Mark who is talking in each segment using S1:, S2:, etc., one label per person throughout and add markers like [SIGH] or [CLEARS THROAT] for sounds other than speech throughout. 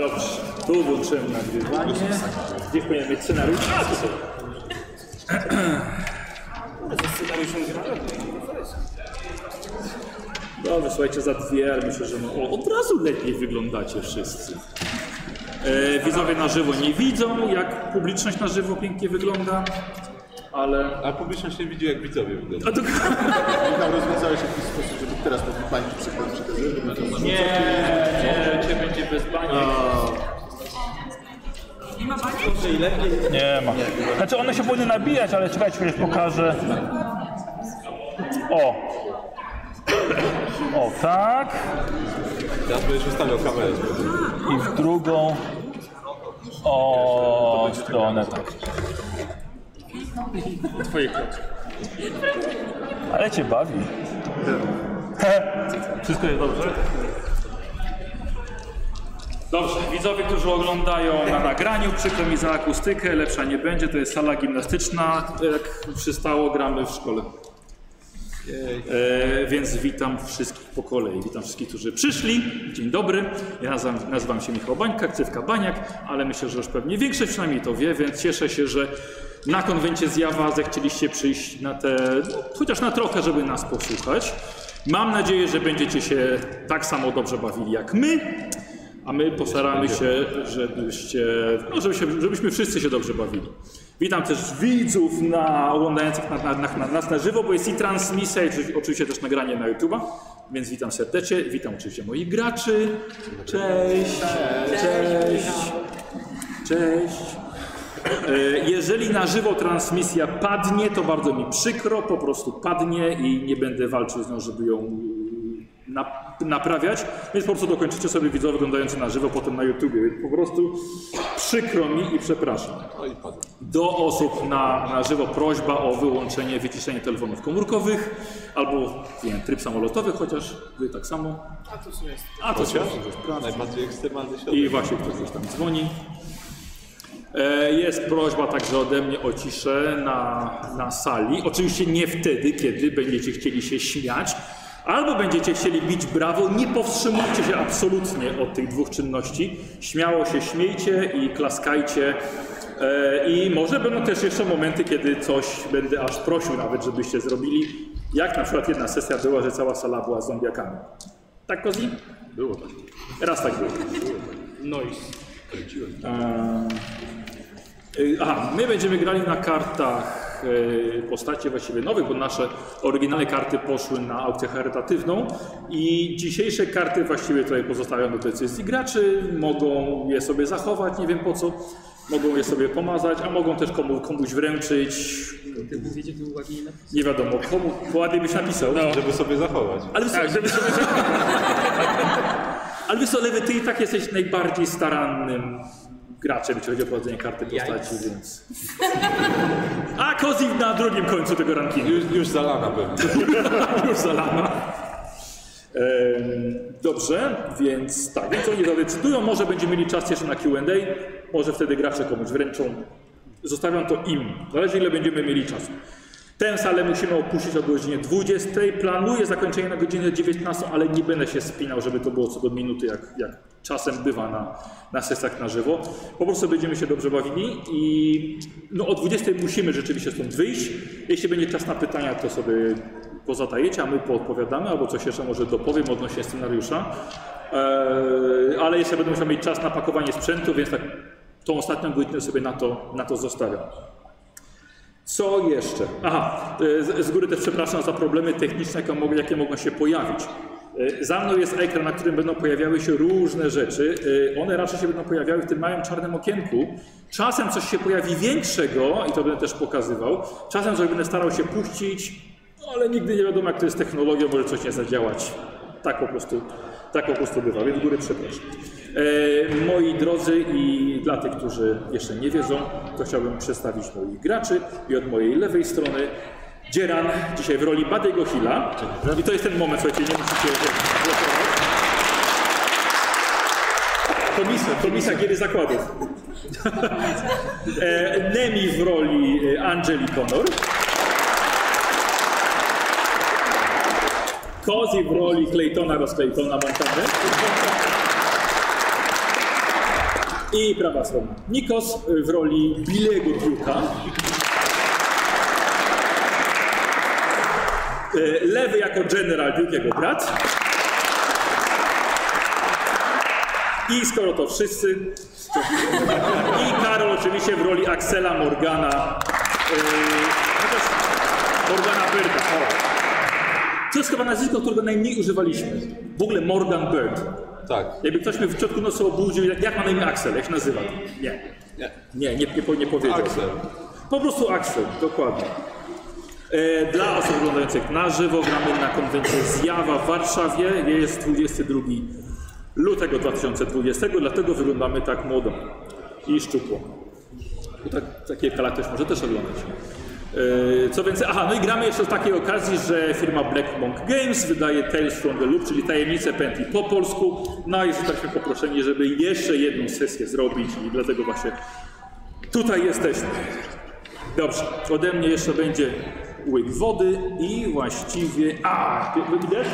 S1: Dobrze, tu włączyłem nagrywanie. Gdzie powinien mieć scenariusz? A, tu są. Kurde, ze scenariuszem grałem, nie, to jest. Dobra, słuchajcie, za DR myślę, że no, o, od razu lepiej wyglądacie wszyscy. E, widzowie na żywo nie widzą, jak publiczność na żywo pięknie wygląda, ale...
S2: A publiczność nie widzi jak widzowie wygląda.
S1: A to...
S3: Michał, rozwiązałeś w jakiś sposób, żeby teraz po tym pani przykład przekazać?
S1: Nie, nie, cię będzie bez bani.
S4: Nie ma. Znaczy one się powinny nabijać, ale czekajcie, chwilę pokażę. O. O, tak.
S2: Teraz będziesz ustawiał kamerę.
S4: I w drugą. O, w stronę tak.
S1: Twoje kroki.
S4: Ale cię bawi.
S1: Wszystko jest dobrze? Dobrze, widzowie, którzy oglądają na nagraniu, przykro mi za akustykę, lepsza nie będzie, to jest sala gimnastyczna, jak przystało, gramy w szkole. E, więc witam wszystkich po kolei, witam wszystkich, którzy przyszli, dzień dobry, ja nazywam, nazywam się Michał Bańka, ksywka Baniak, ale myślę, że już pewnie większość przynajmniej to wie, więc cieszę się, że na konwencie zjawa zechcieliście przyjść na te, no, chociaż na trochę, żeby nas posłuchać. Mam nadzieję, że będziecie się tak samo dobrze bawili jak my. A my postaramy się, żebyście, no żebyśmy, żebyśmy wszyscy się dobrze bawili. Witam też widzów na, oglądających na, na, na, nas na żywo, bo jest i transmisja, i oczy- oczywiście też nagranie na YouTube'a, więc witam serdecznie. Witam oczywiście moich graczy. Cześć. Cześć. Cześć. E, Jeżeli na żywo transmisja padnie, to bardzo mi przykro, po prostu padnie i nie będę walczył z nią, żeby ją y, nap- naprawiać. Więc po prostu dokończycie sobie widzowie oglądający na żywo potem na YouTubie. Więc po prostu przykro mi i przepraszam.
S2: O No i padł.
S1: Do osób na, na żywo prośba o wyłączenie, wyciszenie telefonów komórkowych albo nie wiem, tryb samolotowy, chociaż wy tak samo. A to jest. A to jest.
S2: Najbardziej ekstremalny środek.
S1: I właśnie ktoś już tam dzwoni. E, Jest prośba także ode mnie o ciszę na, na sali. Oczywiście nie wtedy, kiedy będziecie chcieli się śmiać. Albo będziecie chcieli bić brawo, nie powstrzymujcie się absolutnie od tych dwóch czynności. Śmiało się śmiejcie i klaskajcie. E, I może będą też jeszcze momenty, kiedy coś będę aż prosił nawet, żebyście zrobili. Jak na przykład jedna sesja była, że cała sala była z zombiakami. Tak, Kozi? Było tak. Raz tak było. Y, Aha, my będziemy grali na kartach y, postaci właściwie nowych, bo nasze oryginalne karty poszły na aukcję charytatywną i dzisiejsze karty właściwie tutaj pozostawiam do decyzji graczy, mogą je sobie zachować, nie wiem po co, mogą je sobie pomazać, a mogą też komu, komuś wręczyć, nie wiadomo komu, ładnie byś napisał.
S5: No.
S2: Żeby sobie zachować.
S1: Ale tak, żeby sobie Ale wiesz co, Lewy, ty i tak jesteś najbardziej starannym graczem, jeśli chodzi o prowadzenie karty postaci, więc... A Kozi na drugim końcu tego rankingu.
S2: Już, już zalana byłem.
S1: [LAUGHS] Już zalana. Em, Dobrze, więc tak, więc oni zadecydują, może będziemy mieli czas jeszcze na Q&A, może wtedy gracze komuś wręczą. Zostawiam to im, zależy ile będziemy mieli czasu. Tę salę musimy opuścić o godzinie 20. Planuję zakończenie na godzinę 19, ale nie będę się spinał, żeby to było co do minuty, jak, jak czasem bywa na, na sesjach na żywo. Po prostu będziemy się dobrze bawili i no, o 20 musimy rzeczywiście stąd wyjść. Jeśli będzie czas na pytania, to sobie pozadajecie, a my poodpowiadamy, albo coś jeszcze może dopowiem odnośnie scenariusza. Eee, ale jeszcze będę musiał mieć czas na pakowanie sprzętu, więc tak tą ostatnią godzinę sobie na to, na to zostawiam. Co jeszcze? Aha, e, z, z góry też przepraszam za problemy techniczne, jakie mogą, jakie mogą się pojawić. E, Za mną jest ekran, na którym będą pojawiały się różne rzeczy. E, One raczej się będą pojawiały w tym małym czarnym okienku. Czasem coś się pojawi większego i to będę też pokazywał. Czasem coś będę starał się puścić, no, ale nigdy nie wiadomo jak to jest technologia, może coś nie zadziałać. Tak po prostu, tak po prostu bywa, więc z góry przepraszam. E, moi drodzy i dla tych, którzy jeszcze nie wiedzą, to chciałbym przedstawić moich graczy i od mojej lewej strony Dzieran, dzisiaj w roli Badego Hilla. I to jest ten moment, słuchajcie, nie musicie głosować. Komisja, komisja gier zakładów. [LAUGHS] e, Nemi w roli e, Angeli Connor. Kozi w roli Claytona Rosclaytona Montany. I prawa strona. Nikos y, w roli Bilego Duke'a. Y, Lewy jako General Duke, jego brat. I skoro to wszyscy. I Karol oczywiście w roli Axela Morgana. Yy, chociaż Morgana Byrda. O. To jest chyba nazwisko, którego najmniej używaliśmy. W ogóle Morgan Bird.
S2: Tak.
S1: Jakby ktoś mnie w środku nocy obudził, jak, jak ma na imię Axel, jak się nazywa? Nie.
S2: Nie.
S1: Nie, nie, nie, po- nie powiedział.
S2: Axel.
S1: Po prostu Axel, dokładnie. E, Dla osób oglądających na żywo gramy na konwencji Zjawa w Warszawie. Jest 22 lutego 2020, dlatego wyglądamy tak młodo i szczupło. Bo tak, za kilka lat też może też oglądać. E, Co więcej, aha, no i gramy jeszcze z takiej okazji, że firma Black Monk Games wydaje Tales from the Loop, czyli Tajemnice Pętli po polsku. No i zostaliśmy poproszeni, żeby jeszcze jedną sesję zrobić i dlatego właśnie tutaj jesteśmy. Dobrze, ode mnie jeszcze będzie łyk wody i właściwie... A, wy- widać?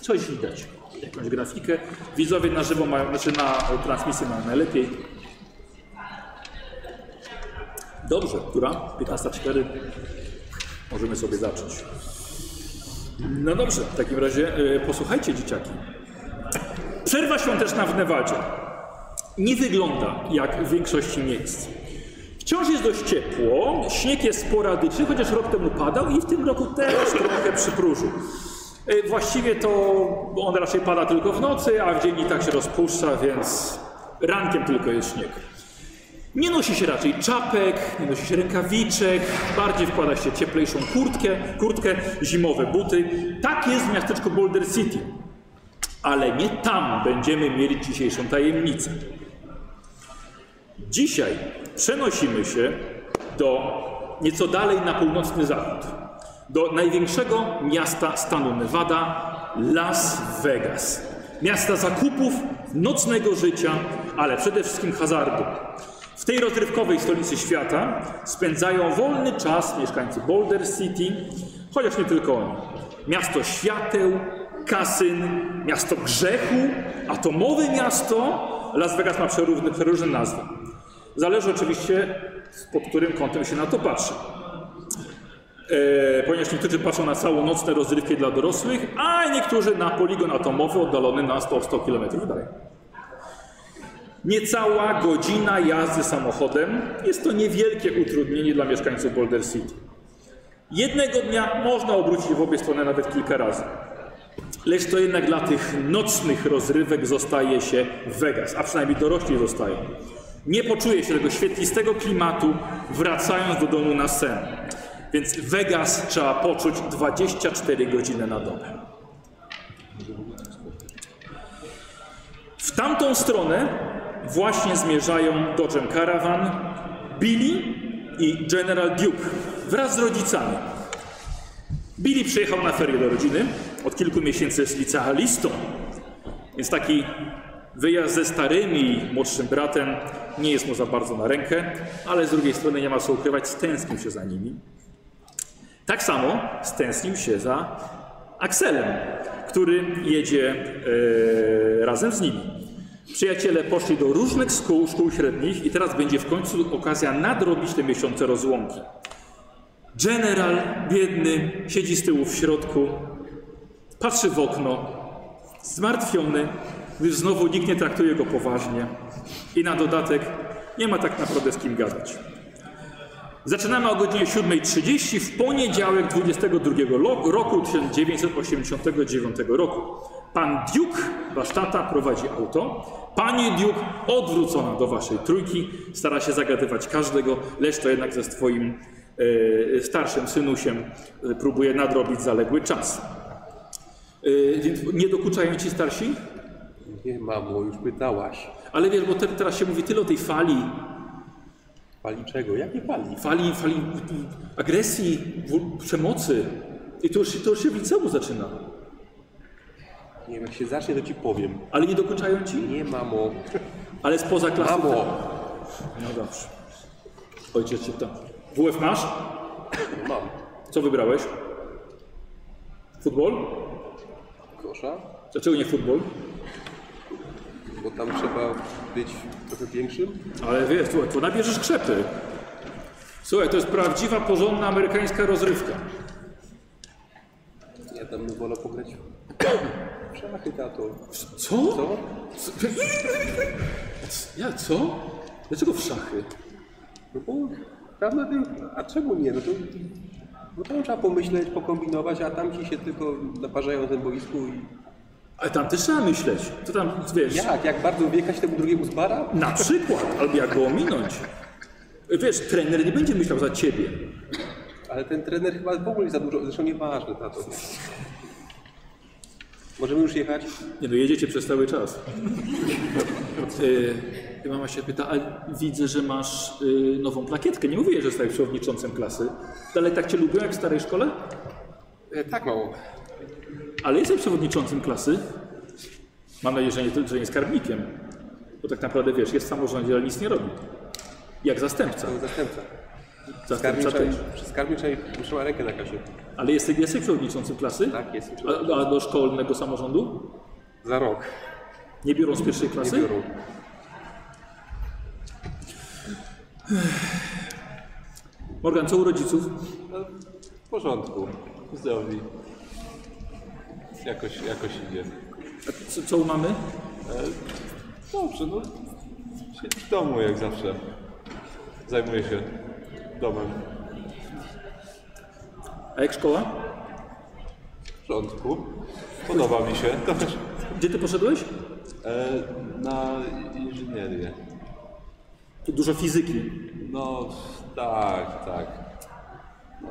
S1: Coś widać, jakąś grafikę. Widzowie na żywo mają, znaczy na e, transmisji mają najlepiej. Dobrze, która? 15.04. Możemy sobie zacząć. No dobrze, w takim razie e, posłuchajcie dzieciaki. Przerwa świąteczna w Nevadzie nie wygląda jak w większości miejsc. Wciąż jest dość ciepło, śnieg jest sporadyczny, chociaż rok temu padał i w tym roku też trochę przypróżył. E, Właściwie to on raczej pada tylko w nocy, a w dzień i tak się rozpuszcza, więc rankiem tylko jest śnieg. Nie nosi się raczej czapek, nie nosi się rękawiczek, bardziej wkłada się cieplejszą kurtkę, kurtkę zimowe buty. Tak jest w miasteczku Boulder City. Ale nie tam będziemy mieli dzisiejszą tajemnicę. Dzisiaj przenosimy się do nieco dalej na północny zachód, do największego miasta stanu Nevada, Las Vegas. Miasta zakupów, nocnego życia, ale przede wszystkim hazardu. W tej rozrywkowej stolicy świata spędzają wolny czas mieszkańcy Boulder City, chociaż nie tylko oni. Miasto świateł, kasyn, miasto grzechu, atomowe miasto. Las Vegas ma przerówne, przeróżne nazwy. Zależy oczywiście, pod którym kątem się na to patrzy. E, ponieważ niektórzy patrzą na całonocne rozrywki dla dorosłych, a niektórzy na poligon atomowy oddalony na 100, 100 km dalej. Niecała godzina jazdy samochodem jest to niewielkie utrudnienie dla mieszkańców Boulder City. Jednego dnia można obrócić w obie strony nawet kilka razy. Lecz to jednak dla tych nocnych rozrywek zostaje się Vegas, a przynajmniej dorośli zostają. Nie poczuje się tego świetlistego klimatu, wracając do domu na sen. Więc Vegas trzeba poczuć 24 godziny na dobę. W tamtą stronę właśnie zmierzają Dodgem Caravan, Billy i General Duke wraz z rodzicami. Billy przyjechał na ferie do rodziny. Od kilku miesięcy jest licealistą. Więc taki wyjazd ze starymi i młodszym bratem nie jest mu za bardzo na rękę, ale z drugiej strony nie ma co ukrywać, stęsknił się za nimi. Tak samo stęsknił się za Akselem, który jedzie e, razem z nimi. Przyjaciele poszli do różnych szkół, szkół średnich i teraz będzie w końcu okazja nadrobić te miesiące rozłąki. General, biedny, siedzi z tyłu w środku, patrzy w okno, zmartwiony, gdyż znowu nikt nie traktuje go poważnie i na dodatek nie ma tak naprawdę z kim gadać. Zaczynamy o godzinie 7.30 w poniedziałek 22 lo- roku 1989 roku. Pan Duke, wasz tata, prowadzi auto. Pani Duke, odwrócona do waszej trójki, stara się zagadywać każdego, lecz to jednak ze swoim e, starszym synusiem e, próbuje nadrobić zaległy czas. E, więc nie dokuczają ci starsi?
S2: Nie, mamo, już pytałaś.
S1: Ale wiesz, bo te, teraz się mówi tyle o tej fali
S2: Pali czego? Jakie pali?
S1: fali, fali agresji, w- przemocy. I to już, to już się w liceum zaczyna.
S2: Nie wiem, jak się zacznie, to ci powiem.
S1: Ale nie dokuczają ci?
S2: Nie, mamo.
S1: Ale spoza klasy.
S2: Mamo!
S1: No dobrze. Ojciec cię tam. WF masz?
S2: Mam.
S1: Co wybrałeś? Futbol?
S2: Kosza?
S1: Dlaczego nie futbol?
S6: bo tam trzeba być trochę większym.
S1: Ale wiesz, słuchaj, tu nabierzesz krzepy. Słuchaj, to jest prawdziwa, porządna amerykańska rozrywka.
S6: Ja tam bym wolał pograć w szachy, tato.
S1: Co?
S6: Co?
S1: Co? [LAUGHS] Ja co? Dlaczego w szachy?
S6: No bo tam na tym, a czemu nie? No to, no tam trzeba pomyśleć, pokombinować, a tam ci się tylko naparzają na tym boisku i
S1: Ale tam też trzeba myśleć. To tam, wiesz,
S6: jak, jak bardzo wjechać temu drugiemu z bara?
S1: na przykład, albo jak go ominąć. Wiesz, trener nie będzie myślał za ciebie.
S6: Ale ten trener chyba w ogóle za dużo, zresztą nieważne, tato. Możemy już jechać?
S1: Nie no, jedziecie przez cały czas. [LAUGHS] Yy, mama się pyta, a widzę, że masz y, nową plakietkę. Nie mówię, że stałeś przewodniczącym klasy. Dalej tak cię lubią jak w starej szkole?
S6: tak, mało.
S1: Ale jesteś przewodniczącym klasy. Mam nadzieję, że nie, że nie skarbnikiem. Bo tak naprawdę wiesz, jest w samorządzie, ale nic nie robi. Jak zastępca.
S6: To zastępca.
S1: Zastępca
S6: Skarbnicza,
S1: ten,
S6: skarbnicza trzyma rękę na kasie.
S1: ale jesteś, jesteś przewodniczącym klasy?
S6: Tak, jestem przewodniczącym.
S1: A, a do szkolnego samorządu?
S6: Za rok.
S1: Nie biorą z pierwszej
S6: Nie
S1: klasy?
S6: biorą.
S1: Morgan, co u rodziców?
S6: No, w porządku. Zdrowi. Jakoś, jakoś idzie.
S1: A Co, co u mamy?
S5: Dobrze, no siedź w domu jak zawsze. Zajmuję się domem.
S1: A jak szkoła?
S5: W porządku. Podoba mi się. Dobrze.
S1: Gdzie ty poszedłeś?
S5: E, na inżynierię.
S1: Tu Dużo fizyki.
S5: No tak, tak. No.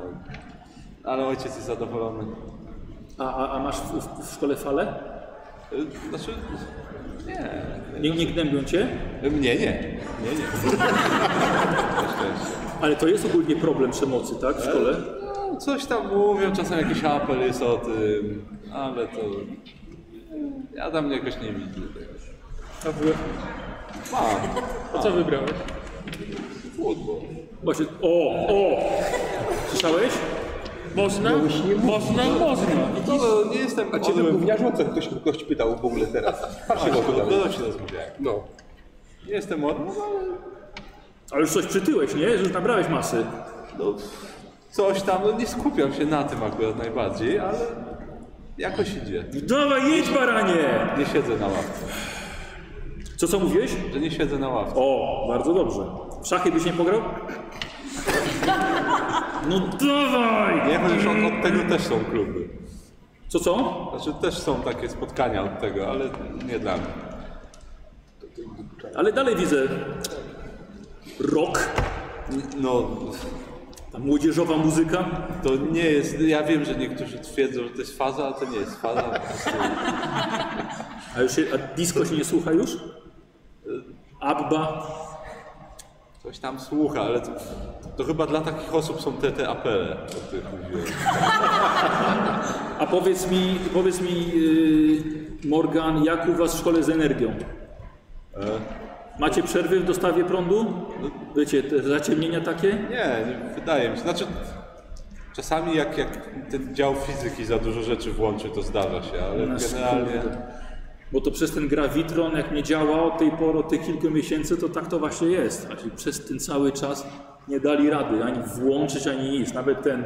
S5: Ale ojciec jest zadowolony.
S1: A, a, a masz w, w, w szkole fale?
S5: E, Znaczy,
S1: Nie, nie gnębią cię?
S5: mnie nie. Mnie nie. Na szczęście.
S1: Ale to jest ogólnie problem przemocy, tak? W szkole?
S5: No, coś tam mówią, czasem jakiś apel jest o tym, ale to... Ja tam jakoś nie widzę tego.
S7: A, wy-
S5: Mam.
S7: a co wybrałeś?
S5: Futbol.
S1: Właśnie, o, o! Słyszałeś?
S7: Można? Można, można.
S5: No, no nie jestem
S6: A cię ten gówniarzu, o co ktoś, ktoś pytał w ogóle teraz? Patrzcie go
S5: to
S6: tutaj.
S5: Tak, się rozmawiałem.
S6: No.
S5: Nie jestem od... No,
S1: Ale już coś przytyłeś, nie? Już nabrałeś masy.
S5: no, coś tam, no nie skupiam się na tym akurat najbardziej, ale jakoś idzie.
S1: Dawaj, jedź baranie!
S5: Nie siedzę na ławce.
S1: Co, co mówiłeś?
S5: Że nie siedzę na ławce.
S1: O, bardzo dobrze. W szachy byś nie pograł? No dawaj!
S5: Nie wiem, że od, od tego też są kluby.
S1: Co, co?
S5: Znaczy też są takie spotkania od tego, ale nie dla mnie.
S1: Ale dalej widzę. Rock,
S5: No,
S1: ta młodzieżowa muzyka.
S5: to nie jest... Ja wiem, że niektórzy twierdzą, że to jest faza, ale to nie jest faza. Po prostu
S1: A już się, a disco się nie słucha już? E, Abba.
S5: Coś tam słucha, ale to, to chyba dla takich osób są te, te apele, o których mówiłem.
S1: A powiedz mi, powiedz mi yy, Morgan, jak u was w szkole z energią? Macie przerwy w dostawie prądu? Wiecie, te zaciemnienia takie?
S5: Nie, nie, wydaje mi się. Znaczy, czasami jak, jak ten dział fizyki za dużo rzeczy włączy, to zdarza się, ale
S2: No,
S1: Na
S5: generalnie...
S1: skórę. Bo to przez ten grawitron, jak nie działa od tej pory, od tych kilku miesięcy, to tak to właśnie jest. Właśnie przez ten cały czas nie dali rady ani włączyć, ani nic. Nawet ten,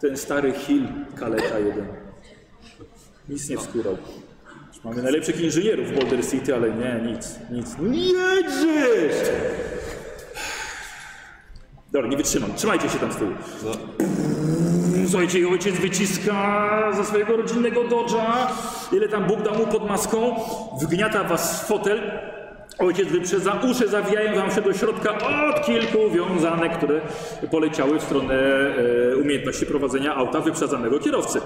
S1: ten stary Hill kaleta jeden. Nic nie wskórał. Już Mamy najlepszych inżynierów w Boulder City, ale nie, nic, nic. Nie jedziesz! Dobra, nie wytrzymam. Trzymajcie się tam z tyłu.
S5: No,
S1: Słuchajcie, i ojciec wyciska ze swojego rodzinnego dodża, ile tam Bóg dał mu pod maską, wgniata was w fotel, ojciec wyprzedza, uszy zawijają wam się do środka od kilku wiązanek, które poleciały w stronę e, umiejętności prowadzenia auta wyprzedzanego kierowcy.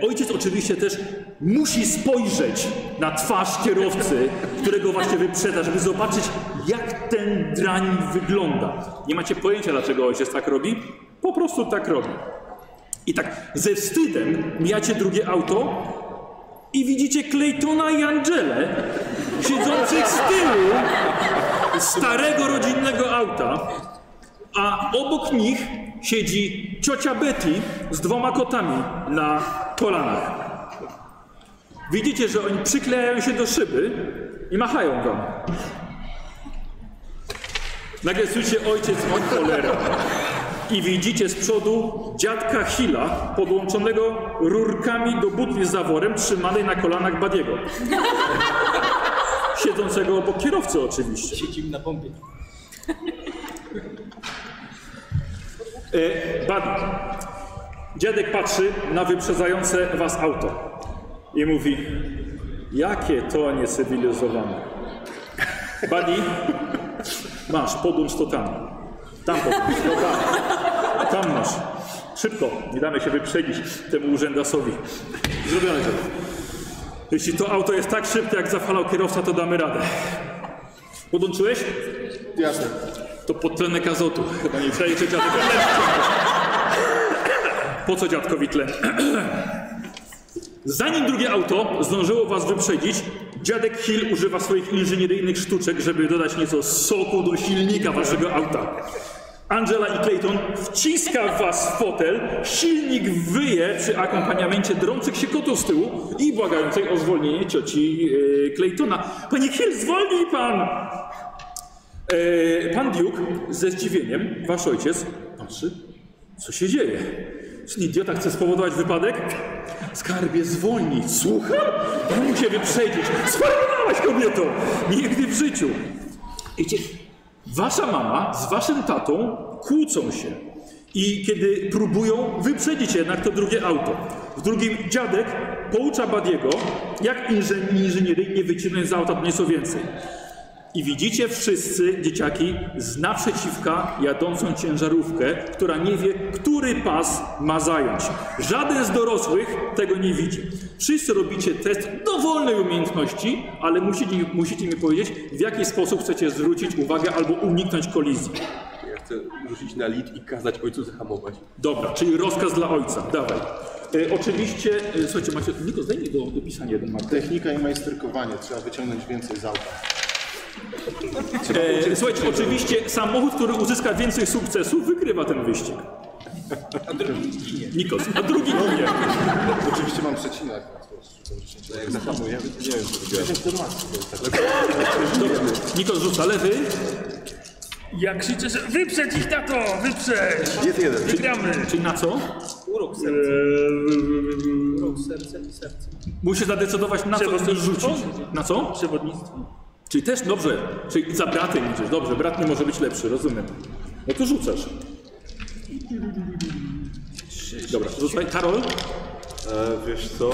S1: E, ojciec oczywiście też musi spojrzeć na twarz kierowcy, którego właśnie wyprzedza, żeby zobaczyć, jak ten drań wygląda. Nie macie pojęcia, dlaczego ojciec tak robi? Po prostu tak robi. I tak ze wstydem mijacie drugie auto i widzicie Claytona i Angelę siedzących z tyłu starego rodzinnego auta, a obok nich siedzi ciocia Betty z dwoma kotami na kolanach. Widzicie, że oni przyklejają się do szyby i machają wam. Nagle słyszycie ojciec od cholera i widzicie z przodu dziadka Hila podłączonego rurkami do butli z zaworem trzymanej na kolanach Badiego.
S8: [LAUGHS]
S1: Siedzącego obok kierowcy oczywiście.
S8: Siedzimy na pompie.
S1: E, Badi. Dziadek patrzy na wyprzedzające was auto i mówi: Jakie to niecywilizowane. Badi, masz, podłącz to tam. Tam podłącz, no tam. Tam masz. Szybko, nie damy się wyprzedzić temu urzędasowi. Zrobione to. Jeśli to auto jest tak szybkie, jak zafalał kierowca, to damy radę. Podłączyłeś?
S3: Jasne.
S1: To podtlenek azotu. Chyba nie przejdzie dziadek. Po co dziadkowi tlen? Zanim drugie auto zdążyło was wyprzedzić, dziadek Hill używa swoich inżynieryjnych sztuczek, żeby dodać nieco soku do silnika waszego auta. Angela i Clayton wciska w was fotel, silnik wyje przy akompaniamencie drących się kotów z tyłu i błagającej o zwolnienie cioci yy, Claytona. Panie Hill, zwolnij pan! E, pan Duke ze zdziwieniem, wasz ojciec, patrzy, co się dzieje. Czy idiota chce spowodować wypadek? Skarbie, zwolnij. Słucham? Mam cię wyprzedzić. Sparowałeś kobieto! Nigdy w życiu. Wiecie, wasza mama z waszym tatą kłócą się. I kiedy próbują wyprzedzić jednak to drugie auto. W drugim dziadek poucza Badiego, jak inżyn- inżynieryjnie wycinać z auta nieco więcej. I widzicie wszyscy, dzieciaki, z naprzeciwka jadącą ciężarówkę, która nie wie, który pas ma zająć. Żaden z dorosłych tego nie widzi. Wszyscy robicie test dowolnej umiejętności, ale musicie, musicie mi powiedzieć, w jaki sposób chcecie zwrócić uwagę albo uniknąć kolizji.
S2: Ja chcę rzucić na lid i kazać ojcu zahamować.
S1: Dobra, czyli rozkaz dla ojca. Dawaj. E, oczywiście, e, słuchajcie, macie. Niko, zdaj mi do, do pisania jeden mark.
S3: Technika i majsterkowanie. Trzeba wyciągnąć więcej z auta.
S1: E, słuchajcie, oczywiście samochód, który uzyska więcej sukcesów, wygrywa ten wyścig. Nikos, a drugi ginie.
S3: Oczywiście mam przecinek.
S6: Jak zahamujemy, to nie wiem, co robiłem.
S1: Nikos rzuca lewy.
S4: Ja krzyczę, że wyprzedź ich, tato, wyprzedź!
S3: Jest jeden.
S4: Wygramy!
S1: Czyli na co?
S8: Urok serca. Urok serca i serce.
S1: Musisz zadecydować na co chcesz rzucić. Na co?
S4: Przewodnictwo.
S1: Czyli też dobrze. Czyli za bratem idziesz. Dobrze, brat nie może być lepszy, rozumiem. No to rzucasz. Dobra, rzucaj. Karol?
S6: E, wiesz co?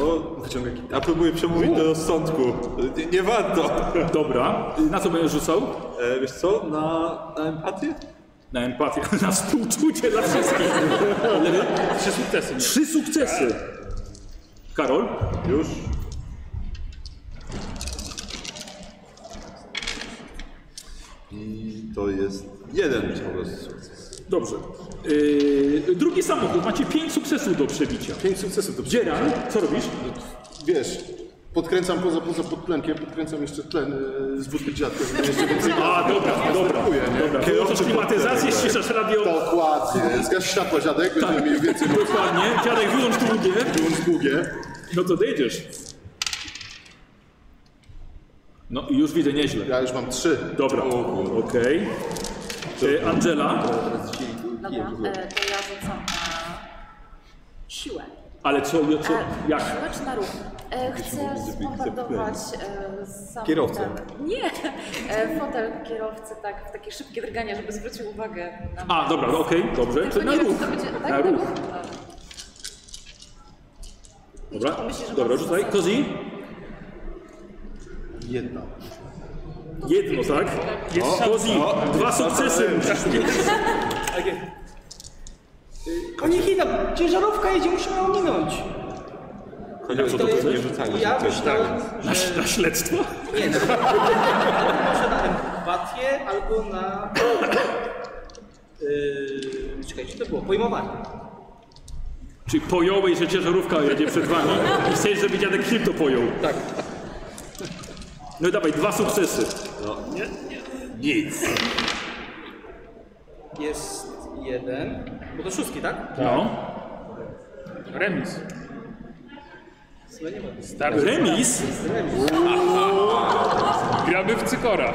S6: Wyciągam git- A próbuję przemówić do rozsądku. E, Nie, nie warto.
S1: Dobra. Na co będziesz rzucał?
S6: E, wiesz co? Na, na empatię?
S1: Na empatię, [LAUGHS] na współczucie dla wszystkich. Lewy?
S4: Trzy sukcesy.
S1: Trzy sukcesy. Karol?
S6: Już? I to jest jeden po prostu sukces.
S1: Dobrze. Yy, drugi samochód. Macie pięć sukcesów do przebicia.
S3: Pięć sukcesów. Dobrze.
S1: Dzieran, co robisz?
S3: Wiesz, podkręcam poza, poza podtlenkiem, podkręcam jeszcze tlen yy, z butli dziadka, żeby jeszcze więcej...
S1: A, dobra, dobra.
S3: Dziękuję, nie?
S1: Dobra, wyłączasz klimatyzację, ściszasz radio.
S3: Dokładnie. Zgasz światła dziadek, będziemy mieli więcej
S1: Dokładnie. Dziadek, wyłącz drugie.
S3: mocy długie.
S1: No to dojedziesz. No i już widzę nieźle.
S3: Ja już mam trzy.
S1: Dobra, okej. Yy, Angela,
S9: Dobra, e, to ja rzucam na siłę. E,
S1: ale co, co jak?
S9: Siłę czy na ruch? E, Chcę spombardować e, samochód.
S6: Kierowcę.
S9: Nie, e, fotel kierowcy tak, w takie szybkie drganie, żeby zwrócił uwagę na
S1: A, dobra, no okej, dobrze.
S9: Tylko
S1: To na
S9: nie wiem,
S1: ruch.
S9: czy to będzie- tak,
S1: Na ruch.
S9: Dobra.
S1: Dobra,
S9: Myślę, że
S1: dobra,
S9: mam
S1: rzucaj.
S9: szansę.
S1: Kozi?
S3: Jedna.
S1: Jedno, tak? Jest Kozi, dwa sukcesy musisz mieć.
S8: Konie Hida, ciężarówka jedzie, musimy ją minąć.
S6: Chodzi o
S8: To jest-
S6: nie rzucanie.
S8: Ja
S6: to jest
S8: myślałem,
S1: Na, ś- na śledztwo?
S8: nie, no. może na empatię albo na... [COUGHS] Yy, czekajcie, to było pojmowanie.
S1: Czyli pojąłeś, że ciężarówka jedzie przed wami i chcesz, żeby dziadek Hill to pojął. Tak. No i dawaj, dwa sukcesy.
S8: Jest jeden, bo to szóstki, tak?
S1: No.
S4: Remis.
S1: Remis?
S10: Gramy w cykora.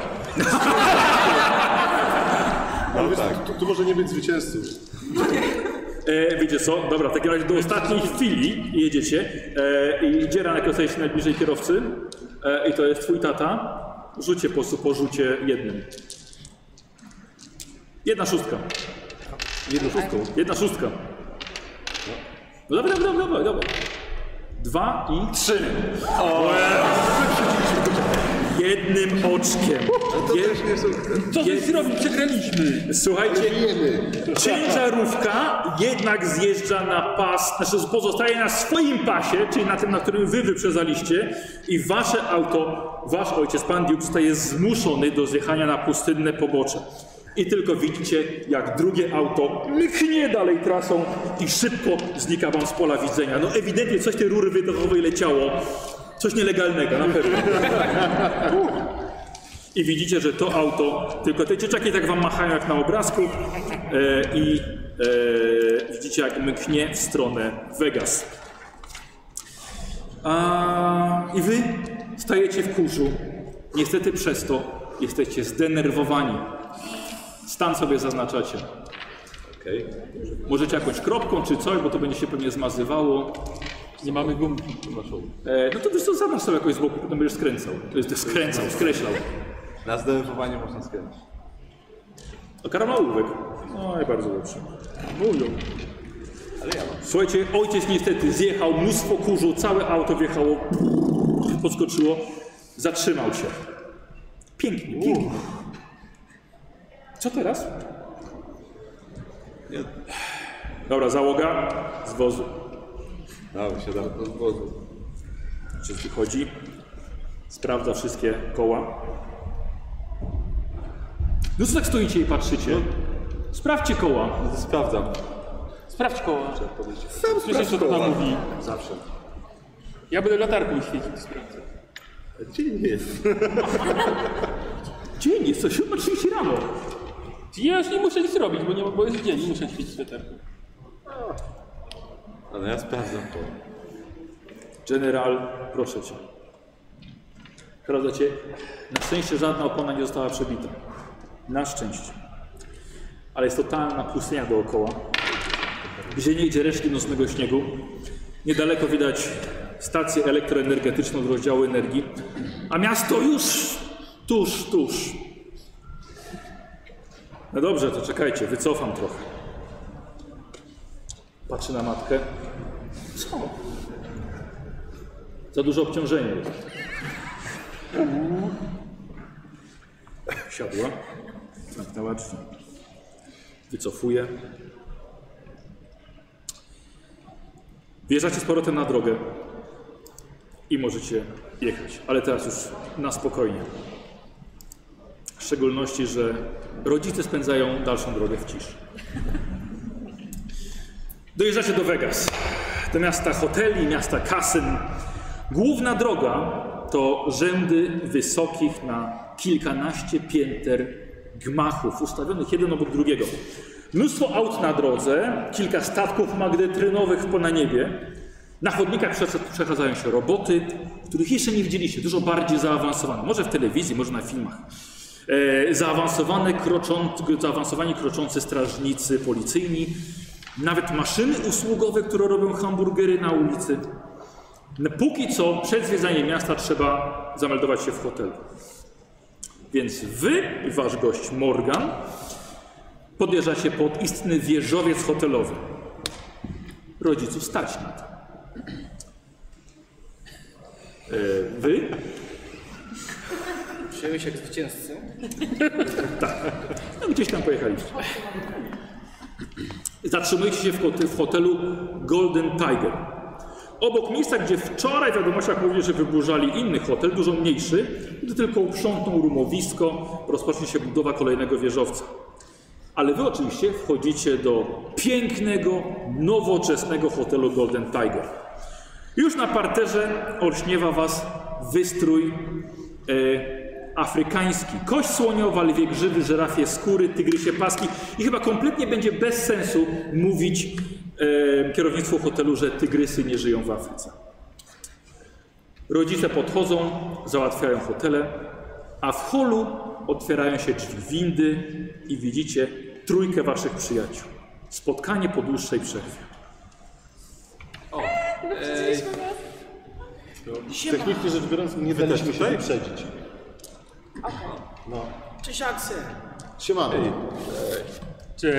S3: Ale wiesz, tu, tu może nie być zwycięzcy.
S1: E, wiecie co? Dobra, w takim razie do ostatniej chwili jedziecie e, i dzieran jak jesteś najbliżej kierowcy e, i to jest twój tata. Rzucie po prostu po rzucie jednym. Jedna szóstka.
S3: Jedną szóstką.
S1: Jedna szóstka. No dobra, dobra, dobra, dobra. Dwa i trzy. O! Jednym oczkiem.
S3: No
S1: Jed...
S4: Co ty zrobił? Przegraliśmy.
S1: Słuchajcie,
S3: Wiemy.
S1: Ciężarówka jednak zjeżdża na pas, znaczy pozostaje na swoim pasie, czyli na tym, na którym wy wyprzedzaliście i wasze auto, wasz ojciec, pan Duke, zostaje zmuszony do zjechania na pustynne pobocze. I tylko widzicie, jak drugie auto mknie dalej trasą i szybko znika wam z pola widzenia. No ewidentnie coś tej rury wydechowej leciało, coś nielegalnego na pewno. I widzicie, że to auto, tylko te dzieciaki tak wam machają jak na obrazku e, i e, widzicie jak mknie w stronę Vegas. A, I wy stajecie w kurzu. Niestety przez to jesteście zdenerwowani. Stan sobie zaznaczacie. Możecie jakąś kropką czy coś, bo to będzie się pewnie zmazywało.
S6: Nie mamy gumki naszą.
S1: E, no to wiesz co, zaznacz sobie jakoś z boku, potem będziesz skręcał. To jest skręcał, skreślał.
S6: Na zdenerwowanie można skręcić.
S1: A Karol ma ołówek. No i bardzo dobrze. Mówią. Słuchajcie, ojciec niestety zjechał, mnóstwo kurzu, całe auto wjechało, podskoczyło, zatrzymał się. Pięknie, pięknie. Co teraz? Dobra, załoga z wozu.
S6: Dobra, siadamy do wozu.
S1: Czy wychodzi? Sprawdza wszystkie koła. No co tak stoicie i patrzycie?
S4: No.
S1: Sprawdźcie koła.
S6: Sprawdzam.
S10: Sprawdź koła.
S4: Słyszę, co to nam mówi.
S6: Zawsze.
S10: Ja będę latarką świecić, sprawdzę.
S6: Dzień jest.
S1: Dzień jest, coś oczywiście rano.
S10: Ja już nie muszę nic robić, bo, nie, bo jest dzień, nie muszę świecić latarką.
S6: Ale ja sprawdzam to.
S1: General, proszę cię. Sprawdza cię. Na szczęście żadna opona nie została przebita. Na szczęście. Ale jest totalna pustynia dookoła. Gdzie nie idzie resztki nocnego śniegu. Niedaleko widać stację elektroenergetyczną z rozdziału energii. A miasto już tuż, tuż. No dobrze, to czekajcie, wycofam trochę. Patrzy na matkę. Co? Za duże obciążenie. Siadła. Zamknęła drzwi. Wycofuje. Wjeżdżacie z powrotem na drogę i możecie jechać, ale teraz już na spokojnie. W szczególności, że rodzice spędzają dalszą drogę w ciszy. Dojeżdżacie do Vegas, do miasta hoteli, miasta kasyn. Główna droga to rzędy wysokich na kilkanaście pięter gmachów, ustawionych jeden obok drugiego. Mnóstwo aut na drodze, kilka statków magnetrynowych po na niebie. Na chodnikach przecha- przechadzają się roboty, których jeszcze nie widzieliście, dużo bardziej zaawansowane. Może w telewizji, może na filmach. E, zaawansowane kroczą, zaawansowani kroczący strażnicy policyjni, nawet maszyny usługowe, które robią hamburgery na ulicy. No, póki co przed zwiedzaniem miasta trzeba zameldować się w hotelu. Więc wy i wasz gość Morgan podjeżdżacie pod istny wieżowiec hotelowy. Rodziców stać na to. E, Wy
S8: Przyjąłeś jak zwycięzcy.
S1: No, gdzieś tam pojechaliście. Zatrzymujecie się w, hot- w hotelu Golden Tiger. Obok miejsca, gdzie wczoraj w wiadomościach mówili, że wyburzali inny hotel, dużo mniejszy, gdy tylko uprzątną rumowisko, rozpocznie się budowa kolejnego wieżowca. Ale wy oczywiście wchodzicie do pięknego, nowoczesnego hotelu Golden Tiger. Już na parterze olśniewa was wystrój e, afrykański. Kość słoniowa, lwie grzyby, żyrafie skóry, tygrysie paski. I chyba kompletnie będzie bez sensu mówić e, kierownictwu hotelu, że tygrysy nie żyją w Afryce. Rodzice podchodzą, załatwiają hotele, a w holu otwierają się drzwi windy i widzicie trójkę waszych przyjaciół. Spotkanie po dłuższej przerwie.
S9: Wyprzedziliśmy was.
S3: Technicznie rzecz biorąc, nie daliśmy się wyprzedzić.
S8: Cześć Aksy.
S3: Siemano.
S4: Czy...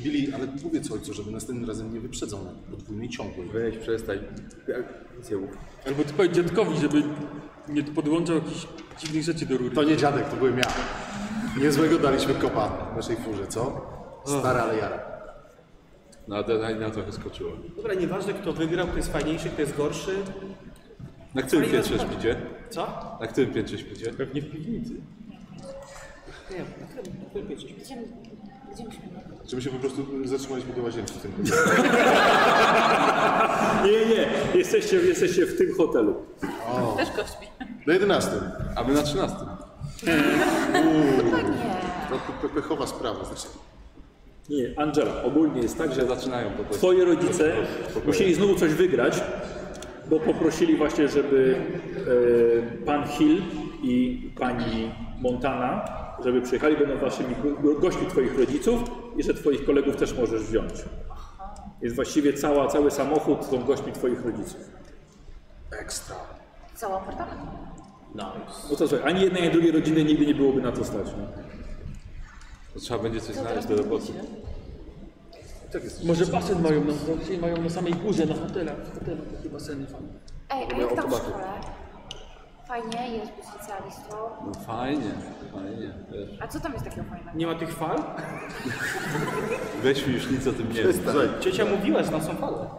S3: Billy, ale mówię ci ojcu, żeby następnym razem nie wyprzedzał na podwójnej ciągłej.
S6: Weź, przestań. Zjebł.
S10: Albo ty powiedz dziadkowi, żeby nie podłączał jakichś dziwnych rzeczy do rury.
S3: To nie dziadek, to byłem ja. Niezłego daliśmy kopa naszej furze, co? Stara, ale jara.
S6: No, adrenalina trochę skoczyła.
S8: Dobra, nieważne kto wygrał, kto jest fajniejszy, kto jest gorszy.
S6: Na którym
S8: Fajna
S6: piętrze
S8: sprawa.
S6: śpicie?
S8: Co?
S6: Na którym piętrze śpicie?
S10: Pewnie w piwnicy.
S8: Nie, na którym, na którym piętrze?
S9: Idziemy. Gdzie myśmy byli?
S3: Czy my się po prostu zatrzymaliśmy do łazienki w tym
S1: Nie, nie, nie. Jesteście, jesteście w tym hotelu.
S9: Też gośćmi.
S3: Do 11.
S6: A my na 13.
S3: To pe- pe- pechowa sprawa, znaczy.
S1: Nie, Angela, ogólnie jest tak, że
S6: Że zaczynają po prostu.
S1: Twoje rodzice musieli znowu coś wygrać, bo poprosili właśnie, żeby e, pan Hill i pani Montana, żeby przyjechali, będą waszymi go- gośćmi twoich rodziców i że twoich kolegów też możesz wziąć. Więc właściwie cała, cały samochód są gośćmi twoich rodziców.
S9: Cały apartament.
S1: No to słuchaj, ani jednej, ani drugiej rodziny nigdy nie byłoby na to stać. No.
S6: To trzeba będzie coś
S9: To
S6: znaleźć
S9: teraz
S6: do roboty.
S9: pójdziecie.
S10: Może basen mają na, dzisiaj mają na samej górze, na hotelach. W hotelach takie baseny fajne.
S9: Ej, a jak tam w szkole? Fajnie, jest być licealistą.
S6: No fajnie, fajnie. Wiesz.
S9: A co tam jest takiego fajnego?
S8: Nie ma tych fal?
S6: Weź mi już nic o tym nie wiem.
S3: Słuchaj,
S8: Ciocia mówiła, że tam są fale.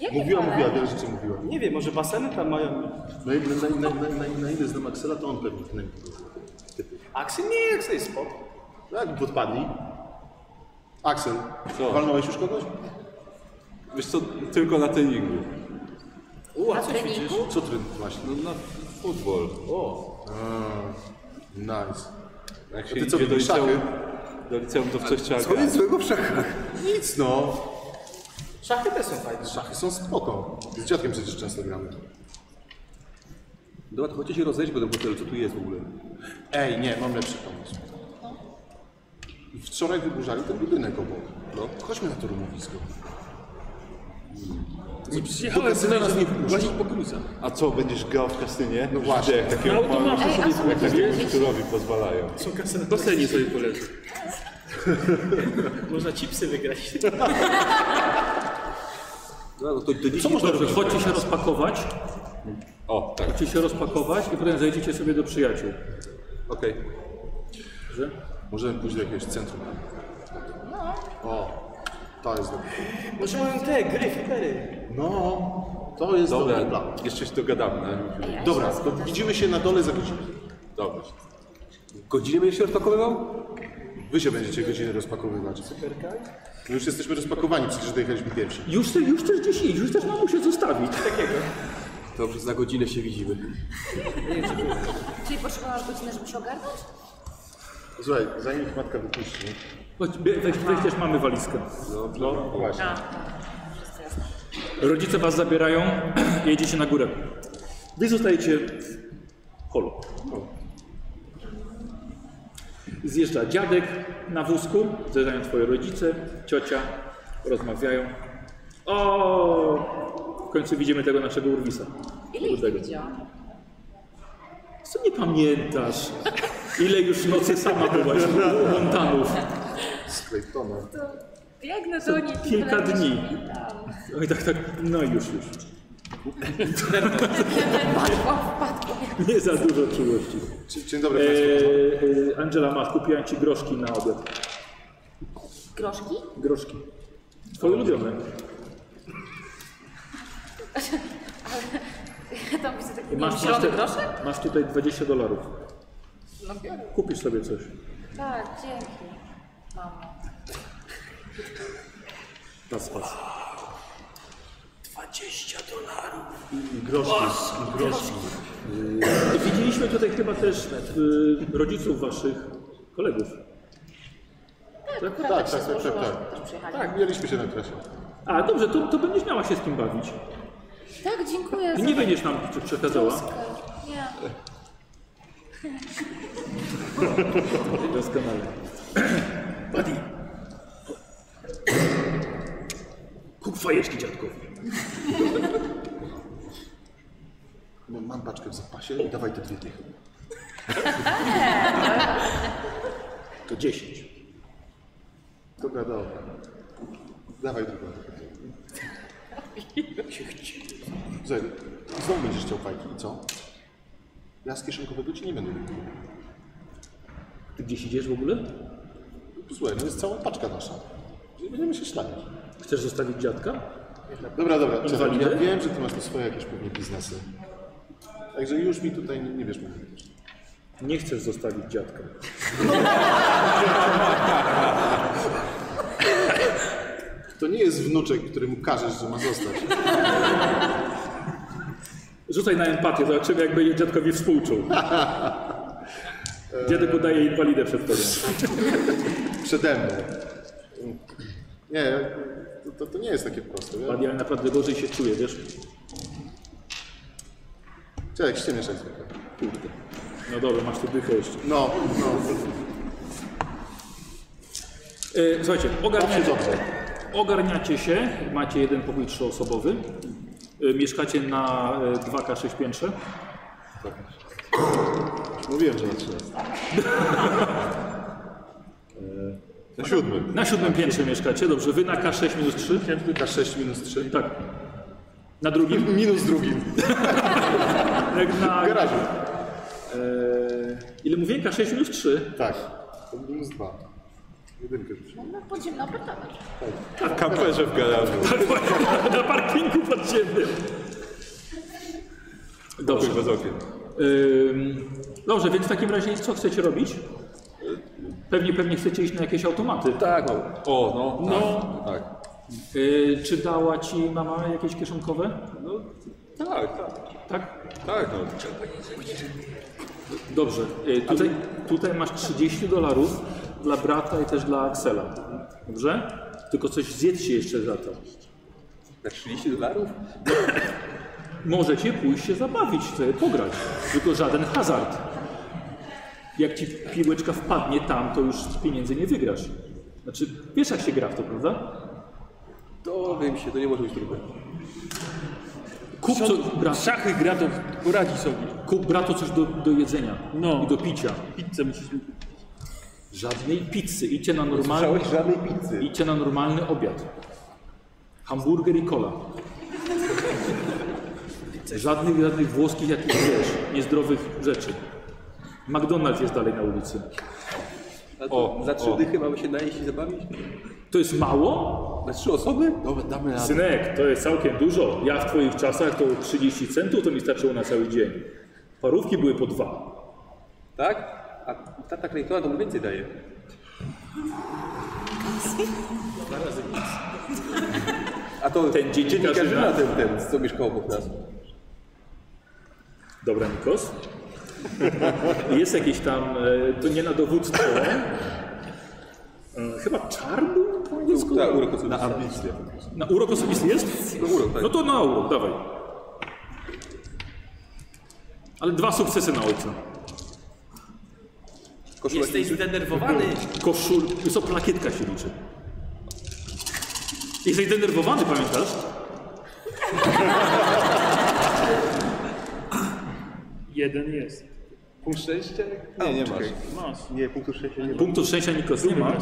S9: Jakie
S3: mówiła,
S9: fajne?
S3: mówiła, wiele rzeczy mówiła.
S8: Nie wiem, może baseny tam mają.
S3: Na, na, na, na, na, na ile znam Axela, to on pewnie ten typy.
S8: Aksy? Nie, Aksy jest spoko.
S3: No jakby podpadli. Axel,
S6: Co?
S3: walnąłeś już kogoś?
S6: Wiesz co, tylko na treningu.
S8: U,
S9: Na
S8: a co ćwiczysz?
S9: treningu?
S3: Co ty właśnie?
S6: No na futbol. O.
S3: Nice.
S6: Jak się
S3: ty
S6: idzie
S3: co,
S6: do
S3: lubisz
S6: liceum,
S3: szachy?
S6: no, do liceum to w coś trzeba
S3: Co
S6: grać.
S3: jest złego w szachach? Nic no.
S8: Szachy też są fajne.
S3: Szachy są spoko. Z dziadkiem przecież często gramy.
S2: Dobra, to chodźcie się rozejdźmy do hotelu, co tu jest w ogóle.
S3: Ej, nie, mam lepszy pomysł. Wczoraj wyburzali ten budynek obok. No, chodźmy na to rumowisko.
S10: Nie przyjechałem
S3: kasyna nas nie wpuszczą.
S10: łazić po gruzach.
S6: A co, będziesz grał w kasynie?
S3: No właśnie.
S6: Jak
S10: No,
S6: takiego
S10: to masz.
S6: panu,
S9: Ej, a
S10: sobie
S9: są
S6: takiego
S9: jakieś
S6: szczurowi pozwalają.
S10: W basenie sobie polecę.
S8: Można chipsy wygrać. [LAUGHS]
S2: Dobra, no to, to dziś
S1: Co można robić? Chodźcie się rozpakować,
S6: O, tak.
S1: chodźcie się rozpakować i potem zejdziecie sobie do przyjaciół.
S6: Okej.
S1: Dobrze?
S3: Możemy pójść do jakiegoś centrum. O, to jest dobre.
S8: Może mają te gry, flipery.
S3: No, to jest
S6: Dobra,
S3: dobry plan.
S6: jeszcze się dogadamy. Na...
S9: Ej, a
S3: Dobra,
S9: się
S3: to widzimy się na dole za godzinę.
S6: Dobra.
S2: godzinę będziesz się rozpakowywał?
S3: Wy się będziecie godzinę rozpakowywać. My już jesteśmy rozpakowani, przecież dojechaliśmy pierwsi.
S1: Już, te- już też gdzieś iść, już też mamusię zostawić.
S2: Dobrze, za godzinę się widzimy.
S9: Czyli potrzebowałaś godziny, żeby się ogarnąć?
S3: Słuchaj, zanim ich matka wypuści,
S1: Chodź, bie- Weź, weź też mamy walizkę.
S9: Tak. Wszystko jasne.
S1: Rodzice was zabierają, [CLEARS THROAT] jedziecie na górę. Wy zostajecie w holu. Zjeżdża dziadek na wózku, zjeżdżają twoje rodzice, ciocia, rozmawiają. O, w końcu widzimy tego naszego Urwisa.
S9: Ile ich nie
S1: Tego.
S9: widziałam?
S1: Co nie pamiętasz? Ile już nocy sama byłaś u Montanów?
S3: z Claytona.
S9: To biegnę do nich. i
S1: kilka
S9: będę się
S1: dni.
S9: witam.
S1: Oj, tak, tak, no już, już.
S9: Padło, padło.
S1: Nie za dużo czułości.
S3: Dzie- Dzień dobry Państwu.
S1: Eee, Angela, masz, kupiłem ci groszki na obiad.
S9: Groszki? [LAUGHS]
S1: Groszki. Twoje ulubione.
S9: Ja tam widzę taki
S1: Masz,
S9: masz,
S1: masz,
S9: zielony
S1: te-
S9: groszek?
S1: masz tutaj 20 dolarów.
S9: No biorę.
S1: Kupisz sobie coś.
S9: Tak, dzięki. Mamo.
S1: Na spas.
S3: Groszki, groszki.
S1: Y, Widzieliśmy tutaj chyba też y, rodziców waszych kolegów.
S9: Tak,
S3: tak,
S9: akurat tak, się
S3: tak, tak,
S9: złożyło,
S3: tak,
S9: że
S3: tak.
S9: też przyjechali.
S3: Tak, mieliśmy się na trasie.
S1: A, dobrze, to, to będziesz miała się z kim bawić.
S9: Tak, dziękuję.
S1: Ty
S9: za
S1: nie będziesz nam przekazała.
S9: troskę. Nie.
S1: Doskonale. Buddy. Kup fajeczki dziadkowi.
S3: Bo No, Mam paczkę w zapasie i dawaj te dwie dychy.
S1: To 10.
S3: Dobra, dobra. Dawaj drugą dychę. Zero. Znowu będziesz chciał fajki, i co? Ja z kieszonkowego ci nie będę mówił.
S1: Ty gdzieś idziesz w ogóle?
S3: Słuchaj, no jest cała paczka nasza. Nie będziemy się szlaniać.
S1: Chcesz zostawić dziadka?
S3: Dobra, dobra, czekaj,
S1: Inwalidy?
S3: ja wiem, że ty masz tu swoje jakieś pewnie biznesy. Także już mi tutaj nie, nie wiesz mówić.
S1: Nie chcesz zostawić dziadka.
S3: To nie jest wnuczek, któremu każesz, że ma zostać.
S1: Rzucaj na empatię, zobaczymy jak będzie dziadkowi współczuł. Dziadek udaje inwalidę przed tobą.
S3: Przede mną. Nie, to, to, to nie jest takie proste. Ja,
S1: Buddy, ale naprawdę gorzej się czuje, wiesz?
S3: czekaj, ściemiesz jak zwykle.
S1: Kurde. No dobra, masz tu dychę jeszcze.
S3: No, no,
S1: E, słuchajcie, ogarniacie,
S3: Dobrze, dobrze.
S1: ogarniacie się, macie jeden pokój trzyosobowy, e, mieszkacie na e, 2K6 piętrze.
S3: mówiłem, że na 13. Na siódmym.
S1: Na siódmym piętrze mieszkacie, dobrze, wy na K6 minus 3,
S3: K6 minus 3.
S1: tak. Na drugim,
S3: Minus drugim.
S1: jak na...
S3: W garażu.
S1: E, ile mówię? K6 minus 3?
S3: Tak. To minus dwa. Jedynkę rzuciłem.
S9: No, podziemna apartament.
S6: Kamperze w garażu.
S1: Tak, [LAUGHS] Na parkingu pod ziemią. Dobrze.
S6: Bez okien.
S1: Ym, dobrze, więc w takim razie co chcecie robić? Pewnie, pewnie chcecie iść na jakieś automaty. Tak.
S6: O, no.
S1: No.
S6: Tak.
S1: Y, czy dała ci mama jakieś kieszonkowe?
S6: No, tak, tak.
S1: Tak?
S6: Tak, no. tak.
S1: Dobrze. Y, tutaj, tutaj masz 30 dolarów dla brata i też dla Axela. Dobrze? Tylko coś zjedzcie jeszcze za to.
S6: Na 30 dolarów?
S1: Możecie pójść się zabawić, sobie pograć. Tylko żaden hazard. Jak ci piłeczka wpadnie tam, to już z pieniędzy nie wygrasz. Znaczy, wiesz jak się gra w to, prawda?
S2: To wiem się, to nie może być trudne.
S1: Kup, co, bra,
S10: W szachy gra to poradzi sobie.
S1: kup bratu coś do, do jedzenia
S10: No.
S1: i do picia.
S10: Pizzę musisz mi kupić.
S1: Żadnej pizzy. Idźcie na, normalny,
S2: Słyszałeś żadnej pizzy.
S1: idźcie na normalny obiad. Hamburger i cola. Żadnych, żadnych włoskich jakichś, wiesz, niezdrowych rzeczy. McDonald's jest dalej na ulicy.
S2: A to za trzy dychy mamy się najeść i zabawić?
S1: To jest mało?
S2: Na trzy osoby? No.
S6: Dobra, damy radę.
S1: Synek, to jest całkiem dużo. Ja w twoich czasach to 30 centów to mi starczyło na cały dzień. Parówki były po dwa.
S2: Tak? A tata Claytona to mu więcej daje. A to
S1: Ten dziennikarzyna.
S2: dziennikarzyna ten, ten, co mieszkał obok nas.
S1: Dobra, Nikos. Jest jakieś tam, e, to nie na dowództwo. E, Chyba czar był po angielsku?
S2: Ta urok osobisty.
S1: Na urok osobisty jest?
S2: Na urok, tak.
S1: No to na urok, dawaj. Ale dwa sukcesy na ojca.
S2: Koszulek
S8: Jesteś zdenerwowany?
S1: Koszul, co plakietka się liczy. Jesteś denerwowany, pamiętasz?
S10: Jeden jest.
S2: punkt szczęścia?
S6: Nie, nie masz.
S2: Nie, punktu szczęścia nie ma.
S1: Punktu szczęścia Nikos nie ma.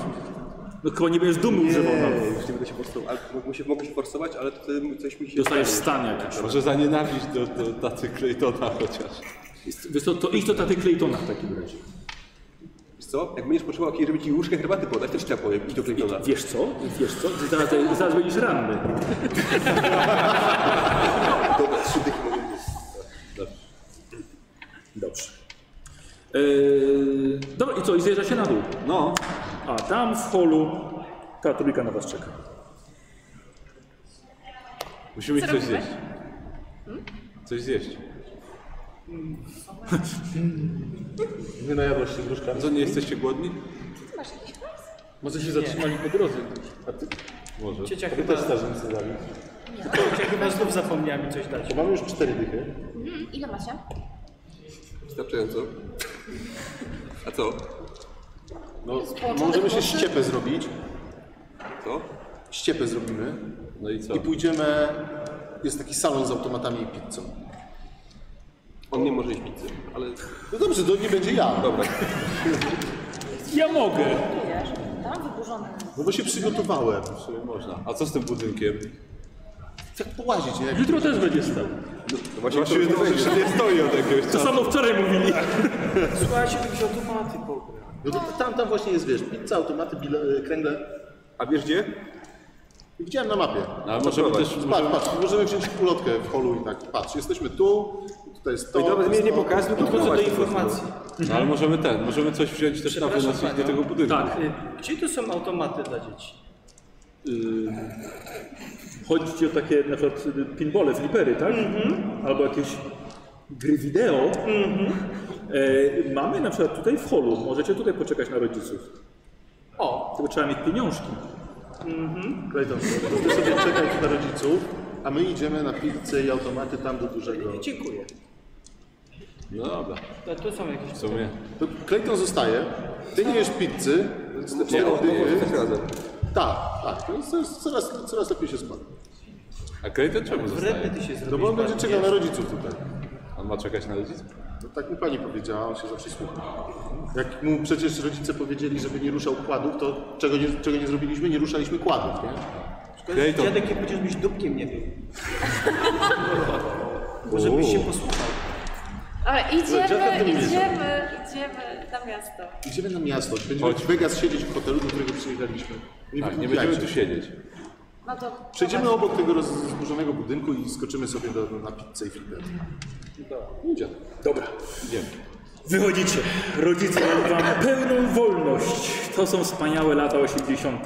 S1: No chyba nie będziesz dumy używał nawet.
S2: Nie, już nie będę się forsował. Ale mogę się, mogę się forsować, ale to wtedy coś mi się...
S1: Dostajesz stan jakiś.
S6: Może zanienawiść do, do tacy Claytona chociaż.
S1: Wiesz co, to idź do taty Claytona w takim razie.
S2: Wiesz co? Jak będziesz potrzebował jakiejś, żeby ci łóżkę herbaty podać, też ci powiem. Idź do Claytona.
S1: Wiesz co? Wiesz co? Zaraz, zaraz będziesz ranny.
S2: Dobra, trzy dychy mogę mieć.
S1: Dobrze. Yy, dobra, i co? I zjeżdżacie na dół.
S6: No.
S1: A tam w holu ta trójka na was czeka.
S6: Musimy
S9: Co
S6: coś
S9: robimy?
S6: zjeść. Coś zjeść.
S3: Nie najadłaś się gruszka.
S6: Co, nie jesteście głodni?
S10: Może się zatrzymali po drodze.
S6: Może.
S10: Ciecia
S3: Wy też starzymcy dali.
S8: Ja chyba znów zapomniałem coś dać.
S3: To mamy już cztery dychy.
S9: Mhm, ile macie?
S6: Wystarczająco. A co?
S3: No,
S9: Spłocone
S3: możemy się
S9: włosy?
S3: ściepę zrobić.
S6: Co?
S3: Ściepę zrobimy.
S6: No i co?
S3: I pójdziemy... Jest taki salon z automatami i pizzą.
S6: On nie może jeść pizzy, ale
S3: No dobrze, to nie będzie ja.
S6: dobra.
S1: Ja mogę.
S9: Kupujesz, tam wyburzone.
S3: No bo się przygotowałem.
S6: Czyli można. A co z tym budynkiem?
S3: Tak połazić, nie?
S1: Jutro też będzie stał.
S6: No właśnie, właśnie to że nie stoi od jakiegoś
S1: To samo wczoraj mówili.
S8: Słuchajcie, jakiś automaty pogra.
S3: No to tam, tam właśnie jest, wiesz, pizza, automaty, bile, kręgle.
S6: A wiesz gdzie?
S3: Widziałem na mapie.
S6: No, ale możemy też...
S3: Patrz, patrz, możemy wziąć ulotkę w holu i tak, patrz, jesteśmy tu, tutaj jest to,
S2: No i dobra,
S3: to
S2: nie,
S3: jest
S2: nie
S3: to.
S2: pokazuj,
S8: Po
S2: tylko
S8: co do informacji?
S6: No ale możemy ten, możemy coś wziąć też na
S8: Przepraszam
S6: wynos do
S8: panią.
S6: tego budynku.
S1: Tak.
S8: Y, Gdzie tu są automaty dla dzieci?
S1: Chodzi ci o takie na przykład e, pinbole, flipery, tak? Albo jakieś gry wideo. E, mamy na przykład tutaj w holu, możecie tutaj poczekać na rodziców.
S8: O.
S1: Tylko trzeba mieć pieniążki.
S3: Tutaj tam są. Ty sobie czekać na rodziców, a my idziemy na pizzę i automaty tam do dużego.
S8: Dziękuję.
S6: No dobra,
S8: To, to są jakieś...
S6: w sumie.
S3: To Clayton zostaje, ty nie jesz pizzy, więc te cztery dychy.
S6: razem.
S3: Tak, tak, to jest, to jest coraz, coraz lepiej się składa.
S6: A kredyt czemu zostaje?
S8: Wredny ty się zrobisz.
S3: No bo on będzie
S8: bardzo.
S3: czekał na rodziców tutaj.
S6: On ma czekać na rodziców?
S3: No tak mi pani powiedziała, on się zawsze słucha. Jak mu przecież rodzice powiedzieli, żeby nie ruszał kładów, to czego nie, czego nie zrobiliśmy? Nie ruszaliśmy kładów, nie?
S8: Szkoda, że
S6: Clayton.
S8: Dziadek jak będziesz mieć dupkiem nie był. Może byś się posłuchał.
S9: Ale
S3: dziadek
S9: idziemy,
S3: to nie
S9: idziemy,
S3: jest.
S9: idziemy na miasto.
S3: Idziemy na miasto, będziemy
S6: Chodź.
S3: w Vegas siedzieć w hotelu, do którego przyjechaliśmy. Nie,
S6: Tak, nie
S3: wykupiajcie.
S6: będziemy tu siedzieć.
S9: No to
S3: Przejdziemy obok tego roz- zburzonego budynku i skoczymy sobie do, na pizzę i flipper. Idziemy.
S1: Dobra.
S6: Idziemy.
S1: Wychodzicie. Rodzice dają wam pełną wolność. To są wspaniałe lata 80.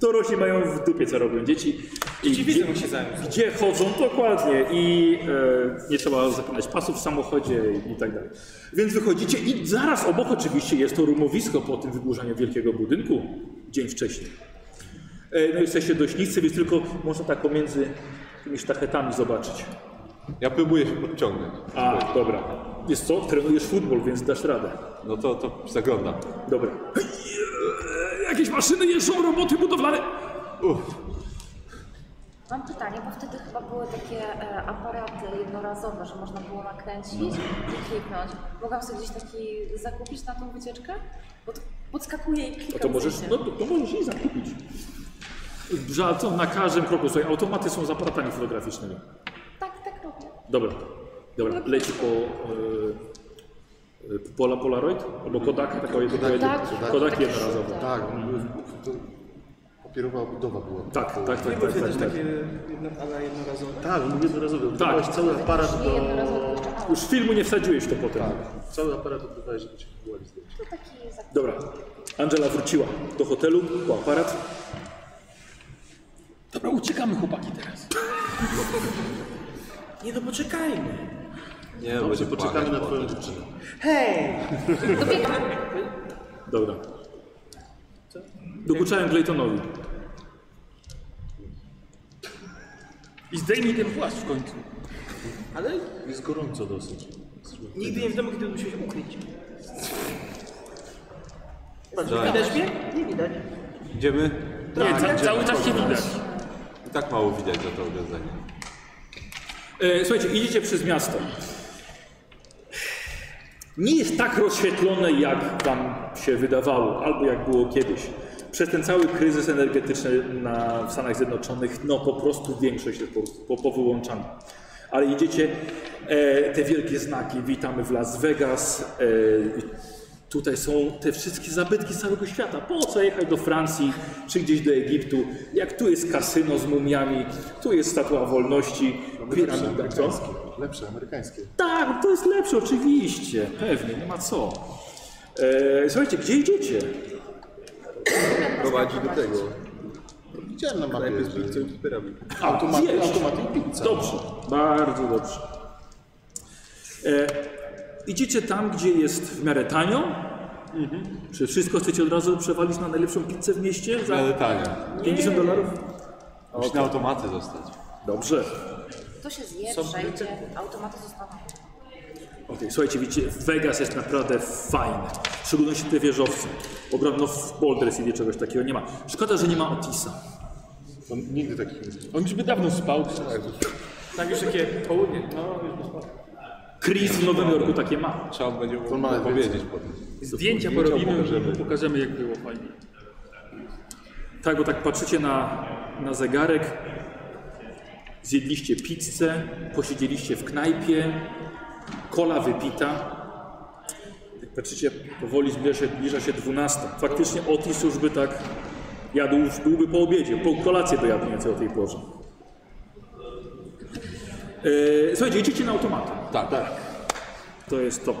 S1: Dorośli mają w dupie, co robią dzieci. I
S8: Dziewicą się zajął.
S1: Gdzie chodzą dokładnie i e, nie trzeba zapinać pasów w samochodzie i tak dalej. Więc wychodzicie i zaraz obok oczywiście jest to rumowisko po tym wyburzeniu wielkiego budynku dzień wcześniej. E, no jesteście dość niscy, więc tylko można tak pomiędzy tymi sztachetami zobaczyć.
S6: Ja próbuję się podciągnąć.
S1: A, dobra. Jest co? Trenujesz futbol, więc dasz radę.
S6: No to, to zaglądam.
S1: Dobra. Jakieś maszyny jeżdżą, roboty budowlane.
S9: Mam pytanie, bo wtedy chyba były takie e, aparaty jednorazowe, że można było nakręcić i kliknąć. Mogłam sobie gdzieś taki zakupić na tą wycieczkę? Bo to podskakuje i klika.
S1: No to możesz, no to, to możesz i zakupić. Żalcą na każdym kroku. Słuchaj, automaty są z aparatami fotograficznymi.
S9: Tak, tak robię.
S1: Dobra, dobra. Leci po... e, Pola Polaroid? Albo Kodak? Taka jedno,
S3: Kodak.
S9: Tak.
S1: Kodak jednorazowy.
S3: Tak, on był- to papierowa obudowa była.
S1: Tak, tak, tak, tak,
S8: Były
S1: tak,
S8: też
S1: tak.
S8: takie jedno, ale jednorazowe.
S3: Tak, on był jednorazowy. Oddawałeś
S1: Tak.
S3: cały aparat
S9: Nie
S3: do...
S9: jednorazowo jeszcze mało.
S1: Już filmu nie wsadziłeś to potem.
S3: Cały aparat oddawałeś, żeby cię wywołali z
S9: To taki zakup.
S1: Dobra. Angela wróciła do hotelu, po aparat.
S10: Dobra, uciekamy chłopaki teraz.
S8: Nie no poczekajmy.
S6: Nie, no,
S3: Dobrze,
S6: będzie
S3: poczekamy
S6: płakać.
S3: na twoją dziewczynę.
S8: Hej!
S1: Dobra. Dokuczałem Claytonowi.
S8: I zdejmij ten płaszcz w końcu. Ale
S3: Jest gorąco dosyć.
S8: nigdy nie wiadomo, kiedy musimy się ukryć.
S6: Dobra.
S8: Widać mnie? Nie widać.
S6: Idziemy?
S1: Nie, ca- cały czas się widać.
S6: I tak mało widać za to ogrodzenie.
S1: E, słuchajcie, idziecie przez miasto. Nie jest tak rozświetlone, jak wam się wydawało, albo jak było kiedyś. Przez ten cały kryzys energetyczny na, w Stanach Zjednoczonych, no po prostu większość jest po, po, powyłączana. Ale idziecie, e, te wielkie znaki, witamy w Las Vegas, e, tutaj są te wszystkie zabytki z całego świata. Po co jechać do Francji, czy gdzieś do Egiptu, jak tu jest kasyno z mumiami, tu jest Statua Wolności, piramida, co?
S3: Lepsze, amerykańskie.
S1: Tak, to jest lepsze, oczywiście. Pewnie, nie ma co. E, słuchajcie, gdzie idziecie?
S6: Prowadzi do tego.
S3: Widziałem na mapie,
S6: Najpierw
S3: że-
S6: pizzą i fliperami.
S3: automaty,
S1: Zjeść.
S3: automaty i pizza.
S1: Dobrze, bardzo dobrze. E, idziecie tam, gdzie jest w miarę tanio. Czy wszystko chcecie od razu przewalić
S5: E,
S1: na najlepszą pizzę w mieście? Za
S6: Ale tanie.
S1: 50 dolarów?
S6: Musi na automaty zostać.
S1: Dobrze.
S9: To się zje, przejdzie, automaty zostaną.
S1: Okej, słuchajcie, widzicie, Vegas jest naprawdę fajny. W szczególności te wieżowce. Ogromno w Boulder City czegoś takiego nie ma. Szkoda, że nie ma Otisa.
S3: On nigdy takich nie zrobił.
S10: On już by dawno spał.
S11: Tak już takie południe, no już bez problemu.
S1: Chris w Nowym Jorku takie ma.
S6: Trzeba będzie
S3: On ma
S6: mu powiedzieć potem.
S11: Zdjęcia porobimy, pokażemy. pokażemy jak było fajnie.
S1: Tak, bo tak patrzycie na, na zegarek. Zjedliście pizzę, posiedzieliście w knajpie, kola wypita. Jak patrzycie, powoli zbliża się, zbliża się 12. Faktycznie Otis już by tak jadł, już byłby po obiedzie, po kolację dojadł mniej więcej o tej porze. Yy, słuchajcie, idziecie na automaty.
S6: Tak, tak.
S1: To jest to.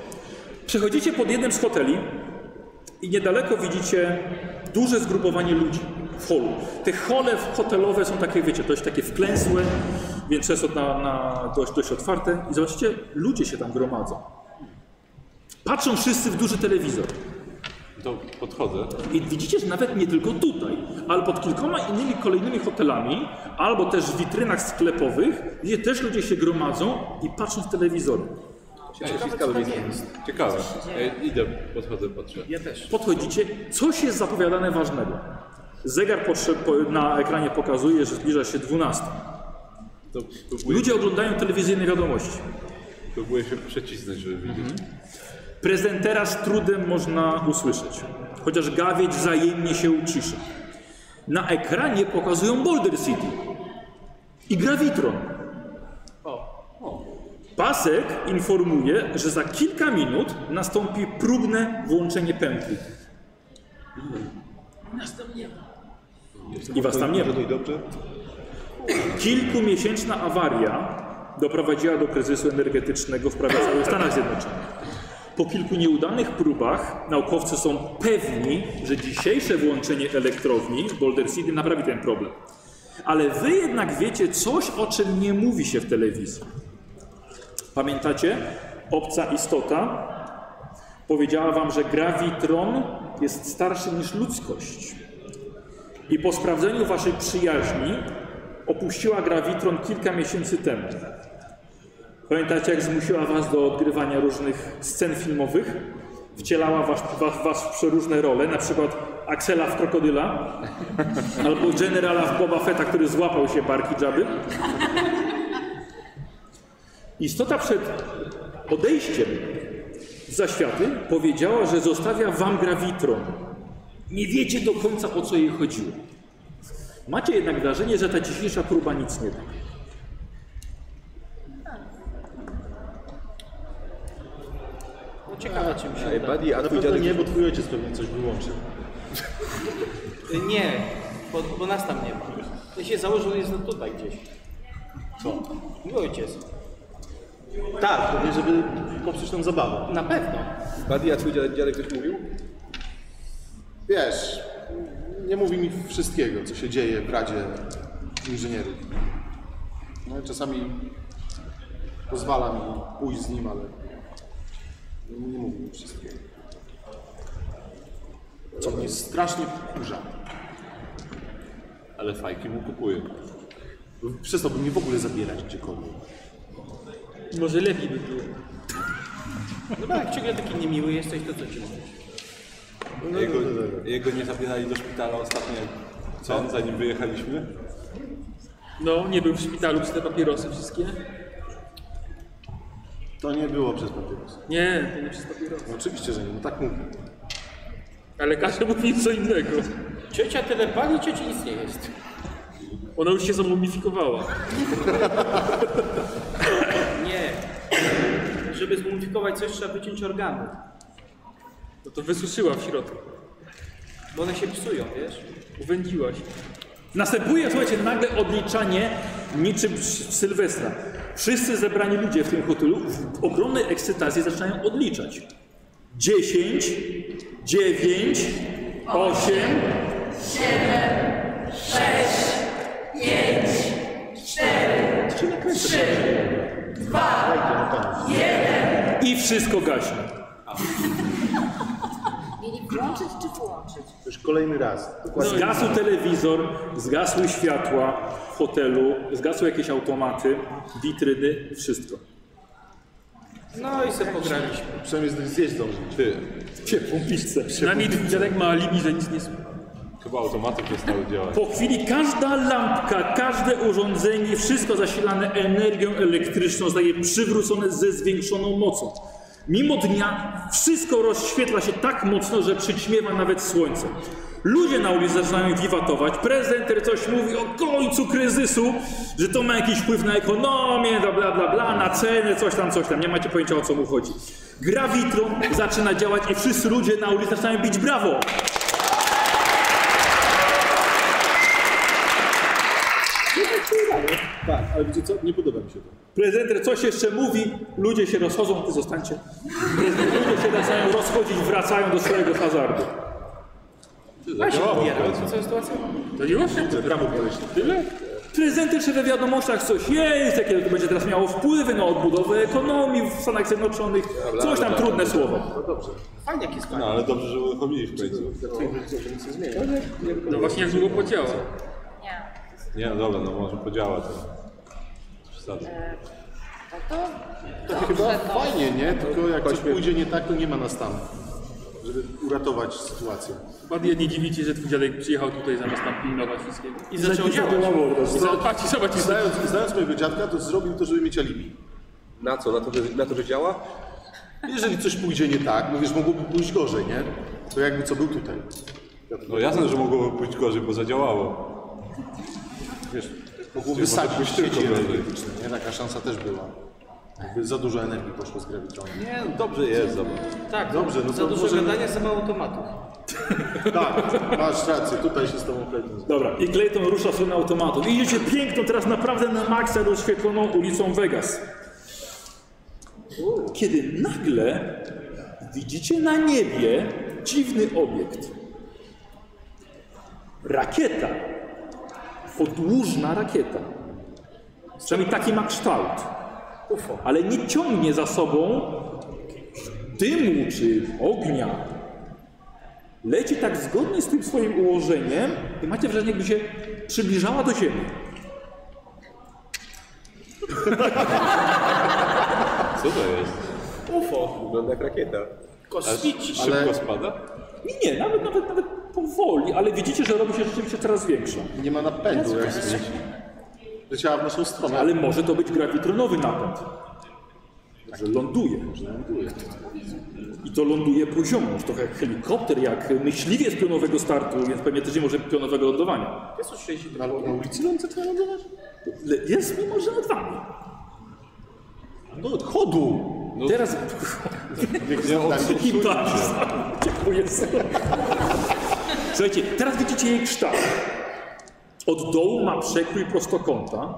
S1: Przechodzicie pod jednym z hoteli i niedaleko widzicie duże zgrupowanie ludzi w holu. Te hole hotelowe są takie, wiecie, dość takie wklęsłe, więc często na, na dość, dość otwarte. I zobaczycie, ludzie się tam gromadzą. Patrzą wszyscy w duży telewizor.
S6: To podchodzę.
S1: I widzicie, że nawet nie tylko tutaj, ale pod kilkoma innymi kolejnymi hotelami, albo też w witrynach sklepowych, gdzie też ludzie się gromadzą i patrzą w telewizor.
S6: Ciekawe. Ja idę, podchodzę, patrzę.
S1: Podchodzicie, coś jest zapowiadane ważnego. Zegar potrze- po- na ekranie pokazuje, że zbliża się 12.
S6: To próbuję,
S1: Ludzie oglądają telewizyjne wiadomości.
S6: próbuję się przecisnąć, żeby widzieć.
S1: Prezentera z trudem można usłyszeć, chociaż gawieć wzajemnie się ucisza. Na ekranie pokazują Boulder City i Gravitron. Pasek informuje, że za kilka minut nastąpi próbne włączenie pętli. I was tam nie ma.
S3: No i dobrze.
S1: Kilkumiesięczna awaria doprowadziła do kryzysu energetycznego w prawie całych Stanach Zjednoczonych. Po kilku nieudanych próbach naukowcy są pewni, że dzisiejsze włączenie elektrowni w Boulder City naprawi ten problem. Ale wy jednak wiecie coś, o czym nie mówi się w telewizji. Pamiętacie? Obca istota powiedziała wam, że grawitron jest starszy niż ludzkość. I po sprawdzeniu waszej przyjaźni opuściła Gravitron kilka miesięcy temu. Pamiętacie, jak zmusiła was do odgrywania różnych scen filmowych? Wcielała was, was, was w przeróżne role, na przykład Axela w Krokodyla, albo Generala w Boba Fetta, który złapał się barki dżaby. Istota przed odejściem w zaświaty powiedziała, że zostawia wam Gravitron. Nie wiecie do końca, o co jej chodziło. Macie jednak wrażenie, że ta dzisiejsza próba nic nie da.
S8: No,
S2: Ej, buddy, a
S3: Na
S2: twój
S3: pewno
S2: dziadek
S3: nie, bo twój ojciec pewnie coś wyłączył.
S8: Y, Nie, bo, bo nas tam nie ma. To się założył, jest tutaj gdzieś. Co? Mój ojciec.
S3: Tak, pewnie, żeby popsuć tą zabawę.
S8: Na pewno.
S2: Buddy, a twój dziadek, dziadek coś mówił?
S3: Wiesz, nie mówi mi wszystkiego, co się dzieje w Radzie Inżynierów. No i czasami pozwala mi pójść z nim, ale nie mówi mi wszystkiego. Co mnie strasznie wkurza.
S6: Ale fajki mu kupuję.
S3: Przestałby mnie w ogóle zabierać gdziekolwiek.
S11: Może lepiej by było.
S8: No bo jak ciągle taki niemiły jesteś, to co ci mówię?
S6: Jego, jego nie zabierali do szpitala ostatnio, co? zanim wyjechaliśmy.
S11: No, nie był w szpitalu przez te papierosy wszystkie?
S3: To nie było przez papieros.
S11: Nie, to nie przez papierosy.
S3: No oczywiście, że nie, no tak mówi.
S11: A lekarze mówili co innego.
S8: Ciocia tyle pali, cioci nic nie jest.
S11: Ona już się zamumifikowała.
S8: Nie. Żeby zmumifikować coś, trzeba wyciąć organy.
S11: No to wysuszyła w środku.
S8: Bo one się psują, wiesz?
S11: Uwędziła się.
S1: Następuje, słuchajcie, nagle odliczanie niczym w Sylwestra. Wszyscy zebrani ludzie w tym hotelu w ogromnej ekscytacji zaczynają odliczać. 10, 9, 8, 7, 6, 5, 4, 3, 2, 1. I wszystko gaśnie.
S9: Mieli Włączyć czy wyłączyć?
S3: Już kolejny raz. Dokładnie.
S1: Zgasł telewizor, zgasły światła w hotelu, zgasły jakieś automaty, witryny, wszystko.
S8: No i sobie pograliśmy.
S3: Przynajmniej z nich zjeść dobrze.
S6: Ty,
S1: Ciepłą pizzę.
S11: Przynajmniej dziadek ma alibi, że nic nie słyszy.
S6: chyba automaty przestały działać.
S1: Po chwili każda lampka, każde urządzenie, wszystko zasilane energią elektryczną zostaje przywrócone ze zwiększoną mocą. Mimo dnia wszystko rozświetla się tak mocno, że przyćmiewa nawet słońce. Ludzie na ulicy zaczynają wiwatować, prezenter coś mówi o końcu kryzysu, że to ma jakiś wpływ na ekonomię, bla bla bla, bla na ceny, coś tam, coś tam. Nie macie pojęcia o co mu chodzi. Grawitron zaczyna działać i wszyscy ludzie na ulicy zaczynają bić brawo.
S3: Tak, ale wiecie co? Nie podoba mi się to.
S1: Prezenter coś jeszcze mówi, ludzie się rozchodzą, ty zostańcie. Ludzie się zaczynają rozchodzić, wracają do swojego hazardu.
S6: No,
S8: Właśnie, co jest sytuacja?
S1: To już? Brawo, koleś. Tyle? Prezenter się we wiadomościach coś jest, jakie to będzie teraz miało wpływy na odbudowę ekonomii w Stanach Zjednoczonych, coś tam trudne słowo.
S8: Fajnie, jak jest fajnie.
S6: No ale dobrze, że uruchomili w końcu.
S11: No właśnie, jak długo podziała.
S9: Nie.
S6: Nie, no dobra, no może podziała to. Przesadzę.
S9: No to
S3: To Tak chyba fajnie, nie? Tylko jak coś pójdzie nie tak, to nie ma nas tam, żeby uratować sytuację.
S11: Ładnie nie dziwicie, że twój dziadek przyjechał tutaj zamiast tam pilnować wszystkiego.
S8: I zaczął działać.
S11: I zobacz, patrzcie, zobaczcie,
S3: Znając, znając mojego dziadka, to zrobił to, żeby mieć alibi.
S2: Na co? Na to, że, na to, że działa?
S3: Jeżeli coś pójdzie nie tak, no wiesz, mogłoby pójść gorzej, nie? To jakby co był tutaj.
S6: No jasne, że mogłoby pójść gorzej, bo zadziałało.
S3: Wiesz, mogłoby wysadzić
S6: pójść tylko
S3: sieci
S6: gorzej.
S3: energetyczne, nie? Taka szansa też była. Jakby za dużo energii poszło z gravitronem.
S6: Nie, no dobrze jest, dobra.
S8: Tak,
S3: Dobrze, no
S8: za
S3: to
S8: dużo
S3: może-
S8: gadania, za mało automatów.
S3: Tak, masz rację, tutaj się z tobą pewnie
S1: Dobra, i Clayton rusza w stronę automatu. Idziecie piękną, teraz naprawdę na maksa rozświetloną ulicą Vegas. Kiedy nagle widzicie na niebie dziwny obiekt. Rakieta. Podłużna rakieta. Przynajmniej taki ma kształt. UFO. Ale nie ciągnie za sobą dymu czy ognia. Leci tak zgodnie z tym swoim ułożeniem i macie wrażenie, jakby się przybliżała do ziemi.
S6: Co to jest?
S2: Wygląda jak rakieta.
S8: Kosmici.
S6: Szybko spada?
S1: Nie, Nie, nawet, nawet, nawet powoli, ale widzicie, że robi się rzeczywiście coraz większa.
S3: Nie ma napędu, jak sobie. Leciała w naszą stronę.
S1: Ale może to być grawitronowy napęd. Że ląduje. I to ląduje poziomo, już trochę jak helikopter, jak myśliwiec pionowego startu, więc pewnie też nie może być pionowego lądowania.
S8: Jest już 60
S3: Na, na ulicy ląd zaczyna lądować?
S1: Le- Jest mimo, że nad wami.
S3: Do odchodu!
S1: Teraz...
S6: Nie, odsuń
S1: I bardzo Dziękuję Słuchajcie, teraz widzicie jej kształt. Od dołu ma przekrój prostokąta.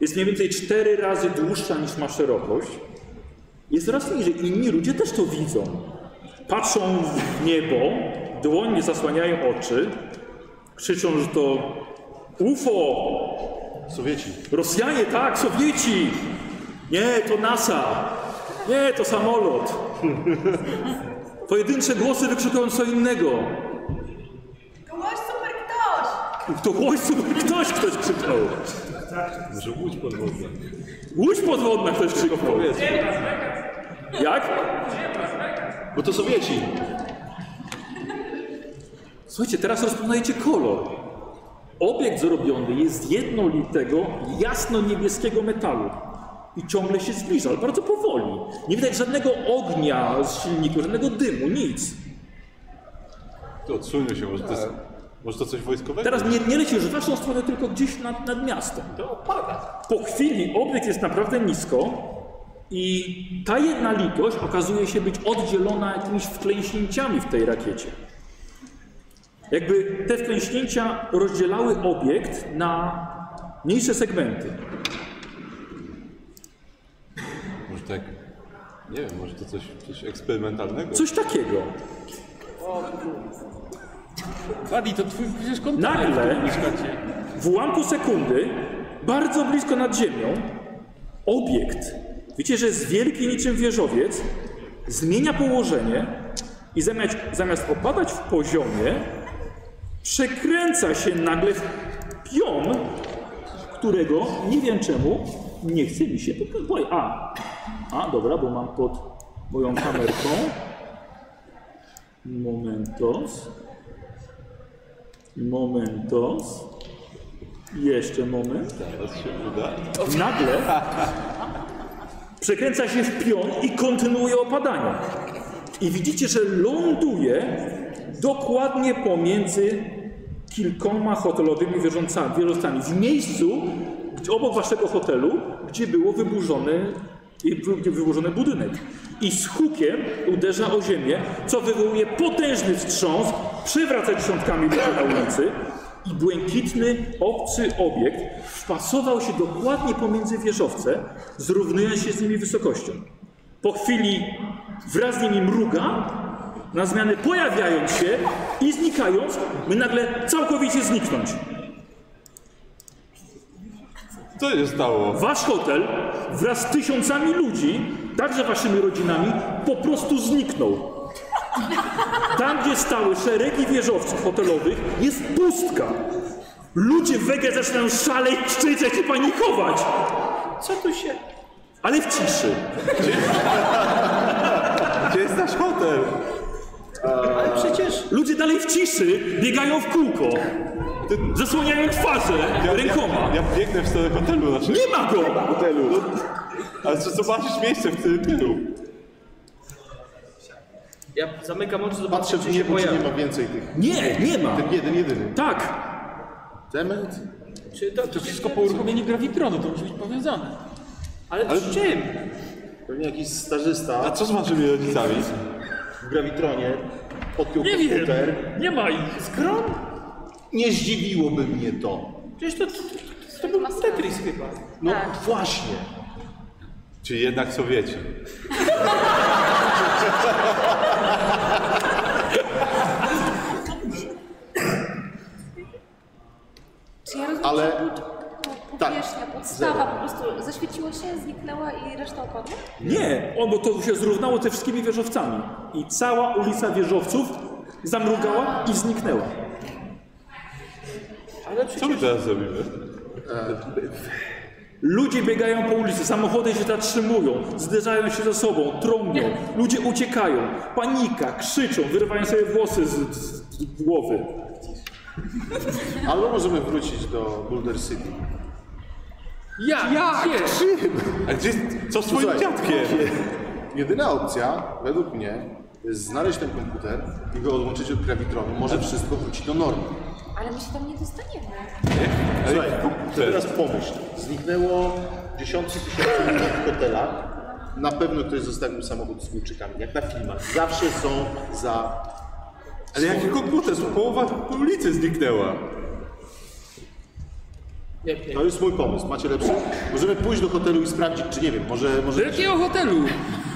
S1: Jest mniej więcej cztery razy dłuższa niż ma szerokość. Jest coraz niżej. Inni ludzie też to widzą. Patrzą w niebo, dłonie zasłaniają oczy, krzyczą, że to UFO,
S3: Sowieci.
S1: Rosjanie, tak, Sowieci! Nie, to NASA! Nie, to samolot! Pojedyncze głosy wykrzykują co innego.
S9: Kogoś super ktoś!
S1: To łoś super ktoś ktoś krzyknął.
S6: Może łódź podwodna.
S1: Łódź podwodna ktoś krzyknął. Jak?
S3: Bo to Sowieci!
S1: Słuchajcie, teraz rozpoznajecie kolor. Obiekt zrobiony jest z jednolitego, jasno-niebieskiego metalu. I ciągle się zbliża, ale bardzo powoli. Nie widać żadnego ognia z silniku, żadnego dymu, nic.
S6: Ty odsuńmy się, może to, jest, może to coś wojskowego?
S1: Teraz nie, nie leci już w waszą stronę, tylko gdzieś nad, nad miastem. To opada. Po chwili obiekt jest naprawdę nisko i ta jedna litość okazuje się być oddzielona jakimiś wklęśnięciami w tej rakiecie. Jakby te wklęśnięcia rozdzielały obiekt na mniejsze segmenty.
S6: Może tak, nie wiem, może to coś, coś eksperymentalnego?
S1: Coś takiego.
S11: Wadi, to twój przecież kontakt.
S1: Nagle
S11: Mieszkacie.
S1: W ułamku sekundy, bardzo blisko nad ziemią, obiekt, wiecie, że jest wielki niczym wieżowiec, zmienia położenie i zamiast, zamiast opadać w poziomie, przekręca się nagle w pion, którego nie wiem czemu nie chce mi się pokazać. A, a, dobra, bo mam pod moją kamerką. Momentos. Momentos. Jeszcze moment. Nagle przekręca się w pion i kontynuuje opadanie. I widzicie, że ląduje dokładnie pomiędzy kilkoma hotelowymi wieżącami, wieżącami w miejscu gdzie, obok waszego hotelu, gdzie było wyburzony, i był- gdzie wyburzony budynek. I z hukiem uderza o ziemię, co wywołuje potężny wstrząs, przewraca dziesiątkami ludzi na ulicy i błękitny, obcy obiekt wpasował się dokładnie pomiędzy wieżowce, zrównując się z nimi wysokością. Po chwili wraz z nimi mruga, na zmianę pojawiając się i znikając, by nagle całkowicie zniknąć.
S6: Co się stało?
S1: Wasz hotel wraz z tysiącami ludzi, także waszymi rodzinami, po prostu zniknął. Tam, gdzie stały szeregi wieżowców hotelowych, jest pustka. Ludzie wege zaczynają szaleć, krzyczeć i panikować,
S8: Co tu się...
S1: ale w ciszy.
S3: Gdzie jest nasz hotel?
S8: Ale przecież...
S1: Ludzie dalej w ciszy biegają w kółko, zasłaniają twarze rękoma.
S6: Ja biegnę w stronę hotelu naszego.
S1: Nie ma go!
S6: hotelu. No, Ale czy zobaczysz miejsce, w którym był?
S8: Ja zamykam oczy,
S3: Patrzę
S8: zobaczę,
S3: w
S8: czy się
S3: niebo, czy nie
S8: pojawi.
S3: ma więcej tych.
S1: Nie, nie ma.
S3: Ten jeden, jedyny.
S1: Tak,
S3: Demet?
S8: Czy to,
S10: To wszystko po uruchomieniu gravitronu, to musi być powiązane.
S8: Ale z czym?
S3: Pewnie jakiś stażysta.
S6: A co z waszymi rodzicami?
S3: w grawitronie podpiął nie komputer.
S1: nie ma ich.
S3: Nie zdziwiłoby mnie to.
S8: Przecież to, to, to był Tetris chyba.
S3: No właśnie.
S6: Czy jednak Sowieci?
S9: Czy ja rozumiem,
S3: Ale-
S9: że po-
S3: tak.
S9: powierzchnia, podstawa po prostu zaświeciło się, zniknęła i reszta opadła?
S1: Nie, o, bo to się zrównało ze wszystkimi wieżowcami. I cała ulica wieżowców zamrugała i zniknęła.
S8: Ale
S6: Co my
S8: przecież...
S6: teraz zrobimy?
S1: Ludzie biegają po ulicy, samochody się zatrzymują, zderzają się ze sobą, trąbią, ludzie uciekają, panika, krzyczą, wyrywają sobie włosy z, z, z głowy.
S3: Albo możemy wrócić do Boulder City.
S11: Jak? Jak?
S6: A gdzie, co z twoim
S3: Słuchaj,
S6: dziadkiem?
S3: Jedyna opcja, według mnie, jest znaleźć ten komputer i go odłączyć od grawitronu. Może wszystko wróci do normy.
S9: Ale my się tam nie dostaniemy.
S3: Słuchaj,
S6: komputer.
S3: teraz pomyśl. Zniknęło dziesiątki tysięcy ludzi w hotelach. Na pewno ktoś zostawił samochód z kluczykami, jak na filmach. Zawsze są za...
S6: Ale jaki komputer? Połowa ulicy zniknęła.
S3: To jest mój pomysł. Macie lepszy? Możemy pójść do hotelu i sprawdzić, czy nie wiem, może... może
S11: Do jakiego hotelu?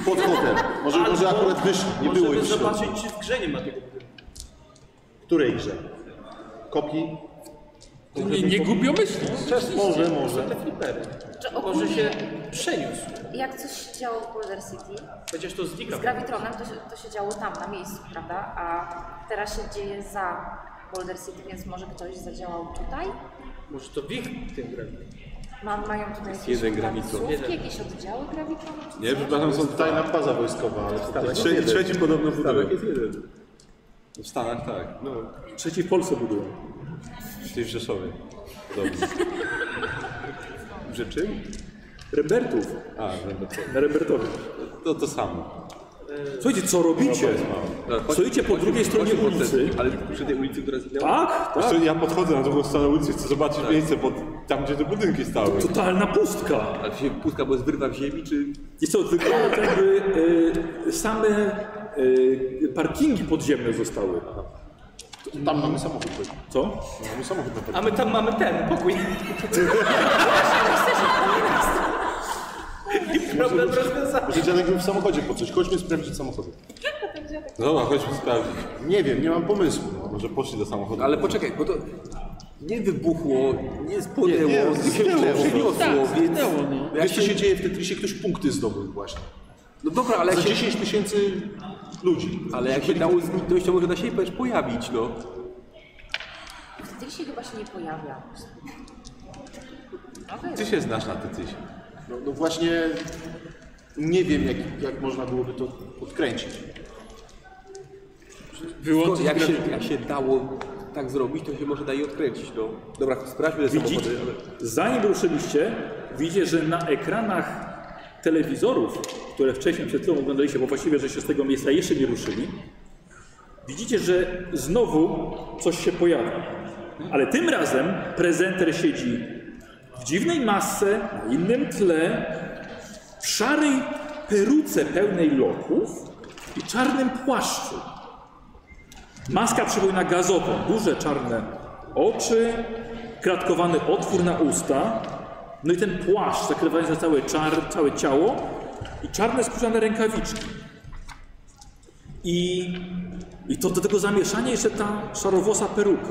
S3: Pod hotel. Może, może akurat wyszli, nie było
S8: Możemy
S3: ich w środku.
S8: zobaczyć, czy w grze nie ma tego.
S3: której grze? Kopi?
S11: Nie, nie głupio myślisz.
S3: Może, może.
S8: Te flipery.
S9: Że
S8: Może
S9: ogólnie,
S8: się przeniósł.
S9: jak coś się działo w Boulder City,
S8: Chociaż to
S9: z
S8: znika.
S9: gravitronem to się, to się działo tam, na miejscu, prawda? A teraz się dzieje za Boulder City, więc może ktoś zadziałał tutaj?
S8: Może to w ich tym grafiku.
S9: Ma, mają tutaj jakieś
S6: jeden
S9: placówki,
S6: graviton.
S9: jakieś oddziały gravitronu? czy
S6: Nie,
S9: coś?
S6: przepraszam, są tutaj.
S3: Tajna baza wojskowa, ale to też
S6: Trzeci, trzeci podobno budynek.
S2: jest jeden.
S6: W Stanach tak. No,
S1: Trzeci w Polsce budują.
S6: czyli w Rzeszowie. Dobrze. W Rzeczy?
S1: Rembertów,
S6: A, no to,
S1: na Rembertowie.
S6: to, to samo.
S1: Słuchajcie, co robicie? Stoicie po drugiej stronie ulicy.
S2: Ale przy tej ulicy, która zginęła?
S1: Tak, tak.
S6: Zresztą Ja podchodzę na drugą stronę ulicy, chcę zobaczyć miejsce pod, tam, gdzie te budynki stały.
S1: Totalna pustka.
S2: Ale się pustka, bo jest wyrwa w ziemi, czy...
S1: Jest to wygląda tak, jakby e, same e, parkingi podziemne zostały.
S3: Tam mamy samochód.
S1: Co?
S3: Mamy samochód na pewno.
S8: A my tam mamy ten pokój. I problem rozwiązany.
S3: Może dziadek był w samochodzie po coś. Chodźmy sprawdzić samochody.
S6: No dobra, chodźmy sprawdzić.
S3: Nie wiem, nie mam pomysłu. No.
S6: Może poszli do samochodu.
S2: Ale poczekaj, bo to nie wybuchło, nie spłonęło,
S3: Nie,
S2: nie,
S3: nie, zniknęło.
S2: przeniosło, więc... No
S3: Wiesz, co się dzieje w Tetrisie? Ktoś punkty zdobył właśnie.
S2: No dobra, ale
S3: Za
S2: jak się,
S3: 10 tysięcy ludzi.
S2: Ale jak się dało zniknąć, to może da się też pojawić, no.
S9: Wtedy się chyba się nie pojawia. Okej.
S6: Ty się znasz na Tetrisie.
S3: No, no właśnie nie wiem, jak, jak można byłoby to podkręcić.
S2: Skoro jak, się, jak się dało tak zrobić, to się może da i odkręcić, no. Dobra, sprawdźmy te
S1: Widzicie,
S2: samochody. ale-
S1: zanim ruszyliście, widzicie, że na ekranach telewizorów, które wcześniej przed chwilą oglądaliście, bo właściwie, że się z tego miejsca jeszcze nie ruszyli, widzicie, że znowu coś się pojawia. Ale tym razem prezenter siedzi w dziwnej masce, na innym tle, w szarej peruce pełnej loków i czarnym płaszczu. Maska przypomina gazową. Duże czarne oczy, kratkowany otwór na usta. No i ten płaszcz zakrywający całe, czar, całe ciało i czarne skórzane rękawiczki. I, I to do tego zamieszania jeszcze ta szarowłosa peruka.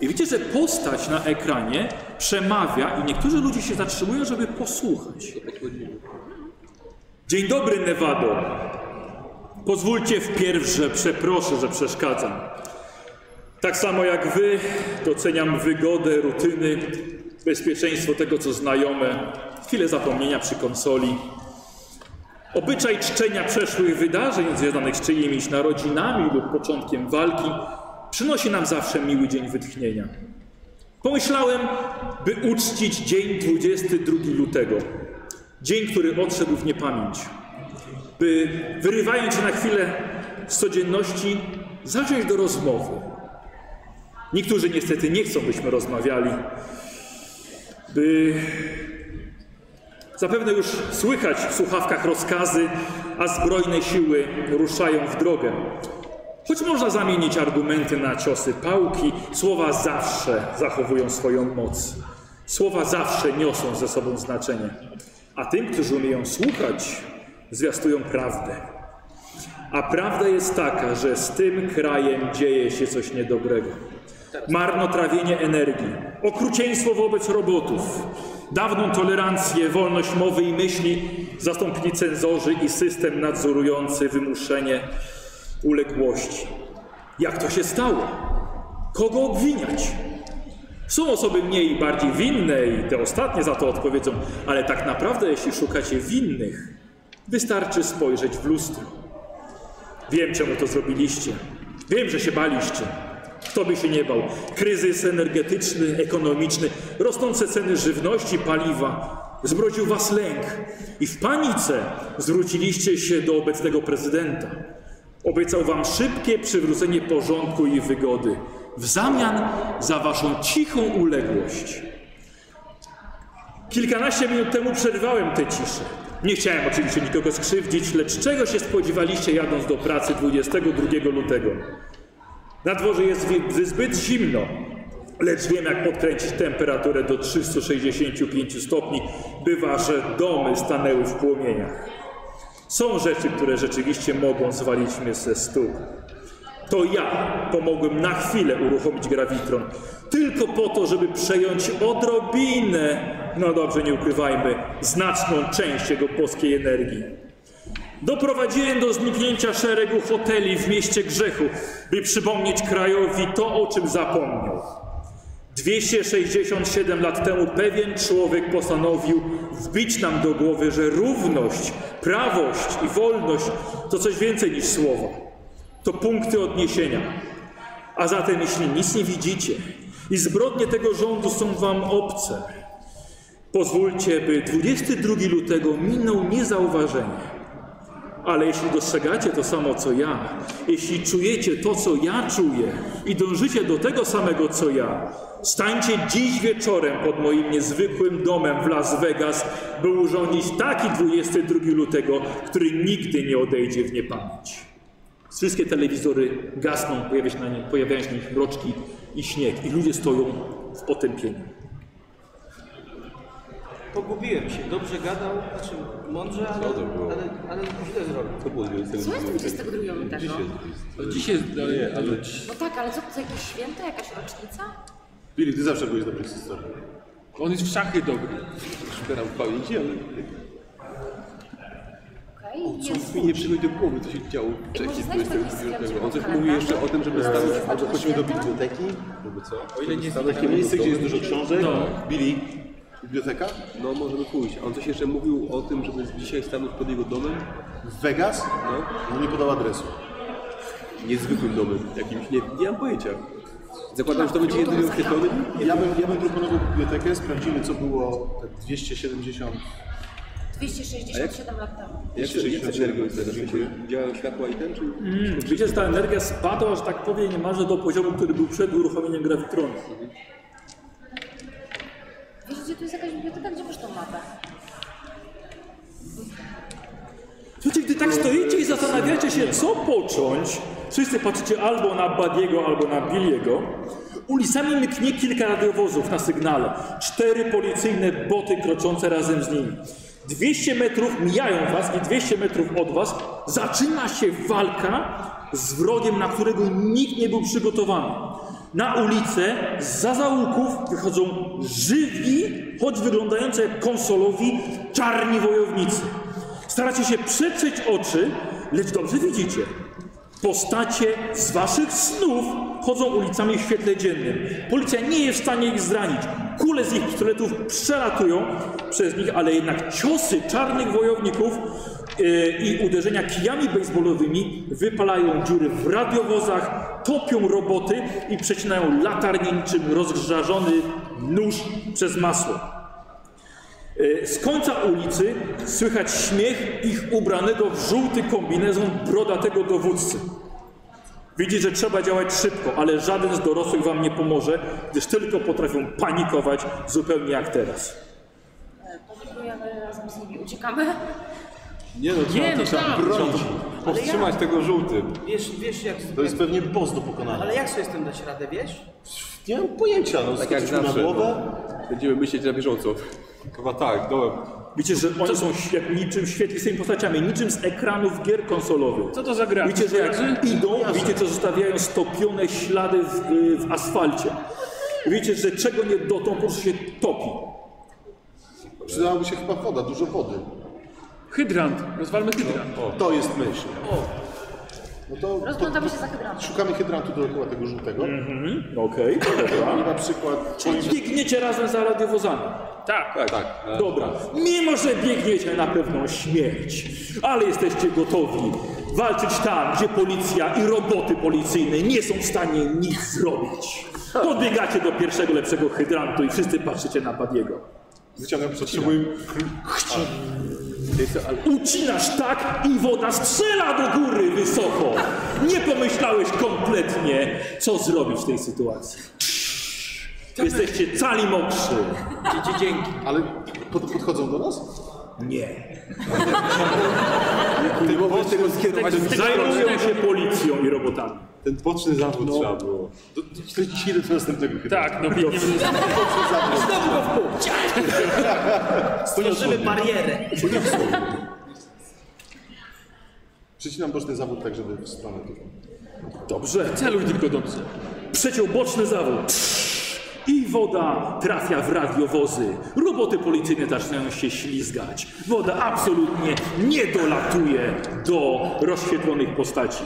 S1: I widzicie, że postać na ekranie przemawia i niektórzy ludzie się zatrzymują, żeby posłuchać. Dzień dobry, Nevado. Pozwólcie wpierw, że przeproszę, że przeszkadzam. Tak samo jak wy, doceniam wygodę, rutyny, bezpieczeństwo tego, co znajome, chwilę zapomnienia przy konsoli. Obyczaj czczenia przeszłych wydarzeń związanych z czyimiś narodzinami lub początkiem walki przynosi nam zawsze miły dzień wytchnienia. Pomyślałem, by uczcić dzień 22 lutego. Dzień, który odszedł w niepamięć by wyrywając się na chwilę z codzienności, zasiąść do rozmowy. Niektórzy niestety nie chcą, byśmy rozmawiali, by zapewne już słychać w słuchawkach rozkazy, a zbrojne siły ruszają w drogę. Choć można zamienić argumenty na ciosy pałki, słowa zawsze zachowują swoją moc. Słowa zawsze niosą ze sobą znaczenie. A tym, którzy umieją słuchać, zwiastują prawdę. A prawda jest taka, że z tym krajem dzieje się coś niedobrego. Marnotrawienie energii, okrucieństwo wobec robotów, dawną tolerancję, wolność mowy i myśli zastąpili cenzorzy i system nadzorujący wymuszenie uległości. Jak to się stało? Kogo obwiniać? Są osoby mniej i bardziej winne i te ostatnie za to odpowiedzą, ale tak naprawdę jeśli szukacie winnych, wystarczy spojrzeć w lustro. Wiem, czemu to zrobiliście. Wiem, że się baliście. Kto by się nie bał? Kryzys energetyczny, ekonomiczny, rosnące ceny żywności, paliwa. Zbrodził was lęk i w panice zwróciliście się do obecnego prezydenta. Obiecał wam szybkie przywrócenie porządku i wygody w zamian za waszą cichą uległość. Kilkanaście minut temu przerwałem tę ciszę. Nie chciałem oczywiście nikogo skrzywdzić, lecz czego się spodziewaliście jadąc do pracy 22 lutego? Na dworze jest wi- zbyt zimno, lecz wiem jak podkręcić temperaturę do 365 stopni, by wasze domy stanęły w płomieniach. Są rzeczy, które rzeczywiście mogą zwalić mnie ze stóp. To ja pomogłem na chwilę uruchomić grawitron. Tylko po to, żeby przejąć odrobinę, no dobrze, nie ukrywajmy, znaczną część jego boskiej energii. Doprowadziłem do zniknięcia szeregu hoteli w mieście grzechu, by przypomnieć krajowi to, o czym zapomniał. 267 lat temu pewien człowiek postanowił wbić nam do głowy, że równość, prawość i wolność to coś więcej niż słowa to punkty odniesienia. A zatem, jeśli nic nie widzicie i zbrodnie tego rządu są wam obce, pozwólcie, by 22 lutego minął niezauważenie. Ale jeśli dostrzegacie to samo co ja, jeśli czujecie to co ja czuję i dążycie do tego samego co ja, stańcie dziś wieczorem pod moim niezwykłym domem w Las Vegas, by urządzić taki 22 lutego, który nigdy nie odejdzie w niepamięć. Wszystkie telewizory gasną, pojawia się na nie, pojawiają się na nich mroczki i śnieg. I ludzie stoją w potępieniu.
S8: Pogubiłem się, dobrze gadał, znaczy mądrze, ale,
S6: Co to było?
S8: ale, ale źle zrobił.
S6: To było 22
S9: Co jest 22 lutego?
S6: Dzisiaj jest
S11: No, Dzisiaj jest, ale, ale
S9: No tak, ale co, to jakieś święto, jakaś rocznica?
S3: Billy, ty zawsze byłeś dobry z historii.
S11: on jest w szachy dobry.
S6: Szukam pamięci, ale...
S9: Okej. okej?
S2: Co nic
S9: jest...
S2: mi nie przychodzi do głowy, co się działo wcześniej
S9: Może znajdziesz taki
S2: 29.
S9: sklep
S2: On coś
S9: typu
S2: mówi jeszcze o tym, żeby stało
S9: kalendarz?
S3: Albo chodźmy do
S9: Święta?
S3: Tak. biblioteki.
S6: O ile nie
S3: Takie miejsce, gdzie jest dużo książek.
S6: No.
S3: Billy. Biblioteka?
S2: No możemy pójść. A On coś jeszcze mówił o tym, żeby dzisiaj stanąć pod jego domem.
S3: W Vegas?
S2: No,
S3: No nie podał adresu.
S2: niezwykłym domem. Jakimś, nie, nie mam pojęcia. Zakładam, że to będzie jedyny oświetlony.
S3: Ja bym, ja bym proponował bibliotekę, sprawdzimy co było te 270.
S9: 267 lat temu.
S2: Jak się jak z energią jest teraz? W sensie Działa światła i ten, czy...
S1: Mm, widzisz, ta energia spadła, że tak powiem, niemalże do poziomu, który był przed uruchomieniem grawitronu.
S9: Wiesz, gdzie tu jest jakaś biblioteka? Gdzie masz tą mapę?
S1: Słuchajcie, gdy tak stoicie i zastanawiacie się, co począć, wszyscy patrzycie albo na Badiego, albo na Billiego. Ulicami mknie kilka radiowozów na sygnale. Cztery policyjne boty kroczące razem z nimi. 200 metrów mijają was i 200 metrów od was zaczyna się walka z wrogiem, na którego nikt nie był przygotowany. Na ulicę za zaułków wychodzą żywi, choć wyglądający jak konsolowi, czarni wojownicy. Staracie się przetrzeć oczy, lecz dobrze widzicie. Postacie z waszych snów chodzą ulicami w świetle dziennym. Policja nie jest w stanie ich zranić. Kule z ich pistoletów przelatują przez nich, ale jednak ciosy czarnych wojowników yy, i uderzenia kijami baseballowymi wypalają dziury w radiowozach, topią roboty i przecinają latarnię niczym rozgrzażony nóż przez masło. E, Z końca ulicy słychać śmiech ich ubranego w żółty kombinezon brodatego dowódcy. Widzi, że trzeba działać szybko, ale żaden z dorosłych wam nie pomoże, gdyż tylko potrafią panikować zupełnie jak teraz.
S9: E, Panikujemy razem z nimi, uciekamy.
S6: Nie no, trzeba,
S11: Nie, no
S6: to, trzeba,
S11: tam.
S6: trzeba to powstrzymać tego żółtym.
S8: Wiesz, wiesz jak...
S3: To jest pewnie boss do pokonania.
S8: Ale jak sobie z tym dać radę, wiesz?
S3: Nie mam pojęcia, no
S2: Tak jak
S3: skoczył mi na
S2: zawsze,
S3: głowę.
S2: Będziemy myśleć na bieżąco.
S6: Chyba tak, dołem.
S1: Widzicie, że oni są świe- niczym świetlistymi postaciami, niczym z ekranów gier konsolowych.
S11: Co to za gra?
S1: Widzicie, że jak idą, widzicie, że zostawiają stopione ślady w, y, w asfalcie. Widzicie, że czego nie dotą, po prostu się topi.
S3: Przydałaby się chyba woda, dużo wody.
S11: Hydrant. Rozwalmy hydrant.
S3: To jest myśl. No to, to
S9: Rozglądamy się za hydrantem.
S3: szukamy hydrantu dookoła tego żółtego.
S11: Mhm. [LAUGHS]
S1: Okej, dobra.
S3: I na przykład
S1: Czyli biegniecie razem za radiowozami.
S11: Tak.
S6: Tak, tak. E,
S1: Dobra, mimo że biegniecie na pewną śmierć, ale jesteście gotowi walczyć tam, gdzie policja i roboty policyjne nie są w stanie nic zrobić. Podbiegacie do pierwszego lepszego hydrantu i wszyscy patrzycie na Badiego.
S3: wyciągam potrzebuję.
S1: Ucinasz tak i woda strzela do góry wysoko. Nie pomyślałeś kompletnie, co zrobić w tej sytuacji. Jesteście cali mokrzy.
S8: Dzieci dzięki.
S3: Ale pod, podchodzą do nas?
S1: Nie.
S2: Ty mogłeś tego skierować do
S1: Zajmują się policją i robotami.
S6: Ten boczny zawód trzeba było.
S3: Do, do, śledzicie do następnego hydrantu.
S11: Tak, no biegniemy do Tak,
S8: Stworzymy barierę.
S3: Przycinam boczny zawód tak, żeby w stronę tego.
S1: Dobrze.
S11: celu tylko dobrze.
S1: Przeciął boczny zawód. I woda trafia w radiowozy. Roboty policyjne zaczynają się ślizgać. Woda absolutnie nie dolatuje do rozświetlonych postaci.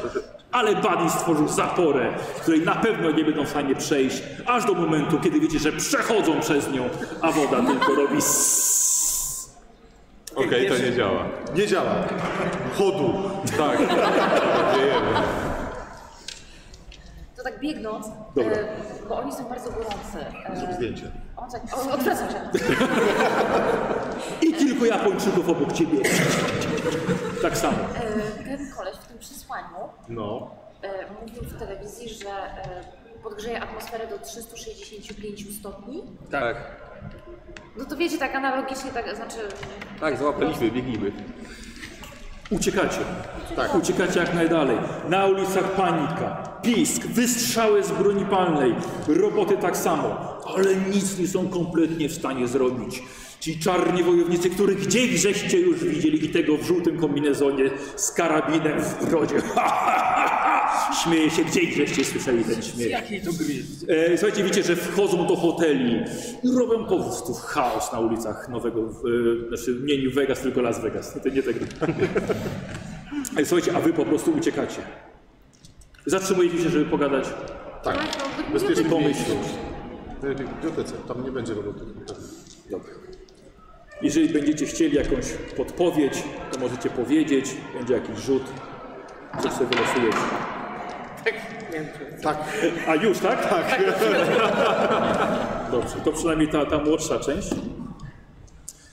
S1: Ale Buddy stworzył zaporę, której na pewno nie będą w stanie przejść, aż do momentu, kiedy wiecie, że przechodzą przez nią, a woda tylko robi sss.
S6: Okej, to nie działa.
S3: Nie działa. Chodu.
S6: Tak, dziejemy.
S9: To tak biegnąc,
S3: Dobra.
S9: e, bo oni są bardzo gorący. E,
S3: Zrób zdjęcie.
S9: O, tak, o, odwracam się.
S1: I kilku Japończyków obok ciebie. Tak samo.
S9: E, ten koleś w tym przesłaniu
S3: No.
S9: e, mówił w telewizji, że e, podgrzeje atmosferę do 365 stopni.
S6: Tak.
S9: No to wiecie, tak analogicznie, tak, znaczy
S2: Tak, załapaliśmy, biegnijmy.
S1: Uciekacie. Tak. Uciekacie jak najdalej. Na ulicach panika, pisk, wystrzały z broni palnej, roboty tak samo, ale nic nie są kompletnie w stanie zrobić. Ci czarni wojownicy, których gdzieś żeście [LAUGHS] już widzieli i tego w żółtym kombinezonie z karabinem w brodzie. Ha, ha, ha, ha! Śmieje się, gdzie żeście słyszeli ten śmiech.
S11: Jakiej to gry?
S1: E, słuchajcie, wiecie, że wchodzą do hoteli i robią po prostu chaos na ulicach nowego, e, znaczy nie New Vegas, tylko Las Vegas. To nie tak. [LAUGHS] E, słuchajcie, a wy po prostu uciekacie. Zatrzymujecie się, żeby pogadać.
S3: Tak,
S1: Bezpieczny pomyśl.
S3: najlepiej w bibliotece, tam nie będzie roboty.
S1: Jeżeli będziecie chcieli jakąś podpowiedź, to możecie powiedzieć, będzie jakiś rzut, coś sobie wylosujecie.
S3: Tak,
S1: A już, tak? Tak. [LAUGHS] Dobrze, to przynajmniej ta, ta młodsza część.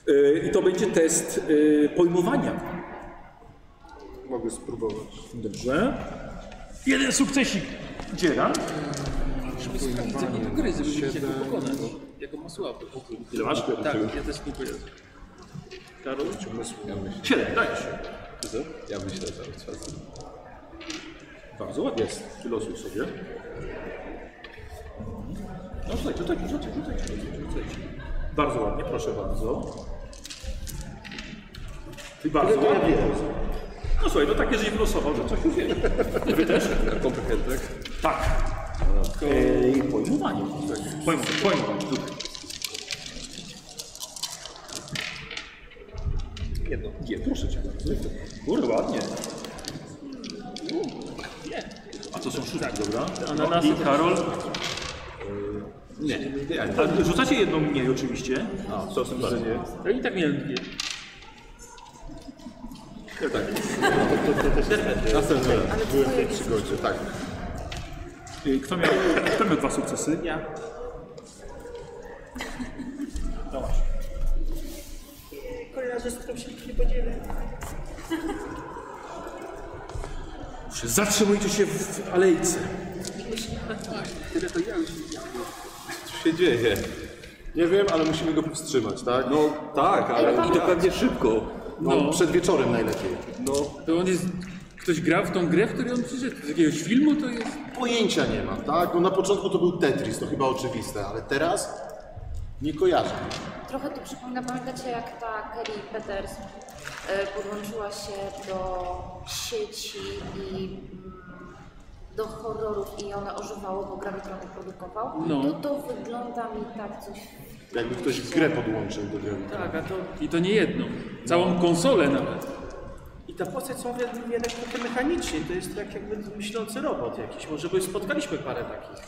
S1: Yy, I to będzie test yy, pojmowania.
S3: mogę spróbować.
S1: Dobrze.
S4: Jeden sukcesik.
S1: Dzieran.
S10: Jakiej to gry, żeby gdzieś jakoś pokonać? Jaką ma słabę?
S1: Ile masz?
S10: Tak, ja też nie kojarzę.
S1: Siedem, dajesz.
S6: Ja myślę cały czas.
S1: Bardzo ładnie. Jest. Ty losuj sobie. No rzucaj, rzucaj, rzucaj, rzucaj, rzucaj, rzucaj. Bardzo ładnie, proszę bardzo. I bardzo ładnie. No słuchaj, no tak jeżeli wylosował, że coś już
S6: [LAUGHS]
S1: wie. Wy też?
S6: Kompetentny.
S1: Tak. Eee, pojmowanie. Tak. Pojmowanie, pojmowanie. Tutaj. Jedno. Nie, proszę cię bardzo. Kurde, ładnie. A to są szóstki, dobra?
S11: Ananasy
S1: I E, Karol.
S6: Nie, ja nie.
S1: A rzucacie jedną mniej oczywiście. A, co są nie.
S11: To i tak miałem dwie.
S3: Następny raz. Byłem w tej przygodzie, tak.
S1: Y, Kto miał, kto miał dwa sukcesy? Ja. Zobacz.
S5: Kolejna rzecz, którą się nie podzielę.
S1: Zatrzymujcie się w alejce.
S6: Co się dzieje?
S3: Nie wiem, ale musimy go powstrzymać, tak? No,
S6: Tak, ale...
S3: I to pewnie szybko. No, przed wieczorem najlepiej.
S11: To on jest... Ktoś gra w tą grę, w której on przyszedł. Z jakiegoś filmu to jest?
S3: Pojęcia nie mam, tak? No na początku to był Tetris, to chyba oczywiste, ale teraz nie kojarzę.
S9: Trochę to przypomina, pamiętacie jak ta Kerry Peters y, podłączyła się do sieci i mm, do horrorów i one ożywały, bo Gravitron je produkował?
S11: No.
S9: To to wygląda mi tak coś...
S3: Jakby ktoś w grę podłączył do gry.
S11: Tak, a to... I to nie jedną. Całą konsolę nawet.
S8: I ta postać są wi- jednak trochę mechanicznie, to jest tak jakby myślący robot jakiś. Może bo spotkaliśmy parę takich,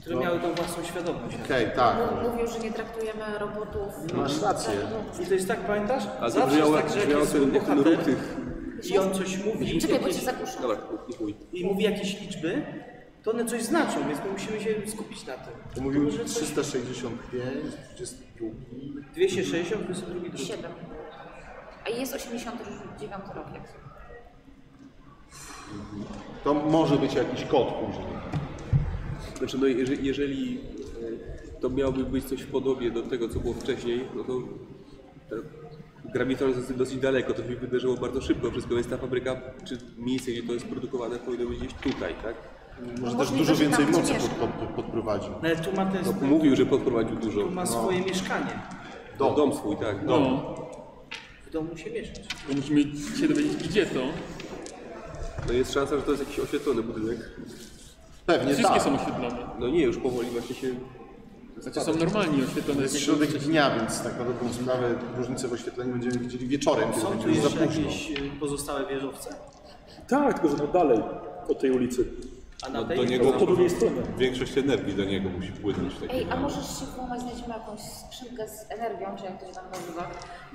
S8: które miały tą własną świadomość.
S3: No. Okej, tak.
S9: M- Mówił, że nie traktujemy robotów... tak, no.
S3: Masz rację.
S8: I to jest tak, pamiętasz?
S6: A to
S8: Zawsze jest
S6: brzmiało,
S8: tak, że jak
S6: brzmiało
S8: jest
S6: ten, jak ten
S8: bohater
S6: ruch tych...
S8: i on coś mówi
S9: Czekaj, bo cię
S8: jakieś,
S9: zagłuszę.
S6: Dobra, nie chuj.
S8: i mówi jakieś liczby, to one coś znaczą, więc my musimy się skupić na tym.
S3: To mówił
S8: Może coś-
S3: 365, 22.
S8: 260, plus drugi drugi.
S9: 7. A jest 89 rok, jak
S3: To może być jakiś kod później.
S6: Znaczy, no jeżeli, jeżeli e, to miałoby być coś w podobie do tego, co było wcześniej, no to Graviton jest dosyć daleko, to się wydarzyło bardzo szybko wszystko, więc ta fabryka, czy miejsce, gdzie to jest produkowane, powinno być gdzieś tutaj, tak?
S3: Może też
S9: możliwe,
S3: dużo
S9: że tam
S3: więcej mocy
S9: mieszka.
S3: pod, pod, podprowadził.
S8: No ale tu ma, ten,
S6: No, mówił, że podprowadził dużo.
S8: tu ma swoje mieszkanie,
S6: Dom, dom swój, tak, dom.
S11: No.
S8: w domu się mieszkać.
S11: To musimy się dowiedzieć, gdzie to.
S6: No jest szansa, że to jest jakiś oświetlony budynek.
S3: Pewnie
S11: Wszystkie
S3: tak.
S11: są oświetlone.
S6: No nie, już powoli właśnie się...
S11: Znaczy są normalnie oświetlone. tak
S3: To jest środek dnia, więc tak na dobrą sprawę różnicę w oświetleniu będziemy widzieli wieczorem, kiedy
S8: Są
S3: będzie
S8: tu
S3: już za
S8: jeszcze
S3: późno.
S8: jakieś y, pozostałe wieżowce?
S1: Tak, tylko że no dalej od tej ulicy.
S8: A
S11: No
S8: na tej?
S6: do niego...
S1: Po drugiej stronie.
S6: Większość energii do niego musi płynąć.
S9: Ej, a możesz się włamać, znajdziemy jakąś skrzynkę z energią, czy jak to się tam nazywa,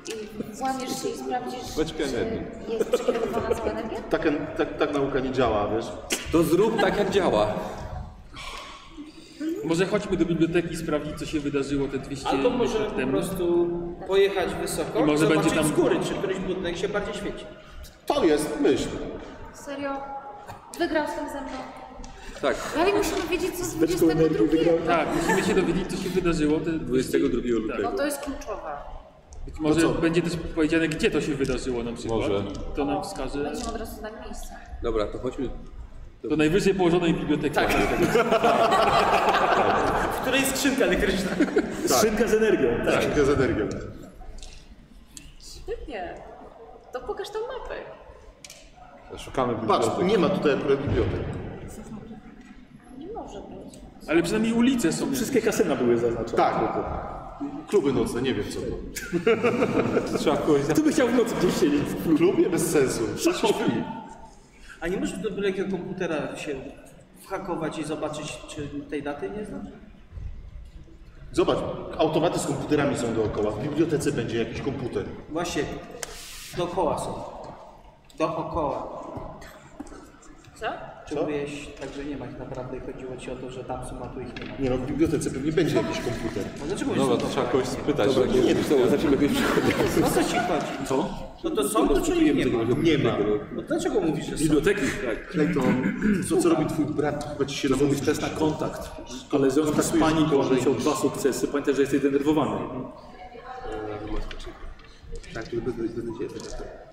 S9: i włamiesz się i sprawdzisz,
S6: Beczkę
S9: czy
S6: energii.
S9: jest przekierowana cała energia?
S3: Tak, tak, tak nauka nie działa, wiesz?
S6: To zrób tak, jak działa.
S11: Może chodźmy do biblioteki i sprawdzić, co się wydarzyło te 200
S8: Albo może
S11: lat
S8: po
S11: temu.
S8: prostu pojechać wysoko
S11: I
S8: i
S11: może
S8: może zobaczyć
S11: będzie tam-
S8: z góry, czy któryś budynek się bardziej świeci.
S3: To jest myśl.
S9: Serio? Wygrał z tym ze mną.
S6: Tak,
S9: Dalej musimy wiedzieć, co z 22.
S11: Tak, musimy się dowiedzieć, co się wydarzyło. te
S6: 22
S12: Tak.
S6: lutego.
S9: No to jest kluczowe.
S11: Być może
S3: No co?
S11: będzie też powiedziane, gdzie to się wydarzyło na przykład.
S6: Może.
S11: To nam wskaże.
S9: Będziemy od razu znać miejsce.
S6: Dobra, to chodźmy.
S11: Do najwyżej położonej biblioteki. Tak.
S8: W której jest skrzynka elektryczna?
S1: Szynka z energią. Tak.
S3: Tak. Z energią.
S9: Świetnie. To pokaż tą mapę.
S5: Szukamy
S3: Patrz,
S5: biblioteki.
S3: nie ma tutaj akurat bibliotek.
S9: Nie może być.
S11: Ale przynajmniej ulice są.
S1: Wszystkie kasyna były zaznaczone.
S3: Tak. Kluby nocne, nie wiem co to.
S6: Trzeba kogoś za...
S1: Tu by chciał w nocy gdzieś siedzieć.
S3: Klubie bez sensu. Przecież śpi.
S8: A nie możesz do byle jakiego komputera się whakować i zobaczyć, czy tej daty nie znaczy? znasz?
S3: Zobacz, automaty z komputerami są dookoła. W bibliotece będzie jakiś komputer.
S8: Właśnie, dookoła są. Dookoła.
S9: Co?
S8: Czy
S3: Co?
S8: mówiłeś tak, że nie ma ich naprawdę i chodziło ci o to, że tam są, a tu ich nie ma?
S3: Nie no, w bibliotece pewnie będzie jakiś komputer.
S8: No dlaczego
S6: No
S8: mówisz,
S6: bo
S8: że
S6: to
S8: są
S6: trzeba
S8: dookoła?
S6: kogoś spytać. Dobra, nie, nie, zaczniemy jakoś przychodzić.
S8: O co ci chodzi?
S6: Co?
S8: No to są, to czy ich nie ma?
S3: Nie ma.
S8: No dlaczego mówisz, że są?
S1: Biblioteki?
S3: Clayton, co, co robi twój brat? Chyba ci się namówił test na kontakt.
S1: Ale w związku Tak, z tak
S3: Kontaktujesz
S1: paniką
S3: gorzej
S1: musiał
S3: niż-
S1: dwa sukcesy. Pamiętaj, że jesteś zdenerwowany.
S2: Tak, żeby bez, bez nadziei.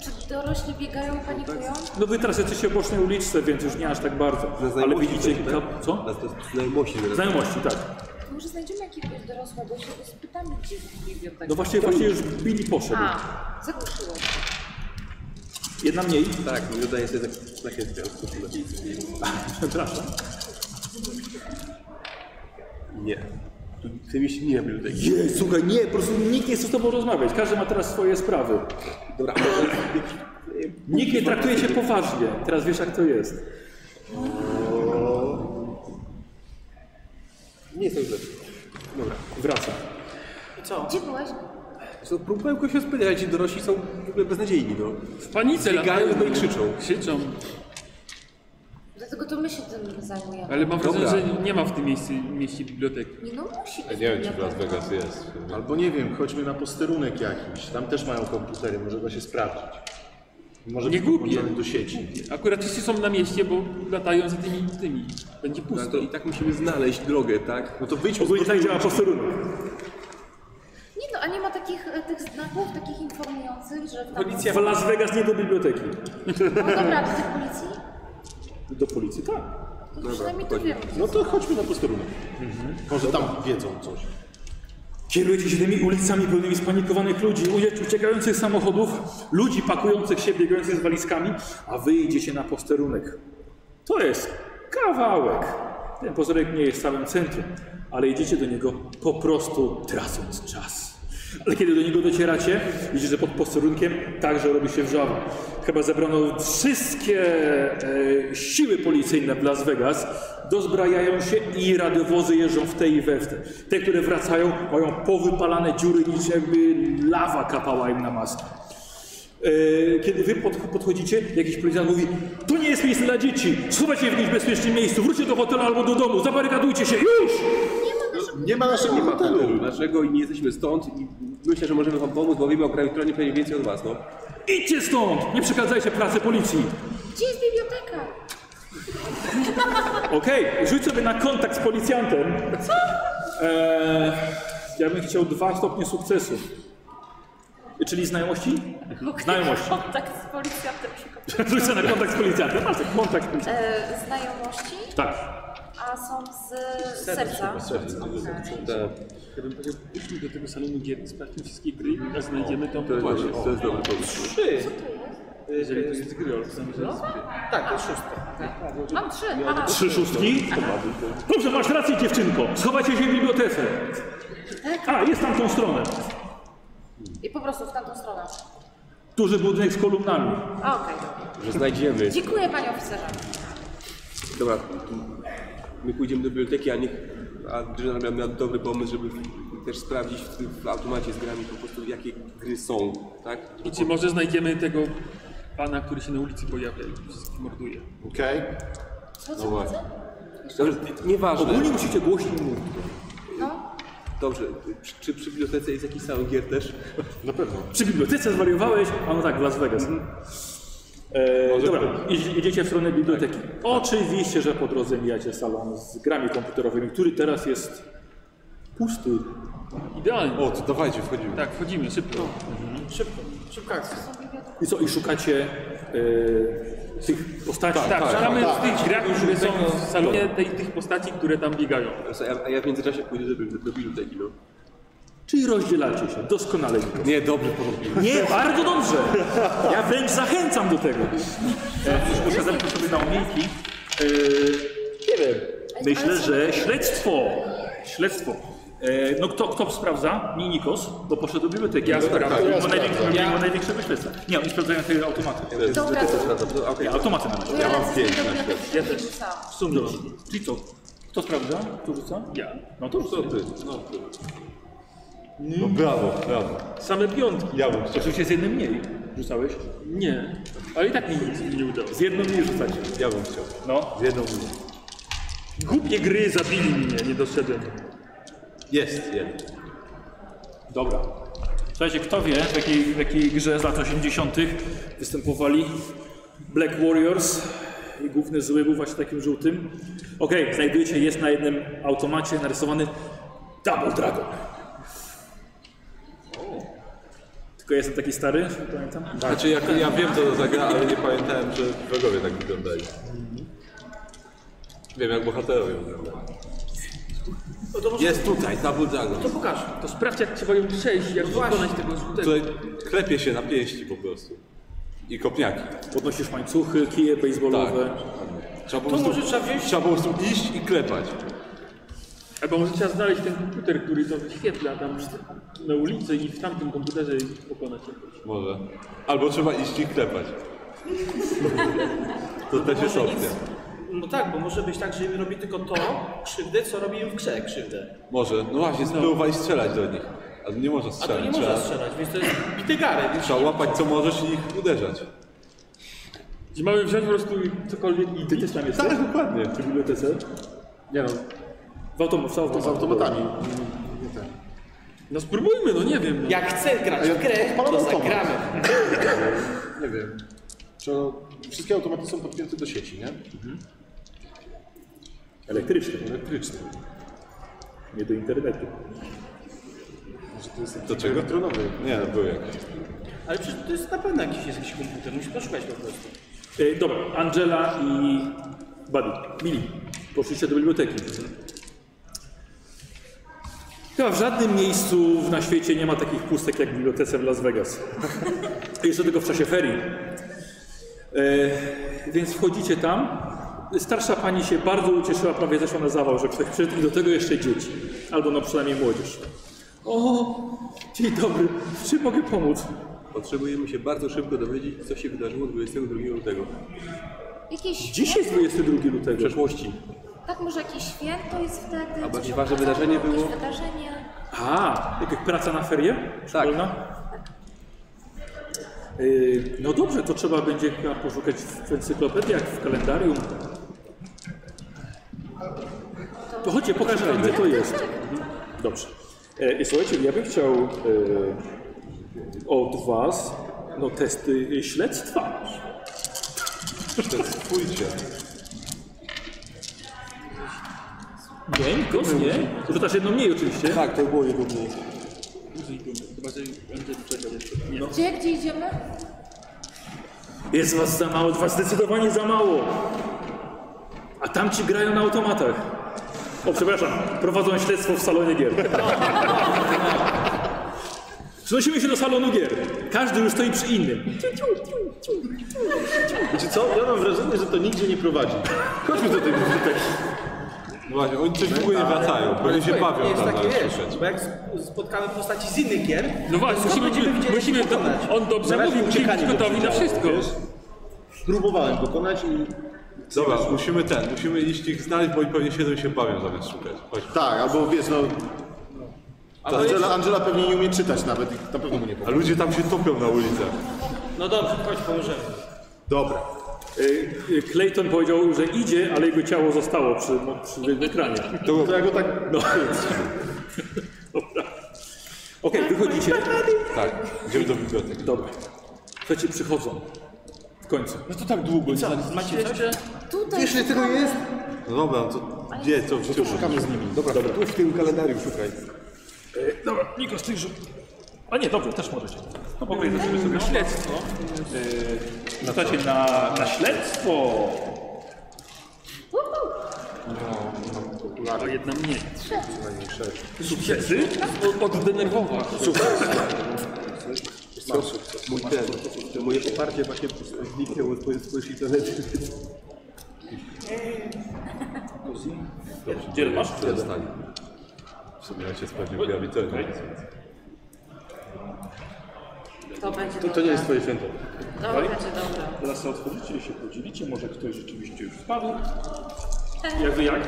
S9: Czy dorośli biegają, panikują?
S1: No wy teraz jesteście w bocznej uliczce, więc już nie aż tak bardzo. Ale widzicie kilka... Co?
S6: tak? To jest znajomości.
S1: Znajomości, tak.
S9: To może znajdziemy jakiegoś dorosłego, się go spytamy, gdzie jest biblioteka.
S1: No właśnie, właśnie już Billy poszedł.
S9: A, zagłuszyło.
S1: Jedna mniej.
S6: Tak, no wydaje sobie tak na chętkę.
S1: Przepraszam.
S6: Nie. Tu w tym mieście nie ma biblioteki.
S1: Nie, słuchaj, nie, po prostu nikt nie chce z tobą rozmawiać. Każdy ma teraz swoje sprawy.
S6: Dobra, a może jakiś...
S1: Nikt nie traktuje cię poważnie. Teraz wiesz, jak to jest.
S6: Nie jest to źle.
S1: Wracam.
S8: Co?
S9: Gdzie byłeś?
S6: Co, próbowałem go się spytać, ale ci dorośli są w ogóle beznadziejni, no.
S11: W panice
S6: Biegają
S11: latają
S6: no i krzyczą.
S11: Krzyczą.
S9: Dlatego to my się tym zajmujemy.
S11: Ale mam wrażenie,
S6: Dobra.
S11: że nie ma w tym mieście, mieście biblioteki.
S9: Nie no, musi
S5: Ja
S9: być
S5: nie wiem, czy w Las
S9: biblioteka.
S5: Vegas jest.
S3: Albo nie wiem, chodźmy na posterunek jakiś. Tam też mają komputery, może da się sprawdzić. Może
S11: Nie
S3: być
S11: gubię.
S3: podłączony do sieci.
S11: Akurat wszyscy są na mieście, bo latają za tymi tymi. Będzie
S6: No, to
S11: pusto.
S6: i tak musimy znaleźć drogę, tak?
S3: No to wyjdźmy
S1: Ogólnie tak działa posterunek.
S9: Nie no, a nie ma takich e, tych znaków, takich informujących, że tam...
S1: W Las Vegas nie do biblioteki.
S9: No dobra, a do tej policji?
S1: Do policji, tak.
S9: To przynajmniej to wiemy.
S3: No to chodźmy na posterunek. Może tam wiedzą coś.
S1: Kierujecie się tymi ulicami pełnymi spanikowanych ludzi, ucie- uciekających z samochodów, ludzi pakujących się, biegających z walizkami, a wy idziecie na posterunek. To jest kawałek. Ten posterunek nie jest w samym centrum, ale idziecie do niego po prostu tracąc czas. Ale kiedy do niego docieracie, widzicie, że pod posterunkiem także robi się wrzawa. Chyba zebrano wszystkie e, siły policyjne w Las Vegas, dozbrajają się i radiowozy jeżdżą w te i we w te. Te, które wracają, mają powypalane dziury, niż jakby lawa kapała im na maskę. E, Kiedy wy pod, podchodzicie, jakiś policjant mówi, to nie jest miejsce dla dzieci, schowajcie w jakimś bezpiecznym miejscu, wróćcie do hotelu albo do domu, zabarykadujcie się, już!
S3: Nie ma naszego hotelu.
S6: Dlaczego i nie jesteśmy stąd i myślę, że możemy wam pomóc, bo wiemy o Gravitronie pewnie więcej od was, no.
S1: Idźcie stąd! Nie przeszkadzajcie pracy policji!
S9: Gdzie jest biblioteka?
S1: [LAUGHS] Okej, rzuć sobie na kontakt z policjantem. Co? Eee, ja bym chciał dwa stopnie sukcesu. Czyli znajomości? [LAUGHS] Znajomości.
S9: Kontakt z policjantem szukam.
S1: Rzuć sobie na kontakt z policjantem. Masz taki kontakt z policjantem.
S9: E, znajomości,
S1: Tak.
S9: a są z serca. Okej.
S11: Ja bym powiedział, pójdźmy do tego salonu gier, sprawdźmy wszystkie gry, a znajdziemy tam
S6: To jest
S11: płaszcz.
S6: dobry, to jest dobry pomysł.
S11: Jeżeli to jest gry, ale zamierzam
S8: Tak, to szóstka.
S5: Tak.
S9: Mam trzy, aha.
S1: Trzy szóstki. Dobrze, masz rację dziewczynko. Schowajcie się w bibliotece. A, jest tam tą stronę.
S9: I po prostu w tamtą stronę.
S1: Duży budynek z kolumnami.
S9: A, okej.
S6: Że znajdziemy.
S9: Dziękuję panie oficerze.
S6: Dobra, my pójdziemy do biblioteki, a niech... A Drzena miał, miał dobry pomysł, żeby też sprawdzić w, tym- w automacie z grami po prostu jakie gry są, tak?
S11: I czy może znajdziemy tego pana, który się na ulicy pojawia i wszystkich morduje?
S3: Okej.
S9: Co, co, no
S6: Dobrze, nieważne.
S1: Ogólnie musicie głośniej mówić.
S9: No,
S6: Dobrze, czy, czy przy bibliotece jest jakiś salon gier też?
S1: Przy bibliotece zwariowałeś? A no tak, w Las Vegas.
S11: Mhm.
S1: E, dobra, idź- idziecie w stronę biblioteki. Oczywiście, że po drodze mijacie salon z grami komputerowymi, który teraz jest pusty.
S11: Idealnie.
S3: O, to dawajcie, wchodzimy.
S11: Tak, wchodzimy szybko.
S8: Szybko, szybka akcja.
S1: I co, i szukacie e, tych postaci?
S11: Tak, szukamy z tych grach, które są w salonie tej, tych postaci, które tam biegają.
S6: A ja- A ja w międzyczasie pójdę do, bibli- do biblioteki, no.
S1: Czyli rozdzielacie się. Doskonale. Niko.
S5: Nie, dobry porządek.
S1: Nie, bardzo dobrze. Ja wręcz zachęcam do tego. E, już muszę zamknąć sobie na umiejętności. E, nie wiem. Myślę, że śledztwo. Śledztwo. E, no kto, kto sprawdza? Nie Nikos, bo poszedł do biblioteki. No, tak, Ja sprawdzam.
S3: ja
S1: ma
S3: sprawdzam.
S1: największe, ma największe wyśledztwo. Nie, oni sprawdzają te automaty.
S9: Dobra, to
S1: Ja, automaty na razie.
S9: ja mam pięć
S1: Ja też. W sumie. Czyli co? Kto sprawdza? Kto rzuca? Ja. No to rzucę.
S4: No brawo, brawo.
S13: Same piątki.
S4: Ja bym chciał.
S1: Oczywiście z jednym mniej rzucałeś.
S4: Nie. Ale i tak mi nie udało.
S1: Z jednym mniej rzucacie.
S4: Ja bym chciał.
S1: No.
S4: Z jedną minutą.
S13: Głupie gry zabili mnie, nie doszedłem.
S5: Jest, Tak. jest.
S1: Dobra. Słuchajcie, kto wie, w jakiej, w jakiej grze z lat 80. występowali Black Warriors i główny zły był właśnie takim żółtym. Okej, znajdujecie, jest na jednym automacie narysowany Double Dragon. Tylko jestem taki stary, już nie pamiętam.
S5: Znaczy, ja, ja wiem, co to za gra, ale nie pamiętałem, że wrogowie tak wyglądali. Wiem, jak bohaterowie wyglądają. Jest tutaj, Double Dragon.
S12: No To sprawdź, jak trzeba ją przejść, jak wykonać tego skutecznego.
S5: Tutaj klepie się na pięści po prostu. I
S12: Tak.
S5: kopniaki.
S1: Podnosisz łańcuchy, kije baseballowe.
S5: Trzeba po prostu,
S8: może trzeba wziąć-
S5: trzeba po prostu iść i klepać.
S12: Albo może trzeba znaleźć ten komputer, który to wyświetla tam na ulicy i w tamtym komputerze pokonać jakoś.
S5: Może. Albo trzeba iść i
S8: [LAUGHS]
S5: klepać. To też jest
S8: Może
S5: opcja.
S8: nic. No tak, bo może być tak, że im robi tylko to krzywdę, co robi im w grze krzywdę.
S5: Może. No właśnie, spróbuj i strzelać do nich. Ale nie można
S8: A to
S5: strzelać.
S8: nie
S5: trzeba,
S8: można strzelać, więc to jest bity garek. Więc
S5: trzeba łapać co możesz i ich uderzać.
S12: Że mamy wziąć po prostu cokolwiek i ty też tam jesteś?
S5: Tak, dokładnie.
S1: W bibliotece?
S3: Nie no,
S1: W automat, w automat.
S3: z automatami.
S12: No spróbujmy, no nie wiem.
S8: Jak chcę grać w grę,
S3: Odpalam
S8: to
S3: automat.
S8: zagramy.
S3: Nie wiem. Czy wszystkie automaty są podpięte do sieci, nie?
S14: Mhm.
S1: Elektryczny,
S3: Elektryczne.
S1: nie do internetu.
S3: Może to jest
S5: Do czego?
S3: elektronowy.
S5: Nie, no był jakiś.
S8: Ale przecież to jest na pewno jakiś, jest jakiś komputer, musisz poszukać po prostu.
S1: E, dobra, Angela i Buddy, Mili, poszliście do biblioteki. Chyba w żadnym miejscu na świecie nie ma takich pustek jak w bibliotece w Las Vegas. [LAUGHS] Jeszcze tylko w czasie ferii. E, więc wchodzicie tam. Starsza pani się bardzo ucieszyła, prawie zeszła na zawał, że ktoś przyszedł i do tego jeszcze dzieci. Albo no przynajmniej młodzież. O, dzień dobry, w czym mogę pomóc?
S5: Potrzebujemy się bardzo szybko dowiedzieć, co się wydarzyło 22 lutego.
S9: Jakieś,
S1: Dziś jest 22
S5: W
S1: lutego.
S5: przeszłości.
S9: tak może jakieś święto jest wtedy?
S5: A bardziej
S9: coś
S5: ważne
S9: obchodzą,
S5: wydarzenie
S9: jakieś
S5: było?
S9: wydarzenie.
S1: A, jak praca na ferie? Szkolna? Yy, no dobrze, to trzeba będzie chyba poszukać w encyklopediach, w kalendarium. To chodźcie, pokażę wam, gdzie to jest. Mhm. Dobrze. E, I słuchajcie, ja bym chciał e, od was no, testy e, śledztwa.
S5: Pójdźcie.
S1: Nie, nikos, nie. Rzucasz jedno mniej oczywiście.
S5: Tak, to było jego mniej. No.
S9: Gdzie, gdzie idziemy?
S1: Jest was za mało, was zdecydowanie za mało. A tamci grają na automatach. O, przepraszam, prowadzą śledztwo w salonie gier. [LAUGHS] Przenosimy się do salonu gier. Każdy już stoi przy innym.
S14: Czy co? Ja mam wrażenie, że to nigdzie nie prowadzi. Chodźmy do tej biblioteki.
S5: No właśnie, oni coś długo nie wracają, bo oni się
S8: Słuchaj,
S5: bawią
S8: to jest
S5: tam
S8: takie,
S5: na
S8: wiesz,
S5: słyszeć.
S8: bo jak spotkamy postaci z innych gier,
S4: No właśnie,
S8: skąd
S4: musimy,
S8: będziemy wiedzieli,
S4: musimy
S8: jak
S4: to,
S8: pokonać?
S4: on dobrze
S8: Zaraz
S4: mówił, musimy być
S8: uciekanie
S4: gotowi na
S1: tak.
S8: będzie
S4: wszystko.
S14: Próbowałem pokonać i...
S5: Dobra, musimy ten, musimy iść ich znaleźć, bo oni pewnie siedzą i się bawią zamiast szukać. Chodź.
S3: Tak, albo wiesz, no... Ta Angela, Angela pewnie nie umie czytać nawet i na pewno mu
S5: A
S3: nie powie.
S5: ludzie tam się topią na ulicach.
S8: No dobrze, chodź, pomożemy.
S3: Dobra.
S1: Y, y, Clayton powiedział, że idzie, ale jego ciało zostało przy, no, przy ekranie.
S3: To, ja go tak...
S1: No. [LAUGHS] Dobra. Okej, wychodzicie.
S5: Tak, idziemy do biblioteki.
S1: Dobra. Słuchajcie, przychodzą. W końcu.
S8: Macie coś?
S9: Tutaj
S15: Wiesz, ile tego jest?
S5: No dobra, no to gdzie, co w
S3: Tu
S5: czym?
S3: szukamy z nimi. Dobra,
S15: Dobra, tu w tym kalendarium szukaj.
S1: Dobra, Nikos, ty rzut. A nie, dobrze, też możecie. No po kolei zaczniemy sobie śledztwo. Yy, na, na, na śledztwo.
S9: Uhu.
S3: no, okulary.
S10: A jedna mniej.
S3: Przynajmniej sześć.
S10: Sukcesy? Oddenerwować.
S3: Masz sukces.
S2: Mój ten, to moje poparcie właśnie zniknęło z mojej swojej planety.
S1: Gdzie masz?
S5: Zostań. W sumie ja cię sprawdził grawitoryną.
S9: To będzie
S5: To, to nie jest twoje święto.
S9: Dobra, będzie dobra.
S1: Teraz sobie otworzycie i się podzielicie, może ktoś rzeczywiście już wpadł. Jak wy jak?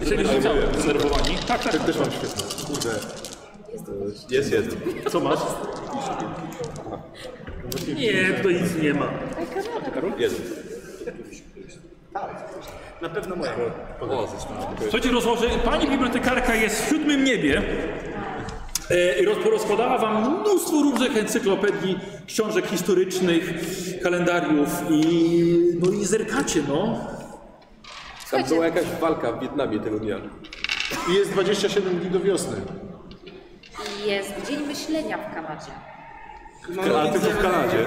S1: Jeżeli
S5: Ale
S1: rzucam,
S5: mówię.
S1: zdenerwowani. Tak, tak,
S5: Też mam świetną. Kurde. E, Jest jeden.
S1: Co masz?
S10: Nie, tutaj nic nie ma.
S5: Jeden.
S1: Tak. Słuchajcie, rozłoży, pani bibliotekarka jest w siódmym niebie e, i roz- rozkładała wam mnóstwo różnych encyklopedii, książek historycznych, kalendariów i no i zerkacie, no.
S6: Tam
S9: Słuchajcie,
S6: była jakaś walka w Wietnamie tego dnia.
S3: I jest 27 dni do wiosny.
S9: jest Dzień Myślenia w Kanadzie.
S5: Ale tylko w Kanadzie.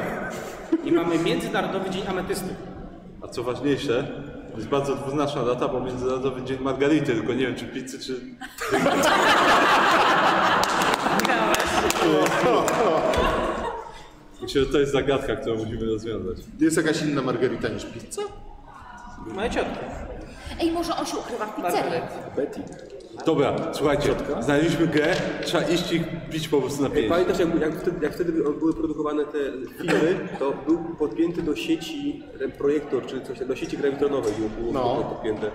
S8: I mamy Międzynarodowy Dzień Ametystu.
S5: A co ważniejsze, to jest bardzo dwuznaczna data, bo międzynarodowy dzień Margarity, tylko nie wiem czy pizzy, czy... Myślę, że to jest zagadka, którą musimy rozwiązać.
S3: Jest jakaś inna margarita niż pizza?
S8: Moja ciotka.
S9: Ej, może on się ukrywa w pizzerii.
S5: Dobra, słuchajcie, znaleźliśmy grę, trzeba iść i bić po prostu na pięć.
S6: Pamiętasz, No jak, jak, wtedy, jak wtedy były produkowane te filmy, to był podpięty do sieci ten projektor, czy coś, do sieci grawitonowej było, było
S3: No.
S6: podpięte.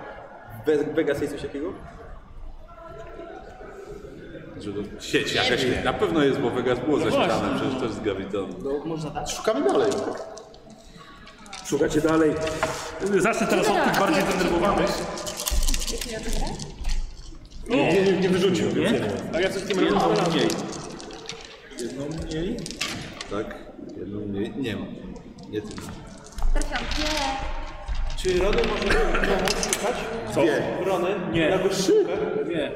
S6: We- Vegas jest coś takiego?
S5: Że to Sieć jakaś, na pewno jest, bo Vegas było zaśmietane, przecież to jest grawitą.
S3: Szukamy dalej.
S1: Szukacie dalej. Zacznę teraz
S9: Tak,
S1: od tych bardziej zdenerwowanych.
S5: Nie, nie, nie wyrzucił, więc nie wiem.
S10: A ja coś tym razem znalazłem.
S5: Jedną mniej? Tak, jedną mniej. Nie mam. Nie tym.
S9: Trafiam, nie.
S8: Czy Rony może pomóc szukać? Co? Rony?
S1: Nie.
S8: Na wyszybę?
S1: Nie.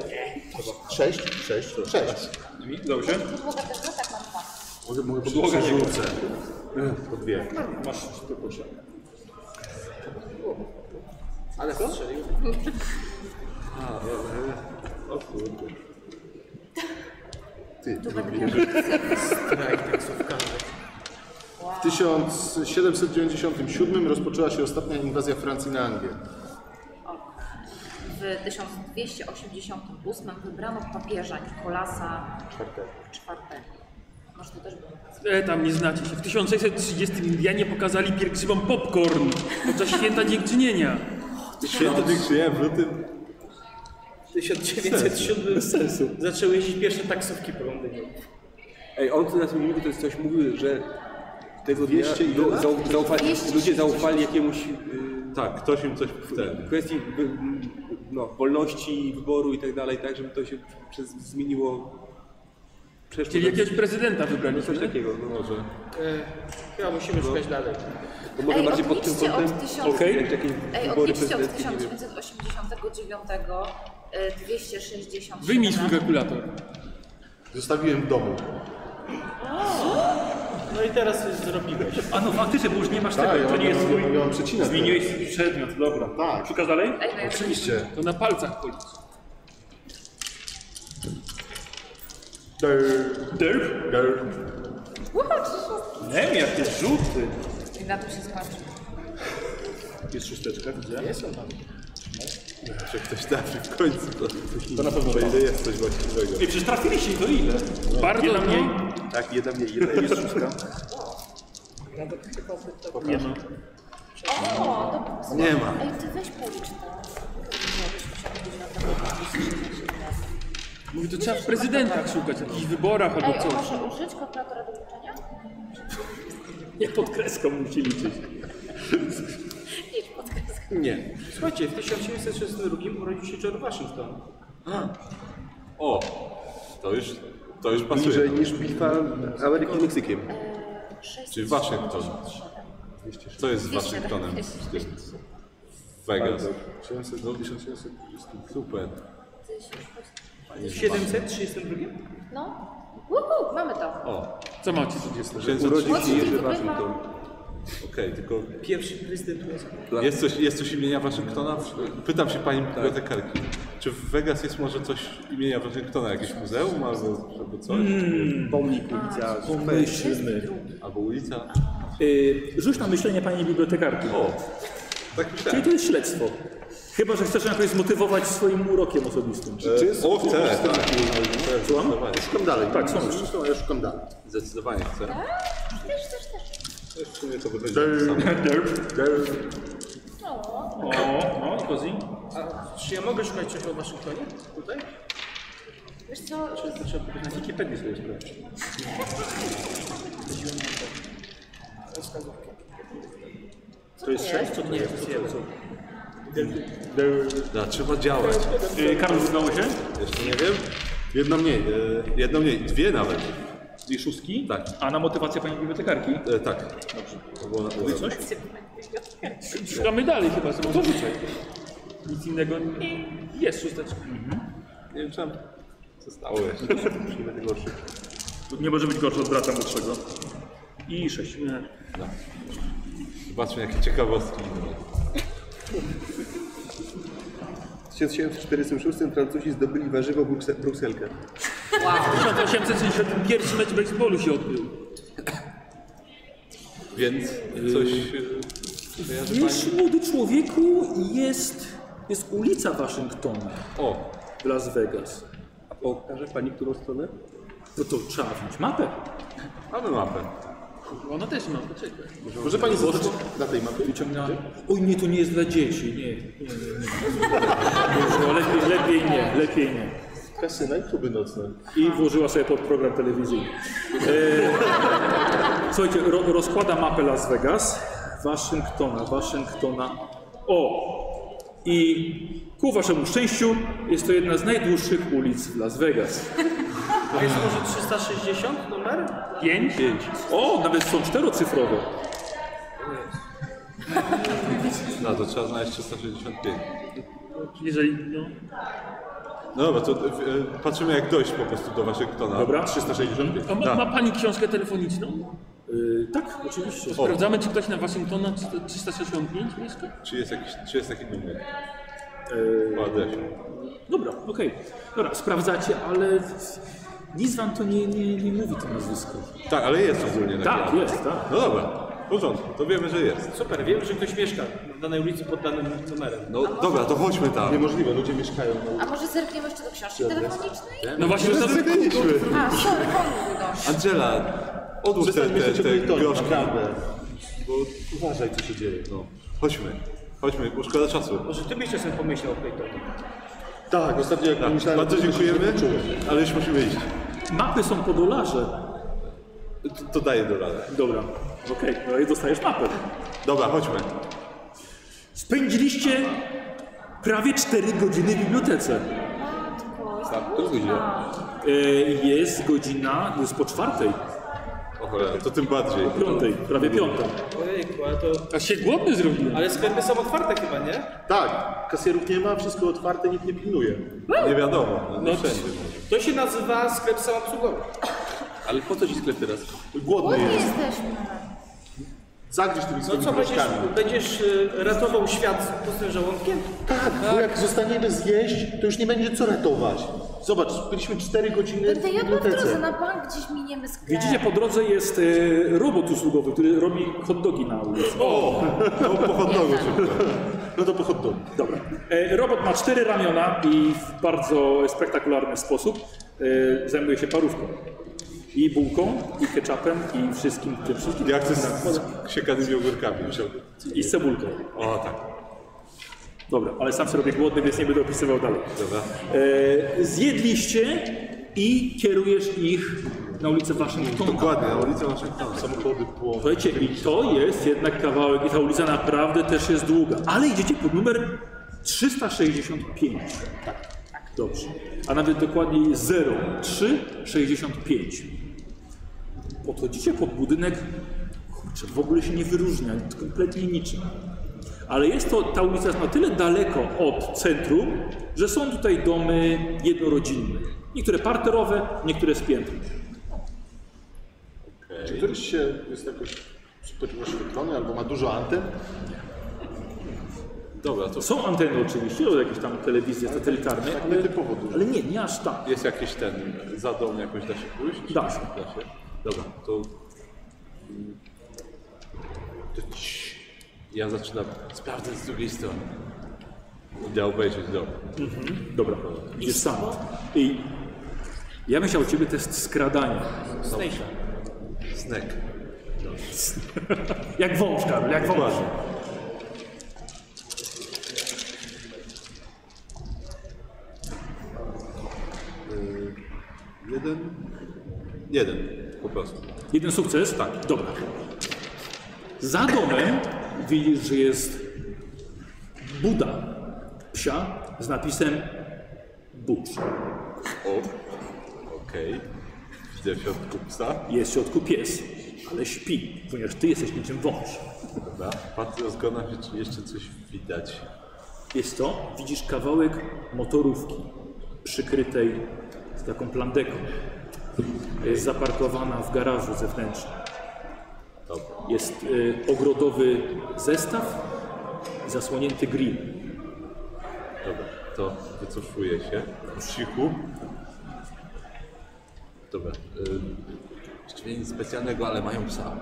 S3: Sześć? Sześć. Sześć.
S1: Dobrze.
S9: Podłoga też no tak mam dwa.
S5: Mogę, mogę podłogę rzucę.
S3: Po dwie.
S8: Ale strzelił.
S3: Ty, ty W 1797 rozpoczęła się ostatnia inwazja Francji na Anglię.
S9: W 1288 wybrano papieża Nikolasa IV. Może to też było.
S10: E, tam nie znacie się. W 1630 Indianie pokazali pielgrzymom popcorn podczas święta dziękczynienia.
S5: Święto dziękuję w lutym.
S8: W 1907 zaczęły jeździć pierwsze taksówki po Londynie.
S6: Ej, on tu nas mówił, to jest coś mówił, że tego dnia
S3: 200 i
S6: do-
S3: ile?
S6: zau- zaufali,
S9: 200.
S6: ludzie zaufali jakiemuś
S5: Tak, ktoś im coś
S6: y,
S5: ten.
S6: kwestii wy- m, no, wolności wyboru i tak dalej, tak, żeby to się przez, zmieniło przeszło
S10: Czyli
S6: do-
S10: jakiegoś prezydenta wybrali.
S6: coś takiego, no może.
S8: Chyba musimy szukać dalej.
S6: To może
S9: Ej,
S6: bardziej pod tym
S9: odliczcie
S6: kątem,
S9: od tysiąca.
S6: okay. jak jakieś
S9: Ej,
S6: wybory
S9: odliczcie od
S6: prezydenckie, nie wiem.
S9: 1989 y, 260.
S10: Wyjmij swój
S9: no
S10: kalkulator.
S3: Zostawiłem w domu.
S8: No i teraz już zrobiłeś.
S1: A no faktycznie, bo już nie masz
S3: Tak,
S1: tego,
S3: ja
S1: to
S3: mam-
S1: nie
S6: no,
S1: jest twój.
S3: ja mam przecinać.
S1: Zmieniłeś swój przedmiot, dobra.
S3: Tak.
S1: Szukasz dalej?
S9: Ej, no ja
S3: Oczywiście.
S10: To na palcach policz.
S1: Derp? Nie wiem, jak jest żółty.
S9: I na tym się skończy.
S1: Jest szósteczka, widzę.
S5: Że ktoś trafi w końcu. To, to na pewno będzie jest coś właściwego.
S1: I przecież trafiliście i to ile?
S10: Bardzo
S1: Jedna
S10: mniej.
S1: mniej?
S5: Tak, jedna mniej, jedna jest szóstka.
S10: Nie ma.
S9: O, dobra. słuchaj.
S5: Nie ma.
S9: Ej, ty weź policz to. Żebyśmy się odbyli na temat 260.
S10: Mówi, to trzeba w prezydentach szukać, w jakichś wyborach
S9: Ej,
S10: albo
S9: o,
S10: coś.
S9: może użyć kalkulatora do liczenia?
S1: Nie pod kreską musi liczyć.
S9: Idź pod kreskę.
S5: Nie.
S8: Słuchajcie, w 1862 urodził się George Washington.
S5: O! To już, to już pasuje. no.
S2: Bliżej niż bitwa Ameryki z Meksykiem.
S5: Czyli Waszyngton. Co jest z Waszyngtonem? Z tym? Vegas. No, Super.
S8: 732?
S9: No. Uhu, mamy to.
S5: O,
S10: Co macie?
S5: księdza
S2: Urodził się
S9: Mocniej
S2: Jerzy
S9: wpływa.
S2: Waszyngton.
S5: Okej, tylko
S8: Pierwszy prezydent USA.
S5: jest coś, jest coś imienia Waszyngtona? Pytam się Pani bibliotekarki. Czy w Vegas jest może coś imienia Waszyngtona? Jakieś muzeum albo, albo coś?
S2: Pomnik ulica.
S1: Pomyślmy.
S5: Albo ulica?
S1: Yy, rzuć na myślenie pani bibliotekarki.
S5: O, tak myślałem.
S1: Czyli to jest śledztwo. Chyba, że chcesz jakoś zmotywować swoim urokiem osobistym.
S3: Czy jest?
S5: O, chcę,
S3: jest-
S5: tak. Zdecydowanie.
S3: Szukam dalej.
S1: Tak, są już.
S3: Są, ja szukam dalej.
S5: Zdecydowanie chcę.
S9: Też, też, też.
S5: W sumie to wychodzi samo.
S9: O,
S1: O, no, Kozi.
S8: A czy ja mogę szukać czegoś o Waszyngtonie? Tutaj?
S9: wiesz co,
S10: Na Wikipedii sobie sprawdź.
S9: co to jest?
S10: Co to jest? Co to jest?
S5: Da, trzeba działać.
S1: Yy, Karol, udało się?
S5: Jeszcze nie wiem. Jedno mniej, e, jedno mniej, dwie nawet.
S1: Dwie szóstki.
S5: Tak.
S1: A na motywację pani bibliotekarki?
S5: E, tak. Dobrze. To było na to. Coś?
S10: Szukamy dalej chyba, co może rzucaj. Nic innego nie... Jest szósteczka.
S5: Nie wiem czemu. Co stało jeszcze?
S1: Nie może być gorsze od brata młodszego. I sześć.
S5: Zobaczmy jakie ciekawostki.
S2: 1746 Francuzi zdobyli warzywo Brukse- Brukselkę.
S10: 1861 mecz baseballu się odbył.
S5: Więc coś... e,
S1: Wiesz, młody człowieku, jest, jest ulica Waszyngtona
S5: O,
S1: w Las Vegas.
S2: A pokaże pani którą stronę?
S1: No to trzeba wziąć mapę.
S5: mamy mapę.
S10: Ona też ma, poczekaj.
S3: Może pani zostać na tej mapie?
S1: Wyciągnąłem. Oj, nie, to nie jest dla dzieci. Nie, nie, nie. nie. No, lepiej, lepiej nie, lepiej nie.
S3: Kasyna i kluby nocne.
S1: I włożyła sobie pod program telewizyjny. E, słuchajcie, ro, rozkłada mapę Las Vegas, Waszyngtona, Waszyngtona. O! I ku waszemu szczęściu jest to jedna z najdłuższych ulic w Las Vegas.
S8: A jest może 360 numer?
S1: Pięć? O, nawet są czterocyfrowe.
S5: No to trzeba znaleźć 365.
S10: Jeżeli, no...
S5: No dobra, to e, patrzymy jak dojść po prostu do Waszyngtona.
S1: Dobra.
S5: 365.
S10: A ma,
S5: Da.
S10: ma pani książkę telefoniczną?
S1: Y, tak, oczywiście.
S10: Sprawdzamy, czy ktoś na Waszyngtona 365 mieszka?
S5: Czy jest jakiś, czy jest taki numer?
S1: Y,
S5: Po adresie.
S1: dobra, okej. Dobra, sprawdzacie, ale nic wam to nie, nie, nie mówi to nazwisko.
S5: Tak, ale jest ogólnie na
S1: Tak, jest, tak.
S5: No dobra, w porządku, to wiemy, że jest.
S8: Super, wiemy, że ktoś mieszka na danej ulicy pod danym numerem.
S5: No dobra, to chodźmy tam.
S3: Niemożliwe, ludzie mieszkają na
S9: A może zerkniemy jeszcze do książki telefonicznej?
S10: No właśnie, za
S3: Zgadliśmy.
S9: A, sorry, pomógł gość.
S5: Angela, odłóż te, te, te groszki.
S3: Bo uważaj, co się dzieje. No.
S5: Chodźmy, chodźmy, bo szkoda czasu.
S8: Może ty byś czasem pomyślał o Claytonie.
S3: Tak, ostatnio jak
S5: Tak,
S3: myślałem...
S5: bardzo
S3: to się
S5: dziękujemy,
S3: zakończyło.
S5: ale już musimy iść.
S1: Mapy są po dolarze.
S5: To, to daję do rady.
S1: Dobra, okej, no i dostajesz mapę.
S5: Dobra, chodźmy.
S1: Spędziliście prawie 4 godziny w bibliotece.
S9: Matko, jest
S5: Tak, to wyjdzie.
S1: E, jest godzina, jest po czwartej,
S5: O cholera, to tym bardziej.
S1: piątej, prawie piąta.
S8: Ojejku, ale to...
S10: A się głodny zrobiłem.
S8: Ale sklepy są otwarte chyba, nie?
S3: Tak, kasjerów nie ma, wszystko otwarte, nikt nie pilnuje.
S5: Nie wiadomo, no, nie wszędzie.
S8: To się nazywa sklep samoobsługowy.
S6: Ale po co ci sklep teraz?
S3: Głodny
S9: Głodni
S3: jest.
S9: jesteśmy.
S3: Zagryź tymi
S8: No
S3: swoimi
S8: co, będziesz,
S3: groszkami.
S8: będziesz y, ratował świat z pustym żołądkiem?
S3: Tak, bo jak zostaniemy zjeść, to już nie będzie co ratować. Zobacz, byliśmy 4 godziny
S9: Będę
S3: w
S9: jadła no. w drodze,
S3: bibliotece.
S9: na bank gdzieś miniemy sklep.
S1: Widzicie, po drodze jest e, robot usługowy, który robi hot dogi na ulicy.
S5: No po hot dogu szybko.
S3: No to po hot dogu.
S1: Dobra. E, Robot ma cztery ramiona i w bardzo spektakularny sposób e, zajmuje się parówką. I bułką, i ketchupem, i wszystkim tym wszystkim.
S5: Jak to z, z siekanymi ogórkami wziął.
S1: I z cebulką.
S5: O tak,
S1: Dobra, ale sam się robię głodny, więc nie będę opisywał dalej.
S5: dobra.
S1: E, Zjedliście i kierujesz ich na ulicę Waszyngtonu.
S5: Dokładnie, na ulicy Waszyngtonu. Samochody płoną.
S1: Słuchajcie, i to jest jednak kawałek, i ta ulica naprawdę też jest długa, ale idziecie pod numer 365. Tak, Dobrze. A nawet dokładniej 0365. Podchodzicie pod budynek, kurczę, w ogóle się nie wyróżnia, kompletnie niczym. Ale jest to, ta ulica jest na tyle daleko od centrum, że są tutaj domy jednorodzinne. Niektóre parterowe, niektóre z piętrem.
S3: Czy któryś się jest jakoś super rozświetlony albo ma dużo anten.
S5: Dobra, to
S1: Są anteny oczywiście, od jakieś tam telewizje satelitarne,
S3: Tak
S1: ale,
S3: nietypowo dużo.
S1: ale nie, nie aż tak.
S5: jest jakiś ten, za dom jakoś da się pójść? czy
S1: Da
S5: nie?
S1: się.
S5: Da się. Dobra, to... to cii. Ja zaczynam, sprawdzę z drugiej strony. Idę obejrzeć dom.
S1: Dobra, idziesz sam. I ja bym chciał od ciebie test skradania.
S5: Snack.
S1: Jak wąż, Karol, jak wąż.
S5: Dokładnie.
S3: Jeden.
S5: Jeden, po prostu.
S1: Jeden sukces? Tak. Dobra. Za domem widzisz, że jest Buda psia z napisem Bucz.
S5: O, okej. Widzę w środku psa,
S1: Jest w środku pies, ale śpi, ponieważ ty jesteś niczym wąż.
S5: prawda? Patrzę, zgona się, czy jeszcze coś widać.
S1: Jest to, widzisz kawałek motorówki przykrytej z taką plandeką. Jest zaparkowana w garażu zewnętrznym.
S5: Dobra.
S1: Jest y, ogrodowy zestaw i zasłonięty grill.
S5: Dobra, to wycofuję się. W cichu. Dobra. ym, Właściwie nic specjalnego, ale mają psa.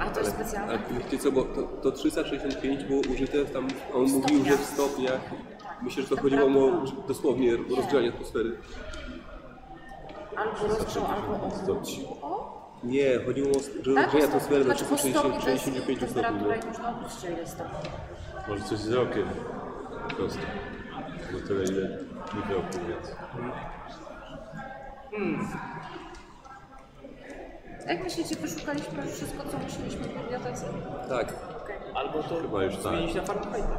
S9: A to jest specjalne?
S6: A wiecie co, bo to, to 365 było użyte tam, a on mówił, że w stopniach.
S9: Tak.
S6: Myślę, że to chodziło o dosłownie rozgrzanie atmosfery.
S5: Tak.
S9: Albo rozczoł, albo obróć.
S6: Nie, chodziło o że
S9: Tak,
S6: rozgrzanie
S9: po
S6: atmosfery
S9: stopniu,
S6: na
S9: znaczy po stopniu to jest
S6: 365 stopni.
S9: temperatura
S6: no.
S5: tak.
S9: i można obrócić, że ile stopni.
S5: Może coś z rokiem. Po prostu. Bo tyle ile mi roku, więc.
S9: Jak myślicie, wyszukaliśmy już wszystko, co musieliśmy w bibliotece?
S6: Tak,
S8: Albo to
S5: Chyba już tak.
S8: zmienić na Fahrenheita.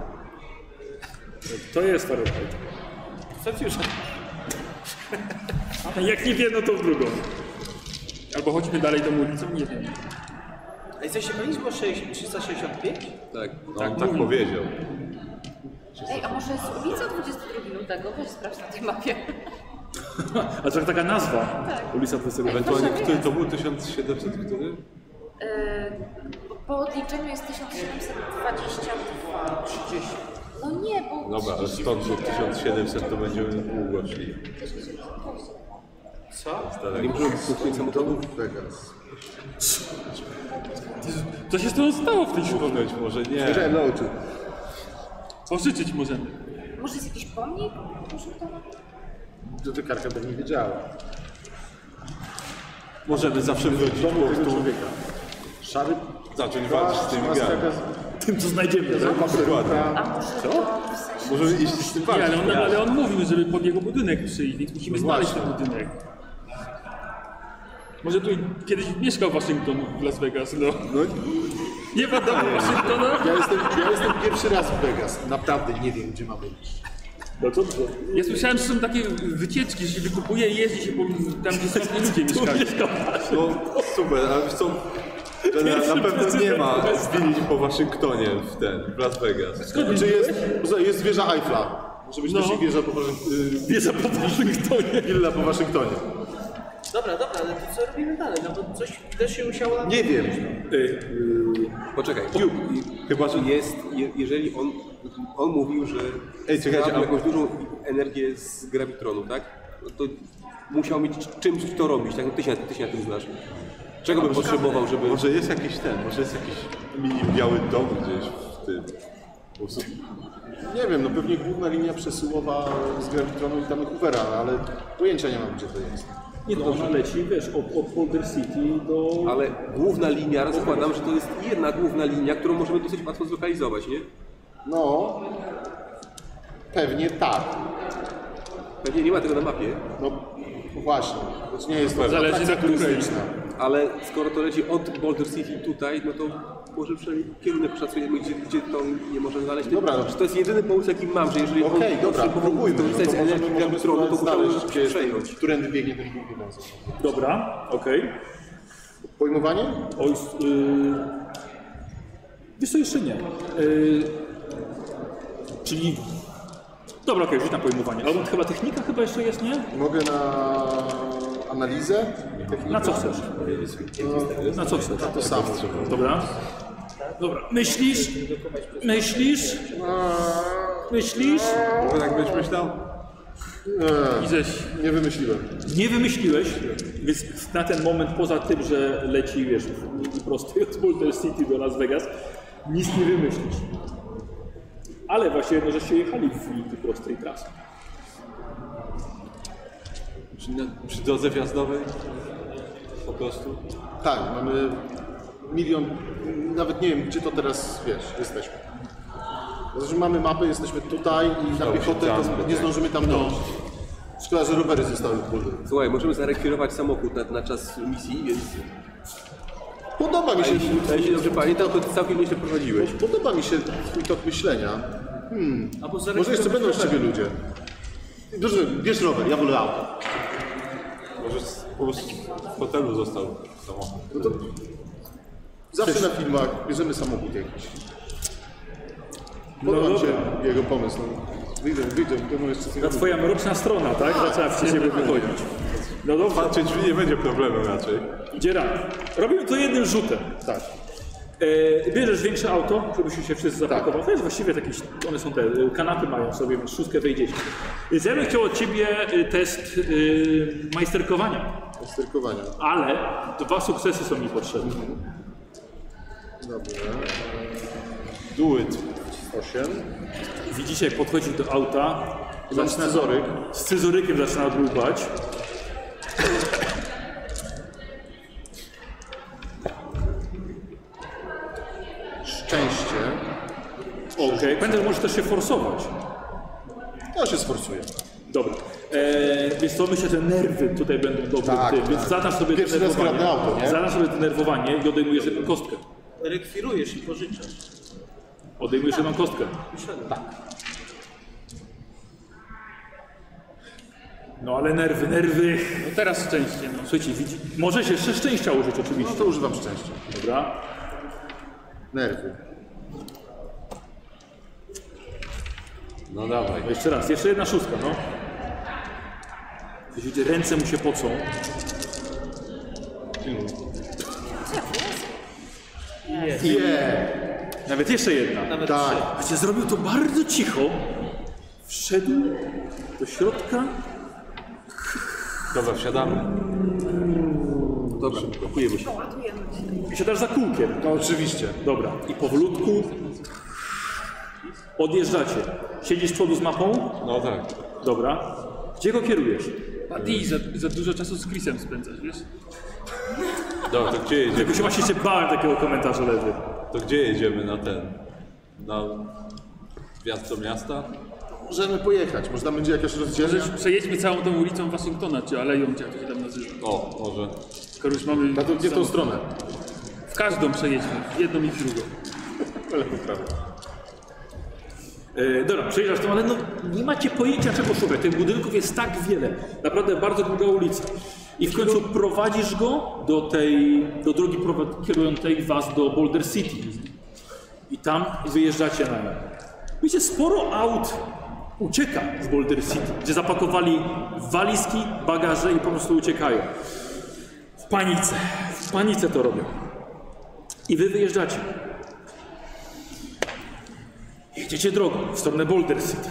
S1: To jest Fahrenheit.
S8: Socjusze.
S1: Jak nie w jedno, to w drugą.
S11: Albo chodźmy dalej tą ulicą, nie wiem.
S8: A jesteście pewni, że było 60 365?
S6: tak.
S5: No, on tak powiedział.
S9: Ej, a może jest ulica 22 lutego? Weź sprawdź na tej mapie.
S1: A to taka nazwa? Ulica 20.
S5: Ewentualnie,
S9: Proszę,
S5: który
S9: nie.
S5: to był 1700, który?
S9: Yy, po odliczeniu jest 1722. 30. No nie, bo...
S5: Dobra, ale stąd do 1700 to będziemy długo szli.
S6: Nie możemy kupić samochodów.
S3: Vegas.
S11: Co się z tobą stało w tej ślubie?
S5: Ponoć może nie.
S3: Zwierzę na oczy.
S11: Pożyczyć możemy.
S9: Może jest jakiś pomnik? Może to...
S3: Dotykarka by nie wiedziała.
S5: Możemy zawsze wrócić po
S3: Tego
S5: prostu.
S3: człowieka. Szary
S5: Zacząć walczyć z tymi grami.
S1: Tym, co znajdziemy. tak?
S3: No,
S5: Dokładnie.
S9: A może to w sensie...
S5: Możemy iść z tym
S11: Nie, ale
S5: walczyć.
S11: on, ale on mówił, żeby pod jego budynek przyjść, więc musimy znaleźć ten budynek. Może tu kiedyś mieszkał Waszyngton w Las Vegas, no. Nie wiadomo Waszyngtona.
S3: Ja jestem, ja jestem pierwszy raz w Vegas. Naprawdę nie wiem, gdzie mamy iść.
S1: No dobrze.
S11: Ja słyszałem, że są takie wycieczki, że się wykupuje i jeździ się po, tam, gdzie sławni ludzie mieszkają.
S5: No super, ale wiesz co? Na, na pewno nie ma zbilić po Waszyngtonie w ten, w Las Vegas.
S3: Czy jest, znaczy jest wieża Eiffla? Może być też i wieża po, Waszyng-
S1: Wieża po Waszyngtonie.
S3: y, willa po Waszyngtonie.
S8: Dobra, dobra, ale to co robimy dalej? No bo coś też się musiało...
S3: Nie wiem.
S6: Poczekaj, Cube. Chyba, że Znaczy jest, je, jeżeli on, on mówił, że
S5: Ej, czekajcie,
S6: ma
S5: a-
S6: jakąś dużą energię z gravitronu, tak? No to musiał mieć czymś to robić, tak? No ty się, ty się na tym znasz. Czego by potrzebował, żeby...
S5: Może jest jakiś ten, może jest jakiś mini biały dom gdzieś w tym. Po prostu
S3: Nie wiem, no pewnie główna linia przesyłowa z Gravitronu i tam Hoovera, ale pojęcia nie mam, gdzie to jest.
S1: Nie no, ona leci, wiesz, od, od Boulder City do...
S6: Ale główna linia, zakładam, że to jest jedna główna linia, którą możemy dosyć łatwo zlokalizować, nie?
S3: No, pewnie tak.
S6: Pewnie nie ma tego na mapie,
S3: No właśnie, to nie jest to
S11: Zależy na której.
S6: ale skoro to leci od Boulder City tutaj, no to może przynajmniej kierunek szacujemy, gdzie, gdzie to nie możemy znaleźć.
S3: Dobra, no.
S6: Czy to jest jedyny pomysł, jaki mam, że jeżeli
S3: Okej,
S6: on
S3: dobra, próbujmy.
S6: to
S3: No
S6: uzyskać
S3: to
S6: energii
S3: możemy-
S6: gravitronu, to
S3: możemy
S6: musiałbym
S3: znaleźć, gdzie jest-
S6: przejąć.
S3: Którędy biegnie ten główny wąsek.
S1: Dobra, okej.
S3: Pojmowanie?
S1: Oj, yy... Wiesz co, jeszcze nie. Yy... Czyli... Dobra, okej, rzuć na pojmowanie. Albo chyba technika chyba jeszcze jest, nie?
S3: Mogę na analizę.
S1: Na co chcesz? Na co chcesz?
S3: To samo.
S1: Dobra. Dobra. Myślisz? Myślisz? Myślisz?
S5: Bo tak byś myślał?
S3: Nie,
S1: I żeś
S3: nie wymyśliłem.
S1: nie wymyśliłeś, więc na ten moment, poza tym, że leci, wiesz, w- prosty [LAUGHS] od Boulder City do Las Vegas, nic nie wymyślisz. Ale właśnie, no, żeście jechali w linii prostej trasy.
S5: Przy, na, przy drodze wjazdowej? Po prostu?
S3: Tak, mamy milion, nawet nie wiem gdzie to teraz, wiesz, jesteśmy. Znaczy mamy mapę, jesteśmy tutaj i na piechotę to nie zdążymy tam dojść. Szkoda, że rowery zostały w budy.
S6: Słuchaj, możemy zarekwirować samochód na, na czas misji, więc
S3: Podoba mi się,
S6: a jeśli dobrze pamiętam, to ty całkiem nieźle prowadziłeś.
S3: podoba mi się twój tok myślenia. Hmm,
S8: Albo
S3: może jeszcze będą z ciebie ludzie. Dobrze, bierz rower, ja wolę auto.
S5: Może z- po prostu w hotelu został samochód.
S3: Zawsze na filmach bierzemy samochód jakiś. Podoba mi się jego pomysł. No, Wyjdę, wyjdę, to mu jeszcze
S1: Ta twoja mroczna strona, tak? Zaczęła przy ciebie wychodzić. No dobrze,
S5: Patrzeć drzwi nie będzie problemu raczej.
S1: Dzieran, robimy to jednym rzutem.
S3: Tak.
S1: E, bierzesz większe auto, żebyśmy się wszyscy zapakowali. To jest właściwie jakieś, one są te, y, kanapy mają sobie, więc szóstkę wyjdzie. Więc ja bym chciał od ciebie y, test y, majsterkowania,
S3: Sterkowania.
S1: ale dwa sukcesy są mi potrzebne.
S3: Dobra,
S5: Do it.
S3: 8.
S1: Widzicie, jak podchodzi do auta,
S3: Mam scyzoryk.
S1: z scyzorykiem zaczyna drubać.
S3: Szczęście.
S1: Okej, pamiętaj, możesz też się forsować.
S3: Ja się sforsuję.
S1: Dobra. E, więc to myślę, że nerwy tutaj będą dobre.
S3: Tak,
S1: w tym, Więc
S3: tak.
S1: zadasz sobie
S3: Pierwszy raz
S1: denerwowanie.
S3: kradnę auto, nie?
S1: Zadasz sobie denerwowanie i odejmujesz jedną kostkę.
S8: Rekwirujesz i pożyczasz.
S1: Odejmujesz
S11: Tak.
S1: jedną kostkę.
S3: Tak,
S1: No ale nerwy, nerwy.
S11: No teraz szczęście, no.
S1: Słuchajcie, widzi... możesz jeszcze szczęścia użyć
S3: No
S1: oczywiście.
S3: to używam szczęścia.
S1: Dobra.
S3: Nerwy.
S5: No dawaj.
S1: Jeszcze raz, jeszcze jedna szóstka, no. Widzicie, ręce mu się pocą.
S3: Nie.
S1: Nawet jeszcze jedna.
S3: Tak.
S1: Wiecie, zrobił to bardzo cicho. Wszedł do środka.
S5: Dobra, wsiadamy.
S6: Dobra, pakujemy się.
S1: I siadasz za kółkiem.
S3: No oczywiście.
S1: Dobra, i powolutku odjeżdżacie. Siedzisz z przodu z mapą?
S5: No tak.
S1: Dobra. Gdzie go kierujesz?
S11: A ty za, za dużo czasu z Chrisem spędzasz, wiesz?
S5: Dobra, to gdzie jedziemy?
S1: Jakoś właśnie się bałem takiego komentarza lewy.
S5: To gdzie jedziemy na ten? Na wjazd do miasta?
S3: Możemy pojechać. Można będzie jakaś rozdzielnia.
S11: Przecież przejedźmy całą tą ulicą Waszyngtona, czy aleją, czy jak to się tam nazywa.
S5: O, może.
S11: Skoro już mamy...
S3: Na tą, nie w tą stronę.
S11: W każdą przejedźmy, w jedną i w drugą.
S1: E, dobra, przejeżdżasz tam, ale no, nie macie pojęcia czego szukać. Tych budynków jest tak wiele. Naprawdę bardzo długa ulica. I w końcu prowadzisz go do tej, do drogi prowa- kierującej was do Boulder City. I tam wyjeżdżacie na nią. Wiecie, sporo aut ucieka z Boulder City, gdzie zapakowali walizki, bagaże i po prostu uciekają. W panice, w panice to robią. I wy wyjeżdżacie. Jedziecie drogą w stronę Boulder City.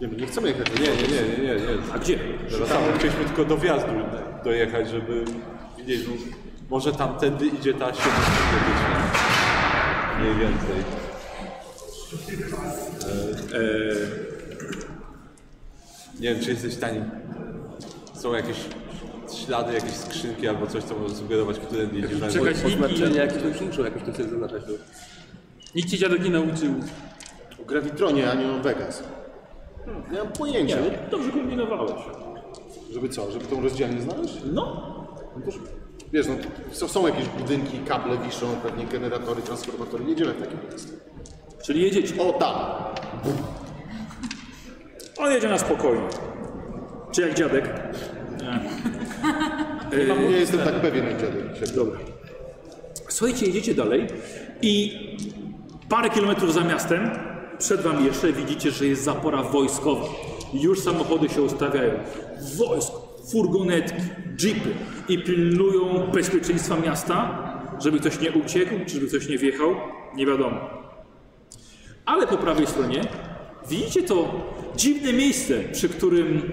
S3: Nie, my nie chcemy jechać.
S5: Nie, nie, nie, nie, nie. nie.
S1: A gdzie?
S5: Wracamy. Chcieliśmy tylko do wjazdu dojechać, żeby widzieć, no, może tamtędy idzie ta 7 Mniej więcej. E, e, nie wiem, czy jesteś tani. Są jakieś ślady, jakieś skrzynki albo coś, co może sugerować, które nie idzie.
S11: Czekać, nikt,
S6: Oznaczenia
S11: nie-
S6: jakieś tam się muszą jakoś tam sobie zaznaczać. No.
S11: nikt cię dziadek nie nauczył.
S3: O Gravitronie, a nie o Vegas. Nie mam pojęcia.
S1: No Dobrze kombinowałeś.
S3: Żeby co? Żeby tą rozdzielnię znaleźć?
S1: No,
S3: Wiesz, no, są, są jakieś budynki, kable wiszą, pewnie generatory, transformatory. Jedziemy w takie miejsce.
S1: czyli jedziecie.
S3: O, tam.
S1: On jedzie na spokojnie. Czy jak dziadek?
S3: Nie jestem tak pewien, jak dziadek. siebie.
S1: Dobra. Słuchajcie, jedziecie dalej i parę kilometrów za miastem przed wami jeszcze widzicie, że jest zapora wojskowa. Już samochody się ustawiają. Wojsko, furgonetki, jeepy i pilnują bezpieczeństwa miasta, żeby ktoś nie uciekł, czy żeby ktoś nie wjechał, nie wiadomo. Ale po prawej stronie widzicie to dziwne miejsce, przy którym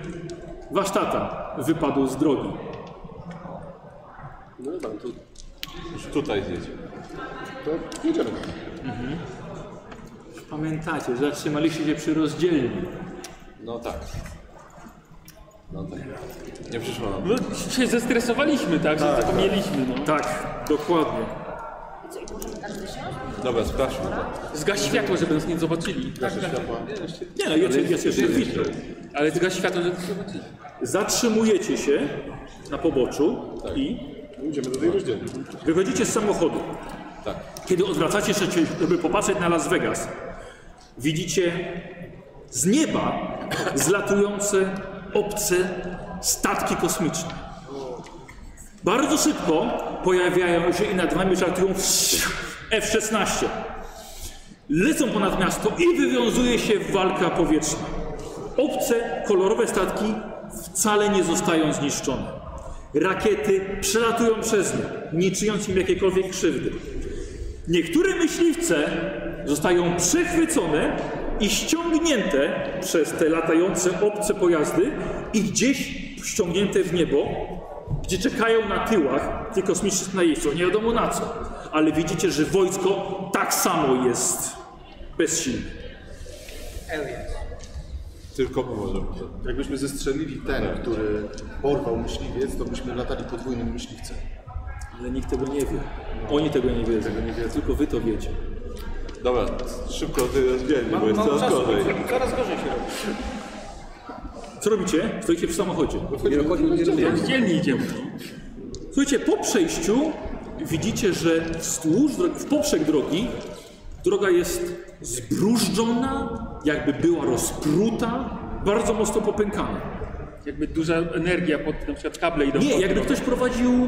S1: wasz tata wypadł z drogi.
S2: No dobra, to
S5: Już tutaj zjedzie.
S3: To jedziemy.
S1: Pamiętacie, że zatrzymaliście się przy rozdzielni.
S5: No tak. No tak. Nie przyszło nam.
S11: No się zestresowaliśmy, tak? Że zapomnieliśmy, no.
S1: Tak, dokładnie.
S9: Co, i możemy tak wysiąść?
S5: Dobra, sprawdźmy to.
S11: Zgaś światło, żeby nas nie zobaczyli.
S1: Nie no, jest, jest jeszcze widzę.
S11: Ale zgaś światło, żeby nas nie zobaczyli.
S1: Zatrzymujecie się na poboczu i
S3: Idziemy do tej rozdzielni.
S1: wychodzicie z samochodu.
S5: Tak.
S1: Kiedy odwracacie się, żeby popatrzeć na Las Vegas, widzicie z nieba [COUGHS] zlatujące obce statki kosmiczne. Bardzo szybko pojawiają się i nad wami żartują F-16. Lecą ponad miasto i wywiązuje się walka powietrzna. Obce, kolorowe statki wcale nie zostają zniszczone. Rakiety przelatują przez nie, nie czyniąc im jakiejkolwiek krzywdy. Niektóre myśliwce zostają przechwycone i ściągnięte przez te latające obce pojazdy i gdzieś ściągnięte w niebo, gdzie czekają na tyłach tych kosmicznych najeźdźców. Nie wiadomo na co, ale widzicie, że wojsko tak samo jest bezsilne.
S5: Tylko my możemy.
S3: Jakbyśmy zestrzelili ten, który porwał myśliwiec, to byśmy latali podwójnym myśliwcem.
S1: Ale nikt tego nie wie. Oni tego nie wiedzą. Tylko wy to wiecie.
S5: Dobra, szybko ty rozdzielnie, bo jest
S8: Mało
S5: coraz
S8: czasu,
S5: gorzej.
S8: coraz gorzej się robi.
S1: Co robicie? Stoicie w samochodzie.
S11: Dzielnie idziemy.
S1: Słuchajcie, po przejściu widzicie, że wzdłuż, drogi- w poprzek drogi droga jest zbrużdżona, jakby była rozpruta, bardzo mocno popękana.
S11: Jakby duża energia pod na przykład kable idą.
S1: Nie,
S11: pod-
S1: jakby ktoś prowadził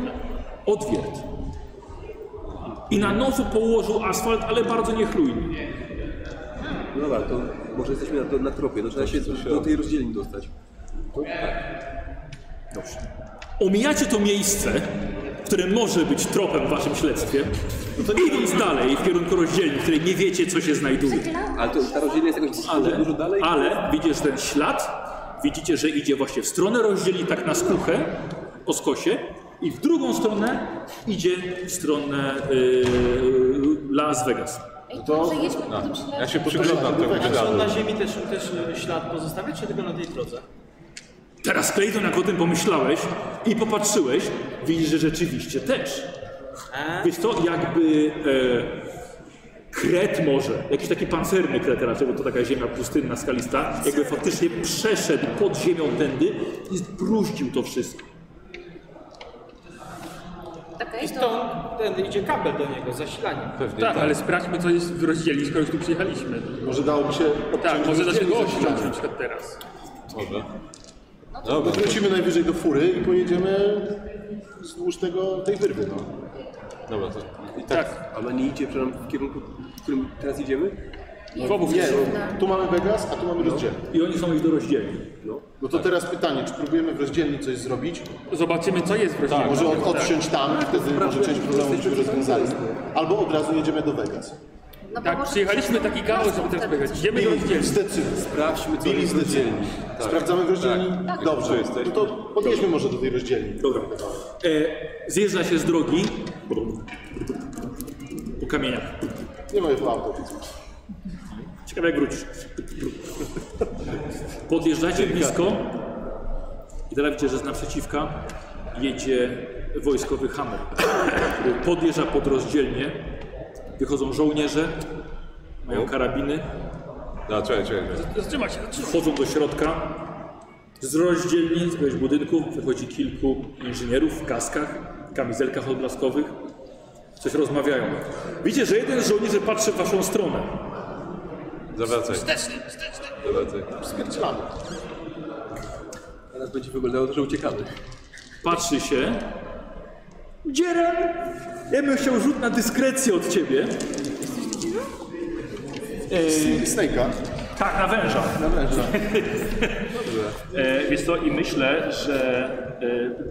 S1: odwiert. I na nowo położył asfalt, ale bardzo niechlujnie.
S2: No dobra, to może jesteśmy na, na tropie, no trzeba się do, do tej rozdzielni dostać.
S1: Omijacie to miejsce, które może być tropem w waszym śledztwie,
S2: No
S1: idąc dalej w kierunku rozdzielni, w której nie wiecie, co się znajduje.
S2: Ale to ta rozdzielnia jest jakoś
S1: Ale,
S2: dużo, dużo dalej?
S1: ale widzisz ten ślad, widzicie, że idzie właśnie w stronę rozdzieli tak na skuchę, po skosie i w drugą stronę idzie w stronę yy, Las Vegas.
S9: Ej,
S3: to-
S9: to może jedźmy po tym
S5: Ja
S9: śledzie.
S5: się przyglądam temu
S8: A czy on
S5: wydarzeniu.
S8: na ziemi też, też y, ślad pozostawia, czy tylko na tej drodze?
S1: Teraz Clayton, jak o tym pomyślałeś i popatrzyłeś, widzisz, że rzeczywiście też.
S8: A?
S1: Wiesz to jakby e, kret może, jakiś taki pancerny kret raczej, bo to taka ziemia pustynna, skalista, jakby faktycznie przeszedł pod ziemią tędy i zbruździł to wszystko.
S9: Okej,
S8: I
S9: No to...
S8: stąd ten idzie kabel do niego, zasilanie.
S5: Pewnie
S11: Tak,
S5: tak.
S11: ale sprawdźmy co jest w rozdzielni, skoro już tu przyjechaliśmy.
S3: Może dałoby się
S11: Tak,
S3: obciąć
S11: może da się
S3: rozdzielnię
S11: go
S3: za
S11: osiągnąć
S3: chwilę.
S11: na przykład teraz.
S5: Może.
S3: No
S5: Dobra,
S3: wrócimy najwyżej do fury i pojedziemy wzdłuż tego, tej wyrwy, no.
S5: dobra. To. I tak,
S11: Tak,
S2: A ona nie idzie przepraszam, w kierunku, w którym teraz idziemy?
S9: Nie,
S3: Nie, no, tu mamy Vegas, a tu mamy rozdzielnie.
S1: I oni są ich do rozdzielni.
S3: No to teraz pytanie, czy próbujemy w rozdzielni coś zrobić?
S11: zobaczymy co jest w rozdzielni.
S3: Może od, odciąć tam, wtedy może część problemu byśmy rozwiązali. Albo od razu jedziemy do Vegas.
S9: No bo
S11: Tak,
S9: może
S11: przyjechaliśmy taki chaos, żeby teraz pojechać. Idziemy do rozdzielni.
S3: Zdecydowanie.
S2: Sprawdźmy, co
S3: Bili
S2: jest w rozdzielni.
S3: Sprawdzamy w rozdzielni?
S9: Tak.
S3: Dobrze,
S5: Tu jesteś.
S3: no to podjedźmy może do tej rozdzielni.
S1: Dobra. E, zjeżdża się z drogi po kamieniach.
S3: Nie ma już auto.
S1: Ciekawe jak wrócisz. Podjeżdżacie blisko i teraz widzicie, że z naprzeciwka jedzie wojskowy Hammer, który podjeżdża pod rozdzielnie. Wychodzą żołnierze, mają karabiny,
S5: no, czekaj, czekaj. czekaj.
S11: Zatrzymaj się, zatrzymaj.
S1: wchodzą do środka. Z rozdzielni, z jakiegoś budynku wychodzi kilku inżynierów w kaskach, kamizelkach odblaskowych. Coś rozmawiają. Widzicie, że jeden z żołnierzy patrzy w waszą stronę.
S5: Zawracaj. Zawracaj.
S3: Spierdzielamy.
S2: Teraz będzie wyglądało to, że uciekamy.
S1: patrzy się. Dzieran, ja bym chciał rzut na dyskrecję od ciebie.
S3: Snake'a.
S1: Tak, na węża.
S2: Dobra, że
S1: [LAUGHS] E, wiesz co, i myślę, że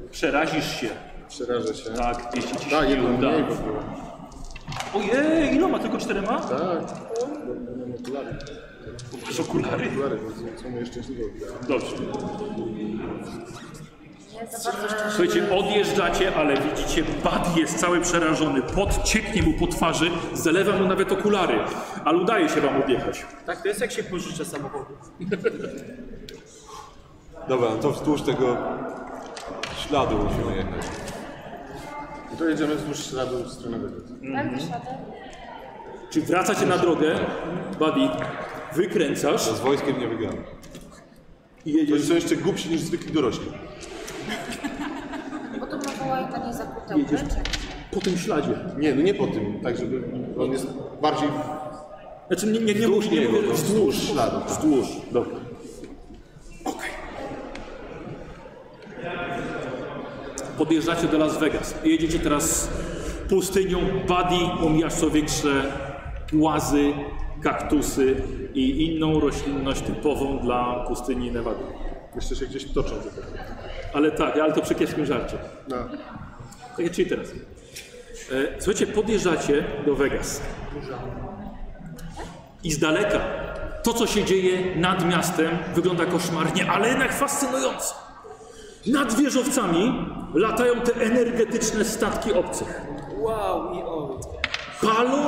S1: e, przerazisz się.
S3: Przerażę się.
S1: Tak, jeśli ci się
S3: Da,
S1: nie
S3: jedną
S1: uda.
S3: mniej w ogóle.
S1: Ojej, iloma? Tylko czterema?
S3: Tak. Bo Będą okulary.
S1: Masz okulary?
S3: Okulary, bo są moje szczęśliwe okulary.
S1: Dobrze.
S9: Nie za bardzo szczęśliwy.
S1: Słuchajcie, odjeżdżacie, ale widzicie, Bad jest cały przerażony. Pot cieknie mu po twarzy, zalewa mu nawet okulary. Ale udaje się wam objechać.
S8: Tak, to jest jak się pożycza samochodu.
S5: Dobra, no to wzdłuż tego śladu musimy jechać.
S3: I to jedziemy wzdłuż śladu w stronę wyjazdu.
S9: Tak, wysiadę.
S1: Czy wracacie na drogę, Buddy, wykręcasz
S5: To z wojskiem nie wygramy.
S1: i
S3: To
S1: jedziesz,
S3: są jeszcze głupsi niż zwykli dorośli.
S9: Podobno była i pani zakuta ubreczek.
S1: po tym śladzie.
S3: Nie, no nie po tym, tak żeby on jest bardziej
S1: Znaczy nie, nie, nie musi nie, mówię, wzdłuż śladu. Wzdłuż, dobra. Podjeżdżacie do Las Vegas. Jedziecie teraz pustynią, Buddy, omijasz co większe łazy, kaktusy i inną roślinność typową dla pustyni Nevada.
S3: jeszcze się gdzieś toczą. te takie.
S1: Ale tak, ale to przy kiepskim żarcie.
S3: No.
S1: Tak, czyli teraz. E, Słuchajcie, podjeżdżacie do Vegas. I z daleka to, co się dzieje nad miastem, wygląda koszmarnie, ale jednak fascynująco. Nad wieżowcami latają te energetyczne statki obcych.
S8: Wow, i o.
S1: Palą,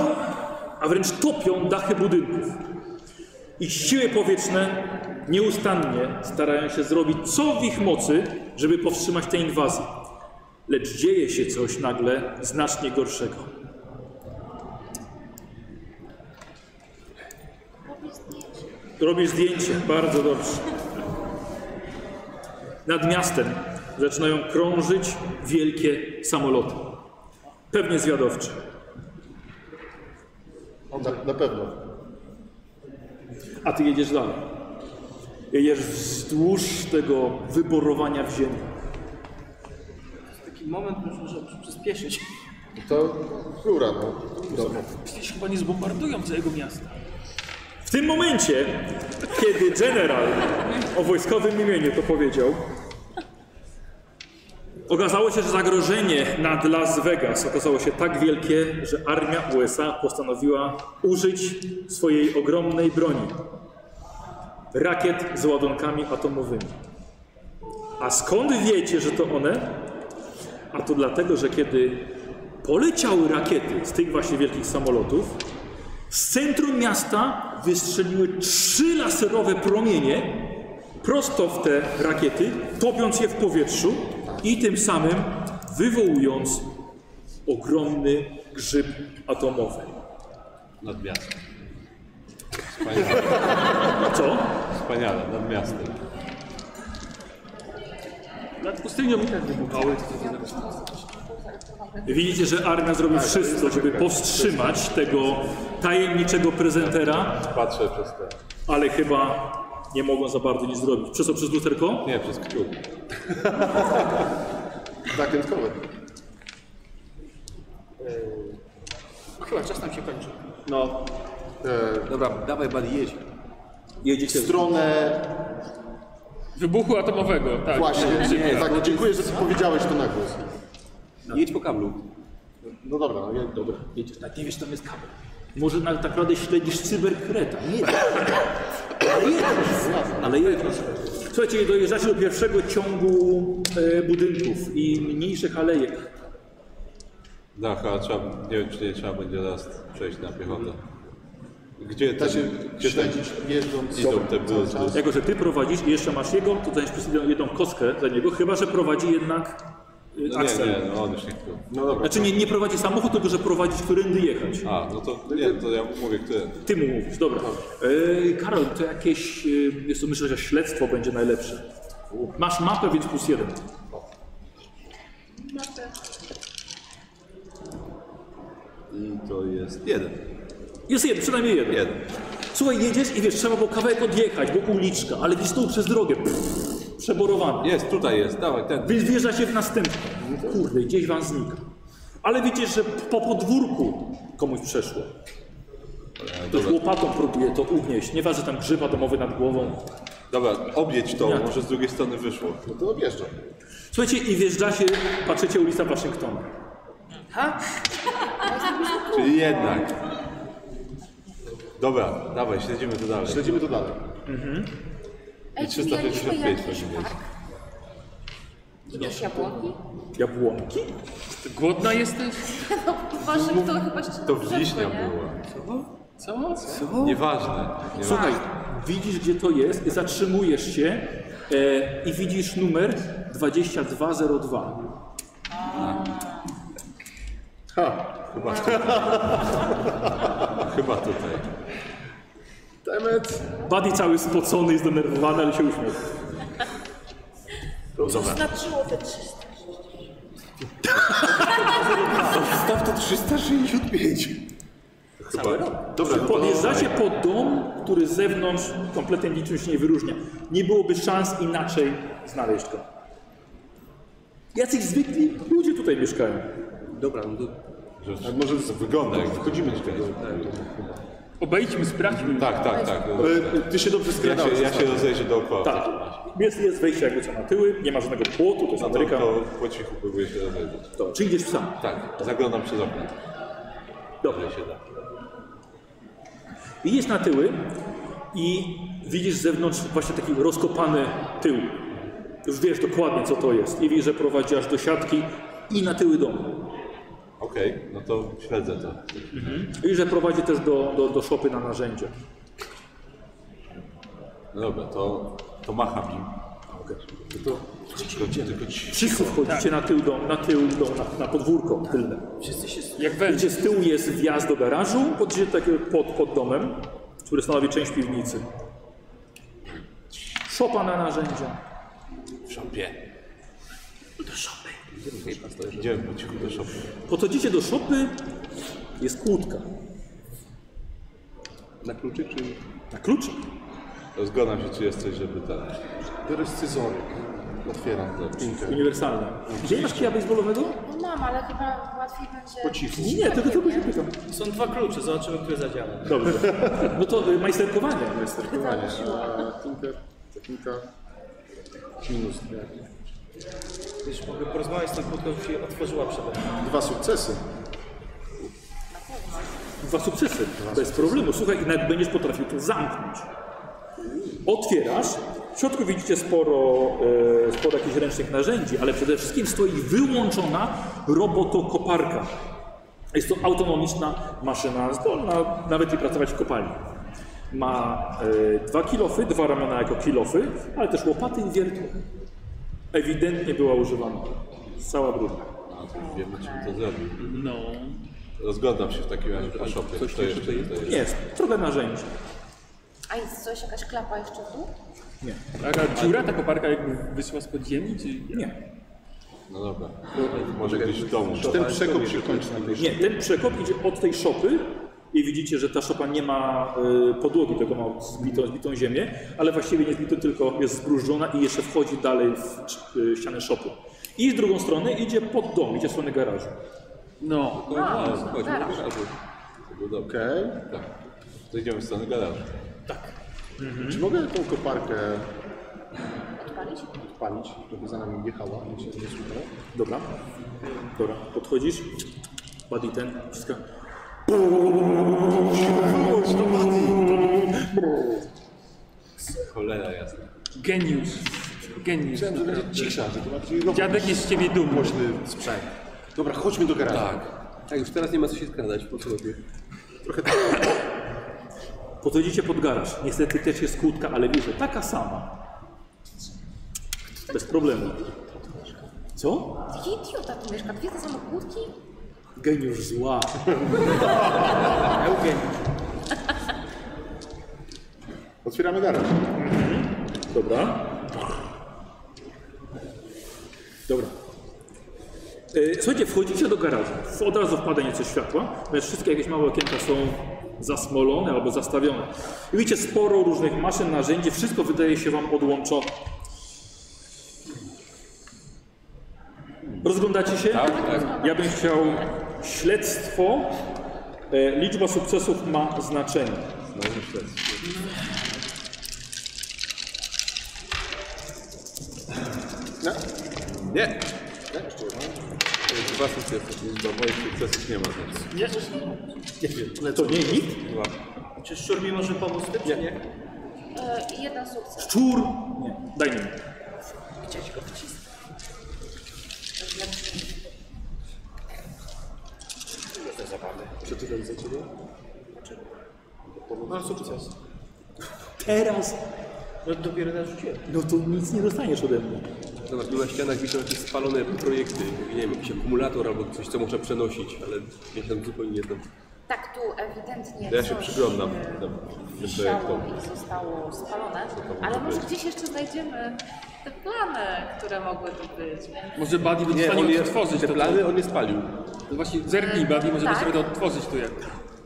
S1: a wręcz topią dachy budynków. Ich siły powietrzne nieustannie starają się zrobić co w ich mocy, żeby powstrzymać tę inwazję. Lecz dzieje się coś nagle znacznie gorszego. Robię zdjęcie, bardzo dobrze. Nad miastem zaczynają krążyć wielkie samoloty. Pewnie zwiadowcze.
S3: Na, na pewno.
S1: A ty jedziesz dalej. Jedziesz wzdłuż tego wyborowania w ziemi.
S8: Taki moment muszę że przyspieszyć.
S3: To rura, no. Dobra.
S11: Przecież chyba nie zbombardują całego miasta.
S1: W tym momencie, kiedy generał o wojskowym imieniu to powiedział, okazało się, że zagrożenie nad Las Vegas okazało się tak wielkie, że armia USA postanowiła użyć swojej ogromnej broni rakiet z ładunkami atomowymi. A skąd wiecie, że to one? A to dlatego, że kiedy poleciały rakiety z tych właśnie wielkich samolotów, z centrum miasta wystrzeliły trzy laserowe promienie prosto w te rakiety, topiąc je w powietrzu i tym samym wywołując ogromny grzyb atomowy.
S5: Nad miastem.
S1: Co?
S5: Wspaniale, nad miastem.
S11: Nad pustynią i tak wybuchały. co to znaczy.
S1: Widzicie, że armia zrobi wszystko, żeby powstrzymać tego tajemniczego prezentera,
S5: Patrzę przez te...
S1: ale chyba nie mogą za bardzo nic zrobić. Przez co? Przez lusterko?
S5: Nie, przez kciuk.
S3: Zakrętkowe.
S8: Chyba czas nam się kończy.
S1: No.
S3: E,
S6: Dobra, dawaj, buddy, jedź.
S3: w stronę
S11: Wybuchu atomowego, tak.
S3: właśnie. tak, dziękuję, że powiedziałeś to na głos.
S6: Jedź po kablu.
S3: No dobra, no, ja, dobra.
S1: Nie wiesz, tam jest kabel. Może na, tak naprawdę śledzisz cyberkreta. Nie. Ale jedno. Słuchajcie, dojeżdżacie do pierwszego ciągu e, budynków i mniejszych alejek.
S5: No, chyba trzeba, nie wiem, czy nie trzeba będzie raz przejść na piechotę. Gdzie
S3: Da
S5: ten,
S3: się
S5: gdzie ten
S3: śledzić jeżdżąc.
S5: idą te busy?
S1: Jako, że ty prowadzisz i jeszcze masz jego, to dajesz przez jedną- jedną kostkę za niego, chyba, że prowadzi jednak e,
S5: No nie,
S1: Axel.
S5: nie, no on już nie chciał.
S3: No dobra.
S1: Znaczy nie, nie prowadzi samochód, tylko że prowadzi, którędy jechać.
S5: A, no to nie, to ja mówię, który.
S1: Ty mu mówisz, dobra. E, Karol, to jakieś, e, jest to myślę, że śledztwo będzie najlepsze. Masz mapę, więc plus jeden.
S5: I to jest jeden.
S1: Jest jeden, przynajmniej jeden.
S5: Jeden.
S1: Słuchaj, jedziesz i wiesz, trzeba było kawałek odjechać, bo uliczka, ale gdzieś tu przez drogę, pff, przeborowany.
S5: Jest, tutaj jest, dawaj, ten.
S1: Więc wjeżdża się w następny. Kurde, gdzieś wam znika. Ale wiecie, że po podwórku komuś przeszło. Ktoś łopatą próbuje to ugnieść. Nieważne, tam grzyb atomowy nad głową.
S5: Dobra, objedź to, może z drugiej strony wyszło.
S3: No to objeżdżam.
S1: Słuchajcie, i wjeżdżacie, patrzycie ulica Waszyngtona.
S5: Czyli jednak. Dobra, dawaj, śledzimy to dalej.
S3: Śledzimy to dalej.
S9: Ej, czy mieliśmy
S5: 355
S9: jakiś
S5: będzie.
S9: park? Idziesz jabłonki?
S1: Jabłonki?
S11: Ty głodna jesteś?
S9: No, w Waszyngton chyba jeszcze
S5: To
S9: na
S5: w
S9: początku,
S5: wiśnia
S9: nie?
S5: było.
S11: Co?
S5: Nieważne. Nieważne.
S1: Słuchaj, widzisz gdzie to jest, zatrzymujesz się e, i widzisz numer 2202.
S5: Chyba tutaj. Chyba tutaj.
S3: Demet.
S1: Buddy cały spocony i zdenerwowany, ale się uśmiech.
S16: Znaczyło te 300.
S3: Staw to 365.
S1: Cały rok.
S3: Dobra, no to...
S1: Podjeżdżacie pod dom, który z zewnątrz kompletnie niczym się nie wyróżnia. Nie byłoby szans inaczej znaleźć go. Jacyś zwykli ludzie tutaj mieszkają.
S6: Dobra, no to
S3: Tak,
S5: Że- Może wygląda jak wchodzimy do tego.
S6: Tak.
S11: Obejdźmy, sprawdźmy.
S5: Tak, tak, tak.
S3: E, Ty się dobrze
S5: Ja
S3: skradałeś.
S5: się, ja się rozejrzę dookoła.
S1: Tak. Jest, jest wejście jakby co na tyły, nie ma żadnego płotu, to jest
S5: No to,
S1: Ameryka.
S5: to po cichu próbuję się rozejrzeć.
S1: To, czy idziesz sam?
S5: Tak, zaglądam przez okno.
S1: Dobrze.
S5: Się da.
S1: Idziesz na tyły i widzisz z zewnątrz właśnie taki rozkopany tył. Już wiesz dokładnie co to jest i widzisz, że prowadzi aż do siatki i na tyły domu.
S5: Okej, no to śledzę to.
S1: I że prowadzi też do, do, do szopy na narzędzia.
S5: No dobra, to, to macham im. Tylko, tylko ci...
S1: Wszyscy wchodzicie na tył dom, na tył dom, na, na podwórko tylne.
S11: Jak wejdzie.
S1: Gdzie z tyłu jest wjazd do garażu, podjedziecie do takiego pod, pod domem, który stanowi część piwnicy. Szopa na narzędzia.
S5: W szopie. Do szopy. Idziemy po cichu do szopy.
S1: Podchodzicie do szopy, jest kłódka.
S6: na kluczy czy...
S1: Na klucz?
S5: Rozglądam się, czy jest coś, żeby tak.
S3: Biorę scyzoryk. Otwieram to. Pinkę.
S1: Uniwersalna. Gdzie masz kija baseballowego?
S9: No mam, ale chyba łatwiej będzie...
S3: Po cichu.
S1: Nie, tylko tylko się pytam.
S8: Są dwa klucze, zobaczymy, które zadziała.
S1: Dobrze. No to y, majsterkowanie.
S3: Pływanie. A, Tinker. Technika. Minus. nie.
S8: Wiesz, mogę porozmawiać z tą kłódką, żeby się otworzyła przede mną.
S3: Dwa sukcesy.
S1: Dwa sukcesy. Bez problemu. Słuchaj, i nawet będziesz potrafił to zamknąć. Otwierasz. W środku widzicie sporo, e, sporo jakichś ręcznych narzędzi, ale przede wszystkim stoi wyłączona robotokoparka. Jest to autonomiczna maszyna, zdolna nawet i pracować w kopalni. Ma e, dwa kilofy, dwa ramiona jako kilofy, ale też łopaty i wiertło. Ewidentnie była używana. Cała brudna.
S5: A, to już wiemy, czym to zrobił.
S11: No.
S5: Rozglądam się w takim razie po szopie. Coś to jeszcze tutaj jest.
S1: Jest, trochę narzędzi.
S9: A jest coś, jakaś klapa jeszcze tu?
S11: Taka dziura, ta koparka jakby wyszła z podziemi, czy...
S1: Nie.
S5: No dobra. Może gdzieś w domu.
S3: Czy ten przekop się kończy na tej
S1: Nie, ten przekop idzie od tej szopy i widzicie, że ta szopa nie ma y, podłogi, tylko ma zbitą, zbitą ziemię, ale właściwie nie zbitą, tylko jest zbrużona i jeszcze wchodzi dalej w cz- y, ścianę szopy. I z drugą strony idzie pod dom, idzie w stronę garażu.
S11: No.
S5: No, no, chodźmy do
S9: garaż.
S5: garażu. To było dobre.
S3: Okej.
S5: Tak. To idziemy w stronę garażu.
S3: Czy mogę tą koparkę
S9: Odpalić?
S3: odpalić, żeby za nami jechała? Jak się nie słuchało?
S1: Dobra, dobra, podchodzisz, buddy ten, wszystko.
S5: Cholera jasna.
S11: Geniusz. Geniusz.
S3: Myślałem, że będzie cisza, że to ma być robot.
S11: Dziadek jest z ciebie dumny.
S3: Mocny sprzęt. Dobra, chodźmy do garażu. Tak.
S6: Tak, już teraz nie ma co się skradać po sobie.
S1: Podchodzicie pod garaż. Niestety też jest kłódka, ale wiesz, że taka sama. Bez problemu. Co?
S9: Jaki idiota tu mieszka? Dwie te same kłódki?
S1: Geniusz zła.
S3: Otwieramy garaż.
S1: Dobra. Dobra. E, Słuchajcie, wchodzicie do garażu. Od razu wpada nieco światła, natomiast wszystkie jakieś małe okienka są zasmolone albo zastawione. I widzicie sporo różnych maszyn, narzędzi, wszystko wydaje się wam odłączone. Rozglądacie się? Ja bym chciał śledztwo. E, Liczba sukcesów ma znaczenie.
S5: Nie! Dwa sukcesy, więc do moich sukcesów nie ma znaczenia.
S8: Nie?
S1: To nie nikt?
S5: Dwa.
S8: Czy szczur mi może pomóc w tym, czy nie?
S9: E, i jeden sukces.
S1: Szczur! Nie. Daj mi.
S9: Chciałeś go wcisnąć.
S3: Przeczytam za ciebie.
S8: Mam sukces.
S1: Teraz?
S8: No dopiero narzuciłem.
S1: No to nic nie dostaniesz ode mnie.
S6: Zobacz, tu na ścianach wiszą jakieś spalone projekty, nie wiem, jakiś akumulator albo coś, co można przenosić, ale ja się tam zupełnie nie znam.
S9: Tak, tu ewidentnie
S5: Ja się
S9: coś,
S5: przyglądam.
S9: e,
S5: Tam,
S9: wisiało i zostało spalone, ale może gdzieś jeszcze znajdziemy te plany, które mogły tu być. więc-
S11: Może Buddy będzie w
S6: Nie, on
S11: stanie
S6: je,
S11: odtworzyć
S6: te
S11: to.
S6: plany on je spalił.
S11: No właśnie, zerknij Buddy,
S9: Tak.
S11: może będzie sobie to odtworzyć tu jak.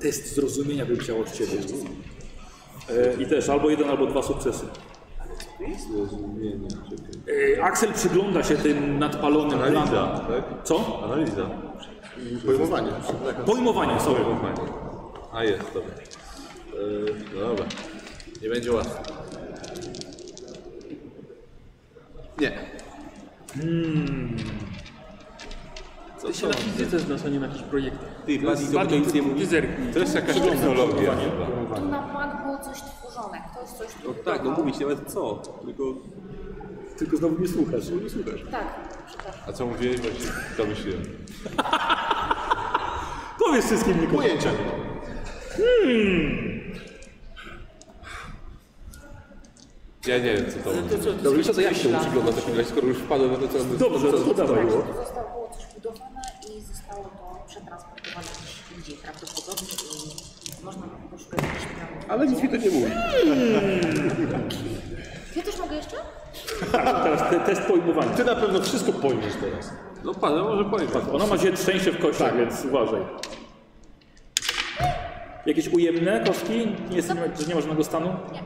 S1: Test zrozumienia bym chciał od ciebie. E, I też albo jeden, albo dwa sukcesy.
S5: Zrozumienie, czekaj.
S1: E, Axel przygląda się tym nadpalonym
S5: Analiza,
S1: planom.
S5: tak?
S1: Co?
S5: Analiza.
S3: Pojmowanie.
S1: Pojmowanie, sorry.
S5: Pojmowanie. A jest, dobra. Yy, dobra. Nie będzie łatwo.
S3: Nie.
S5: Co
S11: Ty się
S5: to?
S11: na fizyce znasz, a nie na jakichś projektach.
S6: Ty, Buddy, do
S11: Buddy,
S6: mnie nic nie
S11: ty
S6: mówi.
S11: zerknij.
S5: To jest jakaś technologia chyba.
S9: Tu na plan było coś tworzone, ktoś coś tu
S6: No tak, no
S9: budował.
S6: mówić nawet co, tylko...
S1: Tylko znowu nie słuchasz.
S6: nie słuchasz.
S9: Tak, przepraszam.
S5: A co mówiłeś, bo się
S6: [LAUGHS]
S5: domyśliłem.
S1: Powiedz wszystkim Nikola.
S3: Pojęcia.
S5: Hmm. Ja nie wiem, co to
S8: To co, to
S6: Dobrze, wiesz co, ja się przyglądam w takim razie, skoro już wpadłem na to, co nam
S1: Dobrze,
S6: co,
S1: to dawaj.
S9: Tak, tu zostało coś budowane i zostało to przetransportowane gdzieś indziej prawdopodobnie i można by poszukać jakichś planów.
S6: Ale nic mi to nie mówi.
S9: Ja też mogę jeszcze?
S1: Teraz te, test pojmowania.
S3: Ty na pewno wszystko pojmiesz teraz.
S6: No pan, może powiem.
S1: Tak, ona ma się trzęsie w kościach, więc uważaj. Jakieś ujemne kości? Nie, jest, że nie ma żadnego stanu?
S9: Nie.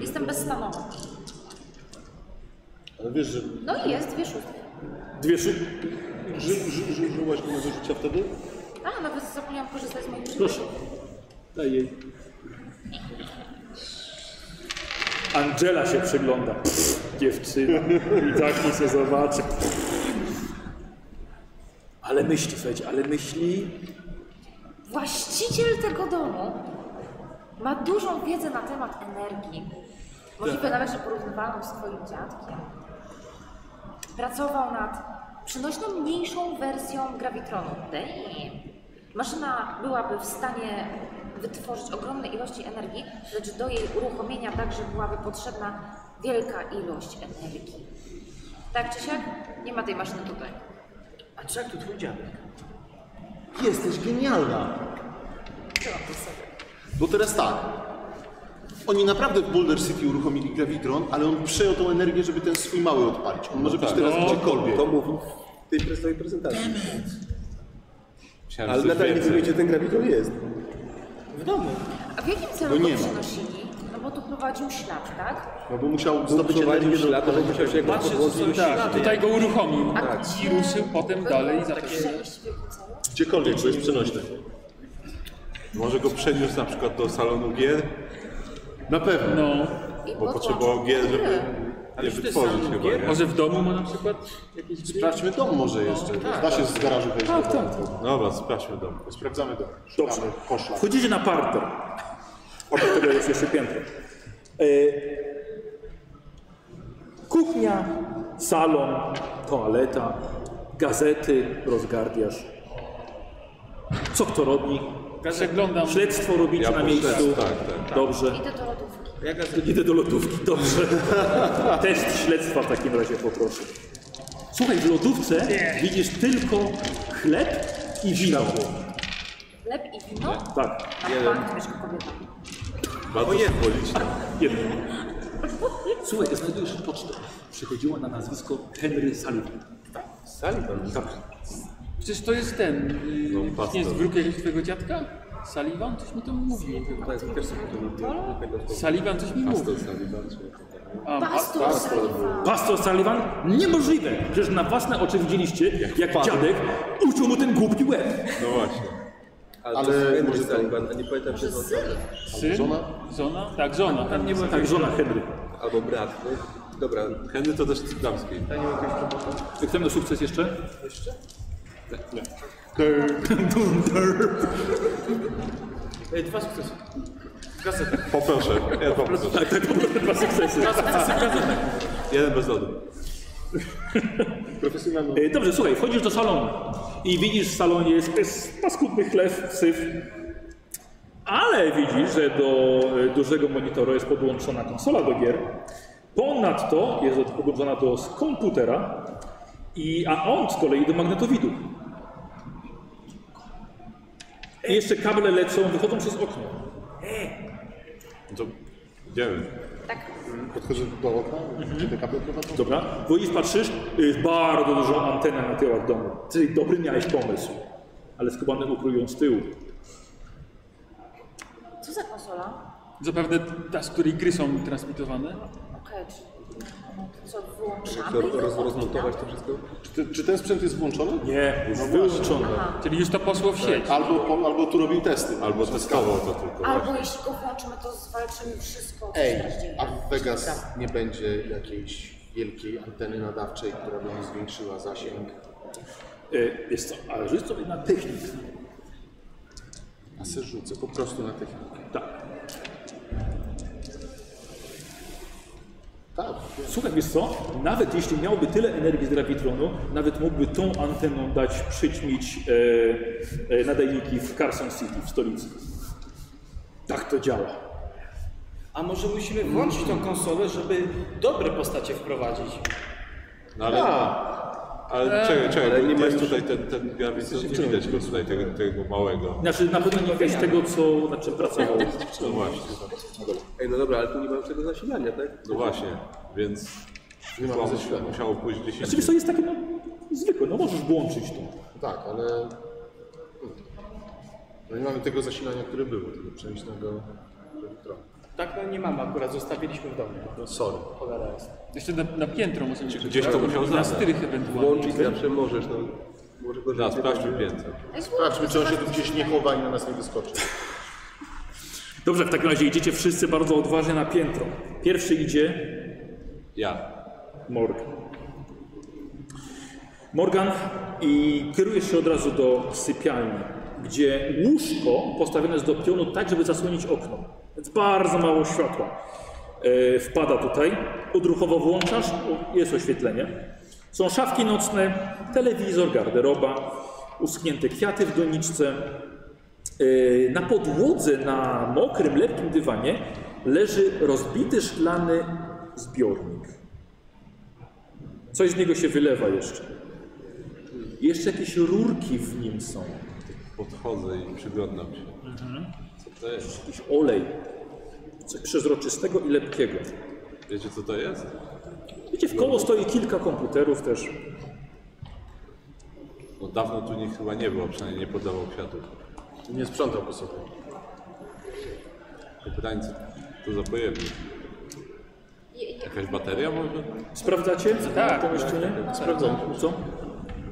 S9: Jestem bezstanowa.
S3: Ale wiesz, że
S9: No i jest, wiesz, ósmy.
S1: Dwie szyby.
S3: ży, ży, ży, żyłaś do mojego życia wtedy?
S9: A, nawet zapomniałam korzystać z moich
S1: Proszę. Daj jej. Angela się przygląda. Pff, Dziewczyna. I tak nie się zobaczy. Pff. Ale myśli, słuchajcie, ale myśli.
S9: Właściciel tego domu ma dużą wiedzę na temat energii. Możliwe
S3: Tak.
S9: nawet, że porównywalną z twoim dziadkiem. Pracował nad przynośną mniejszą wersją grawitronu. Damn. Maszyna byłaby w stanie wytworzyć ogromne ilości energii, lecz do jej uruchomienia także byłaby potrzebna wielka ilość energii. Tak czy siak, nie ma tej maszyny tutaj.
S8: A czy jak tu twój dziadek?
S3: Jesteś genialna. Bo teraz tak. Oni naprawdę w Boulder City uruchomili Gravitron, ale on przejął tą energię, żeby ten swój mały odpalić. On może być teraz gdziekolwiek.
S6: To mówi w tej pre- całej prezentacji.
S5: Myślałem,
S6: Ale
S5: że coś
S6: nadal nie
S5: więcej.
S6: wiem, gdzie ten graviton jest.
S8: W domu.
S9: A w jakim celu
S3: No
S9: go
S3: nie ma.
S9: przynosili? No bo tu prowadził ślad, tak?
S3: No bo musiał zdobyć energię
S6: Prowadził
S3: do...
S6: ślad, ale musiał się jakby
S8: Patrzę, co są
S6: podłączyć.
S8: ślady.
S11: Tutaj go uruchomił
S1: Tak,
S9: A
S11: i ruszył potem dalej za
S9: Takie... Przejść w jakim celu?
S3: Gdziekolwiek, to jest przenośne.
S5: Może go przeniósł na przykład do salonu gier,
S3: Na pewno.
S11: No,
S9: I
S5: bo
S9: podłączył
S5: potrzebował gier,
S9: do
S5: żeby
S9: gry.
S5: je wytworzyć chyba, nie?
S11: może w domu ma na przykład jakieś drzwi?
S3: Sprawdźmy dom może jeszcze. Da się z garażu wejść. Tak, tak.
S5: Dobra, sprawdźmy dom.
S3: Sprawdzamy dom.
S1: Dobrze.
S3: Szukamy koszla.
S1: Wchodzicie na parter. Obok tego jest jeszcze piętro. E, Kuchnia, salon, toaleta, gazety, rozgardiasz. Co kto robi?
S11: Ja zaglądam.
S1: Śledztwo robicie
S5: Ja
S1: na
S5: po
S1: miejscu.
S5: śledztwo, tak, tak.
S1: Dobrze.
S9: Idę do lodówki.
S1: Idę do lodówki,
S5: [LAUGHS]
S1: dobrze. Test śledztwa w takim razie poproszę. Słuchaj, w lodówce widzisz tylko chleb i wino.
S9: Chleb i wino?
S1: Tak,
S9: Na bank mieszka kobieta.
S5: Bardzo symboliczne.
S1: jedno. Słuchaj, znajdujesz pocztę. Przychodziła na nazwisko Henry Sullivan.
S5: Sullivan?
S11: Przecież to jest ten. y,
S5: No,
S11: jakiś
S5: pastor.
S11: nie jest wróg jakiegoś twojego dziadka? Sullivan? Coś mi to mówił.
S6: Tak, pierwszy
S11: Sullivan coś mi mówił.
S5: Sullivan, czy jak to tam?
S11: A,
S9: Pastor Sullivan.
S1: Pastor Sullivan? Niemożliwe! Przecież na własne oczy widzieliście, jak dziadek uciął mu ten głupi łeb.
S5: No właśnie.
S6: Ale,
S3: Ale
S6: to jest Henry
S3: może to-
S6: Sullivan, a nie pamiętam, czy to
S11: Syn?
S3: Żona?
S11: Żona? Tak, żona.
S1: Tak, żona Henry.
S6: albo brat. nie? Dobra,
S5: Henry to też damskiej.
S1: Chcemy sukces jeszcze?
S8: E, Dwa sukcesy.
S5: Poproszę. Ja poproszę.
S1: Tak, tak, po- dwa sukcesy.
S5: Jeden bez lodu.
S1: E, Dobrze, słuchaj, wchodzisz do salonu i widzisz w salonie jest, jest paskudny chlew, syf, ale widzisz, że do e, dużego monitora jest podłączona konsola do gier. Ponadto jest od- podłączona do s- komputera, i, a on z kolei do magnetowidu. I jeszcze kable lecą, wychodzą przez okno.
S5: No to idziemy.
S9: Tak,
S3: Podchodzę do okna, gdzie te kable prowadzą.
S1: Dobra? Wchodzisz, patrzysz, jest bardzo dużą antenę na tyłach domu. Czyli dobry miałeś pomysł, ale skubany ukrył ją z tyłu.
S9: Co za konsola?
S11: Zapewne ta, z której gry są transmitowane.
S9: Okej, czy- to co wyłączamy? i
S6: roz,
S9: odpinamy?
S6: rozmontować to wszystko?
S3: Czy, te, czy ten sprzęt jest włączony?
S1: Nie, jest wyłączone.
S11: Czyli już to poszło w sieć.
S3: Albo, po- albo tu robił testy.
S5: Albo testował to tylko.
S9: Albo jeśli go włączymy, to zwalczymy wszystko.
S3: Ej,
S9: Ej,
S3: a w Vegas nie będzie jakiejś wielkiej anteny nadawczej, która by mi zwiększyła zasięg.
S1: Y, Jest to, ale jest to jedna technika.
S3: A se rzucę po prostu na technikę.
S1: Tak.
S3: Tak.
S1: Słuchaj, wiesz co? Nawet jeśli miałby tyle energii z gravitronu, nawet mógłby tą anteną dać przyćmić e, e, nadajniki w Carson City, w stolicy. Tak to działa.
S8: A może musimy włączyć tą konsolę, żeby dobre postacie wprowadzić?
S5: No ale... Ale czekaj, czekaj, bo nie jest tutaj ten, ten gawit, nie widać go tutaj, tego, tego małego.
S1: Znaczy na pewno nie wiesz tego, co, nad czym pracował. Znaczy,
S5: No właśnie,
S6: Ej, no dobra, ale tu nie mam tego zasilania, tak?
S5: no właśnie, więc...
S3: Nie mamy ze świata.
S5: Musiało pójść gdzieś
S1: Znaczy wiesz co,
S5: indziej.
S1: jest takie no, zwykłe, no możesz włączyć to.
S3: Tak, ale... hmm. No nie mamy tego zasilania, które było, tego przenośnego elektronu.
S8: Tak, no nie mamy akurat, zostawiliśmy w domu.
S3: No sorry.
S8: Cholera jest.
S11: Jeszcze na, na piętro możemy Czy
S5: gdzieś to musiał
S11: Na
S5: zabrać.
S11: strych ewentualnie.
S6: Włączyć zawsze możesz, no. Może go
S5: Da, sprawdźmy piętro.
S3: Sprawdźmy, czy on się tu gdzieś nie chowa i na nas nie wyskoczy.
S1: Dobrze, w takim razie idziecie wszyscy bardzo odważnie na piętro. Pierwszy idzie
S5: Ja.
S1: Morgan. Morgan i kierujesz się od razu do sypialni, gdzie łóżko postawione jest do pionu tak, żeby zasłonić okno. Więc bardzo mało światła e, wpada tutaj. Odruchowo włączasz, o, jest oświetlenie. Są szafki nocne, telewizor, garderoba, uschnięte kwiaty w doniczce. E, Na podłodze, na mokrym, lepkim dywanie leży rozbity szklany zbiornik. Coś z niego się wylewa jeszcze. Jeszcze jakieś rurki w nim są.
S5: Podchodzę i przyglądam się. Co to jest?
S1: Jakiś olej. Coś przezroczystego i lepkiego.
S5: Wiecie co to jest?
S1: Wiecie, w koło stoi kilka komputerów też.
S5: No dawno tu nikt chyba nie było, przynajmniej nie podawał kwiatów.
S3: Nie sprzątał po sobie.
S5: To pytanie, co to za pojemnik? Jakaś bateria może?
S1: Sprawdzacie? Tak. Pomieszczenie? Sprawdzam. Co?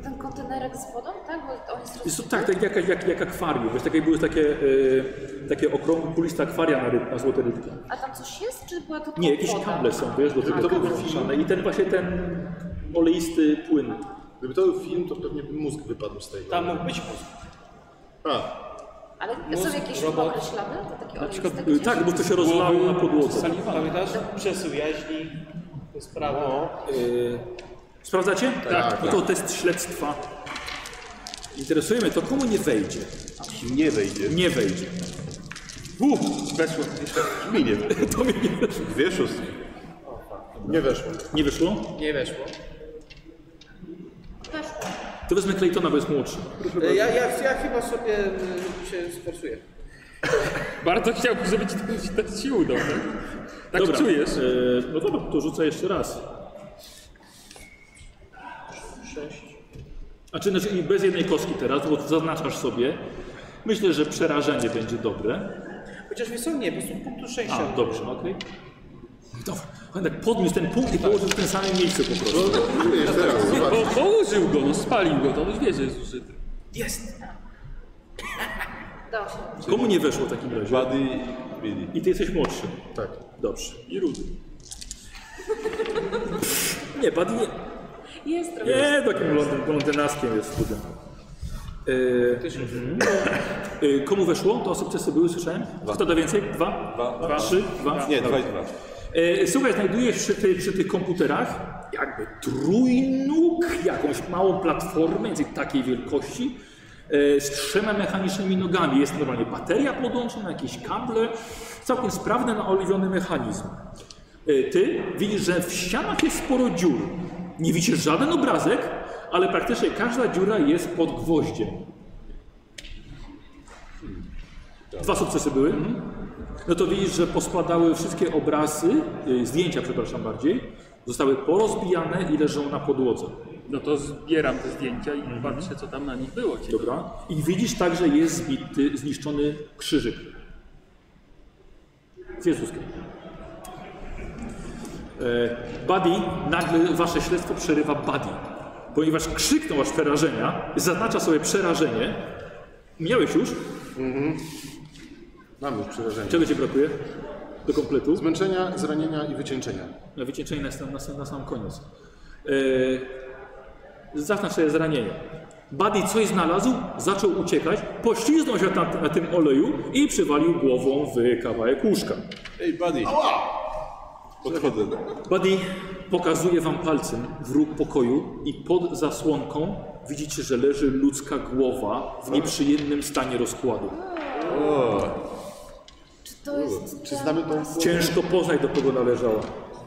S9: Ten kontenerek z wodą, tak? Bo on jest
S1: Jest to, tak, tak jak, jak, jak akwarium. Wiesz, takie były takie, e, takie okrągłe, kuliste akwaria na, ryb, na złote rybki.
S9: A tam coś jest, czy była tylko
S1: Nie, jakieś
S9: woda?
S1: kable są, wiesz, do tego włączane. I ten właśnie ten oleisty płyn.
S3: Gdyby to był film, to pewnie by mózg wypadł z
S1: Tak.
S3: tej.
S8: Tam mógł być mózg.
S3: A,
S9: Ale są
S8: Mózg,
S9: jakieś
S8: robot.
S9: mokre ślady? To takie
S1: Przykład,
S9: oleiste gdzieś?
S1: tak, bo to się rozlało na podłodze.
S8: Pamiętasz? Przesył jaźni, to sprawa.
S1: Sprawdzacie?
S3: Tak,
S1: No to test śledztwa. Interesujemy to, komu nie wejdzie.
S3: nie wejdzie.
S1: Nie wejdzie.
S11: Uff, weszło.
S3: Mi nie wejdzie.
S1: To mi nie weszło.
S5: Dwie szóstki.
S3: Nie weszło.
S1: Nie wyszło?
S8: Nie weszło.
S9: Weszło.
S1: To wezmę Claytona, bo jest młodszy.
S8: E, Ja, ja, ja chyba sobie y, się sforsuję.
S11: Bardzo chciałbym, żeby ci ten test się udał, tak? Tak
S1: Dobra.
S11: czujesz?
S1: E, no dobra, to rzucę jeszcze raz. A czy znaczy i bez jednej kostki teraz, bo zaznaczasz sobie. Myślę, że przerażenie będzie dobre.
S8: Chociaż wiesz co, nie, po prostu punktu szczęścia.
S1: A, dobrze, okej. Dobra, on tak podniósł ten punkt i położył w tym samym miejscu po prostu.
S11: Bo położył go, no spalił go, to już wie, że jest zużyty.
S8: Jest!
S9: Dało się.
S1: Komu nie weszło w takim razie?
S5: Buddy i Billy.
S1: Tak. I ty jesteś młodszy.
S3: Tak.
S1: Dobrze.
S11: I rudy.
S1: Nie, padł nie.
S9: Jest trochę.
S1: Nie, takim blondyn, blondynaskiem jest student. Yy, mhm. yy, komu weszło? To sukcesy były, słyszałem? Kto da więcej? Dwa?
S5: Dwa.
S1: Trzy? Dwa?
S5: Nie, dwa i dwa.
S1: E, Słuchaj, znajdujesz przy, ty, przy tych komputerach jakby trójnóg, jakąś małą platformę więc takiej wielkości e, z trzema mechanicznymi nogami. Jest normalnie bateria podłączona, jakieś kable, całkiem sprawny, naoliwiony mechanizm. E, Ty widzisz, że w ścianach jest sporo dziur. Nie widzisz żaden obrazek, ale praktycznie każda dziura jest pod gwoździem. Dwa sukcesy były. No to widzisz, że pospadały wszystkie obrazy, y, zdjęcia, przepraszam bardziej, zostały porozbijane i leżą na podłodze.
S4: No to zbieram te zdjęcia i patrzę, co tam na nich było. Cię
S1: Dobra. I widzisz także jest zbity, zniszczony krzyżyk. Z Jezuskiem. E, Buddy, nagle wasze śledztwo przerywa Buddy. Ponieważ krzyknął aż przerażenia, zaznacza sobie przerażenie. Miałeś już?
S3: Mam już przerażenie.
S1: Czego ci brakuje? Do kompletu?
S3: Zmęczenia, zranienia i wycieńczenia.
S1: Na wycieńczenie na, sam- na, sam- na sam koniec. Yy, zaznacz sobie zranienie. Buddy coś znalazł, zaczął uciekać, poślizgnął się na, na tym oleju i przywalił głową w kawałek łóżka.
S5: Ej, buddy. Podchodzę.
S1: Buddy pokazuje wam palcem w róg pokoju i pod zasłonką widzicie, że leży ludzka głowa w nieprzyjemnym stanie rozkładu.
S9: Czy to jest.
S3: Czy znamy tą
S1: Ciężko poznać, do kogo należała.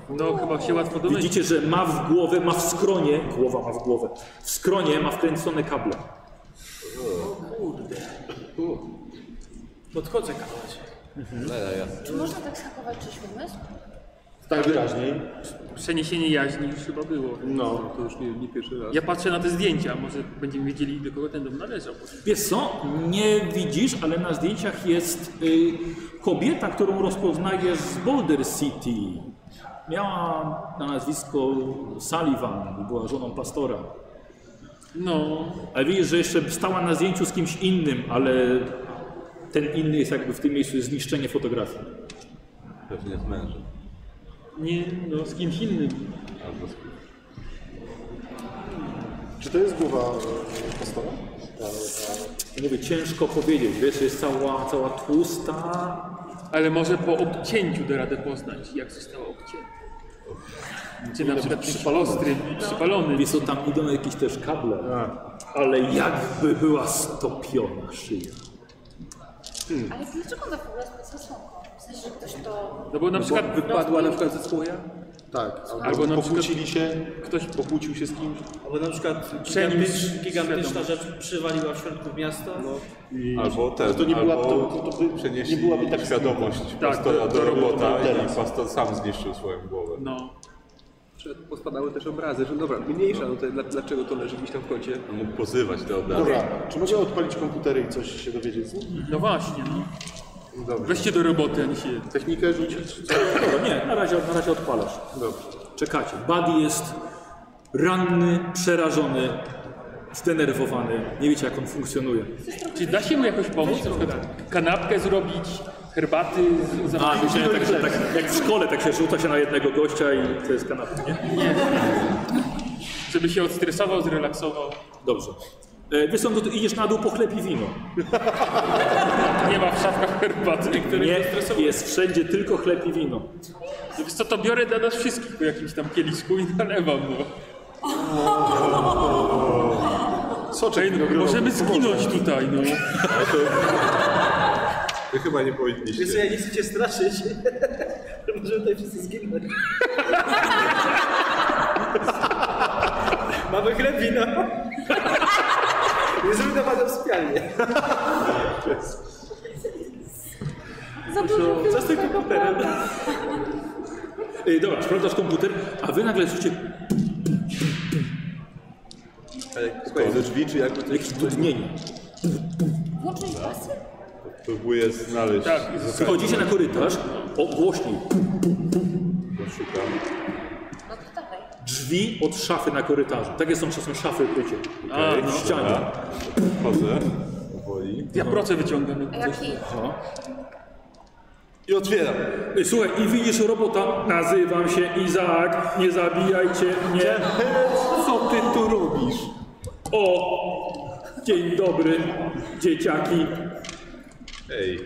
S4: No chyba się łatwo domyślić.
S1: Widzicie, że ma w głowę, ma w skronie, głowa ma w głowę, w skronie ma wkręcone kable.
S8: Podchodzę kawałek.
S9: Czy można tak schakować czyś umysł?
S3: Tak wyraźniej.
S4: Przeniesienie jaźni już chyba było.
S3: No.
S17: To już nie, nie pierwszy raz.
S4: Ja patrzę na te zdjęcia, może będziemy wiedzieli, do kogo ten dom należał.
S1: Wiesz co, nie widzisz, ale na zdjęciach jest y, kobieta, którą rozpoznajesz z Boulder City. Miała na nazwisko Sullivan, była żoną pastora.
S4: No,
S1: Ale widzisz, że jeszcze stała na zdjęciu z kimś innym, ale ten inny jest jakby w tym miejscu jest zniszczenie fotografii.
S5: Pewnie z mężem.
S4: nie, no z kimś innym.
S5: Albo z kim.
S3: Czy to jest głowa e, pastora?
S1: Mówię, ciężko powiedzieć, wiesz, jest cała, cała tłusta,
S4: Ale może po obcięciu da radę poznać, jak zostało obcięte. Czy na przykład przypalostry, przypalony.
S1: Wiesz co, tam idą jakieś też kable, ale jakby była stopiona szyja.
S9: Ale dlaczego ona w ogóle jest pod zasłonką? W sensie, że ktoś to.
S4: No bo na przykład
S6: Wypadła na przykład ze słoja?
S3: Tak.
S4: Albo na
S3: pokłócili się, ktoś pokłócił się z kimś.
S8: Albo na przykład
S4: Przeniósł
S8: gigantycz, gigantyczna rzecz No. przywaliła w środku miasta.
S5: Albo ten,
S3: No to nie była-
S5: albo
S3: to- to- to by-
S5: przenieśli
S3: nie byłaby tak-
S5: świadomość pastora
S4: do-
S5: do,
S4: do
S5: robota
S3: robota.
S5: i pastor sam zniszczył swoją głowę.
S4: no,
S6: Przed- Pospadały też obrazy, że dobra, mniejsza, no to dla, dlaczego to leży gdzieś tam w kącie?
S5: Mógł pozywać te obrazy.
S3: Dobra, czy możemy odpalić komputery i coś się dowiedzieć z nich?
S4: no właśnie, no.
S3: Dobra.
S4: Weźcie do roboty, a nie się...
S3: Technikę rzucić? Co?
S1: Dobra, No nie, na razie, na razie odpalasz.
S3: Dobrze.
S1: Czekacie. Buddy jest ranny, przerażony, zdenerwowany. Nie wiecie, jak on funkcjonuje.
S4: Czy da się mu jakoś pomóc? Na przykład kanapkę zrobić, herbaty z-
S1: A,
S4: zamówić?
S1: myślałem, tak, się- tak, jak w szkole, tak się rzuca się na jednego gościa i to jest kanapa, nie?
S4: żeby się odstresował, zrelaksował.
S1: Dobrze. E, Wiesz co, no to idziesz na dół po chleb i wino.
S4: Nie ma w szafkach herbaty, które nie
S1: Nie,
S4: stresował.
S1: jest wszędzie tylko chleb i wino.
S4: Wiesz co, to biorę dla nas wszystkich po jakimś tam kieliszku i nalewam, no.
S3: Soczek
S4: Ej, no,
S3: winogrodowy.
S4: możemy zginąć tutaj, no.
S5: Wy chyba nie
S8: Wiesz co, ja
S5: powinniście.
S8: nie chcę cię straszyć. [LAUGHS] Możemy tutaj wszyscy zginąć. [LAUGHS] Mamy chleb wino. [LAUGHS] Nie zrób na wspialnie.
S9: Za dużo.
S8: Co z tym komputerem?
S1: E, Dobra, sprawdzasz komputer, a wy nagle słyszycie
S17: Ale
S5: Słuchaj, ze drzwi czy jakby coś...
S1: jakieś dudnienie.
S9: Włączyć pasy?
S5: Próbuję znaleźć.
S4: Tak,
S1: Schodzicie na korytarz, o, głośniej.
S5: Szukam.
S9: No to dawaj.
S1: Drzwi od szafy na korytarzu. Takie są czasem szafy krycie.
S5: Okej,
S1: w ścianie.
S5: dobra. Wchodzę. Powoli.
S4: Ja proce wyciągam.
S9: A jaki?
S1: No.
S3: I otwieram.
S1: Ej, Słuchaj, i widzisz robota, nazywam się Izaak, nie zabijajcie mnie.
S2: Co ty tu robisz?
S1: O, dzień dobry, dzieciaki.
S5: Ej,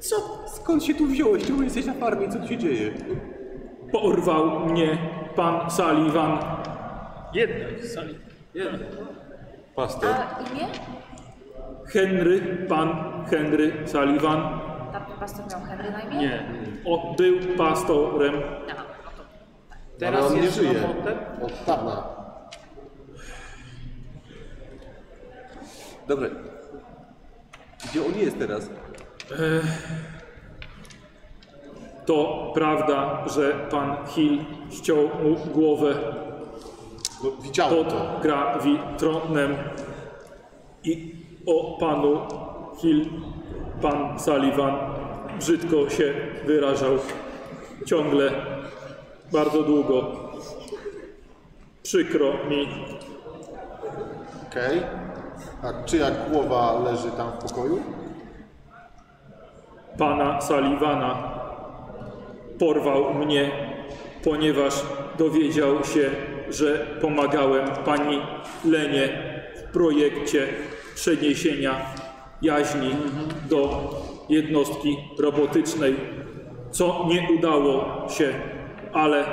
S2: Co? Skąd się tu wziąłeś? Czemu jesteś na farmie? Co tu się dzieje?
S1: Porwał mnie pan Sullivan.
S11: Jedna z sali. Jedna.
S5: pastor.
S9: A imię?
S1: Henry, pan Henry Sullivan.
S9: Tam pastor miał Henry na imię?
S1: Nie, on był pastorem.
S9: Aha, no to
S3: Ale
S8: Teraz
S3: on nie
S8: jest
S3: żyje.
S8: robotem.
S3: Od dawna.
S6: Dobra. Gdzie on jest teraz?
S1: To prawda, że pan Hill ściął mu głowę
S3: No, widziałem
S1: pod
S3: to.
S1: grawitronem i o panu Hill, pan Sullivan brzydko się wyrażał ciągle, bardzo długo. Przykro mi,
S3: Okej. A czyja głowa leży tam w pokoju?
S1: pana Sullivana porwał mnie, ponieważ dowiedział się, że pomagałem pani Lenie w projekcie przeniesienia jaźni do jednostki robotycznej, co nie udało się, ale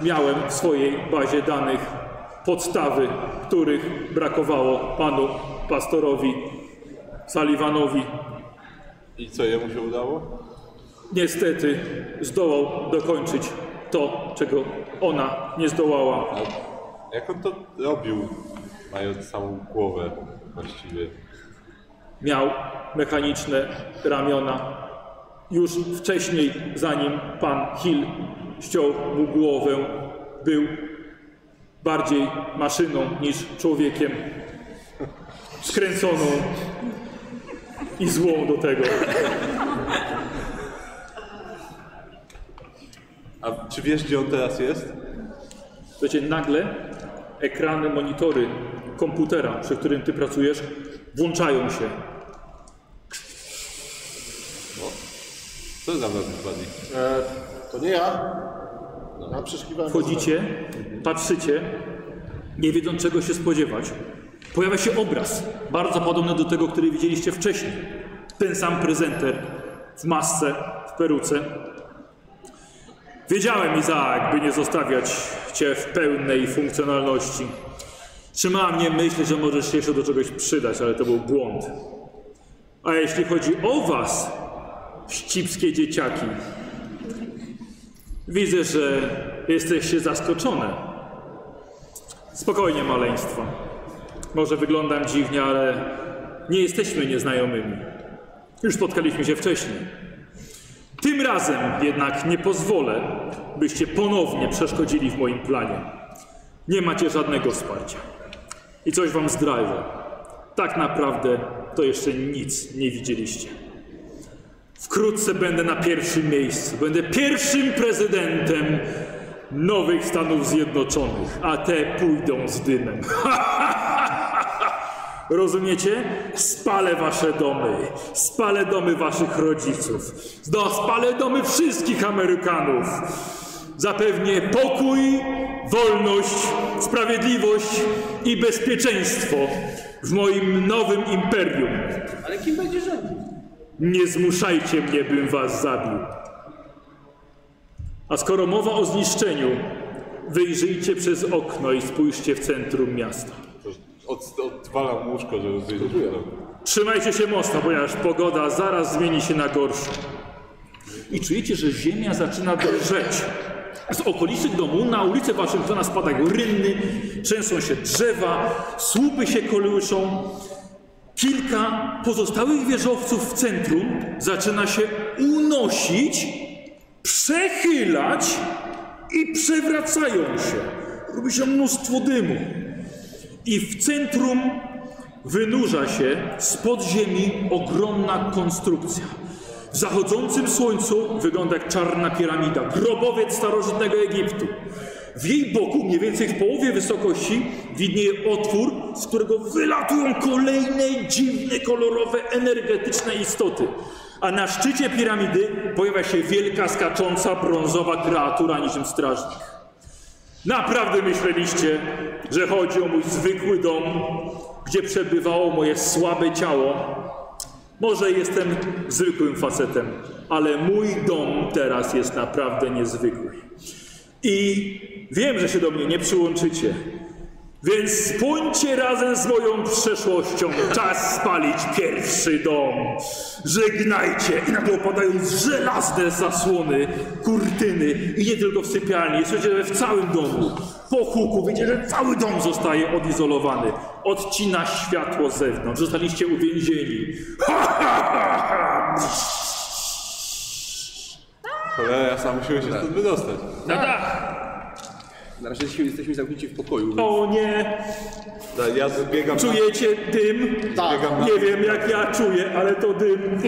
S1: miałem w swojej bazie danych podstawy, których brakowało panu pastorowi Sullivanowi
S5: I co, jemu się udało?
S1: Niestety zdołał dokończyć to, czego ona nie zdołała.
S5: A jak on to robił, mając samą głowę właściwie?
S1: Miał mechaniczne ramiona. Już wcześniej, zanim pan Hill ściął mu głowę, był bardziej maszyną niż człowiekiem. Skręconą i złą do tego.
S5: A czy wiesz, gdzie on teraz jest?
S1: Słuchajcie, nagle ekrany, monitory komputera, przy którym ty pracujesz, włączają się.
S5: Co tam robisz, Buddy?
S3: E, to nie ja. Ja przeszukiwałem.
S1: Wchodzicie, patrzycie, nie wiedząc czego się spodziewać. Pojawia się obraz, bardzo podobny do tego, który widzieliście wcześniej. Ten sam prezenter w masce, w peruce. Wiedziałem, Izaak, by nie zostawiać cię w pełnej funkcjonalności. Trzymała mnie myśl, że możesz się jeszcze do czegoś przydać, ale to był błąd. A jeśli chodzi o was, ścipskie dzieciaki, Widzę, że jesteście zaskoczone. Spokojnie, maleństwo. Może wyglądam dziwnie, ale nie jesteśmy nieznajomymi. Już spotkaliśmy się wcześniej. Tym razem jednak nie pozwolę, byście ponownie przeszkodzili w moim planie. Nie macie żadnego wsparcia. I coś wam zdradzę. Tak naprawdę to jeszcze nic nie widzieliście. Wkrótce będę na pierwszym miejscu. Będę pierwszym prezydentem nowych Stanów Zjednoczonych, a te pójdą z dymem. [LAUGHS] Rozumiecie? Spalę wasze domy, spalę domy waszych rodziców, no, spalę domy wszystkich Amerykanów. Zapewnię pokój, wolność, sprawiedliwość i bezpieczeństwo w moim nowym imperium.
S8: Ale kim będzie rządził?
S1: Nie zmuszajcie mnie, bym was zabił. A skoro mowa o zniszczeniu, wyjrzyjcie przez okno i spójrzcie w centrum miasta.
S5: Od, odwalam łóżko, żeby wyjrzeć w okno.
S1: Trzymajcie się mocno, ponieważ pogoda zaraz zmieni się na gorszą. I czujecie, że ziemia zaczyna drżeć. Z okolicznych domów na ulicę Waszyngtona spadają rynny, trzęsą się drzewa, słupy się kołyszą. Kilka pozostałych wieżowców w centrum zaczyna się unosić, przechylać i przewracają się. Robi się mnóstwo dymu. I w centrum wynurza się spod ziemi ogromna konstrukcja. W zachodzącym słońcu wygląda jak czarna piramida, grobowiec starożytnego Egiptu. W jej boku, mniej więcej w połowie wysokości, widnieje otwór, z którego wylatują kolejne dziwne, kolorowe, energetyczne istoty. A na szczycie piramidy pojawia się wielka, skacząca, brązowa kreatura niczym strażnik. Naprawdę myśleliście, że chodzi o mój zwykły dom, gdzie przebywało moje słabe ciało? Może jestem zwykłym facetem, ale mój dom teraz jest naprawdę niezwykły. I wiem, że się do mnie nie przyłączycie, więc spójrzcie razem z moją przeszłością. Czas spalić pierwszy dom. Żegnajcie! I nagle opadają żelazne zasłony, kurtyny i nie tylko w sypialni, słyszycie, że w całym domu. Po huku widzicie, że cały dom zostaje odizolowany. Odcina światło z zewnątrz. Zostaliście uwięzieni.
S5: Cholera, ja sam musiałem się stąd wydostać.
S4: No
S1: Na
S4: tak.
S1: dach!
S6: Na razie jesteśmy- jesteśmy zamknięci w pokoju.
S1: O nie!
S5: Da, Ja zbiegam na,
S1: Czujecie dym?
S5: zbiegam na,
S1: Nie wiem jak ja czuję, ale to dym.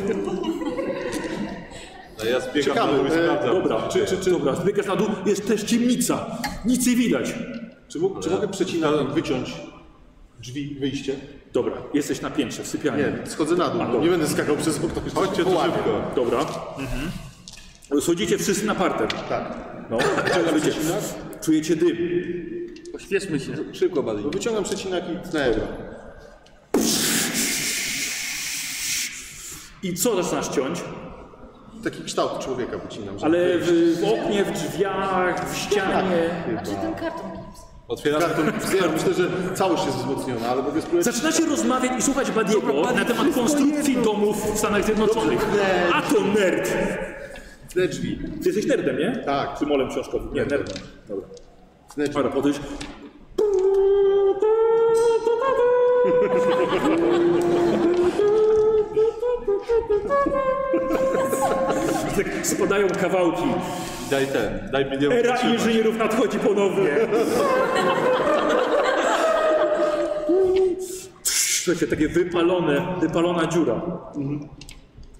S5: da, ja zbiegam na
S3: Ciekawe,
S5: dół i
S3: e,
S5: sprawdzam.
S1: Dobra, czy, czy, czy, dobra, zbiegasz na dół, jest też ciemnica. Nic nie widać.
S3: Czy, mógł, czy mogę przecinać, wyciąć drzwi, wyjście?
S1: Dobra, jesteś na piętrze, w sypialni.
S3: Nie, schodzę na dół,
S1: A,
S3: no,
S1: dobra.
S3: nie będę skakał przez okno.
S5: Chodźcie tu
S3: Połamię.
S5: szybko.
S1: Dobra. Mhm. Schodzicie wszyscy na parter.
S3: Tak.
S1: No, czujecie, czujecie dym.
S11: Pośpieszmy się.
S6: Szybko, Bali.
S3: No, Wyciągam przecinak i tnę.
S1: I co zaczynasz ciąć?
S3: Taki kształt człowieka wycinam. żeby
S1: Ale
S3: wyjść.
S1: w, w oknie, w drzwiach, w ścianie.
S3: Tak.
S9: Znaczy ten karton gips.
S5: Otwieram
S3: Karton, ja myślę, że całość jest wzmocniona, ale mogę spróbować...
S1: Zaczynacie rozmawiać i słuchać Badiego na temat konstrukcji domów w Stanach Zjednoczonych.
S3: Dobrze.
S1: A to nerd!
S3: Tnę drzwi.
S1: Ty jesteś nerdem, nie?
S3: Tak.
S1: Czy molem książkowym? Nie, nerdem. Dobra.
S3: Tnę drzwi.
S1: Para, podejdź. Tak spadają kawałki.
S5: Daj ten, daj milion
S1: Era
S5: wytrzymać.
S1: inżynierów nadchodzi ponownie. Słuchajcie, takie wypalone, wypalona dziura.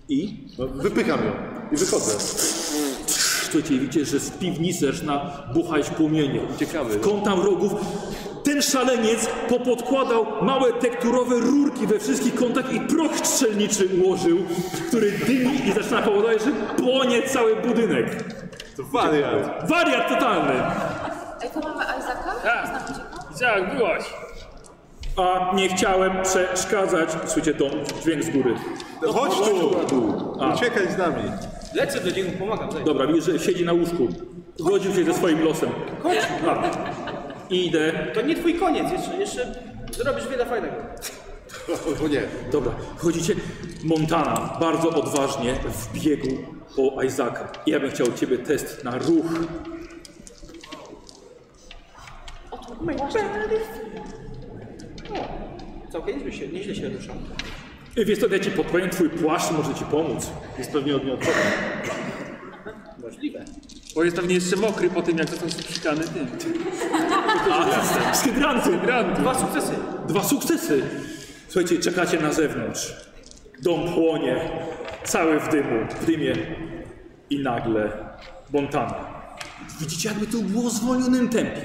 S1: I?
S3: No, Wypycham ją i wychodzę. [LAUGHS]
S1: Słuchajcie, widzicie, że z piwnicy zaczyna buchać płomienie. Ciekawe. W kątach rogów. Ten szaleniec popodkładał małe tekturowe rurki we wszystkich kątach i proch strzelniczy ułożył, który dymi i zaczyna powodować, że płonie cały budynek.
S5: To wariat.
S1: Wariat totalny!
S9: Ej, to mamy Isaaca?
S11: Tak.
S9: Znam ucieka.
S11: Izaak, byłaś.
S1: A nie chciałem przeszkadzać. Słuchajcie, to dźwięk z góry.
S5: No chodź tu! Uciekaj z nami.
S8: Lecę do niego, pomagam. Zejdź.
S1: Dobra, widzisz, że siedzi na łóżku. Zgodził się ze swoim losem. Chodź! I idę.
S8: To nie twój koniec, jeszcze, jeszcze zrobisz wiele fajnego.
S3: O nie.
S1: Dobra, chodzicie. Montana bardzo odważnie wbiegł po Isaaca. Ja bym chciał od ciebie test na ruch.
S9: O, to właśnie.
S8: Całkiem nieźle się, nieźle się ruszam.
S1: Y, Wiesz co, ja ci podpowiem, twój płaszcz może ci pomóc.
S3: Jest pewnie odmiotny.
S8: Możliwe.
S11: Bo jest pewnie jeszcze mokry po tym, jak został sprzykany tym.
S1: A, z hydrantu!
S8: Dwa sukcesy.
S1: Dwa sukcesy. Słuchajcie, czekacie na zewnątrz. Dom płonie, cały w dymu, w dymie. I nagle Montana. Widzicie, jakby to było w zwolnionym tempie.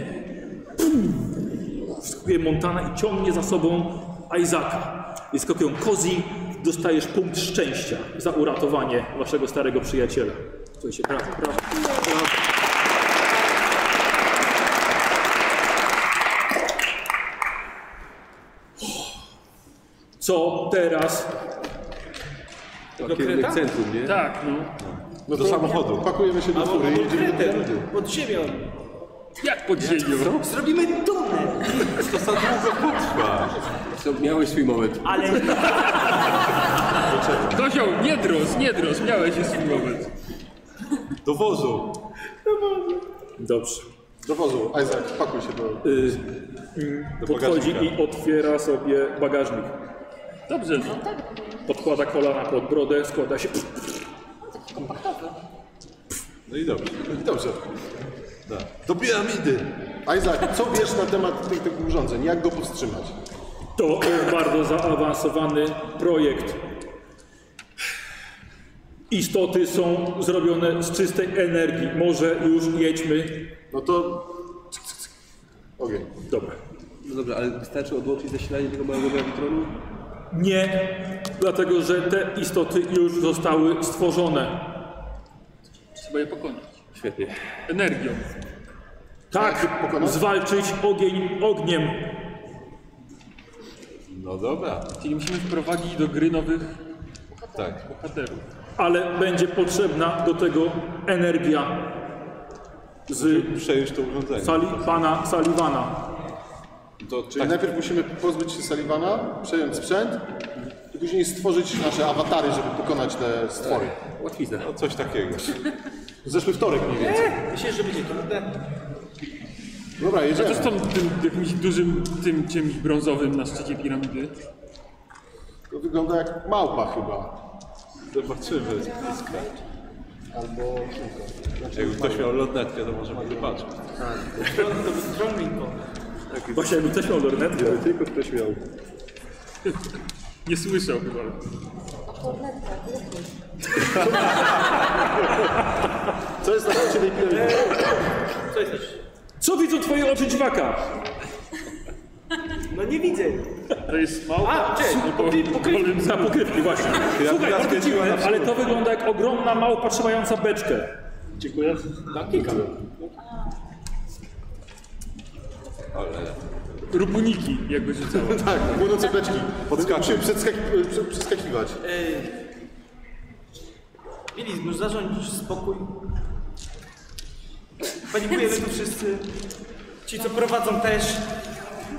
S1: Pum! Wskakuje Montana i ciągnie za sobą Isaaca. I skokiem Kozi dostajesz punkt szczęścia za uratowanie waszego starego przyjaciela. Słuchajcie, brawo, brawo. Co teraz?
S6: Do kierunek centrum, nie?
S11: Tak, no.
S3: No
S5: Do samochodu.
S3: Pakujemy się do fury i jedziemy do piramidy.
S8: Pod ziemią.
S11: Jak pod ziemią?
S8: Zrobimy tunel.
S5: To za długo potrwa.
S6: Co, miałeś swój moment.
S1: Ale
S11: Kozioł, nie dros, nie dros, miałeś już swój moment.
S5: Do wozu.
S1: Dobrze.
S3: Do wozu. Isaac, pakuj się do...
S1: Y, podchodzi i otwiera sobie bagażnik.
S11: Dobrze,
S1: Podkłada kolana pod brodę, składa się.
S5: No i dobrze.
S3: Dobrze.
S5: Da. Do piramidy.
S3: Isaac, co wiesz na temat tych, tych urządzeń? Jak go powstrzymać?
S1: To jest bardzo zaawansowany projekt. Istoty są zrobione z czystej energii. Może już jedźmy.
S3: No to... Okej.
S1: Dobra.
S6: No dobrze, ale wystarczy odłączyć zasilanie tego małego grawitronu?
S11: Nie, dlatego że te istoty już zostały stworzone.
S4: Trzeba je pokonać.
S6: Świetnie.
S4: Energią.
S11: Tak, zwalczyć ogień ogniem.
S5: No dobra,
S4: Czyli musimy wprowadzić do gry nowych
S5: tak.
S4: bohaterów.
S11: Ale będzie potrzebna do tego energia z
S5: Przejąć to urządzenie.
S11: sali pana Salivana.
S5: To, tak- czyli
S3: Czyli najpierw musimy pozbyć się Sullivana, przejąć sprzęt i później stworzyć nasze awatary, żeby pokonać te stwory.
S6: Łatwizna.
S5: no, coś takiego.
S3: Zeszły wtorek mniej więcej.
S8: Myślę, że będzie trudne.
S3: Dobra,
S4: Co
S3: jedziemy.
S4: z tą tym jakimś dużym, tym czymś brązowym na szczycie piramidy?
S3: To wygląda jak małpa chyba. [LAUGHS]
S5: Zobaczymy.
S3: Albo...
S5: Jakby ktoś miał lodnetkę, to możemy zobaczyć.
S11: Właśnie jakby też miał lornetkę.
S18: Tylko ktoś miał.
S4: Nie słyszał chyba.
S3: Co jest na szczycie tej piramidy?
S11: Co widzą twoje oczy dziwaka?
S8: No nie widzę.
S4: To jest mało.
S8: A, cześć,
S4: Bo-
S8: pokry- pokrywki.
S4: bo-
S11: Na pokrywki, właśnie.
S5: Ja
S11: Słuchaj,
S5: teraz
S11: bardzo
S5: kręciłem
S11: dziwne,
S5: na
S11: ale to wygląda jak ogromna małpa trzymająca beczkę.
S4: Dziękuję.
S5: Ale
S4: Rubuniki jakby rzucało.
S3: Tak, płynące beczki. Musimy przeskak- prze- przeskakiwać.
S8: Bilizm, już zarządzisz spokój. Panikujemy tu wszyscy. Ci, co prowadzą też.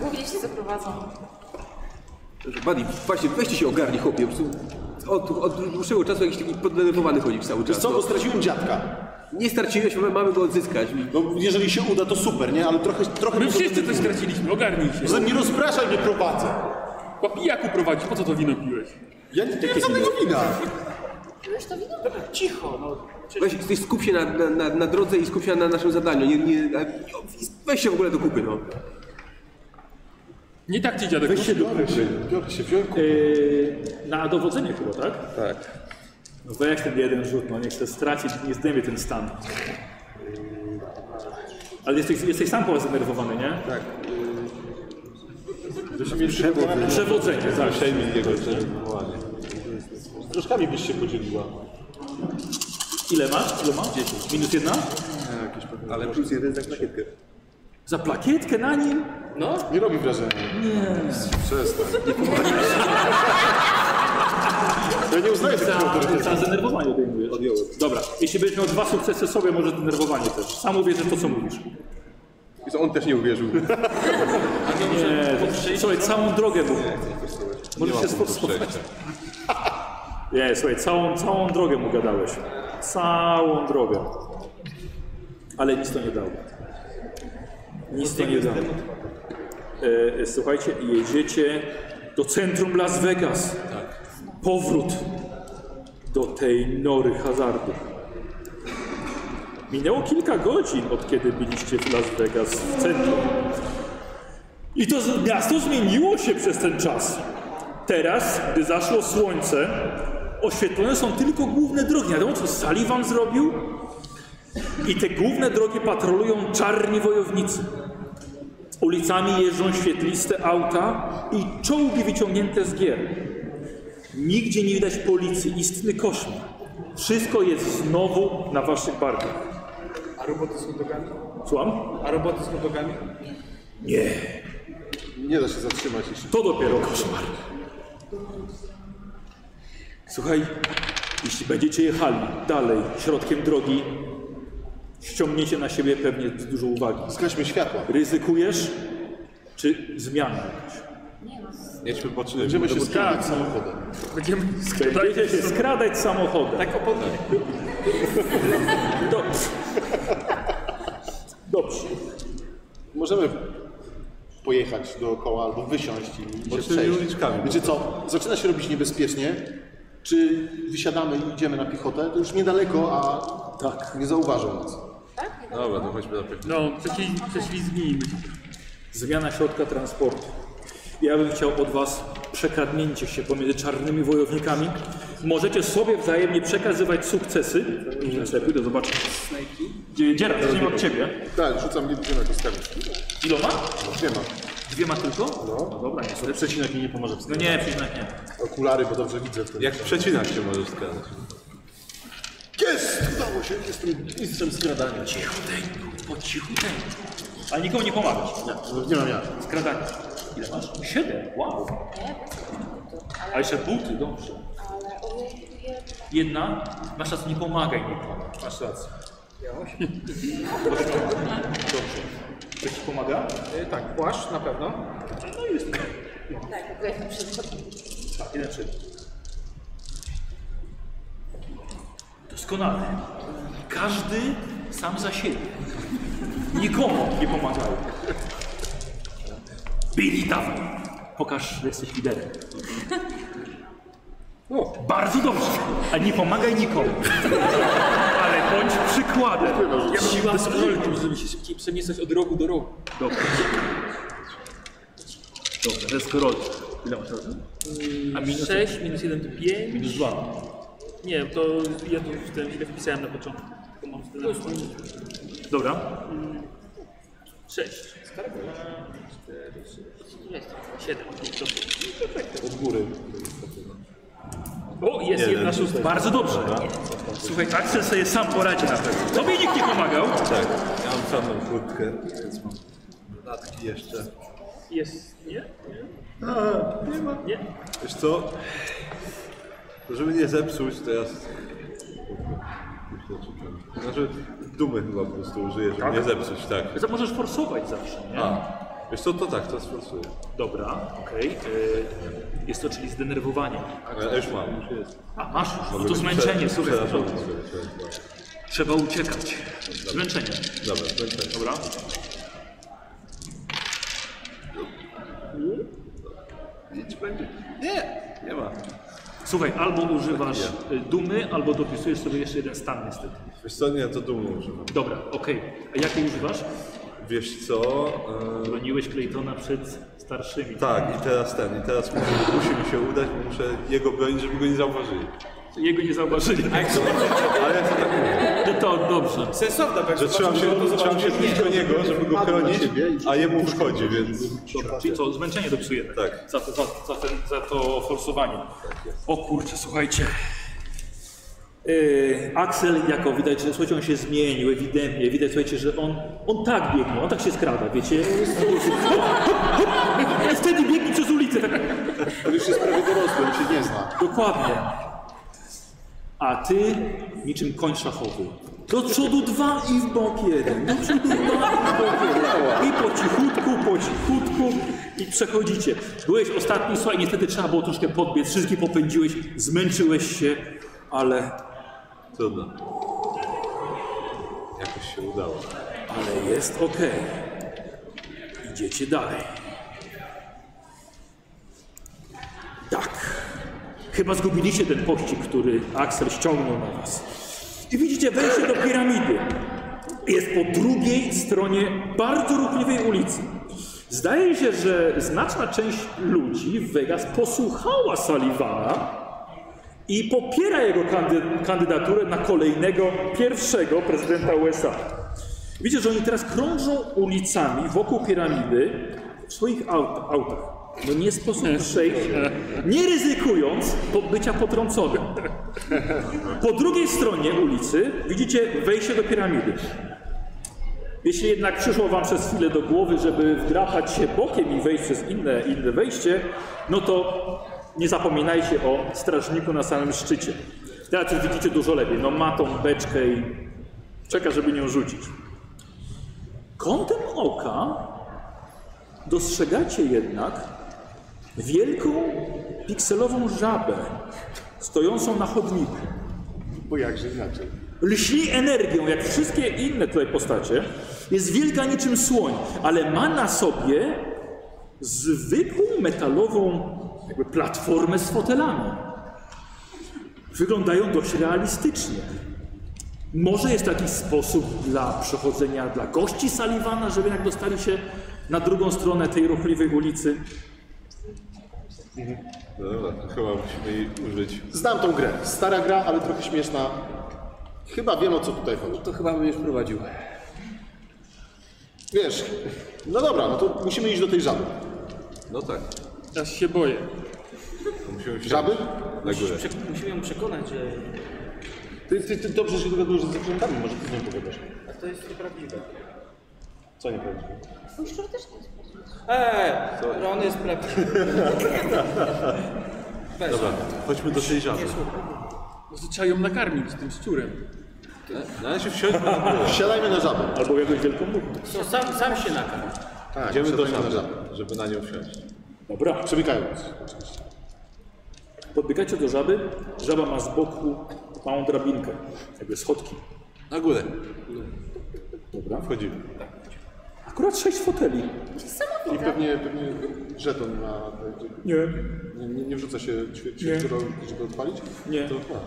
S9: Głównie się zaprowadzą.
S6: Dobrze, Buddy, właśnie weźcie się ogarnij, chłopie. Po prostu Od, od dłuższego czasu jakiś taki poddenerwowany chodzi cały czas.
S3: Co,
S6: no.
S3: bo straciłem dziadka.
S6: Nie starczyłeś, mamy- mamy go odzyskać.
S3: No, jeżeli się uda, to super, nie? Ale trochę... trochę
S4: My wszyscy coś straciliśmy, ogarnij się.
S3: Zatem nie rozpraszaj, nie prowadzę.
S4: Po pijaku prowadzisz, po co to wino piłeś?
S3: Ja nie wiem, co tego wina.
S9: Już to widzą?
S8: Cicho, no.
S6: Weź, ty skup się na, na, na, na drodze i skup się na naszym zadaniu. Nie, nie, a- weź się w ogóle do kupy, no.
S4: Nie tak ci dziadek.
S3: się biorę się, biorę się, wziąłem ku-
S11: Yy, na dowodzenie chyba, tak?
S6: Tak.
S11: No weź ten jeden rzut, no nie chcę stracić, nie zdejmie ten stan. Yy, Ale jesteś, jesteś sam chyba zdenerwowany, nie? Tak.
S3: Yy,
S11: Przewodzenie, tak.
S5: przejmij jego wywołanie.
S3: Troszkami byś się podzieliła.
S11: Ile masz? Ile masz? 10. Minus jedna?
S18: Ale plus jeden za plakietkę.
S11: Za plakietkę na nim?
S3: Nie robi wrażenia. Przestań. Ja nie uznaję
S11: Za,
S3: takiego autorytetu.
S11: za zdenerwowanie odejmujesz. Dobra, jeśli będziesz miał dwa sukcesy sobie, może zdenerwowanie też. Sam uwierzysz w to, co mówisz.
S18: I co, on też nie uwierzył.
S11: Nie, słuchaj, całą drogę mu. Możesz się sforsować. Nie, słuchaj, całą, całą drogę mu gadałeś. Całą drogę. Ale nic to nie dało. Nic to nie dało. E, e, słuchajcie, jedziecie do centrum Las Vegas. Powrót do tej nory hazardu. Minęło kilka godzin, od kiedy byliście w Las Vegas w centrum. I to z- miasto zmieniło się przez ten czas. Teraz, gdy zaszło słońce, oświetlone są tylko główne drogi. Nie Wiadomo, co Sullivan zrobił? I te główne drogi patrolują czarni wojownicy. Ulicami jeżdżą świetliste auta i czołgi wyciągnięte z gier. Nigdzie nie widać policji, istny koszmar. Wszystko jest znowu na waszych barkach.
S8: A roboty z hodogami?
S11: Słucham?
S8: A roboty z hodogami?
S11: Nie.
S3: Nie da się zatrzymać jeszcze.
S11: To dopiero koszmar. Słuchaj, jeśli będziecie jechali dalej środkiem drogi, ściągniecie na siebie pewnie dużo uwagi.
S3: Skaźmy światła.
S11: Ryzykujesz czy zmiany? jakieś?
S5: Jedźmy po czym.
S3: Będziemy się skradać samochodem.
S4: Będziemy
S11: Będziecie się skradać samochodem.
S8: Tak opon...
S11: Tak, Dobrze. Dobrze.
S3: Możemy pojechać dookoła albo wysiąść i się
S5: Bocznymi
S3: przejść.
S5: uliczkami.
S3: Wiecie co, zaczyna się robić niebezpiecznie. Czy wysiadamy i idziemy na piechotę? To już niedaleko, a
S11: Tak.
S3: nie zauważą nas.
S5: Dobra, to chodźmy na pewno.
S4: No, prześli- prześlizgnijmy się.
S11: Zmiana środka transportu. Ja bym chciał od Was przekradnięcie się pomiędzy czarnymi wojownikami. Możecie sobie wzajemnie przekazywać sukcesy. Lepiej to zobaczę. Dzierat, zacznijmy od Ciebie.
S3: Tak, rzucam nie na kostkami.
S11: Iloma?
S3: Nie ma.
S11: Dwiema tylko?
S3: No.
S11: dobra,
S3: To
S11: niestety.
S3: przecinak mi nie pomoże
S11: No
S3: wskazać.
S11: nie, przecinak nie.
S3: Okulary, bo dobrze widzę wtedy.
S5: Jak przecinak się możesz wskazać?
S3: Jest! Udało się, jestem mistrzem skradania.
S11: Po cichuteńku. Ale nikomu nie pomagasz.
S3: Nie, nie mam jak.
S11: Skradanie. Ile masz? Siedem. Wow. A jeszcze buty, dobrze.
S9: Ale ojej, jedna.
S11: Jedna. Masz rację, nie pomagaj nikomu. Masz rację. Ja osiem. Dobrze. Ktoś ci pomaga?
S8: Y, tak, płaszcz na pewno.
S9: Tak, w ogóle jestem przed
S11: Tak, jeden szybko. Doskonale. Każdy sam za siebie. Nikomu nie pomagają. Billy dawaj. Pokaż, że jesteś liderem. Bardzo dobrze. A nie pomagaj nikomu. Ale bądź przykładem.
S4: no, Ja bym bez rolki, żeby się szybciej przemieszczać od rogu do rogu.
S11: Dobra. Dobra, to jest korol. Ile masz razem? A minus?
S4: 6, minus 1 to 5.
S11: Minus dwa.
S4: Nie, to ja tu w tym ile wpisałem na początku. To mam tyle.
S11: Dobra.
S4: 6. 7.
S3: Od góry.
S4: O, jest jedna szósta.
S11: Bardzo dobrze. Słuchaj, Axel sobie sam poradzi na pewno. Tobie nikt nie pomagał.
S5: Tak, ja mam czarną kurtkę, więc mam dodatki jeszcze.
S4: Jest, nie?
S5: nie ma.
S4: Nie?
S5: Wiesz co? To żeby nie zepsuć teraz... Znaczy dumy chyba po prostu użyję, żeby nie zepsuć, tak.
S11: Za- Możesz forsować zawsze, nie?
S5: A, wiesz co, to tak, to sforsuję.
S11: Dobra, okej. Y, Jest to czyli zdenerwowanie.
S5: Ja już mam. Już jest.
S11: A masz już.
S5: Mogę
S11: to
S5: być
S11: zmęczenie,
S5: prze-
S11: słuchaj.
S5: przerażony, słuchaj.
S11: Trzeba uciekać. Zmęczenie.
S5: Dobra, zmęczenie.
S11: Dobra.
S5: Nie ma.
S11: Słuchaj, albo używasz y, dumy, albo dopisujesz sobie jeszcze jeden stan niestety.
S5: Wiesz co, nie, to dumny używam.
S11: Dobra, okej. A jakie używasz?
S5: Wiesz co, e,
S11: Broniłeś Claytona przed starszymi.
S5: tak, i teraz ten, i teraz musi, musi mi się udać, bo muszę jego bronić, żeby go nie zauważyli.
S11: Jego nie zauważyli.
S5: Ale ja to tak mówię,
S11: No to dobrze.
S8: Sensowne, bo jak
S5: że trzymam się,
S8: zobaczymy, to
S5: trzymam się
S8: zobaczymy. Nie.
S5: blisko niego, żeby go chronić, a jemu wychodzi, więc...
S11: Dobra, czyli co, zmęczenie dopisujemy.
S5: Tak.
S11: Za to, za, za, ten, za to forsowanie. O kurczę, słuchajcie. Yy, Axel, jako widać, że słuchajcie, on się zmienił ewidentnie. Widać, słuchajcie, że on, on tak biegnie, on tak się skrada, wiecie? Hop, hop, hop. [LAUGHS] Wtedy biegnie przez ulicę. Tak.
S3: On już jest prawie dorosły, on się nie zna.
S11: Dokładnie. A ty niczym koń szachowy. Do przodu dwa i w bok jeden. Do przodu dwa i w bok jeden. I po cichutku, po cichutku i przechodzicie. Byłeś ostatni, słuchaj, niestety trzeba było troszkę podbiec. Wszystkich popędziłeś, zmęczyłeś się, ale,
S5: Trudno. Jakoś się udało.
S11: ale jest okej. Idziecie dalej. Tak. Chyba zgubiliście ten pościg, który Axel ściągnął na was. I widzicie wejście do piramidy. Jest po drugiej stronie bardzo ruchliwej ulicy. Zdaje się, że znaczna część ludzi w Vegas posłuchała Sullivana i popiera jego kandy- kandydaturę na kolejnego, pierwszego prezydenta USA. Widzicie, że oni teraz krążą ulicami wokół piramidy w swoich aut- autach. No nie sposób przejść, nie ryzykując po- bycia potrąconym. Po drugiej stronie ulicy widzicie wejście do piramidy. Jeśli jednak przyszło wam przez chwilę do głowy, żeby wdrapać się bokiem i wejść przez inne, inne wejście, no to nie zapominajcie o strażniku na samym szczycie. Teraz już widzicie dużo lepiej. No ma tą beczkę i czeka, żeby nią rzucić. Kątem oka dostrzegacie jednak wielką pikselową żabę stojącą na chodniku
S3: Bo jakże inaczej.
S11: lśni energią, jak wszystkie inne tutaj postacie. Jest wielka niczym słoń, ale ma na sobie zwykłą metalową jakby platformę z fotelami. Wyglądają dość realistycznie. Może jest to jakiś sposób dla przechodzenia dla gości Sullivana, żeby jak dostali się na drugą stronę tej ruchliwej ulicy.
S5: No dobra, to chyba musimy jej użyć.
S3: Znam tą grę. Stara gra, ale trochę śmieszna. No Chyba wiem o co tutaj chodzi.
S19: To chyba bym już prowadził.
S3: Wiesz, no dobra, no to musimy iść do tej żaby.
S20: No tak.
S4: Teraz się boję.
S5: Musimy wsiąść
S3: Żaby?
S5: na górę.
S8: Prze- Musimy ją przekonać, że
S3: Ty, ty, ty dobrze się dogadujesz ze zwierzętami, może ty z nią pogadasz.
S8: a to jest nieprawdziwe.
S3: Co nie powiesz?
S9: Mój szczur też nie jest prawdziwy.
S8: Eee, Ron jest prawdziwy. Weź.
S5: Dobra, chodźmy do tej żaby.
S4: Może trzeba ją nakarmić tym szczurem.
S5: Na razie No wsiądźmy na górę.
S3: Siadajmy na żabę.
S11: Albo jakąś wielką muchę.
S8: Co, sam, sam się nakarm.
S3: Tak,
S5: Idziemy do
S3: siadajmy na
S5: żaby,
S3: żabę.
S5: żeby na nią wsiąść.
S11: Dobra,
S3: Przymykając.
S11: podbiegacie do żaby. Żaba ma z boku małą drabinkę, jakby schodki.
S5: Na górę.
S11: Dobra.
S5: Wchodzimy.
S11: Akurat sześć foteli.
S3: I pewnie, pewnie żeton ma...
S11: Nie,
S3: Nie, nie, nie wrzuca się ćwie- ćwierćoro, żeby odpalić?
S11: nie.
S3: To odpala.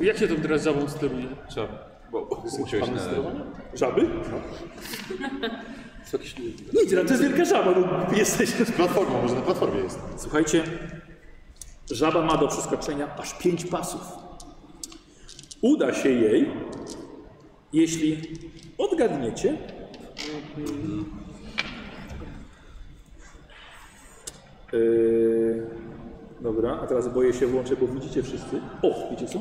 S4: Jak się tam teraz zabą steruje?
S5: Trzeba. Bo uciąć
S3: Pan
S5: na
S3: sterowania?
S11: Żaby? Nic, no to jest wielka żaba, no jesteś...
S3: Platformą, może na platformie jest.
S11: Słuchajcie, żaba ma do przeskoczenia aż pięć pasów. Uda się jej, jeśli odgadniecie, Yy, dobra, a teraz boję się włączę, bo widzicie wszyscy. O, widzicie co?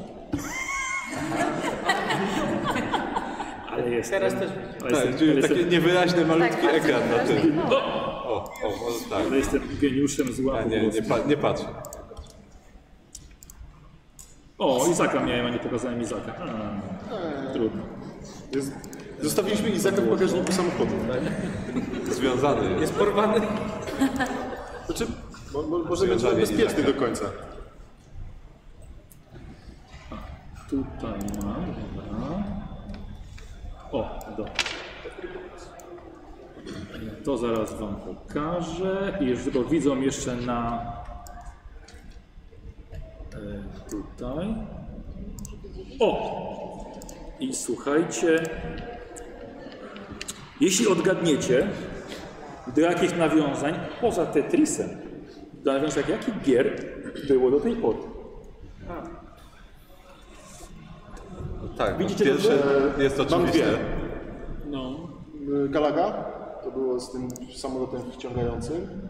S11: Ale jest.
S8: Teraz też będzie.
S11: Ale
S5: Tak,
S11: jestem,
S5: czyli
S11: ale
S5: taki
S11: jestem,
S5: niewyraźny, malutki
S9: Tak, bardzo
S5: ekran na
S9: wyraźny
S5: tym.
S9: kolor.
S5: O, o, o tak.
S11: ale jestem geniuszem zła.
S5: A
S11: po
S5: nie,
S11: prostu.
S5: nie, pa, nie patrzę.
S11: O, Izaka miałem, a nie pokazałem Izaka. A, trudno.
S3: jest. Zostawiliśmy Izaka w bagażniku samochodu.
S5: Związany jest.
S20: Jest porwany.
S3: Znaczy, mo, mo, może będzie
S5: Związanie
S3: bezpieczny
S5: Izaka.
S3: do końca.
S11: Tutaj mam, dobra. O, dobra. To zaraz wam pokażę. I już tylko widzą jeszcze na... e, Tutaj. O! I słuchajcie. Jeśli odgadniecie do jakichś nawiązań poza Tetrisem, do nawiązań jakich gier było do tej pory.
S5: No tak,
S11: Widzicie
S5: Widzicie
S11: to
S5: pierwsze jest
S3: Mam dwie.
S5: oczywiste.
S4: No.
S3: Y, Galaga, to było z tym samolotem wciągającym.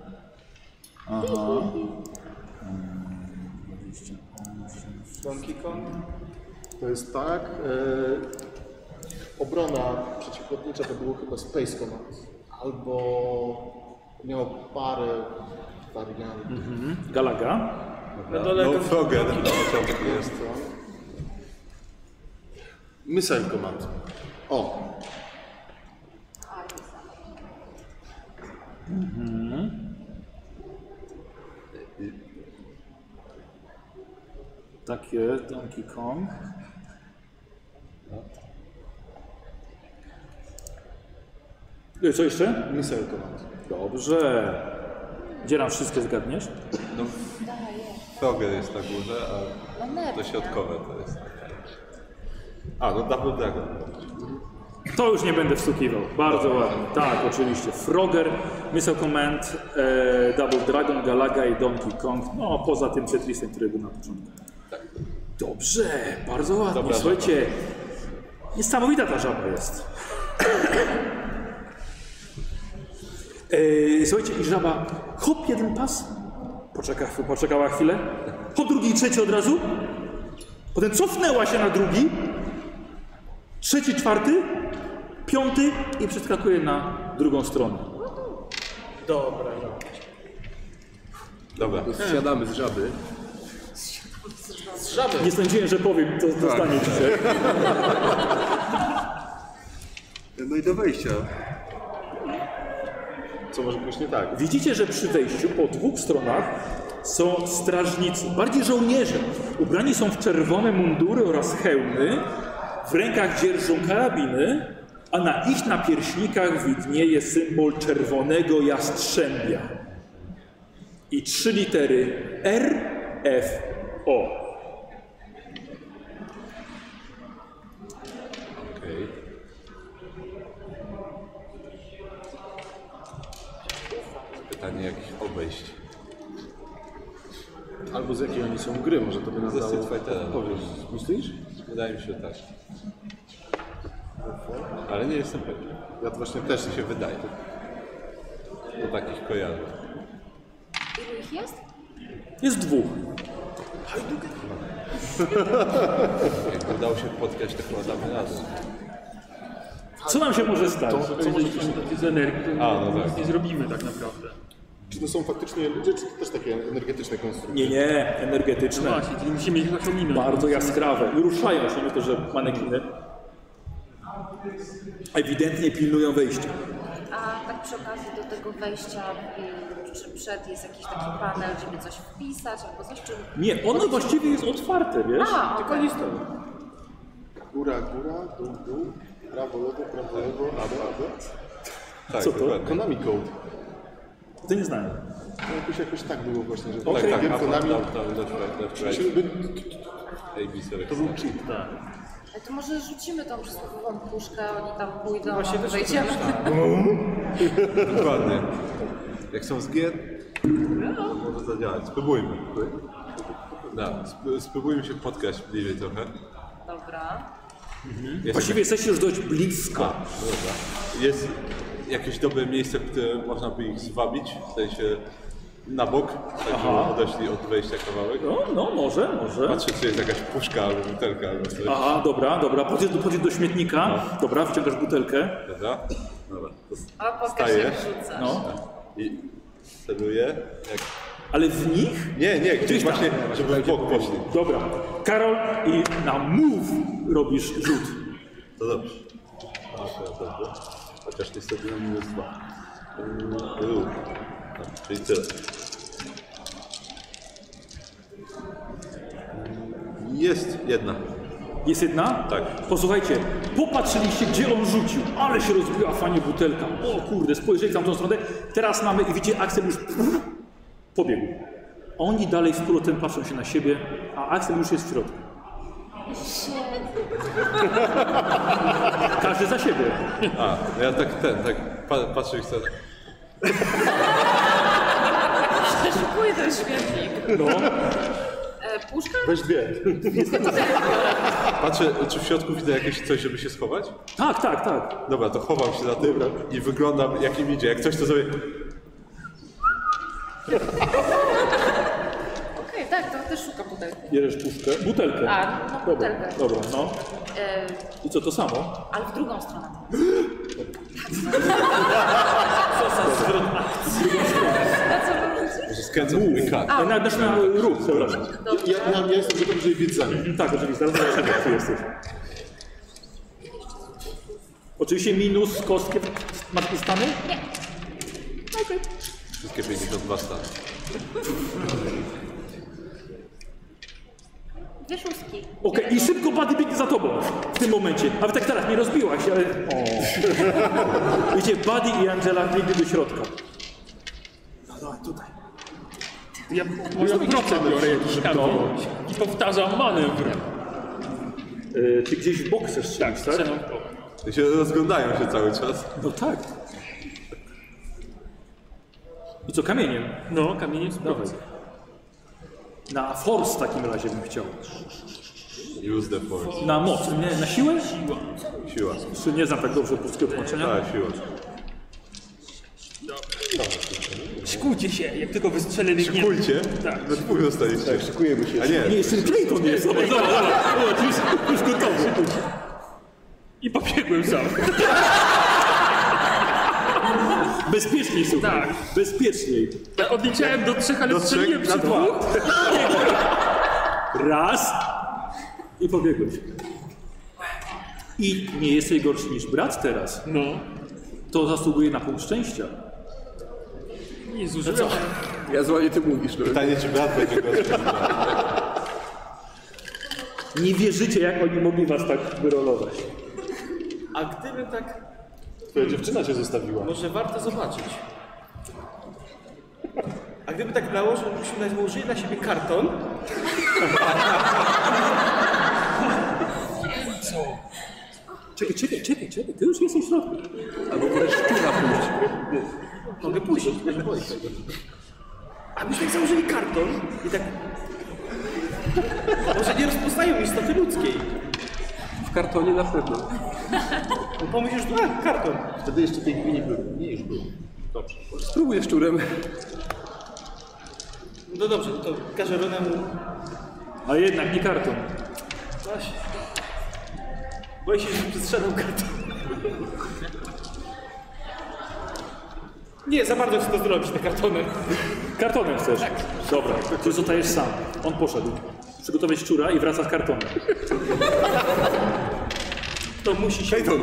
S8: Donkey Kong.
S3: To jest tak. y, obrona przeciwlotnicza to było chyba Space Command. Albo miało parę wariantów.
S11: Galaga.
S8: Na dole
S5: No
S8: Donkey
S5: Frogger na początku jest.
S3: Missile Command. O,
S11: Tak jest, Donkey Kong. Y, Co jeszcze?
S3: Missile Command.
S11: Dobrze. Gdzie nam wszystkie zgadniesz?
S5: No Frogger jest na górze,
S9: No
S5: a to
S9: nerw.
S5: środkowe to jest. A, no Double Dragon.
S11: To już nie będę wstukiwał. Bardzo ładnie. Tak, oczywiście. Frogger, Missile Command, e, Double Dragon, Galaga i Donkey Kong. No, poza tym Tetrisem, który był na początku. Tak. Dobrze, bardzo ładnie.
S5: Dobra żaba.
S11: Słuchajcie, niesamowita ta żaba jest. [COUGHS] e, słuchajcie, i żaba hop jeden pas, poczeka, poczekała chwilę, hop drugi i trzeci od razu, potem cofnęła się na drugi, trzeci, czwarty, piąty i przeskakuje na drugą stronę.
S8: Dobra, no.
S5: Dobra.
S20: Zsiadamy z żaby.
S11: Nie sądziłem, że powiem, to zostanie dzisiaj.
S21: No i do wejścia.
S3: Co może pójść nie tak?
S11: Widzicie, że przy wejściu po dwóch stronach są strażnicy, bardziej żołnierze. Ubrani są w czerwone mundury oraz hełmy, w rękach dzierżą karabiny, a na ich napierśnikach widnieje symbol czerwonego jastrzębia. I trzy litery R, F, O.
S5: Okej. Pytanie jak ich obejść.
S3: Albo z jakiej oni są gry, może to by nam
S5: Ze
S3: dało
S5: Street Fightera.
S3: odpowiedź. Myślisz?
S5: Wydaje mi się że tak. Ale nie jestem pewien.
S3: Ja to właśnie też mi się wydaje.
S5: Do takich kojarzy.
S9: Ilu ich jest?
S11: Jest dwóch.
S5: Jakby udało się spotkać, to chyba damy razem.
S11: Co nam się może stać?
S4: Co może z energii, to
S5: A, no tak.
S4: nic nie zrobimy tak naprawdę.
S3: Czy to są faktycznie ludzie, czy to też takie energetyczne konstrukcje?
S11: Nie, nie,
S3: No
S11: energetyczne.
S4: Właśnie, czyli musimy ich jakoś ominąć.
S11: Bardzo jaskrawe. I ruszają się, nie to, że manekiny. Ewidentnie pilnują wejścia.
S9: A tak przy okazji do tego wejścia, y, czy przed jest jakiś taki panel, żeby coś wpisać albo coś, czy...
S11: Nie, ono właściwie jest otwarte, wiesz?
S9: A,
S11: Tylko
S9: okej.
S11: nie stoi.
S3: Góra, góra, dół, dół, prawo, lewo, prawo, lewo, a do, a do.
S5: Tak,
S11: Co to?
S5: dokładnie. Tak,
S3: Konami Code.
S11: Ty nie znają.
S3: To jakoś, jakoś tak było właśnie, że
S5: Tak,
S3: tak,
S5: tak,
S3: wiem,
S5: up,
S3: Konami.
S5: down, down, left, right, left,
S3: Czyli
S5: right.
S3: by-
S5: AB select.
S9: Ale E, to może rzucimy tą przysłowiową puszkę, oni tam
S11: No
S9: pójdą, Właśnie a wejdziemy.
S5: Dokładnie. Jak są z gier, może zadziałać. Spróbujmy. Da, sp- spróbujmy się spotkać bliżej trochę.
S9: Dobra.
S5: Jest,
S11: Właściwie jesteście już dość blisko.
S5: jest jakieś dobre miejsce, w które można by ich zwabić, w sensie na bok, tak żeby odeszli od wejścia kawałek.
S11: No, no, może, może.
S5: Patrzę, czy jest jakaś puszka albo butelka albo coś.
S11: Aha, dobra, dobra. Podjedź do, podjedź do śmietnika. Dobra, wciągasz butelkę.
S5: Dobra? Dobra. To s-
S9: A pokaż
S5: Staję.
S9: jak rzucasz.
S11: No.
S5: I celuję. Jak...
S11: Ale w nich?
S5: Nie, nie, gdzieś
S11: Gdzieś tam.
S5: właśnie, żeby w bok poszli.
S11: Dobra. Karol i na move robisz rzut.
S5: To dobrze. Dobrze, dobrze. Chociaż niestety na minus dwa. Yy, ruch. Tak, Czyli tyle. Jest jedna.
S11: Jest jedna?
S5: Tak.
S11: Posłuchajcie, popatrzyliście, gdzie on rzucił, ale się rozbiła fajnie butelka. O kurde, spojrzeli tam w tą stronę. Teraz mamy i widzicie, Aksel już pobiegł. Oni dalej z powrotem patrzą się na siebie, a Aksel już jest w środku. Każdy za siebie.
S5: A, no ja tak ten, tak pa, patrzę i chcę.
S9: Przeszukuję ten śmietnik.
S11: No,
S9: E, puszka?
S3: Weź dwie.
S5: Patrzę, czy w środku widzę jakieś coś, żeby się schować?
S11: tak, tak, tak.
S5: Dobra, to chowam się za tym i wyglądam jak im idzie. Jak coś to zrobię.
S9: Okej, tak, to też szukam tutaj.
S11: Bierzesz puszkę, butelkę.
S9: A, no,
S11: dobra,
S9: butelkę.
S11: dobra, no.
S9: E,
S11: I co, to samo?
S9: ale w drugą stronę. A co mam rzucić?
S5: Może skręcam mój kart.
S11: A, na, na, na ruch, przepraszam.
S3: Ja, ja, ja jestem gotowy, żeby biec za nim.
S11: Tak, oczywiście, zaraz zobaczymy, jak ty jesteś. Oczywiście minus kostkę masz te stany?
S5: Wszystkie 52 stany.
S9: Dwie szóstki.
S11: Okej, i szybko Buddy biegnie za tobą w tym momencie. A wy tak teraz nie rozbiłaś, ale... O. Wiecie, Buddy i Angela biegli do środka.
S4: Ja może wrotę biorę jakiś kamień i powtarzam manewr.
S11: E, czy gdzieś w bok chcesz strzelić, tak?
S4: Strzelam w koło.
S5: I się rozglądają się cały czas.
S11: No tak. I co, kamieniem?
S4: No, kamienie w
S11: Dawaj. Na force w takim razie bym chciał.
S5: Use the force.
S11: Na moc, nie? Na siłę?
S5: Siła.
S11: Czy nie znam tak dobrze polskiego tłumaczenia?
S5: A, siła.
S4: Szykujcie się, jak tylko wystrzelili nie.
S5: Szykujcie.
S4: Tak.
S5: We dwóch zostaliście. Tak,
S3: Szykujemy się.
S5: A nie,
S11: Nie, jeszcze Clayton jest. Zobacz, zobacz, zobacz. Już, już gotowy.
S4: Tak. I pobiegłem sam.
S11: Bezpieczniej, słuchaj.
S4: Tak.
S11: Bezpieczniej.
S4: Ja odliczałem do trzech, ale
S5: Do trzech,
S4: strzeliłem
S5: na
S4: przy
S5: dwa.
S4: dwóch.
S11: Raz i pobiegłeś. I nie jesteś gorszy niż brat teraz.
S4: No.
S11: To zasługuje na punkt szczęścia.
S4: Nie zużyłem.
S22: Ja zła nie ty mówisz, no.
S5: pytanie czy brat będzie
S6: [LAUGHS]
S5: gorzej.
S11: Nie wierzycie, jak oni mogli was tak wyrolować.
S8: A gdyby tak,
S3: Twoja dziewczyna cię zostawiła.
S8: może warto zobaczyć. A gdyby tak nałożył, byśmy nałożyli na siebie karton,
S11: Czekaj, czekaj, czekaj, czekaj. Ty już jesteś w środku.
S22: Albo go sztura pójść.
S8: mogę pójść, nie boję się tego. A byśmy tak założyli karton i tak... Może nie rozpoznają istoty ludzkiej.
S6: W kartonie na pewno.
S8: Bo pomyślisz, że a, karton.
S3: Wtedy jeszcze tej gminy było. Nie, już było.
S6: Spróbuję szczurem.
S8: No dobrze, to każę Ronemu.
S11: A jednak nie karton.
S8: Właśnie. Boję się, że przestrzelam karton. Nie, za bardzo chcę to zrobić na kartonem.
S11: Kartonem chcesz? Dobra, ty zostajesz sam. On poszedł. Przygotowaj szczura i wraca z kartonem.
S8: To musi się,
S6: Kajton!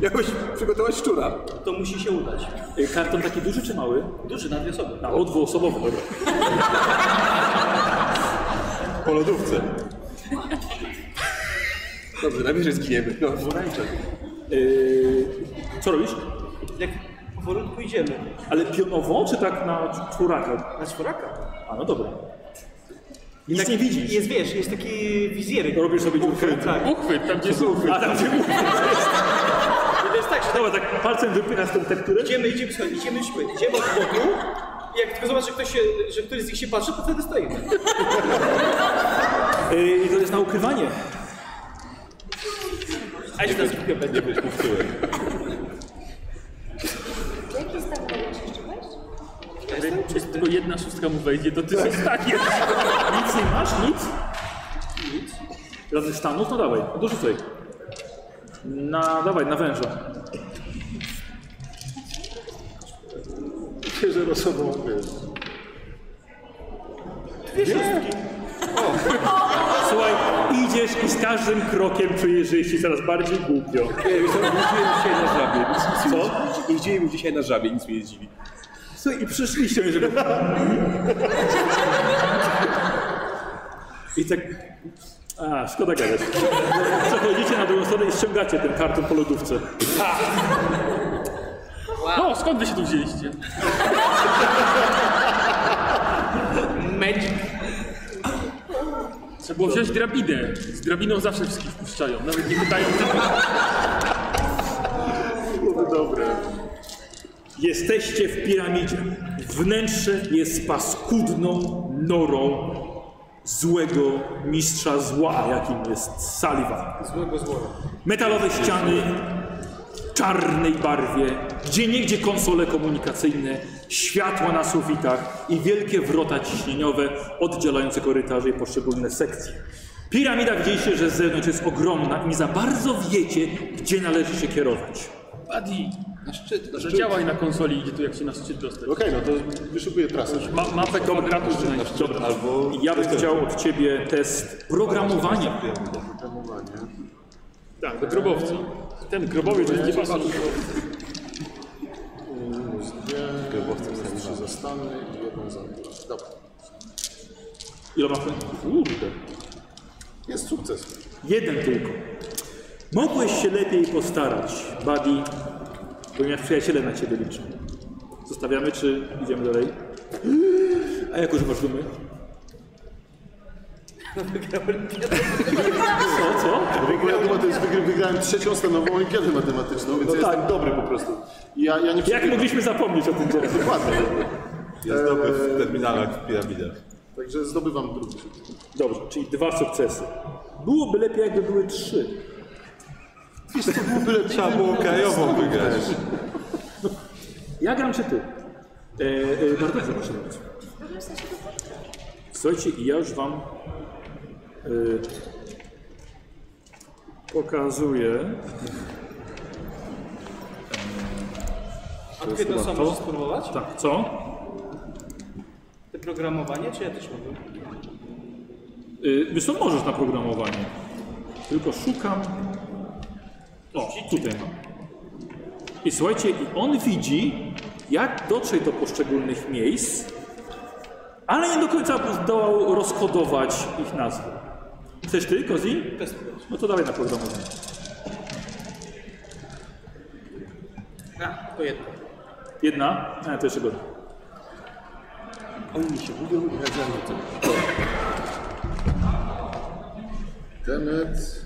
S6: Jakoś przygotować szczura.
S8: to musi się udać.
S11: Y, Karton taki duży czy mały?
S8: Duży, na dwie osoby.
S11: Na o, dwuosobowy, dobra.
S5: Po lodówce.
S6: Dobrze, na wieży zginiemy. No.
S11: Y, co robisz?
S8: Jak powolutku idziemy.
S11: Ale pionowo, czy tak na czwóraka?
S8: Na czworaka.
S11: A, no dobra. Nic nie widzisz.
S8: Jest, wiesz, jest taki wizjery.
S11: Robisz sobie dziurkę.
S8: Tak.
S4: Uchwyt, tam gdzie są
S11: A tam się mówi.
S8: I to jest tak, że
S11: Dobra, tak palcem wypychasz tą tekturę.
S8: idziemy, idziemy, słuchaj, idziemy, idziemy, idziemy od boku. I jak tylko zobaczysz, że, ktoś się, że któryś z nich się patrzy, to wtedy stoimy.
S11: Y, I to jest na ukrywanie.
S8: A jeśli nas kupią, będzie.
S9: Jak jest tak daleko jeszcze wejść?
S4: Jest tylko jedna szóstka mu wejdzie, to ty tak. zostaniesz.
S11: Nic nie masz? Nic? Nic. Razem stanów? No dawaj, dorzucaj. Na, dawaj, na węża.
S3: Że rosowo wiesz.
S11: Słuchaj, idziesz i z każdym krokiem czujesz, że jest ci coraz bardziej głupio.
S6: Nie, już nie jeździłem dzisiaj na żabie.
S11: Co?
S6: Jeździłem dzisiaj na żabie, nic mnie nie dziwi.
S11: Słuchaj, i przyszliście, żeby... I tak... A, szkoda gadać. Przechodzicie na drugą stronę i ściągacie ten karton po lodówce.
S4: No, skąd wy się tu wzięliście?
S8: Magic.
S4: Trzeba było wziąć drabinę. Z drabiną zawsze wszystkich wpuszczają, nawet nie pytają.
S11: Jesteście w piramidzie. Wnętrze jest paskudną norą złego mistrza zła, jakim jest Saliwan.
S8: Złego złora.
S11: Metalowe ściany czarnej barwie, gdzie niegdzie konsole komunikacyjne, światła na sufitach i wielkie wrota ciśnieniowe oddzielające korytarze i poszczególne sekcje. Piramida widzieliście, że z zewnątrz jest ogromna i nie za bardzo wiecie, gdzie należy się kierować.
S4: Adi,
S23: Na szczyt, na szczyt.
S4: zadziałaj na konsoli, gdzie tu jak się na szczyt dostać.
S3: Okej, no to wyszukuję trasę.
S4: Ma, mapę kwadratu znajdź.
S11: Dobra, albo ja bym chciał od ciebie test programowania.
S4: Tak, do grobowca. Ten grobowiec będzie pasował.
S3: Minus dwie. Grobowcem są trzy za Stany i jedną za Angolas. Dobra.
S11: Ile masz? Kurde.
S3: Jest sukces.
S11: Jeden tylko. Mogłeś się lepiej postarać, Buddy, ponieważ przyjaciele na ciebie liczą. Zostawiamy, czy idziemy dalej? A jak używasz gumy? Co, co?
S3: Moja duma to jest wygry, wygrałem trzecią stanową olimpiadę matematyczną,
S5: No
S3: więc ja
S11: tak.
S3: jestem dobry po prostu. I Ja, ja nie
S11: Jak mogliśmy zapomnieć o tym dziele?
S3: Dokładnie.
S5: Jest dobry w terminalach, w piramidach.
S3: Także zdobywam drugi sukces.
S11: Dobrze, czyli dwa sukcesy. Byłoby lepiej, jakby były trzy.
S3: Wiesz co, byłoby lepiej.
S5: Trzeba było krajową wygrać.
S11: Ja gram czy ty? E, e, Bartek, proszę bardzo. Słuchajcie, i ja już wam e, pokazuję.
S8: A ty jedno samo możesz spróbować?
S11: Tak, co?
S8: Te programowanie, czy ja też mogę?
S11: Y, Wiesz co, możesz na programowanie. Tylko szukam. O, tutaj mam. I słuchajcie, i on widzi, jak dotrzeć do poszczególnych miejsc, ale nie do końca zdołał rozkodować ich nazwy. Chcesz ty, Kozi? No to dawaj na programowanie.
S8: A, to jedno.
S11: Jedna? A, to jeszcze gorzej.
S23: Oni się budzą i radzają co.
S3: Demet.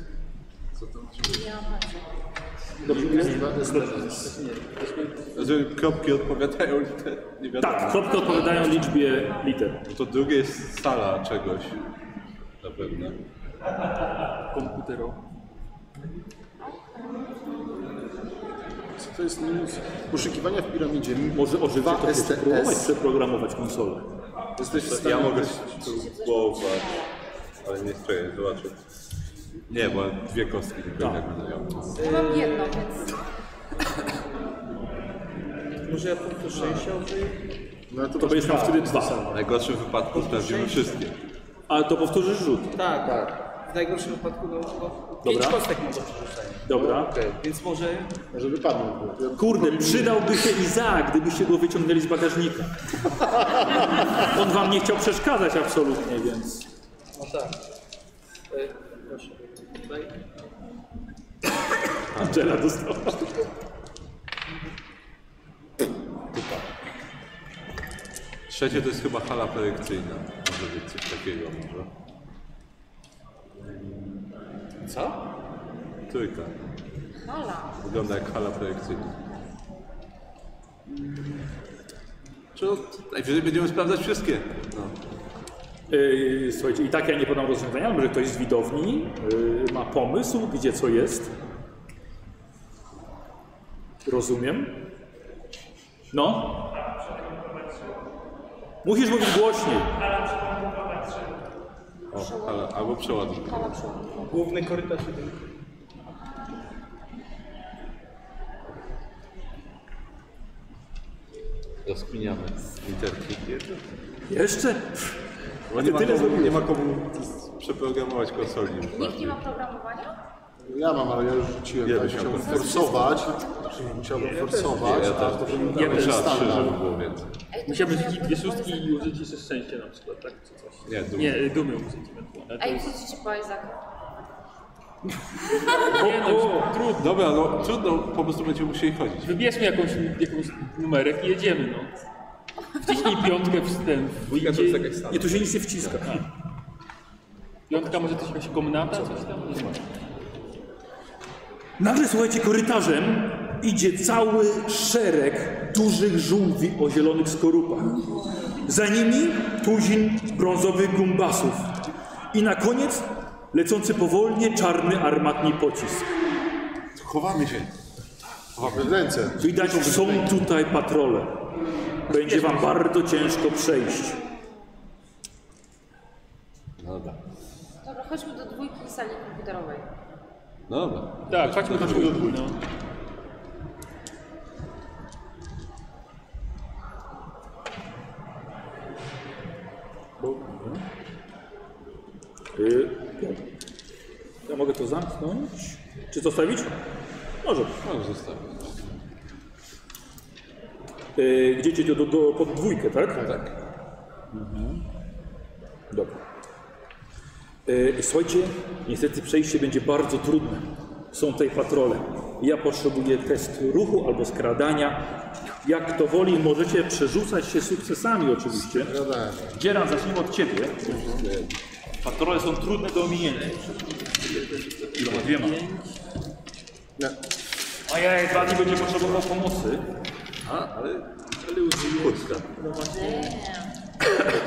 S3: Co tam ci Dobrze,
S5: Że kropki odpowiadają liter. Nie wiadomo.
S11: Tak, kropki odpowiadają liczbie liter.
S5: No To drugie jest sala czegoś. Na pewno.
S4: Komputero.
S3: Co to jest minus? Poszukiwania w piramidzie.
S1: Może ożywa
S3: Dwa
S1: to
S3: STS.
S1: spróbować przeprogramować konsolę.
S3: Jesteś w stanie...
S5: Ja mogę spróbować, ale nie spróbuję, zobaczę. Nie, bo dwie kostki tylko tak będę miał.
S9: Ja mam jedno, więc
S10: Może ja
S8: Tak.
S10: punktu 60.
S3: No to,
S1: To będziesz miał wtedy dwa.
S5: W najgorszym wypadku sprawdzimy wszystkie.
S1: Ale to powtórzysz rzut.
S8: Tak, W najgorszym wypadku no, no, pięć
S1: Dobra.
S8: kostek mam do przerzucenia.
S1: Dobra.
S8: Więc może
S3: Może wypadną.
S1: Kurde, przydałby się Izaak, gdybyście go wyciągnęli z bagażnika. On wam nie chciał przeszkadzać absolutnie, więc...
S8: No tak. Y, Proszę. Tutaj.
S1: Angela dostała.
S5: Trzecie to jest chyba hala projekcyjna. Może być coś takiego może.
S8: Co?
S5: Trójka.
S9: Ola.
S5: Wygląda jak hala projekcyjna. Czy no, najwyżej będziemy sprawdzać wszystkie. No.
S1: Yy, słuchajcie, i tak ja nie podam rozwiązania, ale może ktoś z widowni yy, ma pomysł, gdzie co jest. Rozumiem. No? Musisz mówić głośniej.
S5: O, hala, albo przeładunek.
S9: hala przeładunkowa.
S8: Główny korytarz jeden.
S5: Rozkminiamy literki.
S1: Jeszcze?
S5: Bo nie, ma
S1: tyle
S5: komu,
S1: zrobiłeś.
S5: nie ma komu przeprogramować konsoli już
S9: Nikt nie
S5: bardziej.
S9: ma programowania?
S3: Ja mam, ale ja już rzuciłem.
S5: Ja
S3: tak?
S5: też mam.
S3: Musiałbym forsować. Musiałbym forsować,
S5: Ja
S3: a to
S5: też.
S3: bym
S5: Ja
S3: dał
S5: też. Trzeba trzy, żeby
S3: standard.
S5: było więcej.
S9: Ej, to
S11: Musiałbyś
S9: może
S11: rzucić
S9: ja
S11: dwie
S9: bym
S11: szóstki i użyć jeszcze szczęście na przykład, tak? Czy coś.
S5: Nie, dół.
S11: Nie, y, dumy użyć ewentualnie.
S9: Ej, widzicie po Izaka.
S11: Nie no, trudno.
S5: Dobra, no trudno, po prostu będziemy musieli chodzić.
S11: Wybierzmy jakąś, jakąś numerek i jedziemy, no. Wciśnij piątkę w ten... w-
S6: Dwójka to jest jakaś
S1: Nie,
S6: sama.
S1: tu się nic nie wciska.
S11: Piątka może też jakaś komnata, coś tam? Nie ma.
S1: Nagle słuchajcie, korytarzem idzie cały szereg dużych żółwi o zielonych skorupach. Za nimi tuzin brązowych gumbasów. I na koniec lecący powolnie czarny armatni pocisk.
S3: Chowamy się. Chowamy w ręce.
S1: Widać, są tutaj patrole. Będzie wam bardzo ciężko przejść.
S5: No dobra.
S9: Dobra, chodźmy do dwójki sali komputerowej.
S5: No dobra.
S11: Tak, chodźmy do dwójki, no.
S1: Y, Ja mogę to zamknąć? Czy zostawić? Może.
S5: No zostawię.
S1: Yy, gdzie idziecie do, do, pod dwójkę, tak? Tak. Mhm. Dobra. Yy, słuchajcie, niestety przejście będzie bardzo trudne. Są tutaj patrole. Ja potrzebuję test ruchu albo skradania. Jak kto woli, możecie przerzucać się sukcesami oczywiście. Dzieran, zacznijmy od Ciebie. Patrole są trudne do ominięcia. Iloma dwiema.
S5: No.
S3: Nie.
S1: Ojej, dwa dni będzie potrzebował pomocy.
S5: A, ale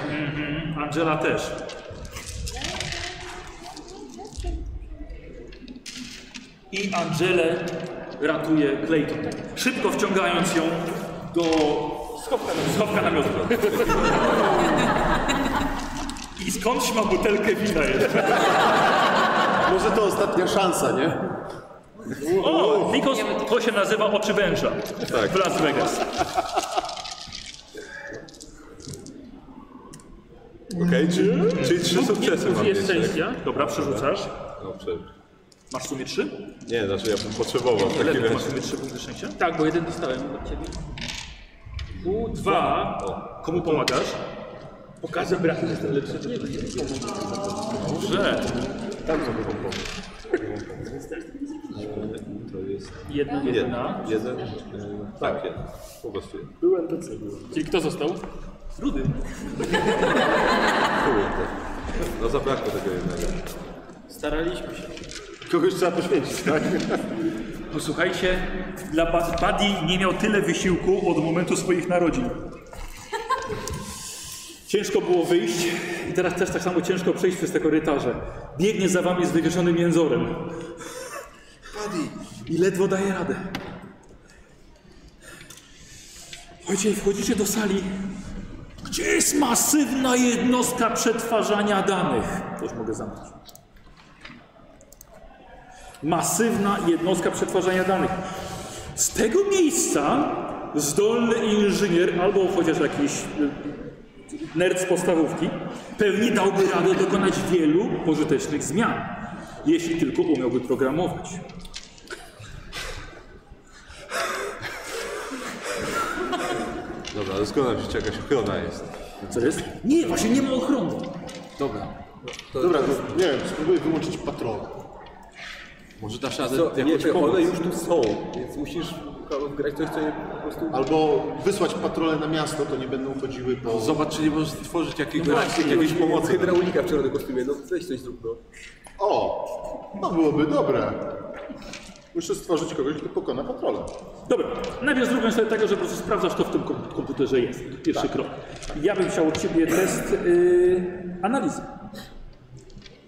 S1: Mhm. Angela też. I Angelę ratuje Clayton. Szybko wciągając ją do schowka na miotło. I skądś ma butelkę wina jeszcze.
S3: Może to ostatnia szansa, nie?
S1: O, Nikos, to się nazywa oczy węża
S5: Tak.
S1: w Las Vegas.
S5: okej, czy, czyli trzy sukcesy mam
S11: Jest
S5: mieć, tak?
S11: szczęścia.
S1: Dobra, przerzucasz.
S5: Dobrze.
S1: Masz w sumie trzy?
S5: Nie, znaczy ja bym potrzebował w takim
S1: Ile masz w
S5: razie.
S1: sumie trzy punkty szczęścia?
S11: Tak, bo jeden dostałem od ciebie.
S1: U, dwa. Komu pomagasz?
S11: Pokażę brat, że jestem lepszy od niego.
S1: Dobrze. Tak.
S5: To jest
S11: Jedna, jedna.
S5: jeden. Jeden. e, Tak, jeden. Po prostu jeden.
S11: Czyli kto został?
S1: Rudy.
S5: Kurde. No zabrakło tego jednego.
S8: Staraliśmy się.
S3: Kogoś trzeba poświęcić, tak?
S1: Posłuchajcie, dla Bud- Buddy nie miał tyle wysiłku od momentu swoich narodzin. Ciężko było wyjść i teraz też tak samo ciężko przejść przez te korytarze. Biegnie za wami z wywieszonym jęzorem.
S4: i ledwo daje radę. Słuchajcie, wchodzicie do sali, gdzie jest masywna jednostka przetwarzania danych. Coś mogę zamknąć. Masywna jednostka przetwarzania danych. Z tego miejsca zdolny inżynier albo chociaż jakiś y, nerd z podstawówki pewnie dałby radę dokonać wielu pożytecznych zmian, jeśli tylko umiałby programować.
S5: Dobra, No, ale zgoda się, czy jakaś ochrona jest.
S4: Co jest? Nie, właśnie nie ma ochrony.
S3: Dobra. Dobra, to nie wiem, spróbuję wyłączyć patrola.
S6: Może dasz radę Co, jakoś nie, One już tu są, więc musisz Karol, grać coś, co je po prostu...
S3: Albo wysłać patrole na miasto, to nie będą chodziły po...
S5: Zobacz, czy nie możesz stworzyć jakiegoś,
S6: Jakieś
S5: jakiejś pomocy.
S6: Hydraulika w czerwonym kostiumie, no weź coś zrób, no.
S3: O! To byłoby dobre. Muszę stworzyć kogoś, kto pokona patrole.
S4: Dobra, najpierw zrobię sobie tego, że po prostu sprawdzasz, kto w tym kom- komputerze jest. Pierwszy krok. Ja bym chciał od ciebie test yy, analizy.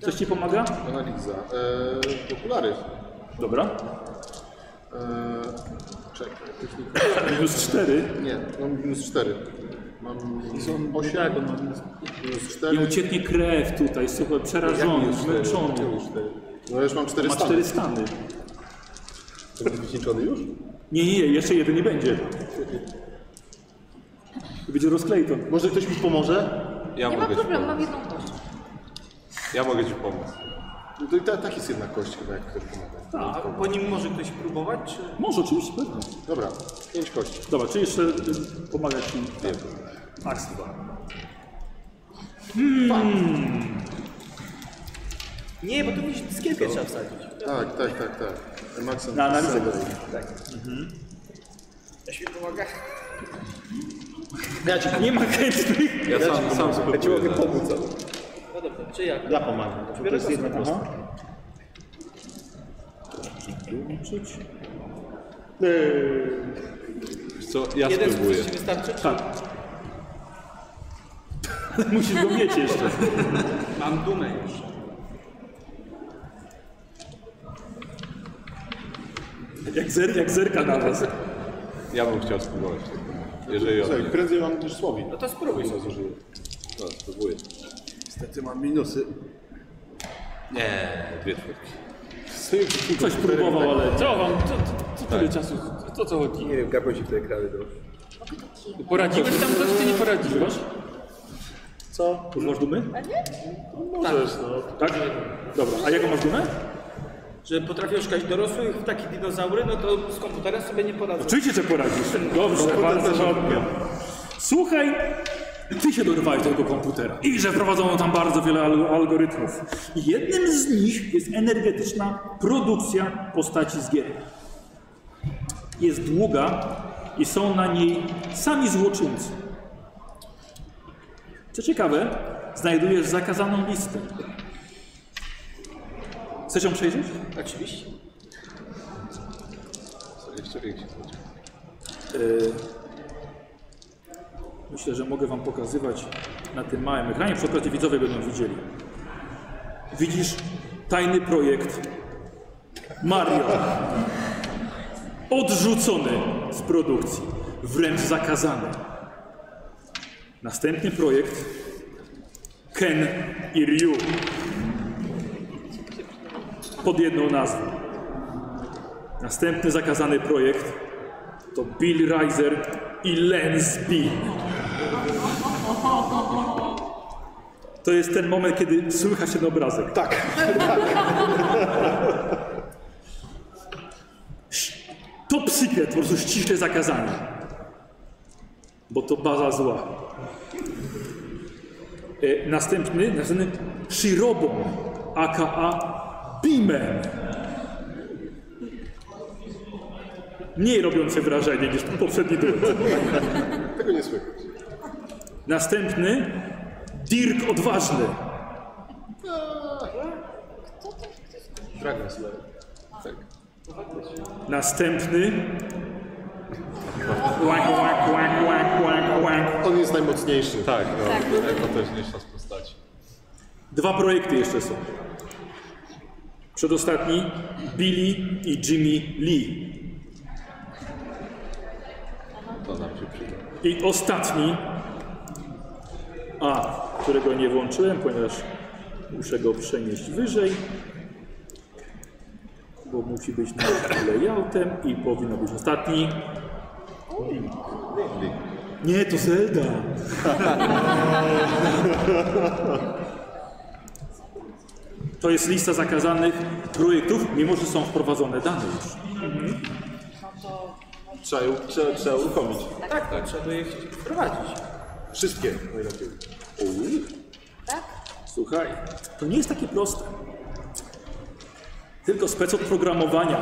S4: Coś ci pomaga?
S3: Analiza. Eee, okulary.
S4: Dobra.
S3: Eee, czekaj, technika.
S4: Minus 4.
S3: Nie, mam minus 4. Mam minus 8. Tak, mam minus 4.
S4: I ucieknie krew tutaj, słuchaj, przerażony, zmęczony.
S3: No już mam 4
S4: Ma
S3: stany.
S4: cztery stany.
S3: To będzie wycieńczony już?
S4: Nie, nie, nie, jeszcze jeden nie będzie. Będzie rozklejton.
S3: Może ktoś mi pomoże?
S5: Ja
S9: Nie ma
S5: mogę ci
S9: problemu, mam
S5: pomóc.
S9: jedną kość.
S5: Ja mogę ci pomóc.
S3: No to i ta, tak jest jedna kość chyba, jak ktoś pomaga.
S8: A po nim może ktoś próbować, czy...
S4: Może, oczywiście, pewnie.
S3: Dobra, 5 kości.
S4: Dobra, czy jeszcze y, pomaga ci
S3: Wiem.
S4: Axel.
S8: Nie, bo tu gdzieś dyskierkę trzeba wsadzić.
S3: Tak, tak, tak, tak. Maxem
S4: Na analizę go.
S8: Ktoś mi pomaga.
S4: Nie ma chętnych.
S5: Ja sam, sam spróbuję. zaraz.
S8: No dobrze, czy jak?
S16: Ja pomagam. To jest jedna prosta.
S5: Wiesz Co? Ja
S8: Jeden
S5: spróbuję.
S8: z ci wystarczy?
S4: Tak. Musisz go mieć jeszcze.
S6: Mam dumę już.
S4: Jak, zer, jak zerka na was.
S5: Ja bym chciał spróbować. w takim razie. Jeżeli on
S3: Słuchaj,
S5: nie...
S3: prędzej mam niż słowi.
S8: No to spróbuj.
S3: zużyję.
S5: No, spróbuję.
S16: Niestety mam minusy.
S5: Nie, dwie czwórki.
S4: Coś próbował, ale
S10: Co wam, co, co, co tyle czasu, co co chodzi?
S6: Nie wiem, gapią się w te ekrany, no.
S10: Poradziłeś tam coś, czy nie poradziłeś?
S4: Już masz dumy? A nie? możesz, no. Tak? Dobra, a jaką masz dumę?
S8: Że potrafię szukać dorosłych w takie dinozaury, no to z komputerem sobie nie poradzę.
S4: Oczywiście, że poradzisz. Dobrze, bardzo ładnie. Słuchaj, ty się dorwałeś do tego komputera i że prowadzono tam bardzo wiele al- algorytmów. I Jednym z nich jest energetyczna produkcja postaci z gier. Jest długa i są na niej sami złoczyńcy. Co ciekawe, znajdujesz zakazaną listę. Chcesz ją przejrzeć?
S8: Oczywiście.
S5: Co, Jeszcze większy chodzi.
S4: Y, Myślę, że mogę Wam pokazywać na tym małym ekranie. Przy okazji widzowie będą widzieli. Widzisz tajny projekt Mario. Odrzucony z produkcji, wręcz zakazany. Następny projekt Ken i Ryu. Pod jedną nazwą. Następny zakazany projekt to Bill Riser i Lens Bean. To jest ten moment, kiedy słychać ten obrazek. Tak. Top secret, po prostu ściśle zakazane. Bo to baza zła. E, Następny, następny Shirobon, aka Beaman. Mniej robiący wrażenie niż poprzedni duet.
S3: Tego nie słychać.
S4: Następny Dirk Odważny.
S3: Dragon Slayer.
S4: Następny. Łak, łak, łak, łak, łak, łak.
S3: On jest najmocniejszy.
S5: Tak, no. Jako też niższa z postaci.
S4: Dwa projekty jeszcze są.
S11: Przedostatni Billy i Jimmy Lee.
S5: To nam się przyda.
S11: I ostatni, a, którego nie włączyłem, ponieważ muszę go przenieść wyżej, bo musi być na layoutem i powinno być ostatni. Nie, to Zelda. To jest lista zakazanych projektów, mimo że są wprowadzone dane już.
S9: No to
S3: Trzeba, ją- trzeba, trzeba uruchomić.
S8: Tak, tak, trzeba je wprowadzić.
S3: Wszystkie najlepiej.
S9: tak?
S11: Słuchaj, to nie jest takie proste. Tylko spec od programowania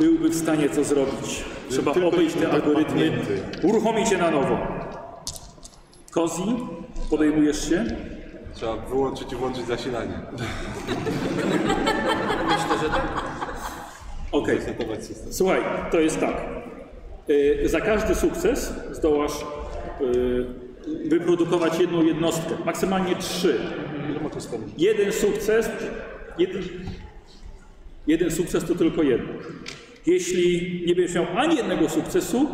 S11: byłby w stanie to zrobić. Trzeba
S3: Tylko
S11: obejść te
S3: tak
S11: algorytmy,
S3: padnięty.
S11: uruchomić je na nowo. Kozi, podejmujesz się?
S5: Trzeba wyłączyć i włączyć zasilanie.
S11: Okej.
S5: Zatować system.
S11: Słuchaj, to jest tak. Y, Za każdy sukces zdołasz y, wyprodukować jedną jednostkę, maksymalnie trzy. Jeden sukces, jeden, jeden sukces to tylko jeden. Jeśli nie będziesz miał ani jednego sukcesu,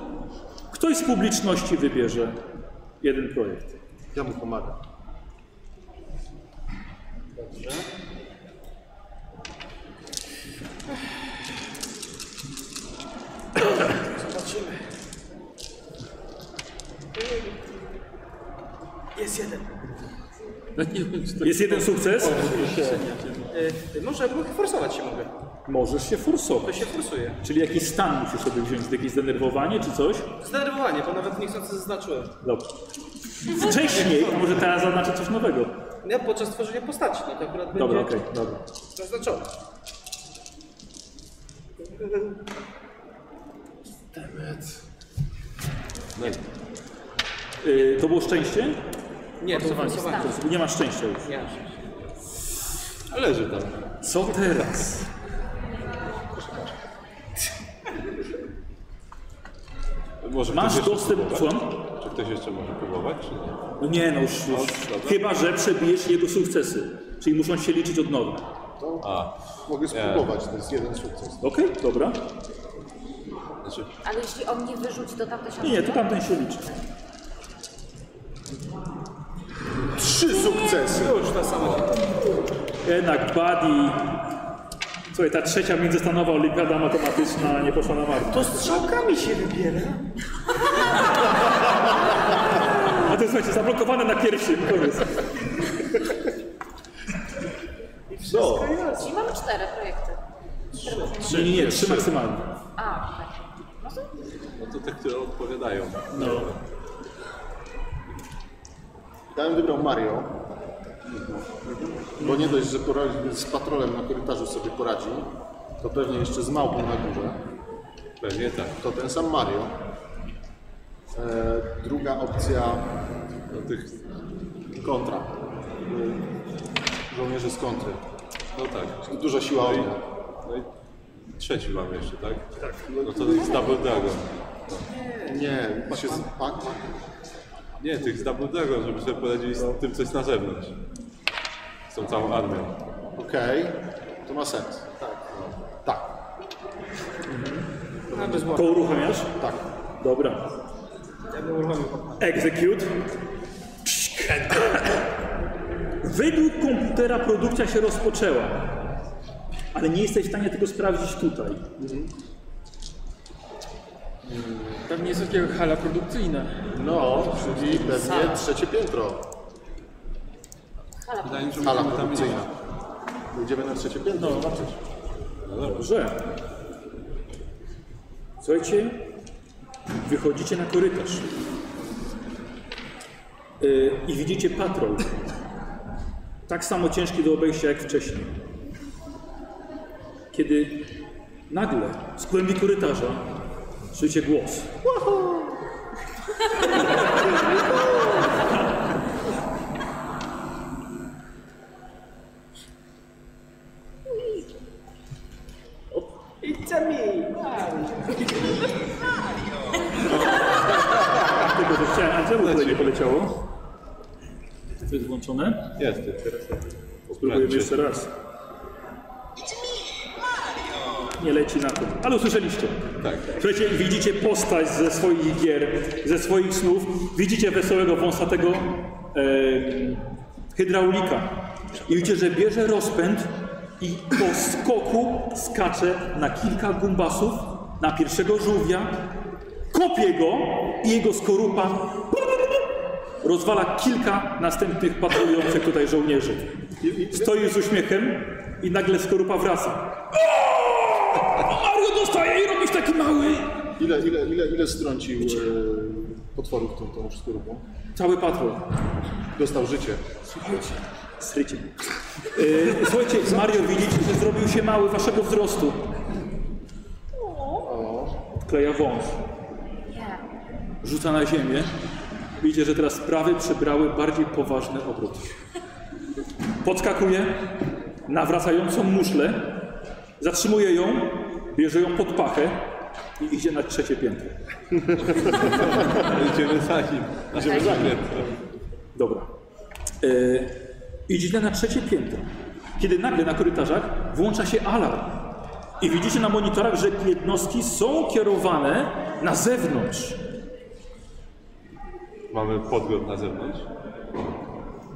S11: ktoś z publiczności wybierze jeden projekt.
S3: Ja mu pomagam.
S8: Jest jeden.
S11: Jest jeden sukces,
S8: Y, może mogę forsować się mogę.
S11: możesz się
S8: To
S11: forsować.
S8: się forsuje.
S11: Czyli jakiś stan musisz sobie wziąć, jakieś zdenerwowanie czy coś.
S8: Zdenerwowanie, bo nawet niechcący zaznaczyłem.
S11: Dobrze. Wcześniej, a może teraz zaznaczę coś nowego.
S8: Ja podczas tworzenia postaci, no to akurat
S11: Dobra,
S8: będzie
S11: okej, dobra.
S8: zaznaczone.
S11: Y, to było szczęście?
S8: Nie, to forsowanie.
S11: To Nie ma szczęścia już.
S8: Nie,
S5: Leży tam.
S11: Co teraz?
S5: Może ktoś
S11: Masz
S5: jeszcze
S11: dostęp.
S5: próbować?
S11: Słucham?
S5: Czy ktoś jeszcze może próbować, czy nie?
S11: No nie, no już. już. Chyba, że przebijesz jego sukcesy. Czyli muszą się liczyć od nowa.
S5: A,
S3: Mogę spróbować, to jest jeden sukces.
S11: Okej, dobra.
S5: znaczy,
S9: Ale jeśli on nie wyrzuci, to tamto się
S11: Nie, nie, to tamten się liczy.
S3: Trzy sukcesy!
S11: Jednak Buddy. Słuchaj, ta trzecia międzystanowa olimpiada matematyczna nie poszła na marne.
S8: To strzałkami się wybiera.
S11: A to słuchajcie, zablokowane na pierwszym. Koniec.
S3: No,
S9: Czyli mamy cztery projekty. Trzy.
S11: Nie, nie, nie, trzy maksymalnie.
S9: A, okej. No to
S5: no to te, które odpowiadają.
S11: No.
S3: dałem wybrał Mario. Bo nie dość, że poradzi, z patrolem na korytarzu sobie poradził, to pewnie jeszcze z małpą na górze.
S5: Pewnie tak.
S3: To ten sam Mario. E, druga opcja
S5: No, tych,
S3: kontra. E, Żołnierze z kontry.
S5: no tak.
S3: Duża siła
S5: No i,
S3: ognia.
S5: no i trzeci mam jeszcze, tak? Tak. No to tych z Double Dragon.
S3: Nie, się z... Pac
S5: Nie, tych z Double Dragon, żeby sobie poradzili z tym, co jest na zewnątrz. Z tą całą armią.
S3: Okej, to ma sens. Tak. Tak,
S11: To uruchamiasz?
S3: tak.
S11: Dobra. Execute. Według komputera produkcja się rozpoczęła, ale nie jesteś w stanie tego sprawdzić tutaj.
S24: Pewnie jest takiego hala produkcyjna.
S3: No, czyli pewnie trzecie piętro.
S5: Wydaje mi się, że
S3: Hala
S5: musimy tam iść.
S3: produkcyjna. Idziemy na trzecie piętro zobaczyć.
S11: Dobrze. Słuchajcie, wychodzicie na korytarz yy, i widzicie patrol. Tak samo ciężki do obejścia jak wcześniej. Kiedy nagle z głębi korytarza słyszycie głos.
S8: It's a me.
S11: Tego to chciałem, a czemu tutaj nie poleciało? To jest włączone?
S5: Jest, jest, teraz.
S11: Spróbujemy jeszcze raz.
S9: It's me.
S11: nie leci na tym. Ale usłyszeliście.
S5: Tak.
S11: Słuchajcie, widzicie postać ze swoich gier, ze swoich snów. Widzicie wesołego, wąsatego em, hydraulika. I widzicie, że bierze rozpęd i po skoku skacze na kilka gumbasów, na pierwszego żółwia, kopie go i jego skorupa rozwala kilka następnych patrolujących tutaj żołnierzy. Stoi z uśmiechem i nagle skorupa wraca. O! Mario dostaje i robisz taki mały.
S3: Ile, ile, ile, ile strącił e, potworów tą, tą skorupą?
S11: Cały patrol.
S3: Dostał życie.
S11: Słuchajcie, srycie. Yy, słuchajcie, Mario widzicie, że zrobił się mały waszego wzrostu. Odkleja wąż. Rzuca na ziemię. Widzicie, że teraz sprawy przybrały bardziej poważny obrót. Podskakuje, nawracającą muszlę, zatrzymuje ją, bierze ją pod pachę i idzie na trzecie piętro.
S5: Idziemy za nim. Idziemy Tak, za nim.
S11: Dobra. E, idziecie na trzecie piętro, kiedy nagle na korytarzach włącza się alarm. I widzicie na monitorach, że jednostki są kierowane na zewnątrz.
S5: Mamy podgląd na zewnątrz.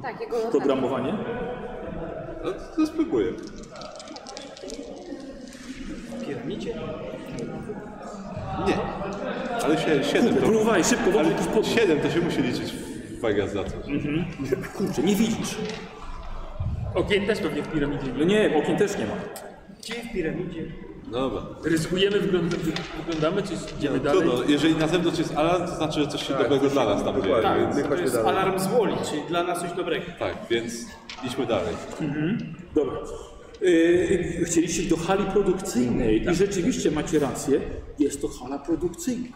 S9: Tak, jego
S11: Programowanie.
S5: No to, to spróbuję. Nie. Ale się, 7 to...
S11: Próbowaj szybko, bo
S5: Ale
S11: jakiś podgląd.
S5: 7 to się musi liczyć Vegas za coś.
S11: Kurczę, nie widzisz.
S4: Okien też pewnie w piramidzie
S11: No
S4: nie.
S11: nie, okien też nie ma.
S8: Gdzie w piramidzie?
S5: No dobra.
S4: Ryzykujemy, wygląda, wyglądamy, czy idziemy
S11: no,
S4: dalej?
S5: Trudno, jeżeli na zewnątrz jest alarm, to znaczy, że coś się dobrego dla nas tam dzieje.
S25: Dokładnie,
S5: Więc,
S25: my
S8: To
S25: chodźmy
S8: jest
S25: dalej.
S8: alarm z Woli, czyli dla nas coś dobrego.
S5: tak, więc idźmy dalej.
S11: Dobra. Yy, chcieliście do hali produkcyjnej i rzeczywiście macie rację, jest to hala produkcyjna.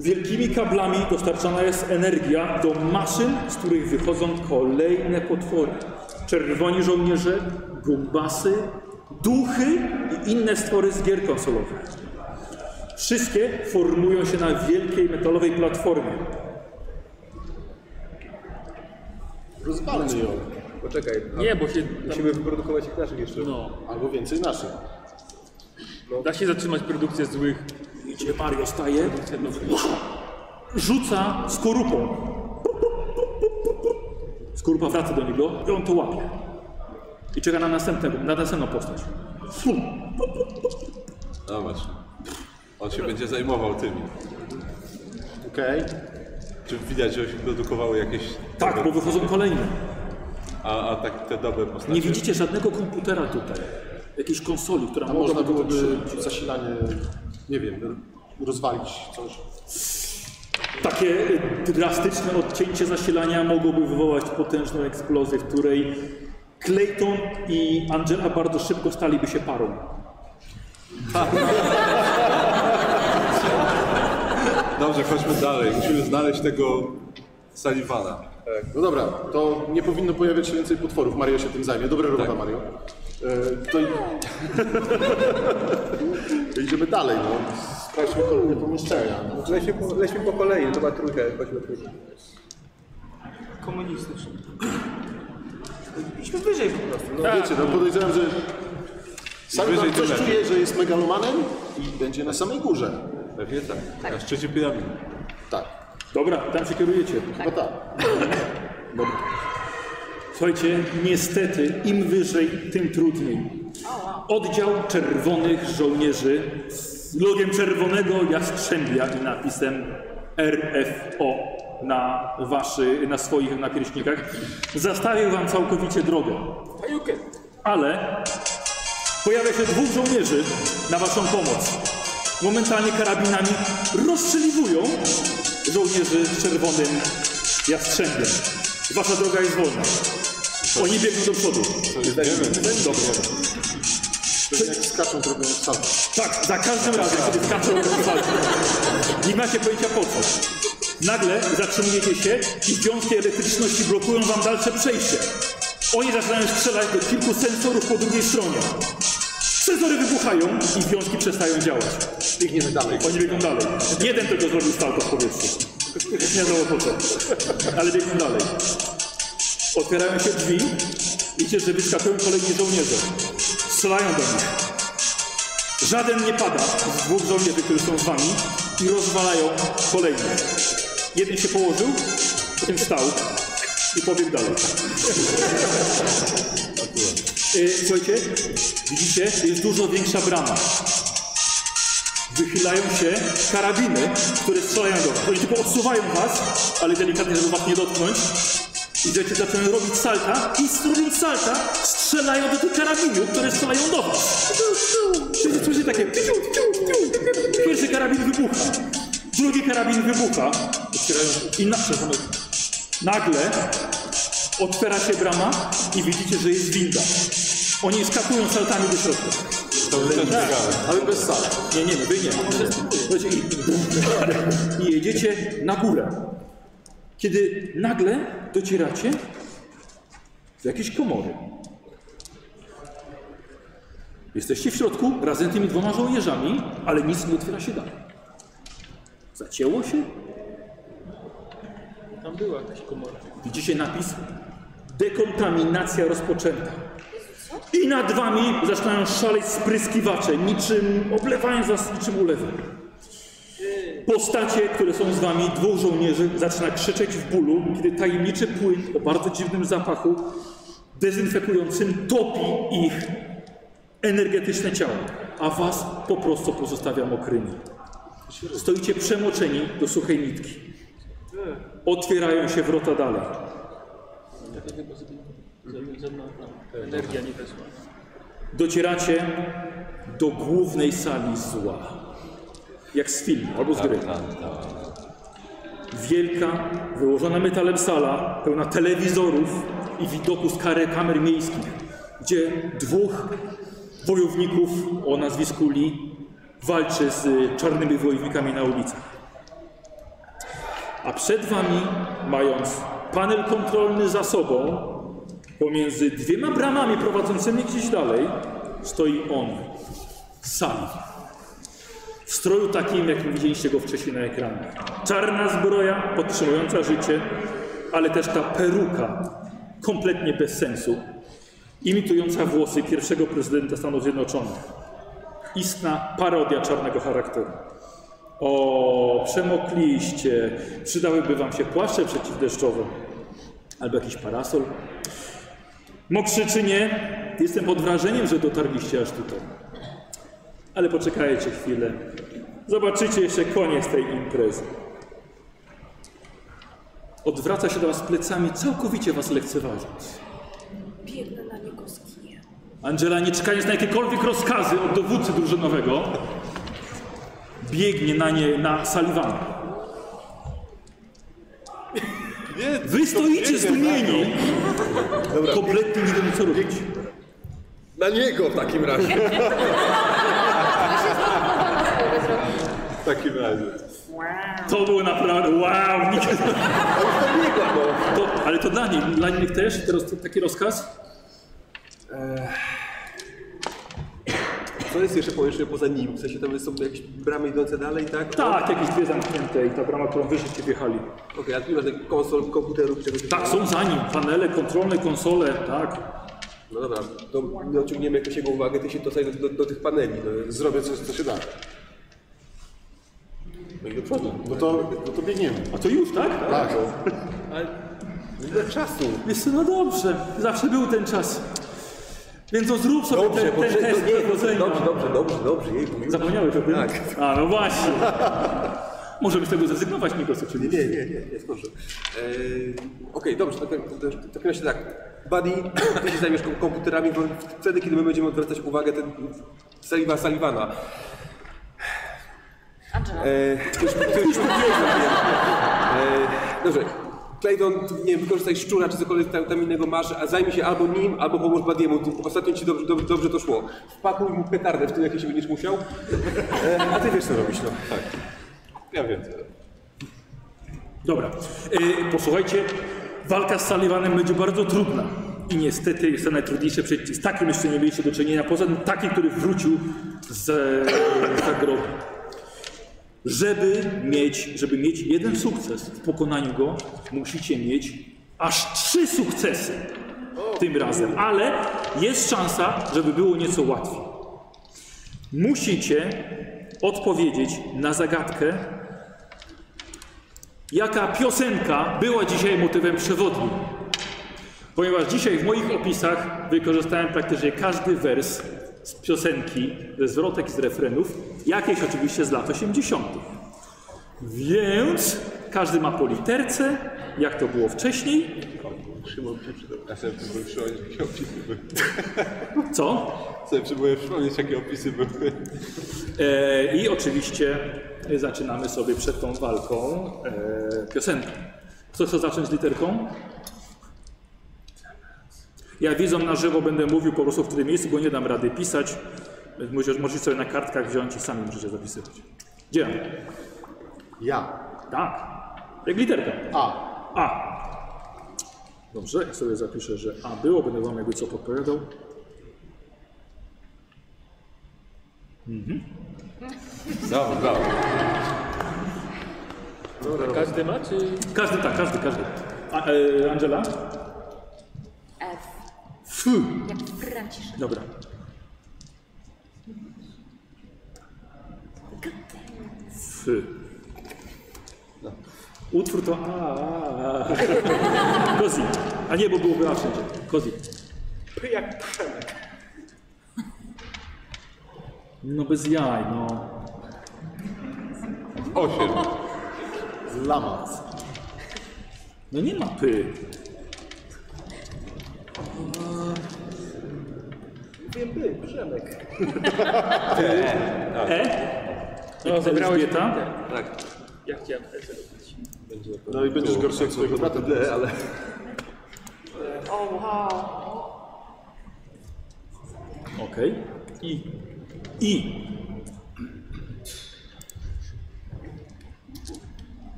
S11: Wielkimi kablami dostarczana jest energia do maszyn, z których wychodzą kolejne potwory. Czerwoni żołnierze, gumbasy, duchy i inne stwory z gier konsolowych. Wszystkie formują się na wielkiej metalowej platformie.
S3: Rozbalmy ją.
S26: Poczekaj, a
S4: Nie, bo się tam,
S26: musimy wyprodukować ich naszych jeszcze.
S4: no,
S3: Albo więcej naszych.
S4: da się zatrzymać produkcję złych.
S11: Idzie Mario, staje, rzuca skorupą. Skorupa wraca do niego i on to łapie. I czeka na następnego, na następną postać. Fum.
S5: No właśnie. On się będzie zajmował tymi.
S3: Okej.
S5: Czy widać, że się produkowały jakieś...
S11: Tak, bo wychodzą kolejne.
S5: A, a tak te dobre postacie?
S11: Nie widzicie żadnego komputera tutaj. Jakiejś konsoli, która
S3: A
S11: mogłaby
S3: można
S11: tutaj
S3: byłoby
S11: przy-
S3: zasilanie, nie wiem, rozwalić coś.
S11: Takie y, drastyczne odcięcie zasilania mogłoby wywołać potężną eksplozję, w której Clayton i Angela bardzo szybko staliby się parą.
S5: Dobrze, chodźmy dalej. Musimy znaleźć tego Sullivana.
S3: No dobra, to nie powinno pojawiać się więcej potworów. Mario się tym zajmie.
S5: Tak.
S3: Dobra robota, Mario. E, to... i- [LAUGHS] Idziemy dalej, no. Sprawdźmy kolejne pomieszczenia. No.
S26: Leśmy po, leśmy po kolei, to była trójka, chodźmy trójkę.
S8: Komunistyczny. Idźmy wyżej po prostu. No.
S3: Wiecie, no podejrzewam, że
S5: Tak.
S3: sam
S5: wyżej,
S3: ktoś
S5: to lepiej.
S3: czuje, że jest megalomanem i będzie na samej górze.
S5: Pewnie tak. Na szczycie piramidy.
S3: Tak,
S11: Dobra, tam się kierujecie.
S3: chyba tak.
S11: Słuchajcie, niestety im wyżej, tym trudniej. Oddział Czerwonych Żołnierzy z logiem czerwonego jastrzębia i napisem RFO na, waszy, na swoich napierśnikach zastawił wam całkowicie drogę. Ale pojawia się dwóch żołnierzy na waszą pomoc. Momentalnie karabinami rozstrzeliwują żołnierzy z czerwonym jastrzębiem. Wasza droga jest wolna. Oni biegną do przodu.
S3: To jak skaczą, to robią salto.
S11: Tak, za każdym razem, kiedy skaczą do walki. Nie macie pojęcia po co. Nagle zatrzymujecie się i wiązki elektryczności blokują wam dalsze przejście. Oni zaczynają strzelać do kilku sensorów po drugiej stronie. Sensory wybuchają i wiązki przestają działać.
S3: Biegniemy dalej.
S11: Oni biegną dalej. Jeden tylko zrobił salto w powietrzu. Nie wiadomo po co. Ale biegną dalej. Otwierają się drzwi. Widzicie, że wyskakują kolejni żołnierze. Strzelają do nich.
S4: Żaden nie pada z dwóch żołnierzy, którzy są z wami i rozwalają kolejny. Jeden się położył, potem wstał i pobiegł dalej. Y, Słuchajcie, widzicie, jest dużo większa brama. Wychylają się karabiny, które strzelają do was. Oni tylko odsuwają was, ale delikatnie, żeby was nie dotknąć. I dzieci zaczynają robić salta i z robiąc salta strzelają do tych karabinów, które strzelają do was. Czyli słyszy takie piu, piu, piu. Pierwszy karabin wybucha. Drugi karabin wybucha. I na... nagle otwiera się brama i widzicie, że jest winda. Oni skakują saltami do środka.
S11: Tak.
S3: Ale bez sal.
S4: Nie, nie, wy nie. Słuchajcie, No i- I jedziecie na górę. Kiedy nagle docieracie do jakiejś komory. Jesteście w środku razem z tymi dwoma żołnierzami, ale nic nie otwiera się dalej. Zacięło się.
S10: Tam była jakaś komora.
S4: Widzicie napis? Dekontaminacja rozpoczęta. I nad wami zaczynają szaleć spryskiwacze, niczym oblewając was niczym ulewem. Postacie, które są z wami, dwóch żołnierzy, zaczyna krzyczeć w bólu, kiedy tajemniczy płyn o bardzo dziwnym zapachu dezynfekującym topi ich energetyczne ciało, a was po prostu pozostawia mokrymi. Stoicie przemoczeni do suchej nitki. Otwierają się wrota dalej.
S10: Taka chyba żadna- żadna tam energia nie weszła.
S4: Docieracie do głównej sali zła. Jak z filmu albo z gry. Wielka, wyłożona metalem sala, pełna telewizorów i widoku z kary kamer miejskich, gdzie dwóch wojowników o nazwisku Li walczy z y, czarnymi wojownikami na ulicach. A przed wami, mając panel kontrolny za sobą, Pomiędzy dwiema bramami prowadzącymi gdzieś dalej stoi on sam. W stroju takim, jakim widzieliście go wcześniej na ekranie. Czarna zbroja, podtrzymująca życie, ale też ta peruka, kompletnie bez sensu, imitująca włosy pierwszego prezydenta Stanów Zjednoczonych. Istna parodia czarnego charakteru. O, przemokliście, przydałyby wam się płaszcze przeciwdeszczowe albo jakiś parasol. Mokrzyczynie, jestem pod wrażeniem, że dotarliście aż tutaj. Ale poczekajcie chwilę. Zobaczycie jeszcze koniec tej imprezy. Odwraca się do was plecami, całkowicie was lekceważąc.
S9: Biegnę na niego z kijem.
S4: Angela, nie czekając na jakiekolwiek rozkazy od dowódcy drużynowego, biegnie na nie, na Sullivana. Wy stoicie zdumieni, kompletnie nie wiem co robić.
S2: Na niego w takim razie.
S5: W takim razie.
S4: To było naprawdę wow! Nikt...
S2: no.
S4: to, ale to dla nich, dla nich też teraz t- taki rozkaz.
S2: Co jest jeszcze pomieszczenie poza nim? W sensie tam są jakieś bramy idące dalej, tak?
S4: Tak, jakieś dwie zamknięte i ta brama, którą wyżej wjechali.
S2: Okej, a tu nie ma tych konsol, komputerów, czegoś
S4: Tak, są za nim panele kontrolne, konsole, tak.
S2: No dobra, to nie odciągniemy jakoś jego uwagę, ty się to do, do, do tych paneli. No,
S3: Zrobię coś, co się da.
S2: no i do przodu.
S3: No to, no to biegniemy.
S4: A to już, tak?
S3: Tak.
S2: Ile czasu?
S4: Wiesz co, no dobrze, zawsze był ten czas. Więc no zrób sobie
S2: Dobrze,
S4: ten,
S2: bo
S4: ten
S2: przecież
S4: test
S2: to nie, dobrze,
S4: dowodzenia.
S2: dobrze, dobrze, dobrze, jej już.
S4: Zapomniałeś o tym?
S2: Tak.
S4: A, no właśnie. Możemy z tego zrezygnować, Nikos,
S2: Nie,
S4: oczywiście.
S2: nie, nie, nie, jest dobrze. Eee, Okej, dobrze, to w takim- to w takim razie tak. Buddy, ty się zajmiesz kom- komputerami, bo wtedy, kiedy my będziemy odwracać uwagę, ten Saliwa Salivana.
S9: Angela.
S11: E-
S2: Eee, to już, to już mówiłeś na mnie. Eee, Dobrze. Clayton, nie wiem, wykorzystaj szczura, czy cokolwiek tam, tam innego masz, a zajmij się albo nim, albo pomóż Badiemu. Tu Ostatnio ci dobrze, dobrze, dobrze to szło. Wpadł mu petardę w tym, jakie się będziesz musiał. Eee, a ty wiesz, co robisz, no.
S5: Ja wiem co robię.
S4: Dobra, e, posłuchajcie, walka z Sullivanem będzie bardzo trudna. I niestety jest to najtrudniejsze przeciw. Z takim jeszcze nie mieliście do czynienia, poza tym taki, który wrócił z e, zagrobu. Żeby mieć, żeby mieć jeden sukces w pokonaniu go, musicie mieć aż trzy sukcesy tym razem. Ale jest szansa, żeby było nieco łatwiej. Musicie odpowiedzieć na zagadkę, jaka piosenka była dzisiaj motywem przewodnim. Ponieważ dzisiaj w moich opisach wykorzystałem praktycznie każdy wers z piosenki, ze zwrotek, z refrenów, jakieś oczywiście z lat 80. Więc każdy ma po literce, jak to było wcześniej.
S5: Szymon przeczytał. Ja sobie próbuję przypomnieć, jakie opisy były.
S4: Co?
S5: Sobie próbuję przypomnieć, jakie opisy były.
S4: E, I oczywiście zaczynamy sobie przed tą walką e, piosenkę. Kto chce zacząć z literką? Ja widzą na żywo będę mówił po prostu w którym miejscu, bo nie dam rady pisać. Więc Możecie, możecie sobie na kartkach wziąć i sami możecie zapisywać. Gdzie?
S3: Ja.
S4: Tak. Jak literka.
S3: A.
S4: A. Dobrze, ja sobie zapiszę, że A było, będę wam jakby co podpowiadał.
S5: Dobra, dobra.
S27: Każdy ma, czy...
S4: Każdy tak, każdy, każdy. A, e, Angela?
S9: F.
S4: F.
S9: Jak Franciszek.
S4: Dobra. F. Utwór to a, a, [LAUGHS] a. Kozi. A nie, bo byłoby a wszędzie. Kozi.
S8: P jak Przemek.
S4: No bez jaj, no.
S5: Osiem.
S3: Lamac.
S4: No nie ma py.
S8: Wiem, by, Przemek.
S4: E?
S27: No, zabrałeś
S4: Elżbieta?
S28: Tak.
S27: Ja chciałem E zrobić.
S3: No i będziesz gorszy od swojego brata.
S29: D, ale...
S9: O, wow.
S4: Okej. I. I.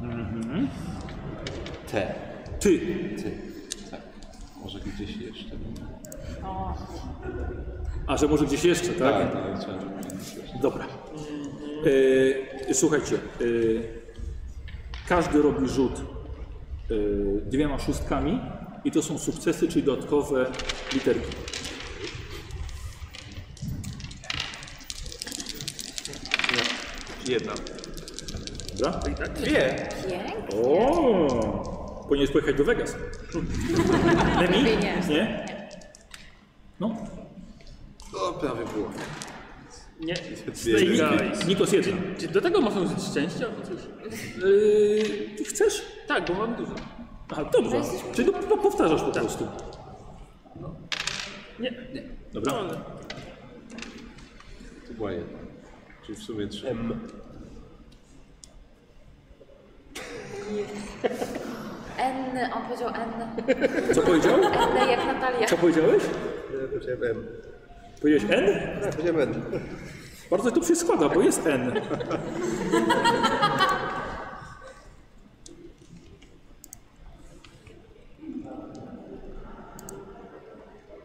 S28: T.
S4: Mhm. Ty.
S28: Ty. Tak. Może gdzieś jeszcze.
S4: A że może gdzieś jeszcze, tak?
S5: Tak, tak, chciałem.
S4: Dobra. E, słuchajcie, e, każdy robi rzut e, dwiema szóstkami i to są sukcesy, czyli dodatkowe literki.
S28: Jedna.
S4: Dobra?
S9: Pięknie.
S4: O! Powinieneś pojechać do
S9: [LAUGHS]
S4: Vegas. Lemi?
S9: Lepiej nie.
S4: Nie? No.
S29: O, prawie było.
S27: Nie.
S4: Czyli
S27: Stay guys.
S4: Nikos jedna.
S27: Czy do tego można użyć szczęścia albo coś?
S4: E, chcesz?
S27: Tak, bo mam dużo. Tak.
S4: Aha,
S9: No
S4: dobrze. Czyli po- powtarzasz po prostu.
S27: No. Nie, No, nie.
S4: Dobra.
S5: To była jedna. Czyli w sumie trzy.
S9: N, on powiedział N.
S4: Co powiedział?
S9: N jak Natalia.
S4: Co powiedziałeś?
S29: Powiedziałem M.
S4: Powiedziałeś N?
S29: Tak, powiedziałem M.
S4: Bardzo to się składa, bo jest N.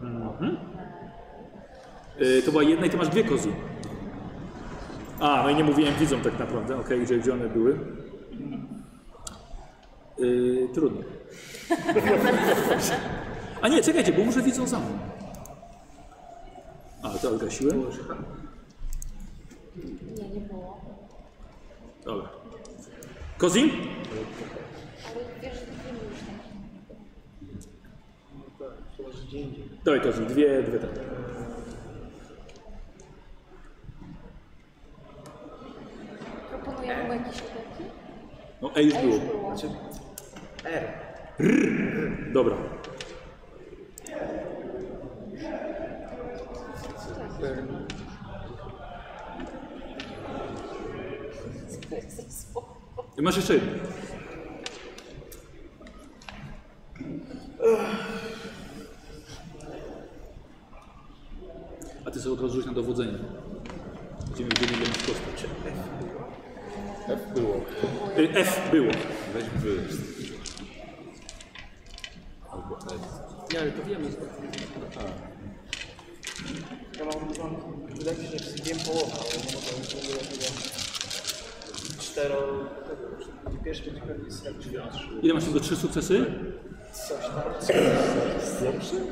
S4: Mhm. Y, To była jedna i ty masz dwie kozy. A, no i nie mówiłem widzom tak naprawdę, okej, gdzie, gdzie one były. Y, trudno. A nie, czekajcie, bo może widzą za mną. A, to odgasiłem.
S9: Nie, nie było.
S4: Dobra. Kozim?
S9: Ale wiesz, że nie już tak.
S4: Dawaj Kozim, dwie, dwie tak.
S9: Proponuję mu jakieś literki?
S4: No E już
S9: A
S4: było.
S9: już było.
S4: Dobra.
S9: To jest zespół.
S4: Masz jeszcze jedno. A ty sobie od razu rzuć na dowodzenie. Będziemy wiedzieli, ile masz kostek.
S3: F było.
S4: Y, F było.
S5: Weź by.
S27: Nie, ale to wiemy. że-
S8: Ja mam, mam wydaje mi się, że wiem połowę, ale nie mogę już w ogóle tego. Cztero... Pierwszy będzie pewnie jest jak drzwi.
S4: Ile masz tylko trzy sukcesy?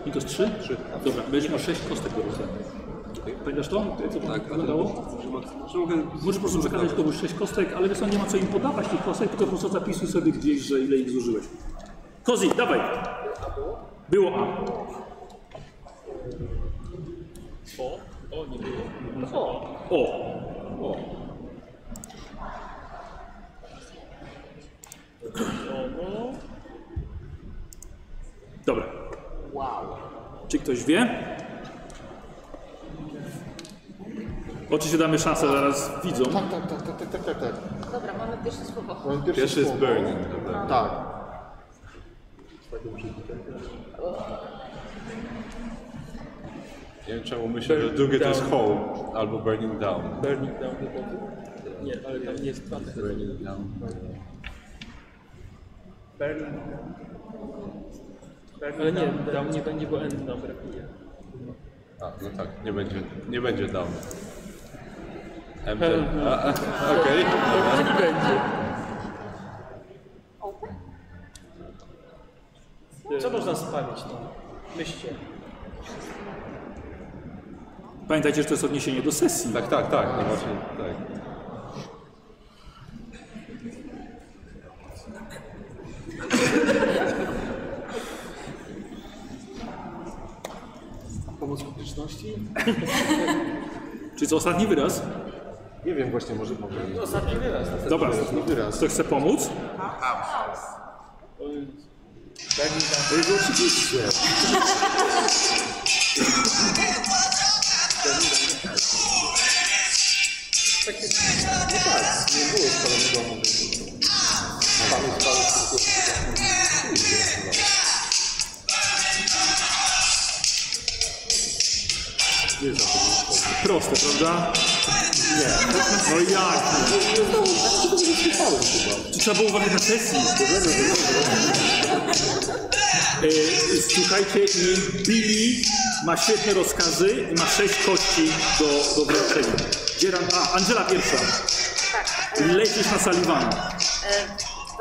S4: Nikos 3? 3. Dobra, będziesz miał 6 kostek do rozdania. Pamiętasz to? Co to tak, wyglądało? Możesz po prostu przekazać komuś 6 kostek, ale wiesz co, nie ma co im podawać tych kostek, tylko po prostu zapisuj sobie gdzieś, że ile ich zużyłeś. Kozi, dawaj! Było A. O, o, nie było. O. Dobra. Czy ktoś wie? Oczywiście damy szansę zaraz widzom.
S3: Tak, tak, tak, tak, tak, tak, tak, tak.
S9: Dobra, mamy pierwsze słowo.
S3: Mam Pierwsze,
S5: Pierwszy jest
S3: słowo.
S5: burning.
S3: Tak.
S5: Nie wiem czemu myślę, że drugie to jest
S11: down.
S5: home albo burning down.
S11: Burning down the body. Nie, ale tam nie jest pan.
S5: Burning down.
S11: Ale nie, down nie będzie, bo end nam brakuje.
S5: A, no tak, nie będzie, nie będzie down. MD.
S6: no.
S5: A, a, Okej.
S11: Taki będzie.
S8: Co można spamić tam? Myślcie.
S4: Pamiętajcie, że to jest odniesienie do sesji.
S5: Tak, tak, tak, no właśnie, tak.
S3: Pomoc publiczności?
S4: Czy to ostatni wyraz?
S3: Nie wiem właśnie, może mogę.
S8: Ostatni wyraz.
S4: Dobra,
S3: Ostatni wyraz.
S4: kto chce pomóc?
S3: To jest oczywiście. No tak, nie było spalonego domu. Tam jest spały tylko... Kurde, chyba.
S4: Proste, prawda? Nie. No jak? Czy trzeba było uważać na sesji? E, Słuchajcie, i Billy ma świetne rozkazy i ma sześć kości do, do wręczenia. Dzieran, a, Angela pierwsza.
S9: Tak.
S4: Lecisz na Sullivana.
S9: E,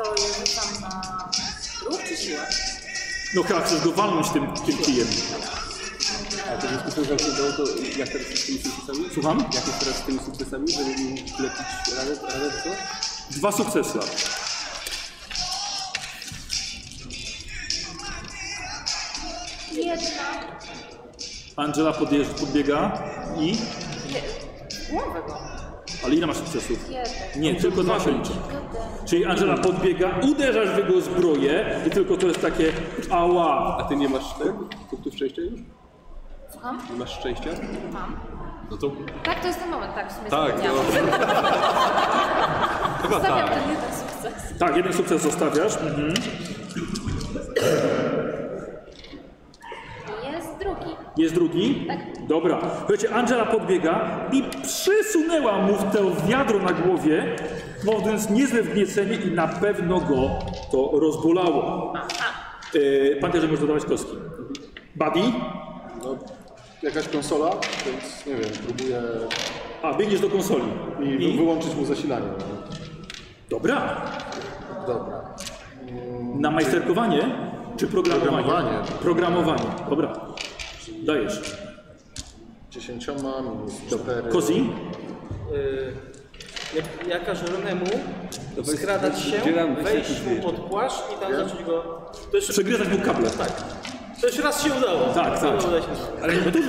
S9: To je rzucam na ruch czy siłę?
S4: No chyba chcesz go walnąć tym, tym kijem.
S6: A to w związku z tym, że jak się udało, to jak teraz z tymi sukcesami?
S4: Słucham?
S6: Jak jest teraz z tymi sukcesami, żeby mi lepić ranę, ranę co?
S4: Dwa sukcesy.
S9: Jedna.
S4: Angela podjeżdż, podbiega i...
S9: Je, głowę go.
S4: Ale ile masz sukcesów?
S9: Jeden.
S4: Nie, tylko dwa się liczą. Czyli Angela podbiega, uderzasz w jego zbroję i tylko to jest takie ała.
S6: A ty nie masz ten? Punktów szczęścia już?
S9: Słucham?
S6: Nie masz szczęścia?
S9: Mam.
S5: No to
S9: Tak, to jest ten moment, tak, w sumie
S5: tak, no.
S9: zapomniałam.
S5: [LAUGHS]
S9: [LAUGHS]
S5: Chyba
S9: Zostawiam
S5: tak.
S9: ten jeden sukces.
S4: Tak, jeden sukces zostawiasz. Mhm.
S9: Jest drugi.
S4: Jest drugi?
S9: Tak.
S4: Dobra. Słuchajcie, Angela podbiega i przesunęła mu w to wiadro na głowie, powodując niezłe wgniecenie i na pewno go to rozbolało. Yy, Pamiętaj, że możesz dodawać kostki. Buddy?
S3: No, jakaś konsola, więc nie wiem, próbuję
S4: A, biegniesz do konsoli.
S3: i,
S4: I-
S3: wyłączyć mu zasilanie. no.
S4: Dobra.
S3: Dobra.
S4: Na majsterkowanie czy programowanie?
S3: Programowanie.
S4: Programowanie. Dobra. Dajesz.
S3: Dziesięcioma minus cztery.
S4: Kozi?
S8: Y, jak, ja każę Renemu skradać się,
S6: dzielam-
S8: wejść mu pod płaszcz i tam zacząć go... To już,
S4: Przegryzać mu kable. Tak.
S8: to już raz się udało.
S4: Tak, tak.
S8: Udało się.
S4: Ale nie dużo.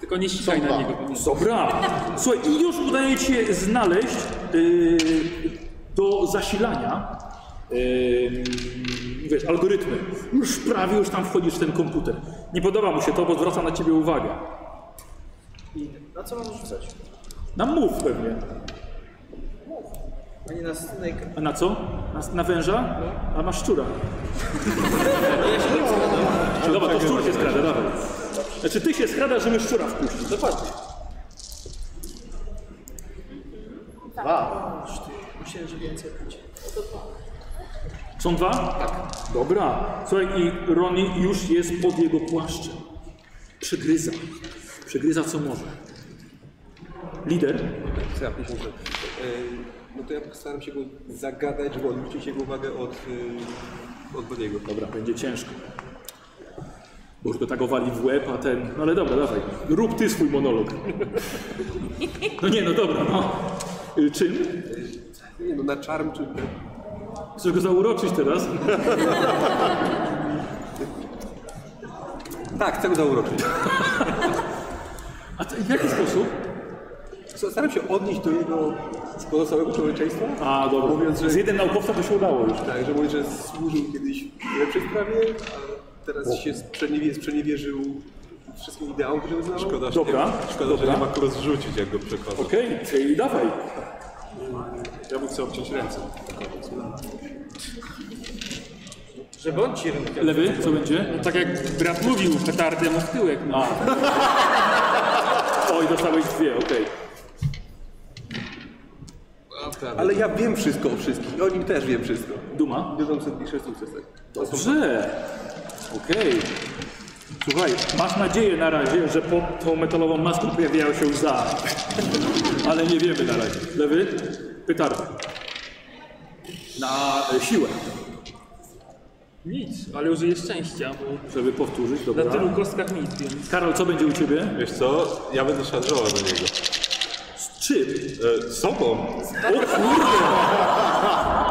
S11: Tylko nie ścigaj na niego.
S4: Dobra. Słuchaj, i już udaje ci się znaleźć yy, do zasilania yy, wiesz, algorytmy. Już prawie już tam wchodzisz w ten komputer. Nie podoba mu się to, bo zwraca na ciebie uwagę.
S8: I na co mam rzucać?
S4: Na mów pewnie.
S8: A nie na snake.
S4: A na co? Na, na węża? A masz szczura. No dobra, to szczur się skrada, dawaj. Znaczy ty się skradasz, żeby szczura wpuścić. Dokładnie.
S8: Myślałem, że więcej będzie.
S4: Są dwa? Tak. Dobra. Słuchaj, i Roni już jest pod jego płaszczem. Przygryza. Przygryza co może. Lider?
S6: Ja piszę, że e, No to ja postaram się go zagadać, żeby odwrócić jego uwagę od, y, od Badiego.
S11: Dobra, będzie ciężko. Bo już go tak owali w łeb, a ten... No ale dobra, dawaj. Rób ty swój
S8: [LAUGHS]
S11: monolog. No nie, no dobra, no. Y, Czym?
S6: Nie no, na czarm czy...
S11: Chcesz go zauroczyć teraz?
S6: Tak, chcę go zauroczyć.
S11: A co, w jaki sposób?
S6: Staram się odnieść do jego pozostałego człowieczeństwa.
S11: A, dobra.
S6: Mówiąc, że-
S11: Z jeden naukowca to się udało już.
S6: Tak, że mówi, że służył kiedyś w lepszej sprawie, a teraz się sprzeniewie, sprzeniewierzył wszystkim ideałom, które znał.
S5: Szkoda, że
S11: Dobra,
S5: nie, szkoda
S11: dobra.
S5: że nie ma kogo zrzucić, jak go przekłada.
S11: Okej, czyli dawaj.
S3: Ja mu chcę obciąć ręce.
S30: Żeby on ci rękę.
S11: Lewy, co będzie?
S8: No tak jak brat mówił, petardę mu w tyłek, no.
S11: Oj, dostałeś dwie, okej.
S6: Ale ja wiem wszystko o wszystkich i o nim też wiem wszystko.
S11: Duma?
S6: Dużą setki sukcesek.
S11: Dobrze. Okej. Słuchaj, masz nadzieję na razie, że pod tą metalową maską pojawiają się za. [LAUGHS] Ale nie wiemy na razie. Lewy? Pytarda. Na e, siłę,
S8: Nic, ale użyję szczęścia, bo
S11: żeby powtórzyć,
S8: na tylu
S4: Tak.
S11: dobra.
S8: kostkach nic, więc...
S11: Karol, co będzie u ciebie?
S5: Wiesz co, ja będę szarżował do niego.
S11: Z czym?
S5: E, sobą!
S11: O kurde!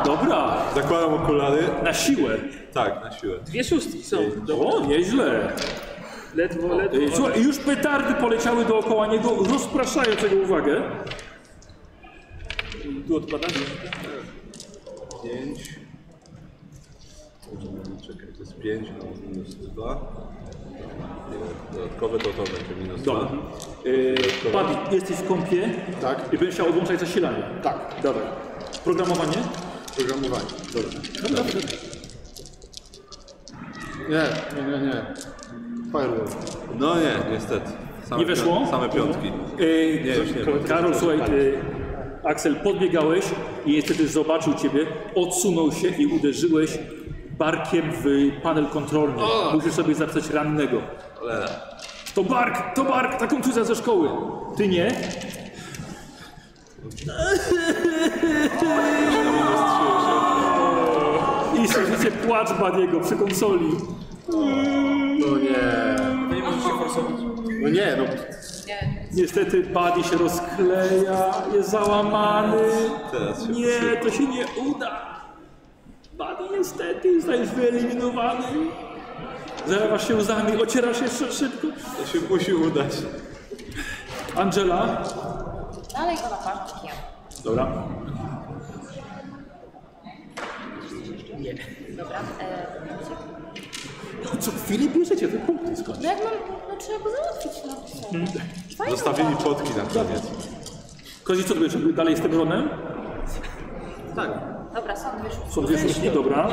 S11: Dobra,
S5: Zakładam okulary.
S11: na siłę.
S5: Tak, na siłę.
S8: Dwie szóstki są,
S11: O, nieźle.
S8: ledwo, ledwo.
S11: Ej, Słuchaj, już petardy poleciały dookoła niego, rozpraszając jego uwagę.
S8: Tu odpadamy.
S5: Pięć. Czekaj, to jest pięć, no minus dwa. Nie, Dodatkowe to to będzie minus
S11: Dobra.
S5: dwa.
S11: Yy, Padli, jesteś w kąpie
S3: Tak.
S11: i będziesz chciał odłączać zasilanie.
S3: Tak,
S11: Dawaj. Programowanie?
S3: programowanie. Nie, nie, nie, nie. Firewall.
S5: No nie, niestety. Same
S11: Nie weszło?
S5: pią- Same piątki.
S11: Yy,
S5: Nie, już nie.
S11: Karol, słuchaj, yy, Aksel, podbiegałeś i niestety zobaczył ciebie, odsunął się i uderzyłeś barkiem w panel kontrolny. Musisz sobie zapisać rannego.
S5: Cholera.
S11: To bark, to bark, ta kontuzja ze szkoły. Ty nie? I słyszycie płacz Badiego przy konsoli.
S3: No nie. No nie, no.
S9: E,
S11: Niestety Buddy się rozkleja, jest załamany.
S5: Teraz się
S11: Nie, to się nie uda. Buddy niestety zostaje wyeliminowany. Zalewasz się łzami, ocierasz jeszcze szybko.
S5: To się musi udać.
S11: Angela.
S9: Dalej go naparkiem.
S11: Dobra.
S9: Dobra. E,
S4: No
S11: Co chwili bierzecie te punkty skąd?
S9: no jak mam, no trzeba go załatwić, no co?
S4: Mhm.
S9: Fajna
S5: Zostawili
S9: robota.
S5: potki na koniec.
S11: Kozi, co ty żeby dalej z tym ronem?
S9: no. Dobra, są dwie szóstki.
S11: Są dwie szóstki, dobra.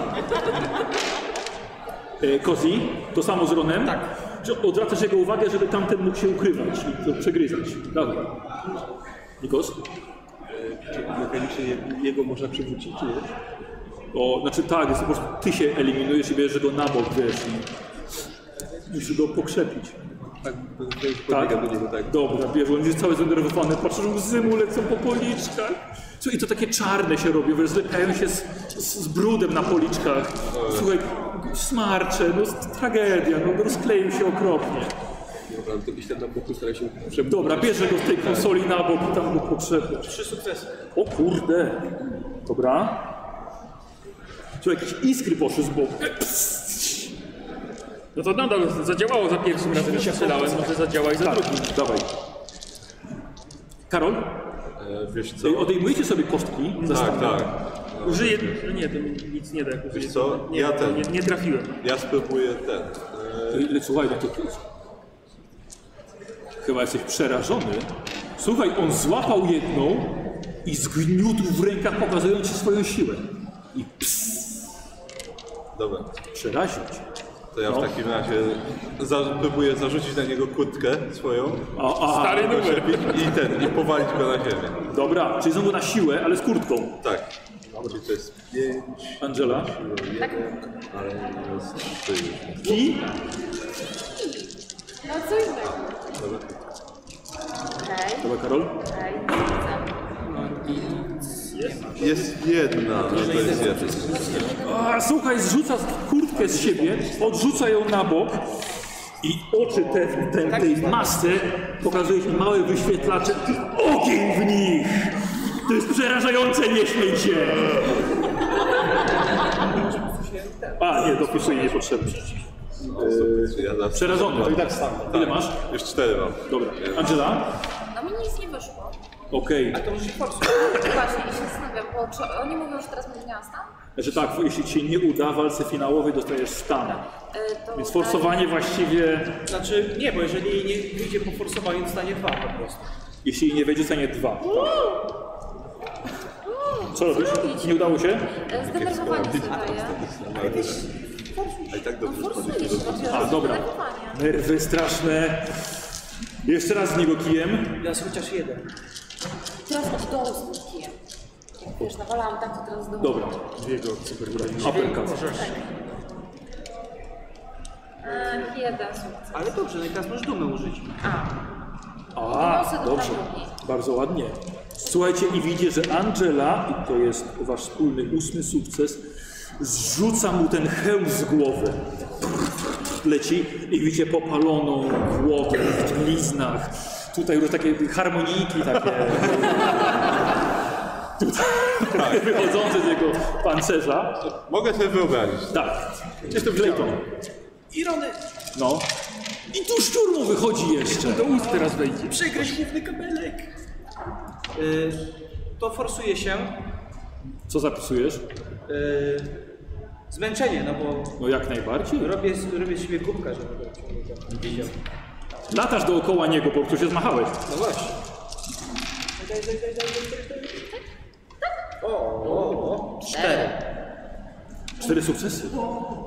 S11: E, Kozi, to samo z Ronem. Tak. Odwracasz jego uwagę, żeby tamten mógł się ukrywać i to przegryzać. Dobra. Nikos?
S6: Mechanicznie je- jego można przywrócić, czy nie?
S11: O, znaczy tak, jest po prostu ty się eliminujesz i bierzesz go na bok, wiesz. I musisz go pokrzepić.
S6: Tak, to- to już podbiegam do niego, tak.
S11: Dobra, bierz, on jest cały zdenerwowany, patrzysz, że łzy mu lecą po policzkach. Słuchaj, i to takie czarne się robi, wiesz, zlepiają się z, z, z brudem na policzkach. Słuchaj, smarcze, no s- tragedia, no rozkleił się okropnie.
S6: Dobra, to gdzieś tam na boku staram się przebudzić.
S11: Dobra, bierze go z tej konsoli na bok i tam go potrzebiasz.
S30: Trzy sukcesy.
S11: O kurde. Dobra. Tu jakieś iskry poszły z boku. E,
S8: No to nadal zadziałało za pierwszym razem, jak strzelałem, może zadziała i za
S11: Tak,
S8: drugim.
S11: dawaj. Karol,
S5: E, wiesz co?
S11: y, odejmujecie sobie kostki.
S5: Tak, tak.
S8: Użyję, no nie, to mi nic nie da, jak użyję.
S5: Wiesz co?
S8: Nie,
S5: Ja
S8: to
S5: ten.
S8: nie, nie trafiłem.
S5: Ja spróbuję ten. e,
S11: Y, y, Słuchaj, no to... Chyba jesteś przerażony. Słuchaj, on złapał jedną i zgniótł w rękach, pokazując ci swoją siłę. I ps,
S5: Dobra.
S11: przeraził cię.
S5: To ja
S11: No.
S5: w takim razie za, próbuję zarzucić na niego kurtkę swoją.
S11: A, a,
S8: Stary numer.
S5: I ten, i powalić go na ziemię.
S11: dobra, czyli znowu na siłę, ale z kurtką.
S5: Tak. Czyli to jest pięć,
S11: Angela.
S5: jeden, ale minus trzy już.
S11: Ki?
S9: No co innego. Okej,
S11: Dobra, Karol.
S9: okej.
S8: Jest
S5: Jest jedna, no to jest jedna.
S11: A, słuchaj, zrzuca kurtkę z siebie, odrzuca ją na bok i oczy te, te, tej masy pokazuje się małe wyświetlacze i ogień w nich! To jest przerażające, nie śmiej się! A, nie, dopisuję niepotrzebnie.
S5: Ja zawsze-
S11: Przerażony. To i tak samo. Ile masz?
S5: Eee, Już cztery mam.
S11: Dobra. Angela?
S9: No mi nic nie wyszło.
S11: Okej.
S9: Właśnie, i się zastanawiam, bo czy oni mówią, że teraz będę miała stan?
S11: Że tak, jeśli ci nie uda w walce finałowej, dostajesz stan.
S9: Y, To
S11: Więc forsowanie właściwie,
S8: Znaczy, nie, bo jeżeli nie wyjdzie po forsowaniu, dostanie dwa po prostu.
S11: jeśli nie wejdzie, stanie dwa.
S9: Uuu,
S11: Co robisz?
S9: zrobić?
S11: Nie udało się?
S9: Y, Zdenerwowanie sobie daje.
S5: A i tak
S9: No
S5: dobrze.
S9: forsuje się, to
S11: A, dobra. Nerwy straszne. Jeszcze raz z niego kijem.
S8: Teraz chociaż jeden.
S9: Teraz od dołu z tym kijem. Jak wiesz, nawalałam tak, to teraz z dołu.
S11: Dobra. Jego cybergraniczny. Uppercut.
S9: Y, Jeden sukces.
S8: Ale dobrze, no i teraz możesz dumę użyć.
S11: A, dobrze. Bardzo ładnie. Słuchajcie i widzicie, że Angela, i to jest wasz wspólny ósmy sukces, zrzuca mu ten hełm z głowy. Leci i widzicie popaloną głowę w bliznach. Tutaj już takie harmonijki
S31: [LAUGHS]
S11: takie. Tutaj
S31: Tak.
S11: wychodzące z jego pancerza.
S5: Mogę sobie wyobrazić.
S11: Tak. Jestem Clayton.
S8: Irony,
S11: No. I tu szczur mu wychodzi jeszcze.
S31: Do ust teraz wejdzie.
S8: przegryź główny kabelek. Y, to forsuje się.
S11: Co zapisujesz?
S8: Y, zmęczenie, no bo
S11: No jak najbardziej.
S8: robię, robię z siebie kubka, żeby go ciągnąć.
S11: Latasz dookoła niego, po prostu się zmachałeś.
S8: No właśnie.
S11: Cztery sukcesy.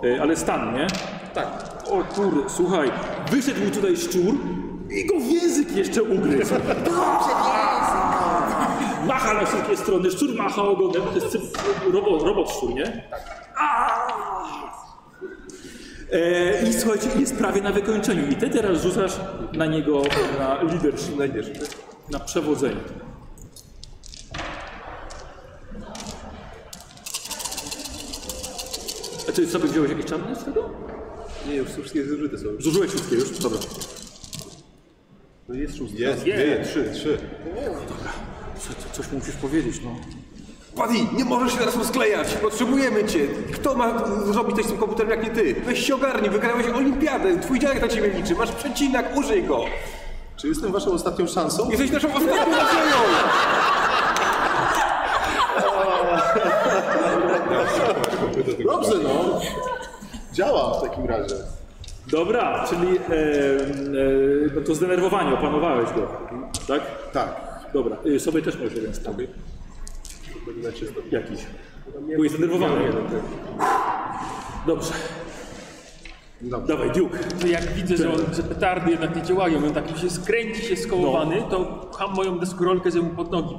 S11: E, Ale stan, nie?
S8: Tak.
S11: O kur, słuchaj, wyszedł mu tutaj szczur i go w język jeszcze ugryzł. Macha na wszystkie strony, szczur macha ogonem, to jest cyf- robo, robot szczur, nie? Aaa! E, I słuchajcie, jest prawie na wykończeniu i ty teraz rzucasz na niego na leadership,
S32: Na idziesz.
S11: na przewodzenie. A ty sobie wziąłeś jakieś czarne z tego?
S32: Nie, już wszystkie zużyte są.
S11: Zużyłeś wszystkie już? Dobra.
S32: No jest szósty.
S5: Jest, dwie, trzy, trzy.
S11: Co, co, coś mu musisz powiedzieć, no.
S1: Buddy, nie możesz się teraz rozklejać! Potrzebujemy cię! Kto ma zrobić coś z tym komputerem jak nie ty? Weź się ogarnij, wygrałeś olimpiadę, twój dziadek na ciebie liczy, masz przecinak, użyj go!
S3: Czy jestem waszą ostatnią szansą?
S1: Jesteś naszą ostatnią nadzieją!
S3: Dobrze, no. Działa w takim razie.
S11: Dobra, czyli e, e, no to zdenerwowanie, opanowałeś go, tak?
S3: Tak.
S11: Dobra, y, sobie też możesz jeden stawić. Jakiś. Bo jest zdenerwowany jeden. Dobrze,
S3: Dobrze.
S11: dawaj, Duke.
S31: Że jak widzę, że, on, że petardy jednak nie działają, on tak się skręci, się skołowany,
S11: No.
S31: to pcham moją deskorolkę, żeby mu pod nogi.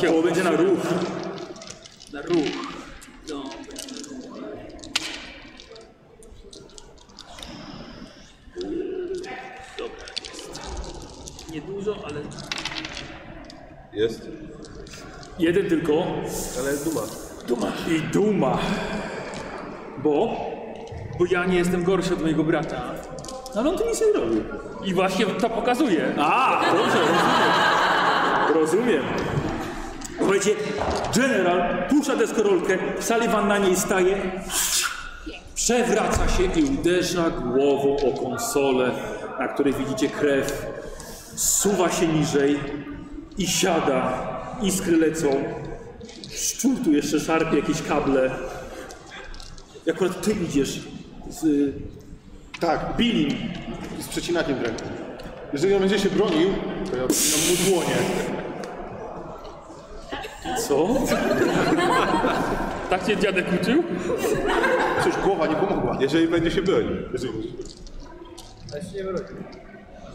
S11: Ciało będzie na ruch.
S31: Na ruch. No, będzie na ruch. Dobra, jest. Niedużo, ale
S5: Jest.
S11: Jeden tylko.
S32: Ale duma.
S11: Duma. I duma. Bo?
S31: bo ja nie jestem gorszy od mojego brata.
S11: No, Ale on tu nic nie robił.
S31: I właśnie to pokazuje.
S11: A, dobrze, rozumiem. Rozumiem. Słuchajcie, General puszcza deskorolkę, Sullivan na niej staje, przewraca się i uderza głową o konsolę, na której widzicie krew. Suwa się niżej i siada, iskry lecą. Szczur tu jeszcze szarpie jakieś kable. Akurat ty idziesz z y,
S3: Tak,
S11: Billim.
S3: z przecinakiem w ręku. Jeżeli on będzie się bronił, to ja przycinam mu dłonie.
S11: Co?
S31: Tak cię dziadek uczył?
S3: Przecież głowa nie pomogła.
S5: Jeżeli będzie się bronił.
S3: Jeżeli będzie się bronił.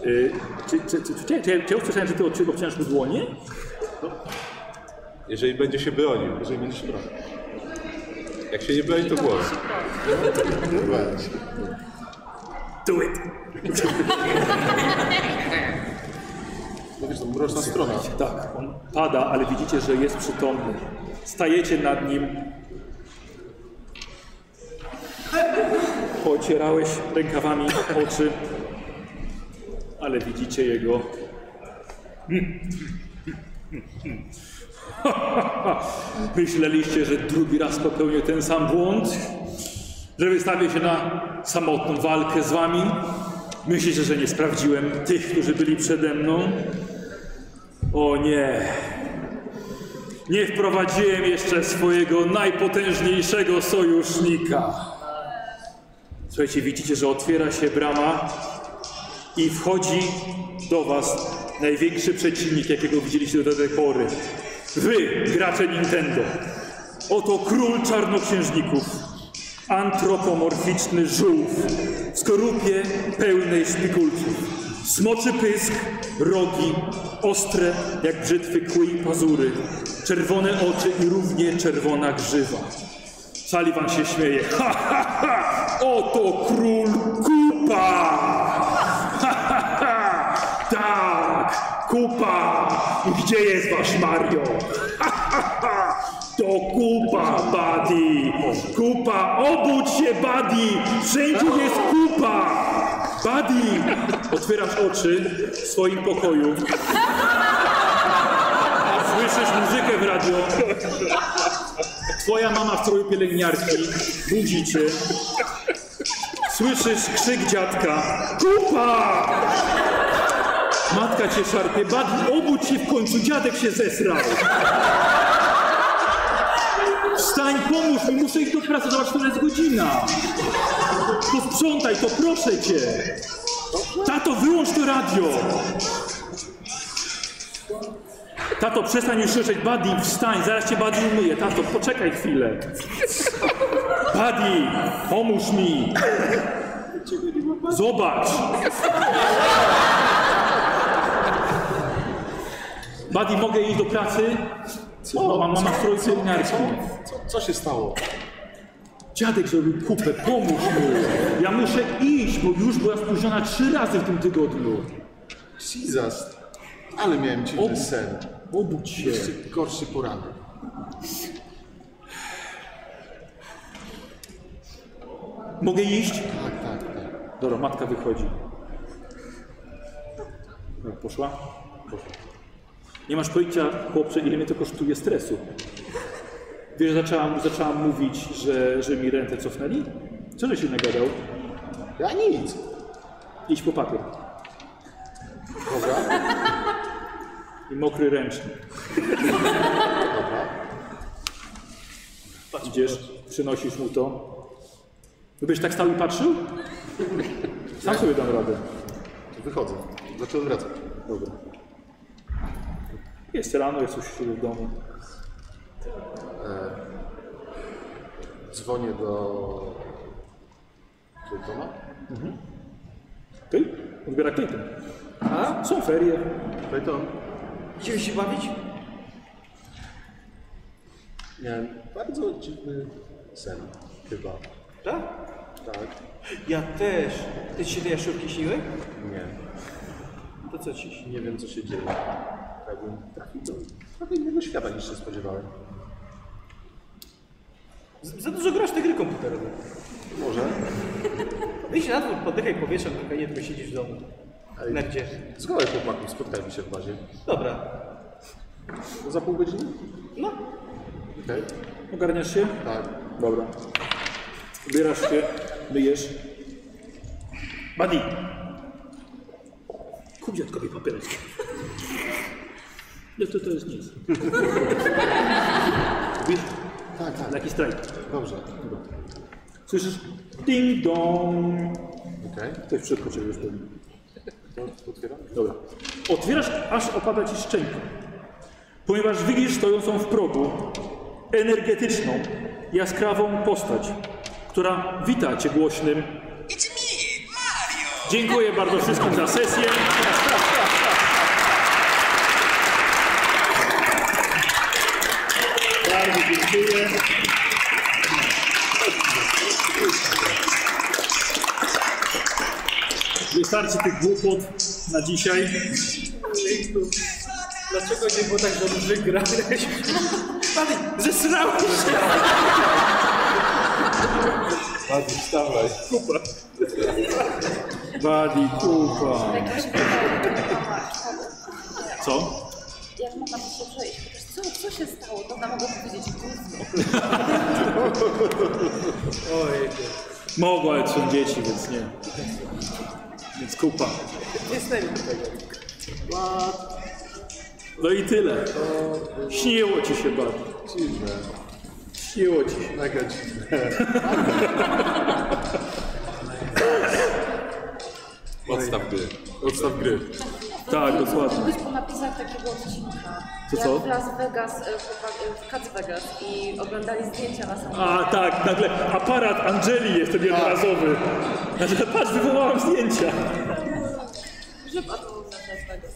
S11: Y, czy, czy, czy, czy, czy, czy, ja- czy ja usłyszałem, że ty odci- obcinasz mu dłonie?
S5: Jeżeli będzie się bronił.
S3: Jeżeli będzie się bronił.
S5: Jak się nie broni, to głowa.
S3: Weź.
S11: Do it!
S3: Bo No wiesz, to mroczna strona.
S4: Tak, on pada, ale widzicie, że jest przytomny. Stajecie nad nim. Pocierałeś rękawami oczy, ale widzicie jego. [LAUGHS] Myśleliście, że drugi raz popełnię ten sam błąd? Że wystawię się na samotną walkę z wami? Myślicie, że nie sprawdziłem tych, którzy byli przede mną? O nie. Nie wprowadziłem jeszcze swojego najpotężniejszego sojusznika. Słuchajcie, widzicie, że otwiera się brama i wchodzi do was największy przeciwnik, jakiego widzieliście do tej pory. Wy, gracze Nintendo. Oto król czarnoksiężników. Antropomorficzny żółw w skorupie pełnej szpikulców. Smoczy pysk, rogi, ostre jak brzytwy kły i pazury, czerwone oczy i równie czerwona grzywa. Sullivan się śmieje. Ha, ha, ha! Oto król Kupa! Ha, ha, ha! Tak, Kupa! I Gdzie jest wasz Mario? Ha, ha, ha! To Kupa, Buddy! Kupa, obudź się, Buddy! Wszędzie jest Kupa! Buddy! Otwierasz oczy w swoim pokoju. Słyszysz muzykę w radio. Twoja mama w stroju pielęgniarki budzi cię. Słyszysz krzyk dziadka. Kupa! Matka cię szarpie. Badi, obudź się w końcu. Dziadek się zesrał. Wstań, pomóż mi. Muszę iść do pracy. Zobacz, która jest godzina. Posprzątaj to, proszę cię. Tato, wyłącz to radio. Tato, przestań już krzyczeć, Buddy, wstań, zaraz cię Buddy umyję. Tato, poczekaj chwilę. Buddy, pomóż mi. Zobacz. Buddy, mogę iść do pracy? O, mam mama strój seminarski.
S3: Co się stało?
S4: Dziadek zrobił kupę, pomóż mu. Ja muszę iść, bo już była spóźniona trzy razy w tym tygodniu.
S3: Jesus. Ale miałem dziwny sen.
S4: Obudź się.
S3: Jeszcze gorszy poranek.
S4: Mogę iść?
S3: Tak, tak, tak.
S4: Dobra, matka wychodzi. No, Poszła? Poszła. Nie masz pojęcia, chłopcze, ile mnie to kosztuje stresu. Wiesz, zaczęłam, zaczęłam mówić, że, że mi rentę cofnęli? Co żeś się nagadał?
S3: Ja nic.
S4: Idź po papier.
S3: Dobra,
S4: I mokry ręcznik. Idziesz, przynosisz mu to. Gdybyś tak stał i patrzył? Sam sobie dam radę.
S3: to wychodzę. Zacząłem wracać.
S4: Dobra. Jest rano, jest już w domu.
S3: Dzwonię do... Claytona?
S4: Ty? Odbiera Clayton. A? Są ferie.
S3: Clayton.
S8: Idziemy się bawić?
S3: Miałem bardzo dziwny sen. Chyba.
S8: Tak?
S3: Tak.
S8: Ja też. Ty ci się te jaszczurki śniły?
S3: Nie.
S8: To co ci śni?
S3: Nie wiem, co się dzieje. Jakbym trafił do trochę innego świata niż się spodziewałem.
S8: Z- Za dużo grasz w te gry komputerowe.
S3: Może.
S8: Wyjdź na dwór, poddychaj powietrzem, tylko nie tylko siedzisz w domu.
S3: Ej.
S8: Nerdzie.
S3: Zgodę chłopaków, spotkajmy się w bazie.
S8: Dobra.
S3: No, za pół godziny?
S8: No.
S3: Okej.
S4: Ogarniasz się?
S3: Tak.
S4: Dobra. Ubierasz się, myjesz. Buddy! Kup dziadkowi papierek. No to, to jest nic. Wiesz,
S3: Tak, tak.
S4: taki strajk.
S3: Dobrze.
S4: Słyszysz? Ding dong!
S3: Okej.
S4: Ktoś przed ciebie już pewnie.
S3: To otwieram?
S4: Dobra. Otwierasz, aż opada ci szczęka. Ponieważ widzisz stojącą w progu energetyczną, jaskrawą postać, która wita cię głośnym. Dziękuję bardzo wszystkim za sesję. Bardzo dziękuję. Wystarczy tych głupot na dzisiaj.
S8: Dlaczego nie było tak, że dobrze grałeś? Padaj, zesrałeś się!
S5: Padli, wstawaj.
S4: Wadi, kupa.
S9: Jakoś wydaje,
S4: Co?
S9: Jak mogłam się przejść? Chociaż Co, co się stało? To ona mogła powiedzieć gówno.
S4: Mogła, ale są dzieci, więc nie. Więc kupa.
S8: Nie znajdę tego.
S4: No i tyle. Śniło ci się, Wadi. Śniło ci się.
S3: Mega dziwne.
S5: Odstaw gry.
S3: Odstaw gry.
S4: Tak,
S9: To
S4: dokładnie.
S9: Być po napisach takiego odcinka.
S4: To
S9: jak
S4: co?
S9: w Las Vegas, y, chłopak- y, w Cats Vegas i oglądali zdjęcia na samochodzie.
S4: A tak, nagle aparat Angeli jest ten jednorazowy. Znaczy, patrz, wywołałem zdjęcia.
S9: Grzyb atomowy na Las Vegas.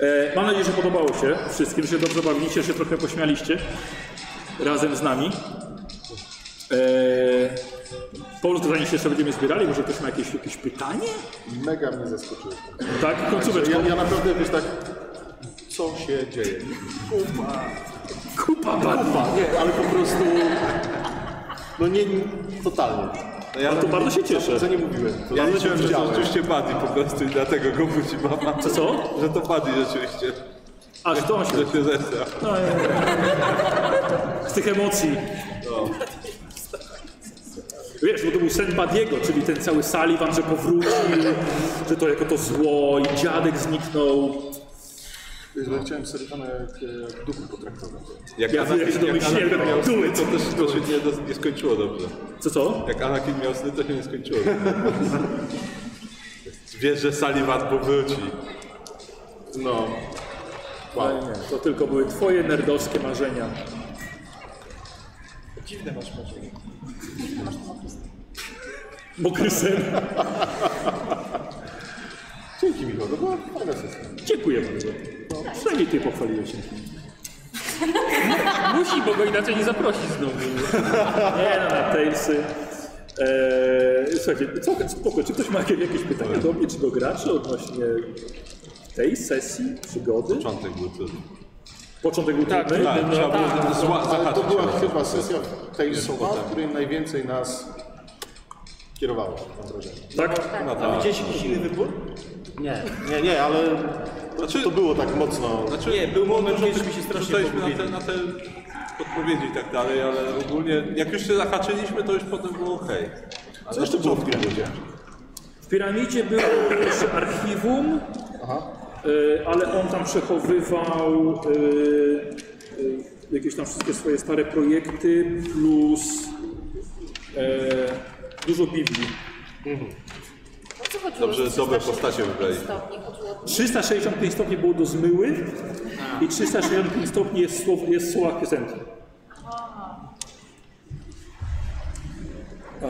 S4: E, mam nadzieję, że podobało się wszystkim, że się dobrze bawiliście, że się trochę pośmialiście razem z nami. E, Paul, to zanim się jeszcze będziemy zbierali, może ktoś ma jakieś, jakieś pytanie?
S3: Mega mnie zaskoczyło.
S4: Tak, końcóweczko.
S3: Ja, ja naprawdę wiesz tak, co się dzieje?
S4: Kupa, bad.
S3: Kupa, nie, ale po prostu... No nie, totalnie.
S5: No ja
S4: No to bardzo się cieszę.
S3: Co nie mówiłem? To
S5: Ja
S3: nawet
S5: liczyłem,
S3: nie
S5: że to
S3: widziałem.
S5: rzeczywiście Buddy po prostu i dlatego go budzi mama.
S4: Co, co?
S5: Że to Buddy rzeczywiście.
S4: A, że to on się...
S5: Że się zesra.
S4: Z tych emocji. Wiesz, bo to był sen Badiego, czyli ten cały Sullivan, że powrócił, że to jako to zło i dziadek zniknął.
S3: Wiesz, bo ja chciałem Serifana jak, e, jak duchu potraktować.
S5: Jak
S4: Ja wiem, jak się domyśliłem.
S5: Anakin miał
S4: Do
S5: sny,
S4: it.
S5: to też to się nie, dos- nie skończyło dobrze.
S4: Co, co?
S5: Jak Anakin miał sny, to się nie skończyło. [LAUGHS] Wiesz, że Sullivan powróci.
S3: No,
S4: Ale nie, No, to tylko były twoje nerdowskie marzenia.
S8: Dziwne masz marzenie.
S4: Mokry sen.
S3: dzięki Michał, to była fajna sesja.
S4: Dziękuję bardzo. No, przynajmniej ty pochwaliłeś się.
S11: [LAUGHS] Musi, bo go inaczej nie zaprosi znowu.
S4: Nie no, na Talesy. Eee, słuchajcie, całkiem spoko. Czy ktoś ma jakieś jakieś pytania do mnie, czy do graczy odnośnie tej sesji, przygody?
S5: Początek był trudny.
S4: Początek był
S11: Tak,
S4: trudny.
S5: Tak, trzeba było tak, zła,
S3: Ale to
S5: zahaczyć.
S3: była chyba sesja tej sowa, w której najwięcej nas kierowało, mam wrażenie.
S4: Tak?
S5: No tak.
S8: Gdzieś jakiś inny wybór?
S3: Nie, nie, nie, ale
S5: Znaczy,
S3: to było tak mocno.
S5: znaczy,
S8: Nie, był moment,
S5: może
S8: że żeśmy się strasznie
S5: rzucaliśmy na te,
S8: pogubili.
S5: na te podpowiedzi i tak dalej, ale ogólnie jak już się zahaczyliśmy, to już potem było okej.
S3: Co jeszcze było w Greenwoodzie?
S4: W piramidzie było jeszcze archiwum, e, ale on tam przechowywał e, e, jakieś tam wszystkie swoje stare projekty plus e, dużo Biblii.
S9: No co chodziło?
S5: Dobrze,
S9: z
S5: dobre postacie wybrali.
S9: Stopni, chodziło o
S4: 365 stopni było do zmyły i 365 stopni jest, słow, jest słowa piosenki. Eee,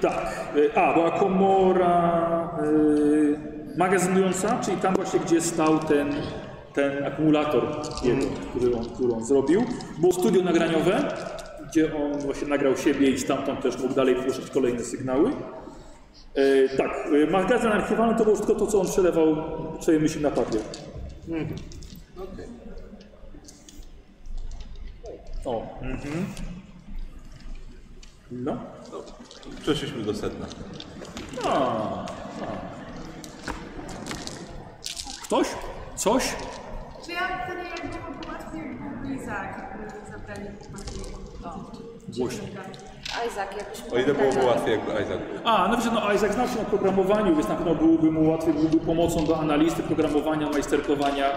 S4: tak, E, a była komora e, magazynująca, czyli tam właśnie gdzie stał ten, ten akumulator, jego, który, on, który on zrobił. Było studio nagraniowe, gdzie on właśnie nagrał siebie i stamtąd też mógł dalej puszczać kolejne sygnały. E, tak, e, magazyn archiwalny to było tylko to, co on przelewał swoje myśli na papier. O. No.
S5: Przeszliśmy do sedna.
S4: Ktoś? Coś?
S9: Czy ja wtedy jakby mogła łatwiej Izak zabrali
S4: Głośno.
S9: Izak, jakbyśmy
S5: O ile byłoby
S9: pamiętali.
S5: łatwiej jakby Isaac był.
S4: A, no wiesz, no Isaac znał się na programowaniu, więc na pewno byłby mu łatwiej, byłby pomocą do analizy, programowania, majsterkowania.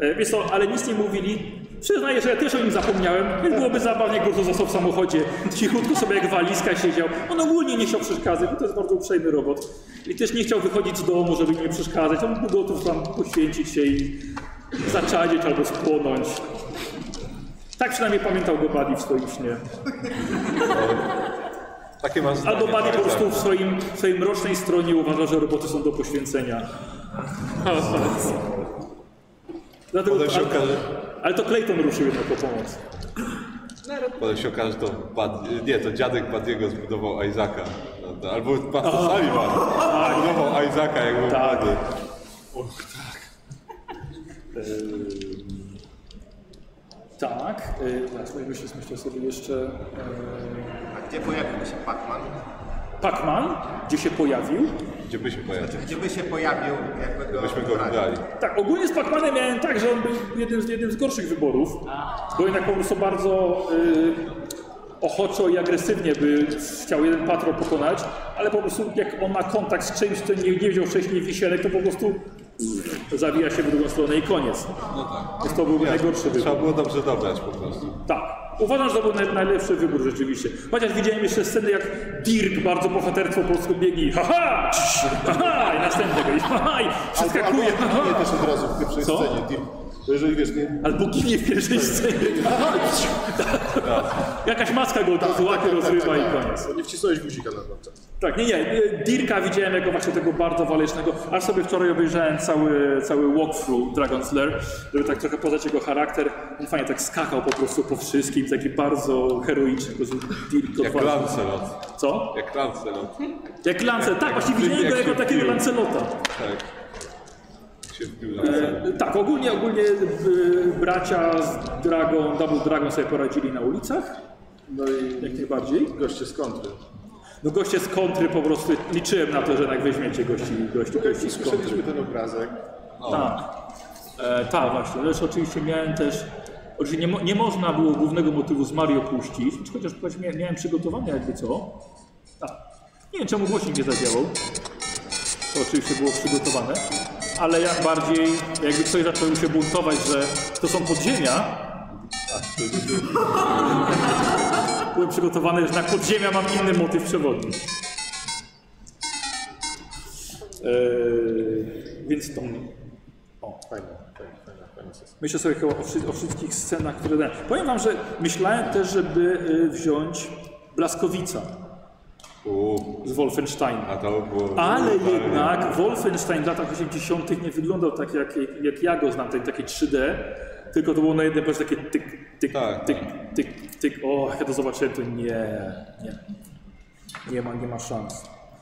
S4: E, Wiesz co, ale nic nie mówili. Przyznaję, że ja też o nim zapomniałem, więc byłoby zabawnie, jakby to został w samochodzie. Cichutko sobie jak walizka siedział. On ogólnie nie chciał przeszkadzać, bo to jest bardzo uprzejmy robot. I też nie chciał wychodzić z domu, żeby im nie przeszkadzać. On był gotów tam poświęcić się i zaczadzieć albo spłonąć. Tak przynajmniej pamiętał go Buddy w swoim śnie.
S5: Takie masz
S4: A
S5: zdanie.
S4: do Buddy po
S5: tak,
S4: prostu
S5: tak.
S4: w swoim, w swojej mrocznej stronie uważa, że roboty są do poświęcenia. Dlatego,
S5: Potem się
S4: ale,
S5: okaże,
S4: ale to Clayton ruszył jednak po pomoc.
S5: potem się okaże że to Bud, nie, to dziadek Badiego zbudował Isaaca. prawda? Albo Pastor Sullivan zbudował Isaaca jakby
S4: Tak.
S5: Buddy.
S4: Tak, y, teraz yy, myślę sobie jeszcze... e,
S33: A gdzie pojawił się Pac-Man?
S4: Pac-Man, gdzie się pojawił.
S5: Gdzie by się pojawił?
S33: Znaczy, Gdzie by się pojawił, jakby go
S5: Byśmy go
S33: wybrali?
S5: wybrali.
S4: Tak, ogólnie z Pac-Manem miałem tak, że on był jednym z, jednym z gorszych wyborów, bo jednak po prostu bardzo y, ochoczo i agresywnie by chciał jeden patrol pokonać, ale po prostu jak on ma kontakt z czymś, co nie, nie wziął wcześniej wisielek, to po prostu zawija się w drugą stronę i koniec.
S5: No tak.
S4: Więc to byłby
S5: Jasne.
S4: najgorszy wybór.
S5: Trzeba było dobrze dobrać po prostu.
S4: Tak. Uważam, że to był naj, najlepszy wybór rzeczywiście. Chociaż widziałem jeszcze sceny, jak Dirk bardzo bohaterstwo po prostu biegnie i haha, cii, haha, i następnego i haha, i przeskakuje,
S3: Albo, albo
S4: haha.
S3: nie też od razu w pierwszej
S4: Co?
S3: scenie. Ty, bo jeżeli wiesz, nie...
S4: Albo ginie w pierwszej scenie.
S5: Tak.
S4: Jakaś maska go od razu łapy rozrywa i koniec.
S3: Tak, Nie wcisnąłeś guzika na końcu.
S4: Tak, nie, nie. Dirka widziałem jako właśnie tego bardzo walecznego. Aż sobie wczoraj obejrzałem cały, cały walkthrough Dragon Slayer, żeby tak trochę poznać jego charakter. On fajnie tak skakał po prostu po wszystkim, taki bardzo heroiczny. po prostu Dirk
S5: Jak
S4: odważny.
S5: Lancelot.
S4: Co?
S5: Jak Lancelot.
S4: Jak Lancel, tak, właśnie widziałem go
S5: jak
S4: jako
S5: się
S4: takiego
S5: wbił.
S4: Lancelota.
S5: Tak. Się wbił Lancelot.
S4: E, Tak, ogólnie, ogólnie y, bracia z Dragon, Double Dragon sobie poradzili na ulicach.
S3: No i
S4: Jak najbardziej.
S3: goście z kontry.
S4: No goście z kontry po prostu, liczyłem na to, że jednak weźmiecie gości, gości, gości z kontry.
S3: No Słyszeliśmy ten obrazek.
S4: Tak, e, tak właśnie. Zresztą oczywiście miałem też, oczywiście nie, mo, nie można było głównego motywu z Mario puścić, chociaż właśnie miałem, miałem przygotowane jakby co. A, nie wiem czemu głośnik nie zadziałał. To oczywiście było przygotowane. Ale jak bardziej, jakby ktoś zaczął się buntować, że to są podziemia, Tak, [LAUGHS] byłem przygotowany, że na podziemia mam inny motyw przewodni. Eee, E, więc to mnie. O, fajne, fajne, fajne, fajne sesja. Myślę sobie chyba o, wszy- o wszystkich scenach, które dałem. Powiem wam, że myślałem też, żeby y, wziąć Blaskowica
S5: Uuu,
S4: z Wolfensteina.
S5: a to było...
S4: Ale
S5: było
S4: jednak Wolfenstein w latach 80. nie wyglądał tak, jak, jak ja go znam, ten takie 3D, tylko to było na jednym prostu takie tyk, tyk,
S5: Tak,
S4: tyk,
S5: tak.
S4: tyk, tyk, O, jak ja to zobaczyłem, to nie, nie. Nie ma, nie ma szans.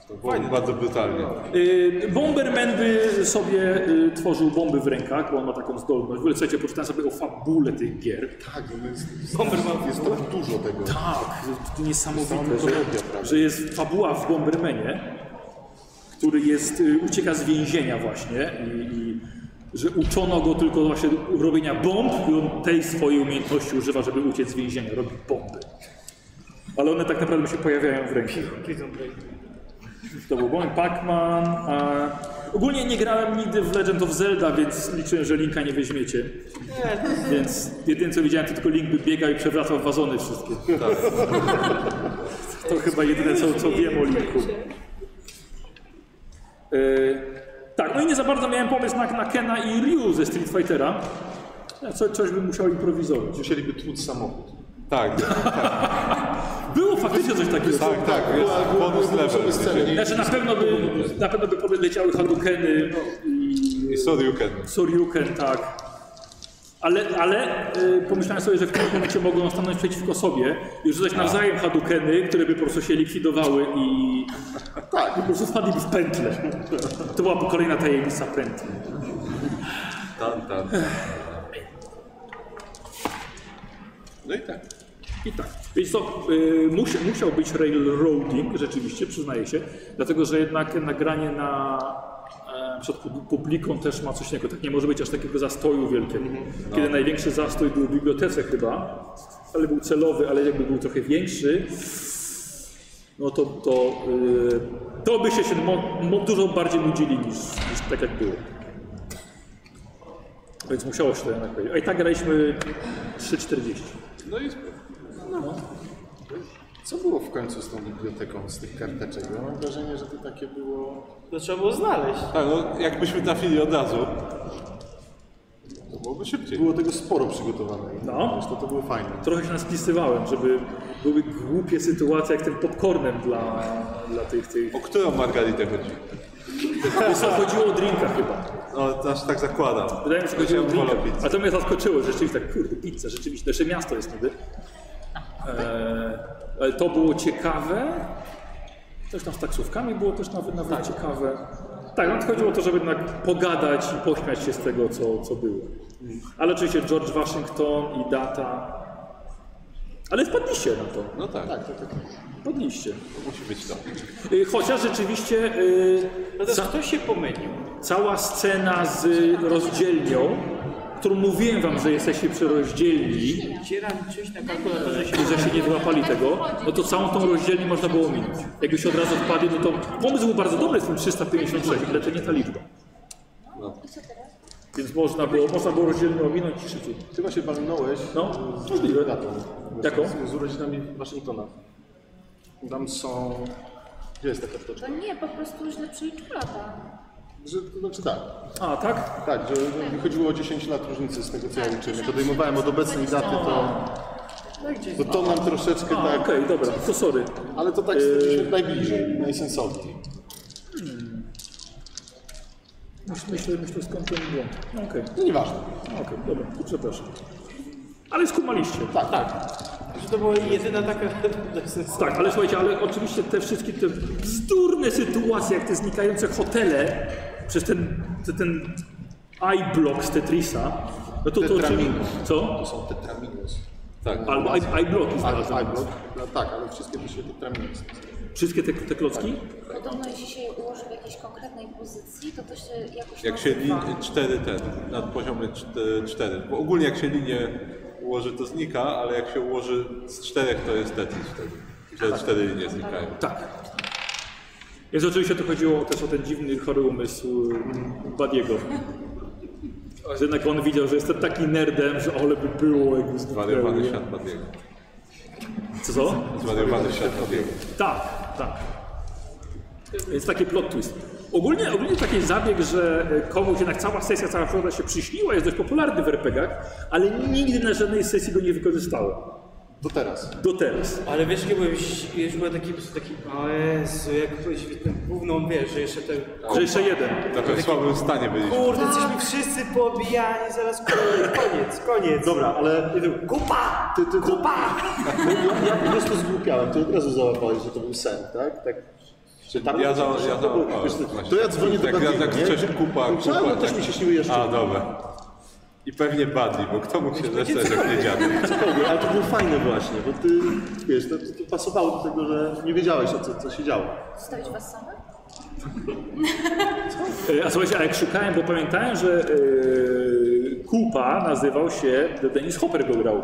S5: To było bardzo brutalnie.
S4: Y, Bomberman by sobie y, tworzył bomby w rękach, bo on ma taką zdolność. W ogóle, słuchajcie, poczytałem sobie o fabule tych gier.
S3: Tak, no jest, Bomberman. jest tak dużo tego.
S4: Tak, to niesamowite, że, że jest fabuła w Bombermanie, który jest, y, ucieka z więzienia właśnie i, i że uczono go tylko właśnie robienia bomb i on tej swojej umiejętności używa, żeby uciec z więzienia, robi bomby. Ale one tak naprawdę się pojawiają w ręku. To był Bomb, Pac-Man. A... Ogólnie nie grałem nigdy w Legend of Zelda, więc liczyłem, że Linka nie weźmiecie. Więc jedyne co widziałem, to tylko Link by biegał i przewracał wazony wszystkie. To chyba jedyne co, co wiem o Linku. Yy, tak, no i nie za bardzo miałem pomysł na, na Kena i Ryu ze Street Fightera. Ja Co, coś bym musiał improwizować.
S3: Musieliby tłuc samochód.
S5: Tak, tak,
S4: Było faktycznie coś takiego.
S5: tak, tak, jest bonus level. wiecie.
S4: Znaczy na pewno by, na pewno by powie- leciały Hadukeny i
S5: I Soryuken.
S4: Soryuken, tak. Ale, ale y, pomyślałem sobie, że w tym momencie mogą stanąć przeciwko sobie i rzucać nawzajem Hadukeny, które by po prostu się likwidowały i, Tak, i po prostu wpadliby w pętlę. To była kolejna tajemnica pętli.
S5: Tan, tan. No i tak.
S4: I tak. Więc to y, musia, musiał być railroading, rzeczywiście, przyznaję się, dlatego że jednak nagranie na e, przed pub- publiką też ma coś takiego. Tak nie może być aż takiego zastoju wielkiego. Kiedy największy zastój był w bibliotece chyba, ale był celowy, ale jakby był trochę większy, no to to, y, to by się, się mo, mo, dużo bardziej nudzili niż, niż tak jak było. Więc musiało się to jednak powiedzieć. A i tak graliśmy 3,40.
S5: No i spoko.
S3: Co było w końcu z tą biblioteką, z tych karteczek? Ja mam wrażenie, że to takie było...
S8: To trzeba było znaleźć.
S5: Tak, no jakbyśmy trafili od razu, to byłoby szybciej.
S3: Było tego sporo przygotowanego.
S4: No.
S3: Wiesz, To, to było fajne.
S4: Trochę się naspisywałem, żeby były głupie sytuacje jak tym popcornem dla, dla tych, tych...
S5: O którą Margaritę chodzi?
S4: Wiesz co, chodziło o drinka chyba.
S5: No, to aż tak zakładam.
S4: Wydaje mi się, że chodziło o
S5: Chciałem
S4: drinka.
S5: wolę pizzę.
S4: A to mnie zaskoczyło, że rzeczywiście tak, kurde, pizza, rzeczywiście, nasze miasto jest wtedy. Eee, ale
S5: Tak.
S4: to było ciekawe. Coś tam z taksówkami było też nawet, nawet ciekawe. Tak, no to chodziło o to, żeby jednak pogadać i pośmiać się z tego, co, co było. Ale oczywiście George Washington i data. Ale wpadliście na to.
S5: No tak,
S4: Wpadliście.
S5: musi być to.
S4: Y, Chociaż rzeczywiście y,
S8: No to ktoś się pomylił.
S4: cała scena z rozdzielnią, którą mówiłem wam, że jesteście przy rozdzielni
S8: Dzieram coś na kalkulatorze się
S4: i że się nie wyłapali tego, no to całą tą rozdzielnię można było minąć. Jakby się od razu wpadli, no to pomysł był bardzo dobry z tym 356, ale to nie ta liczba. Więc można było, można było rozdzielnie ominąć i szybciej.
S3: Chyba się bawiłeś
S4: No,
S3: z
S4: możliwe.
S3: datą.
S4: Jaką?
S3: Z- Z urodzinami Waszyngtona. Tam są... Gdzie jest taka
S9: To
S3: wtyczka?
S9: nie, po prostu źle przeliczyła ta.
S3: Że, to znaczy tak,
S4: A, tak?
S3: tak, że wychodziło o 10 lat różnicy z tego co ja liczyłem. Podejmowałem od obecnej daty, to... To to nam troszeczkę
S4: A, okej, Y-
S3: tak...
S4: dobra, to sorry.
S3: Ale to tak yy... najbliżej, najsensowniej.
S4: Myślę, myślę, myślę skąd ten błąd. No, Okej,
S3: No nieważne.
S4: okej, dobra, to przepraszam. Ale skumaliście.
S3: Tak, tak.
S8: Że to była jedyna taka...
S4: Tak, ale słuchajcie, ale oczywiście te wszystkie te bzdurne sytuacje, jak te znikające hotele przez ten, te, ten i-block z Tetrisa, no to to oczywiście...
S3: Tetraminos.
S4: Co?
S3: To są tetraminos.
S5: Tak.
S4: Albo i- i-blocki znalazłem.
S3: Albo, no tak, ale wszystkie to się tetraminos.
S4: Wszystkie te, te klocki?
S9: Podobno jeśli się je ułoży w jakiejś konkretnej pozycji, to to się jakoś
S5: Jak się
S9: nazywa.
S5: linie 4 ten, na poziomie 4, bo ogólnie jak się linie ułoży to znika, ale jak się ułoży z czterech to jest Tetris wtedy. Że cztery linie znikają.
S4: Tak. Więc oczywiście to chodziło też o ten dziwny, chory umysł mm, Badiego. Że jednak on widział, że jestem taki nerdem, że ole by było, jakby
S5: Zwariowany
S4: zniknęły.
S5: świat Badiego.
S4: Co?
S5: Zwariowany świat Badiego.
S4: Tak, tak. Więc taki plot twist. Ogólnie, ogólnie taki zabieg, że e, komuś jednak cała sesja, cała przygoda się przyśniła, jest dość popularny w RPGach, ale nigdy na żadnej sesji go nie wykorzystałem.
S3: Do teraz.
S4: Do teraz.
S8: Ale wiesz, kiedy byłeś, już byłem taki, taki, o Jezu, jak byłeś ten główną, wiesz, że jeszcze ten...
S4: Że jeszcze jeden.
S5: W takim słabym stanie byliśmy.
S8: Kurde, jesteśmy wszyscy poobijani, zaraz kurde, koniec, koniec.
S3: Dobra, ale
S8: Kupa!
S3: Ty, ty, ty-
S8: Kupa!
S3: ja, ja po prostu zgłupiałem, ty od razu załapałeś, że to był sen, tak? tak. Czy tam,
S5: Ja za- ja
S3: czy-
S5: załapałem.
S3: wiesz co, To ja dzwonię
S5: Tak,
S3: do
S5: ja
S3: Badiego,
S5: tak
S3: nie?
S5: wcześniej kupa,
S3: No,
S5: kupa,
S3: no, też
S5: tak.
S3: mi się śniły jeszcze.
S5: A, dobra. I pewnie Badi, bo kto mógł się zesrać jak nie dziadek?
S3: Cokolwiek, ale to było fajne właśnie, bo ty, wiesz, to, to, to pasowało do tego, że nie wiedziałeś, o co, co się działo.
S9: Zostawić was samych?
S4: E, A słuchajcie, a jak szukałem, bo pamiętałem, że e, Kupa nazywał się, Dennis Hopper go grał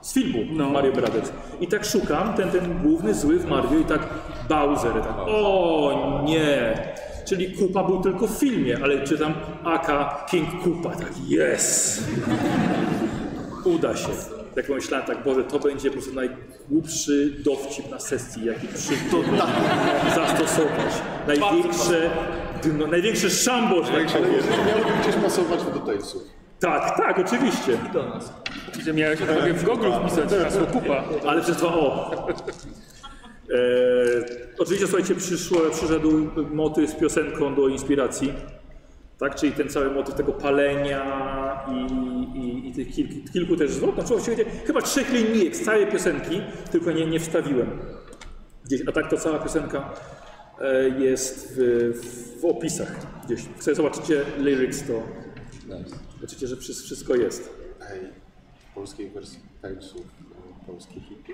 S4: z filmu Mario Brothers. I tak szukam, ten, ten główny zły w Mario i tak Bowser, tak o nie, czyli Kupa był tylko w filmie, ale czytam Aka King Kupa, tak yes, uda się. Tak pomyślałem, tak Boże, to będzie po prostu najgłupszy dowcip na sesji, jaki przygodę zastosować. Największe, dno, największy szambo, że tak powiem.
S3: Miałoby gdzieś pasować do Tejsów.
S4: Tak, tak, oczywiście.
S34: Że miałeś odpowiedź w Google wpisać hasło kupa.
S4: Tak. Ale przez to o. E, oczywiście, słuchajcie, przyszło, przyszedł motyw z piosenką do inspiracji. Tak, czyli ten cały motyw tego palenia i, i, i tych kilku, kilku też zwrotów. Znaczy, właściwie chyba trzech linijek z całej piosenki, tylko nie, nie wstawiłem. Gdzieś, a tak to cała piosenka e, jest w, w opisach gdzieś. Jak sobie zobaczycie lyrics, to zobaczycie, że wszy- wszystko jest.
S3: Ej, w polskiej wersji no, Tejsów, polskich hity.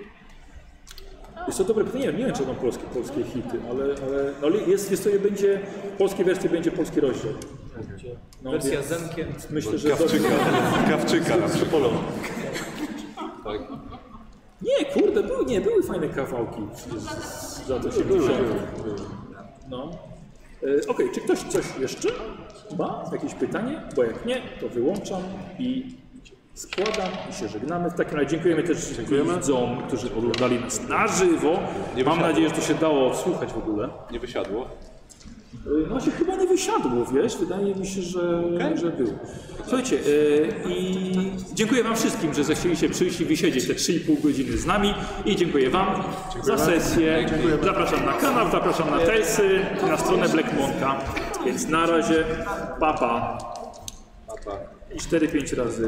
S4: Jest to dobre pytanie, nie wiem czy będą polskie, polskie hity, ale, ale no, ale jest, jest to je będzie, polskie wersje będzie polski rozdział. No,
S8: Wersja
S4: więc
S8: z Zenkiem.
S4: myślę, że
S5: Kawczyka, kawczyka na przykład.
S4: Nie, kurde, były, nie, były fajne kawałki z- z- z lat 80. No. E, Okej, czy ktoś coś jeszcze ma? Jakieś pytanie? Bo jak nie, to wyłączam i składam i się żegnamy. W takim razie dziękujemy też widzom, którzy oglądali nas na żywo. Mam nadzieję, że to się dało odsłuchać w ogóle.
S5: Nie wysiadło.
S4: Y, No się chyba nie wysiadło, wiesz? Wydaje mi się, że, że był. Słuchajcie, y, i dziękuję Wam wszystkim, że zechcieliście przyjść i wysiedzieć te 3,5 godziny z nami i dziękuję Wam za sesję. Zapraszam na kanał, zapraszam na Telsy, na stronę Blackmonka. Więc na razie, papa. Pa. I 4-5 razy.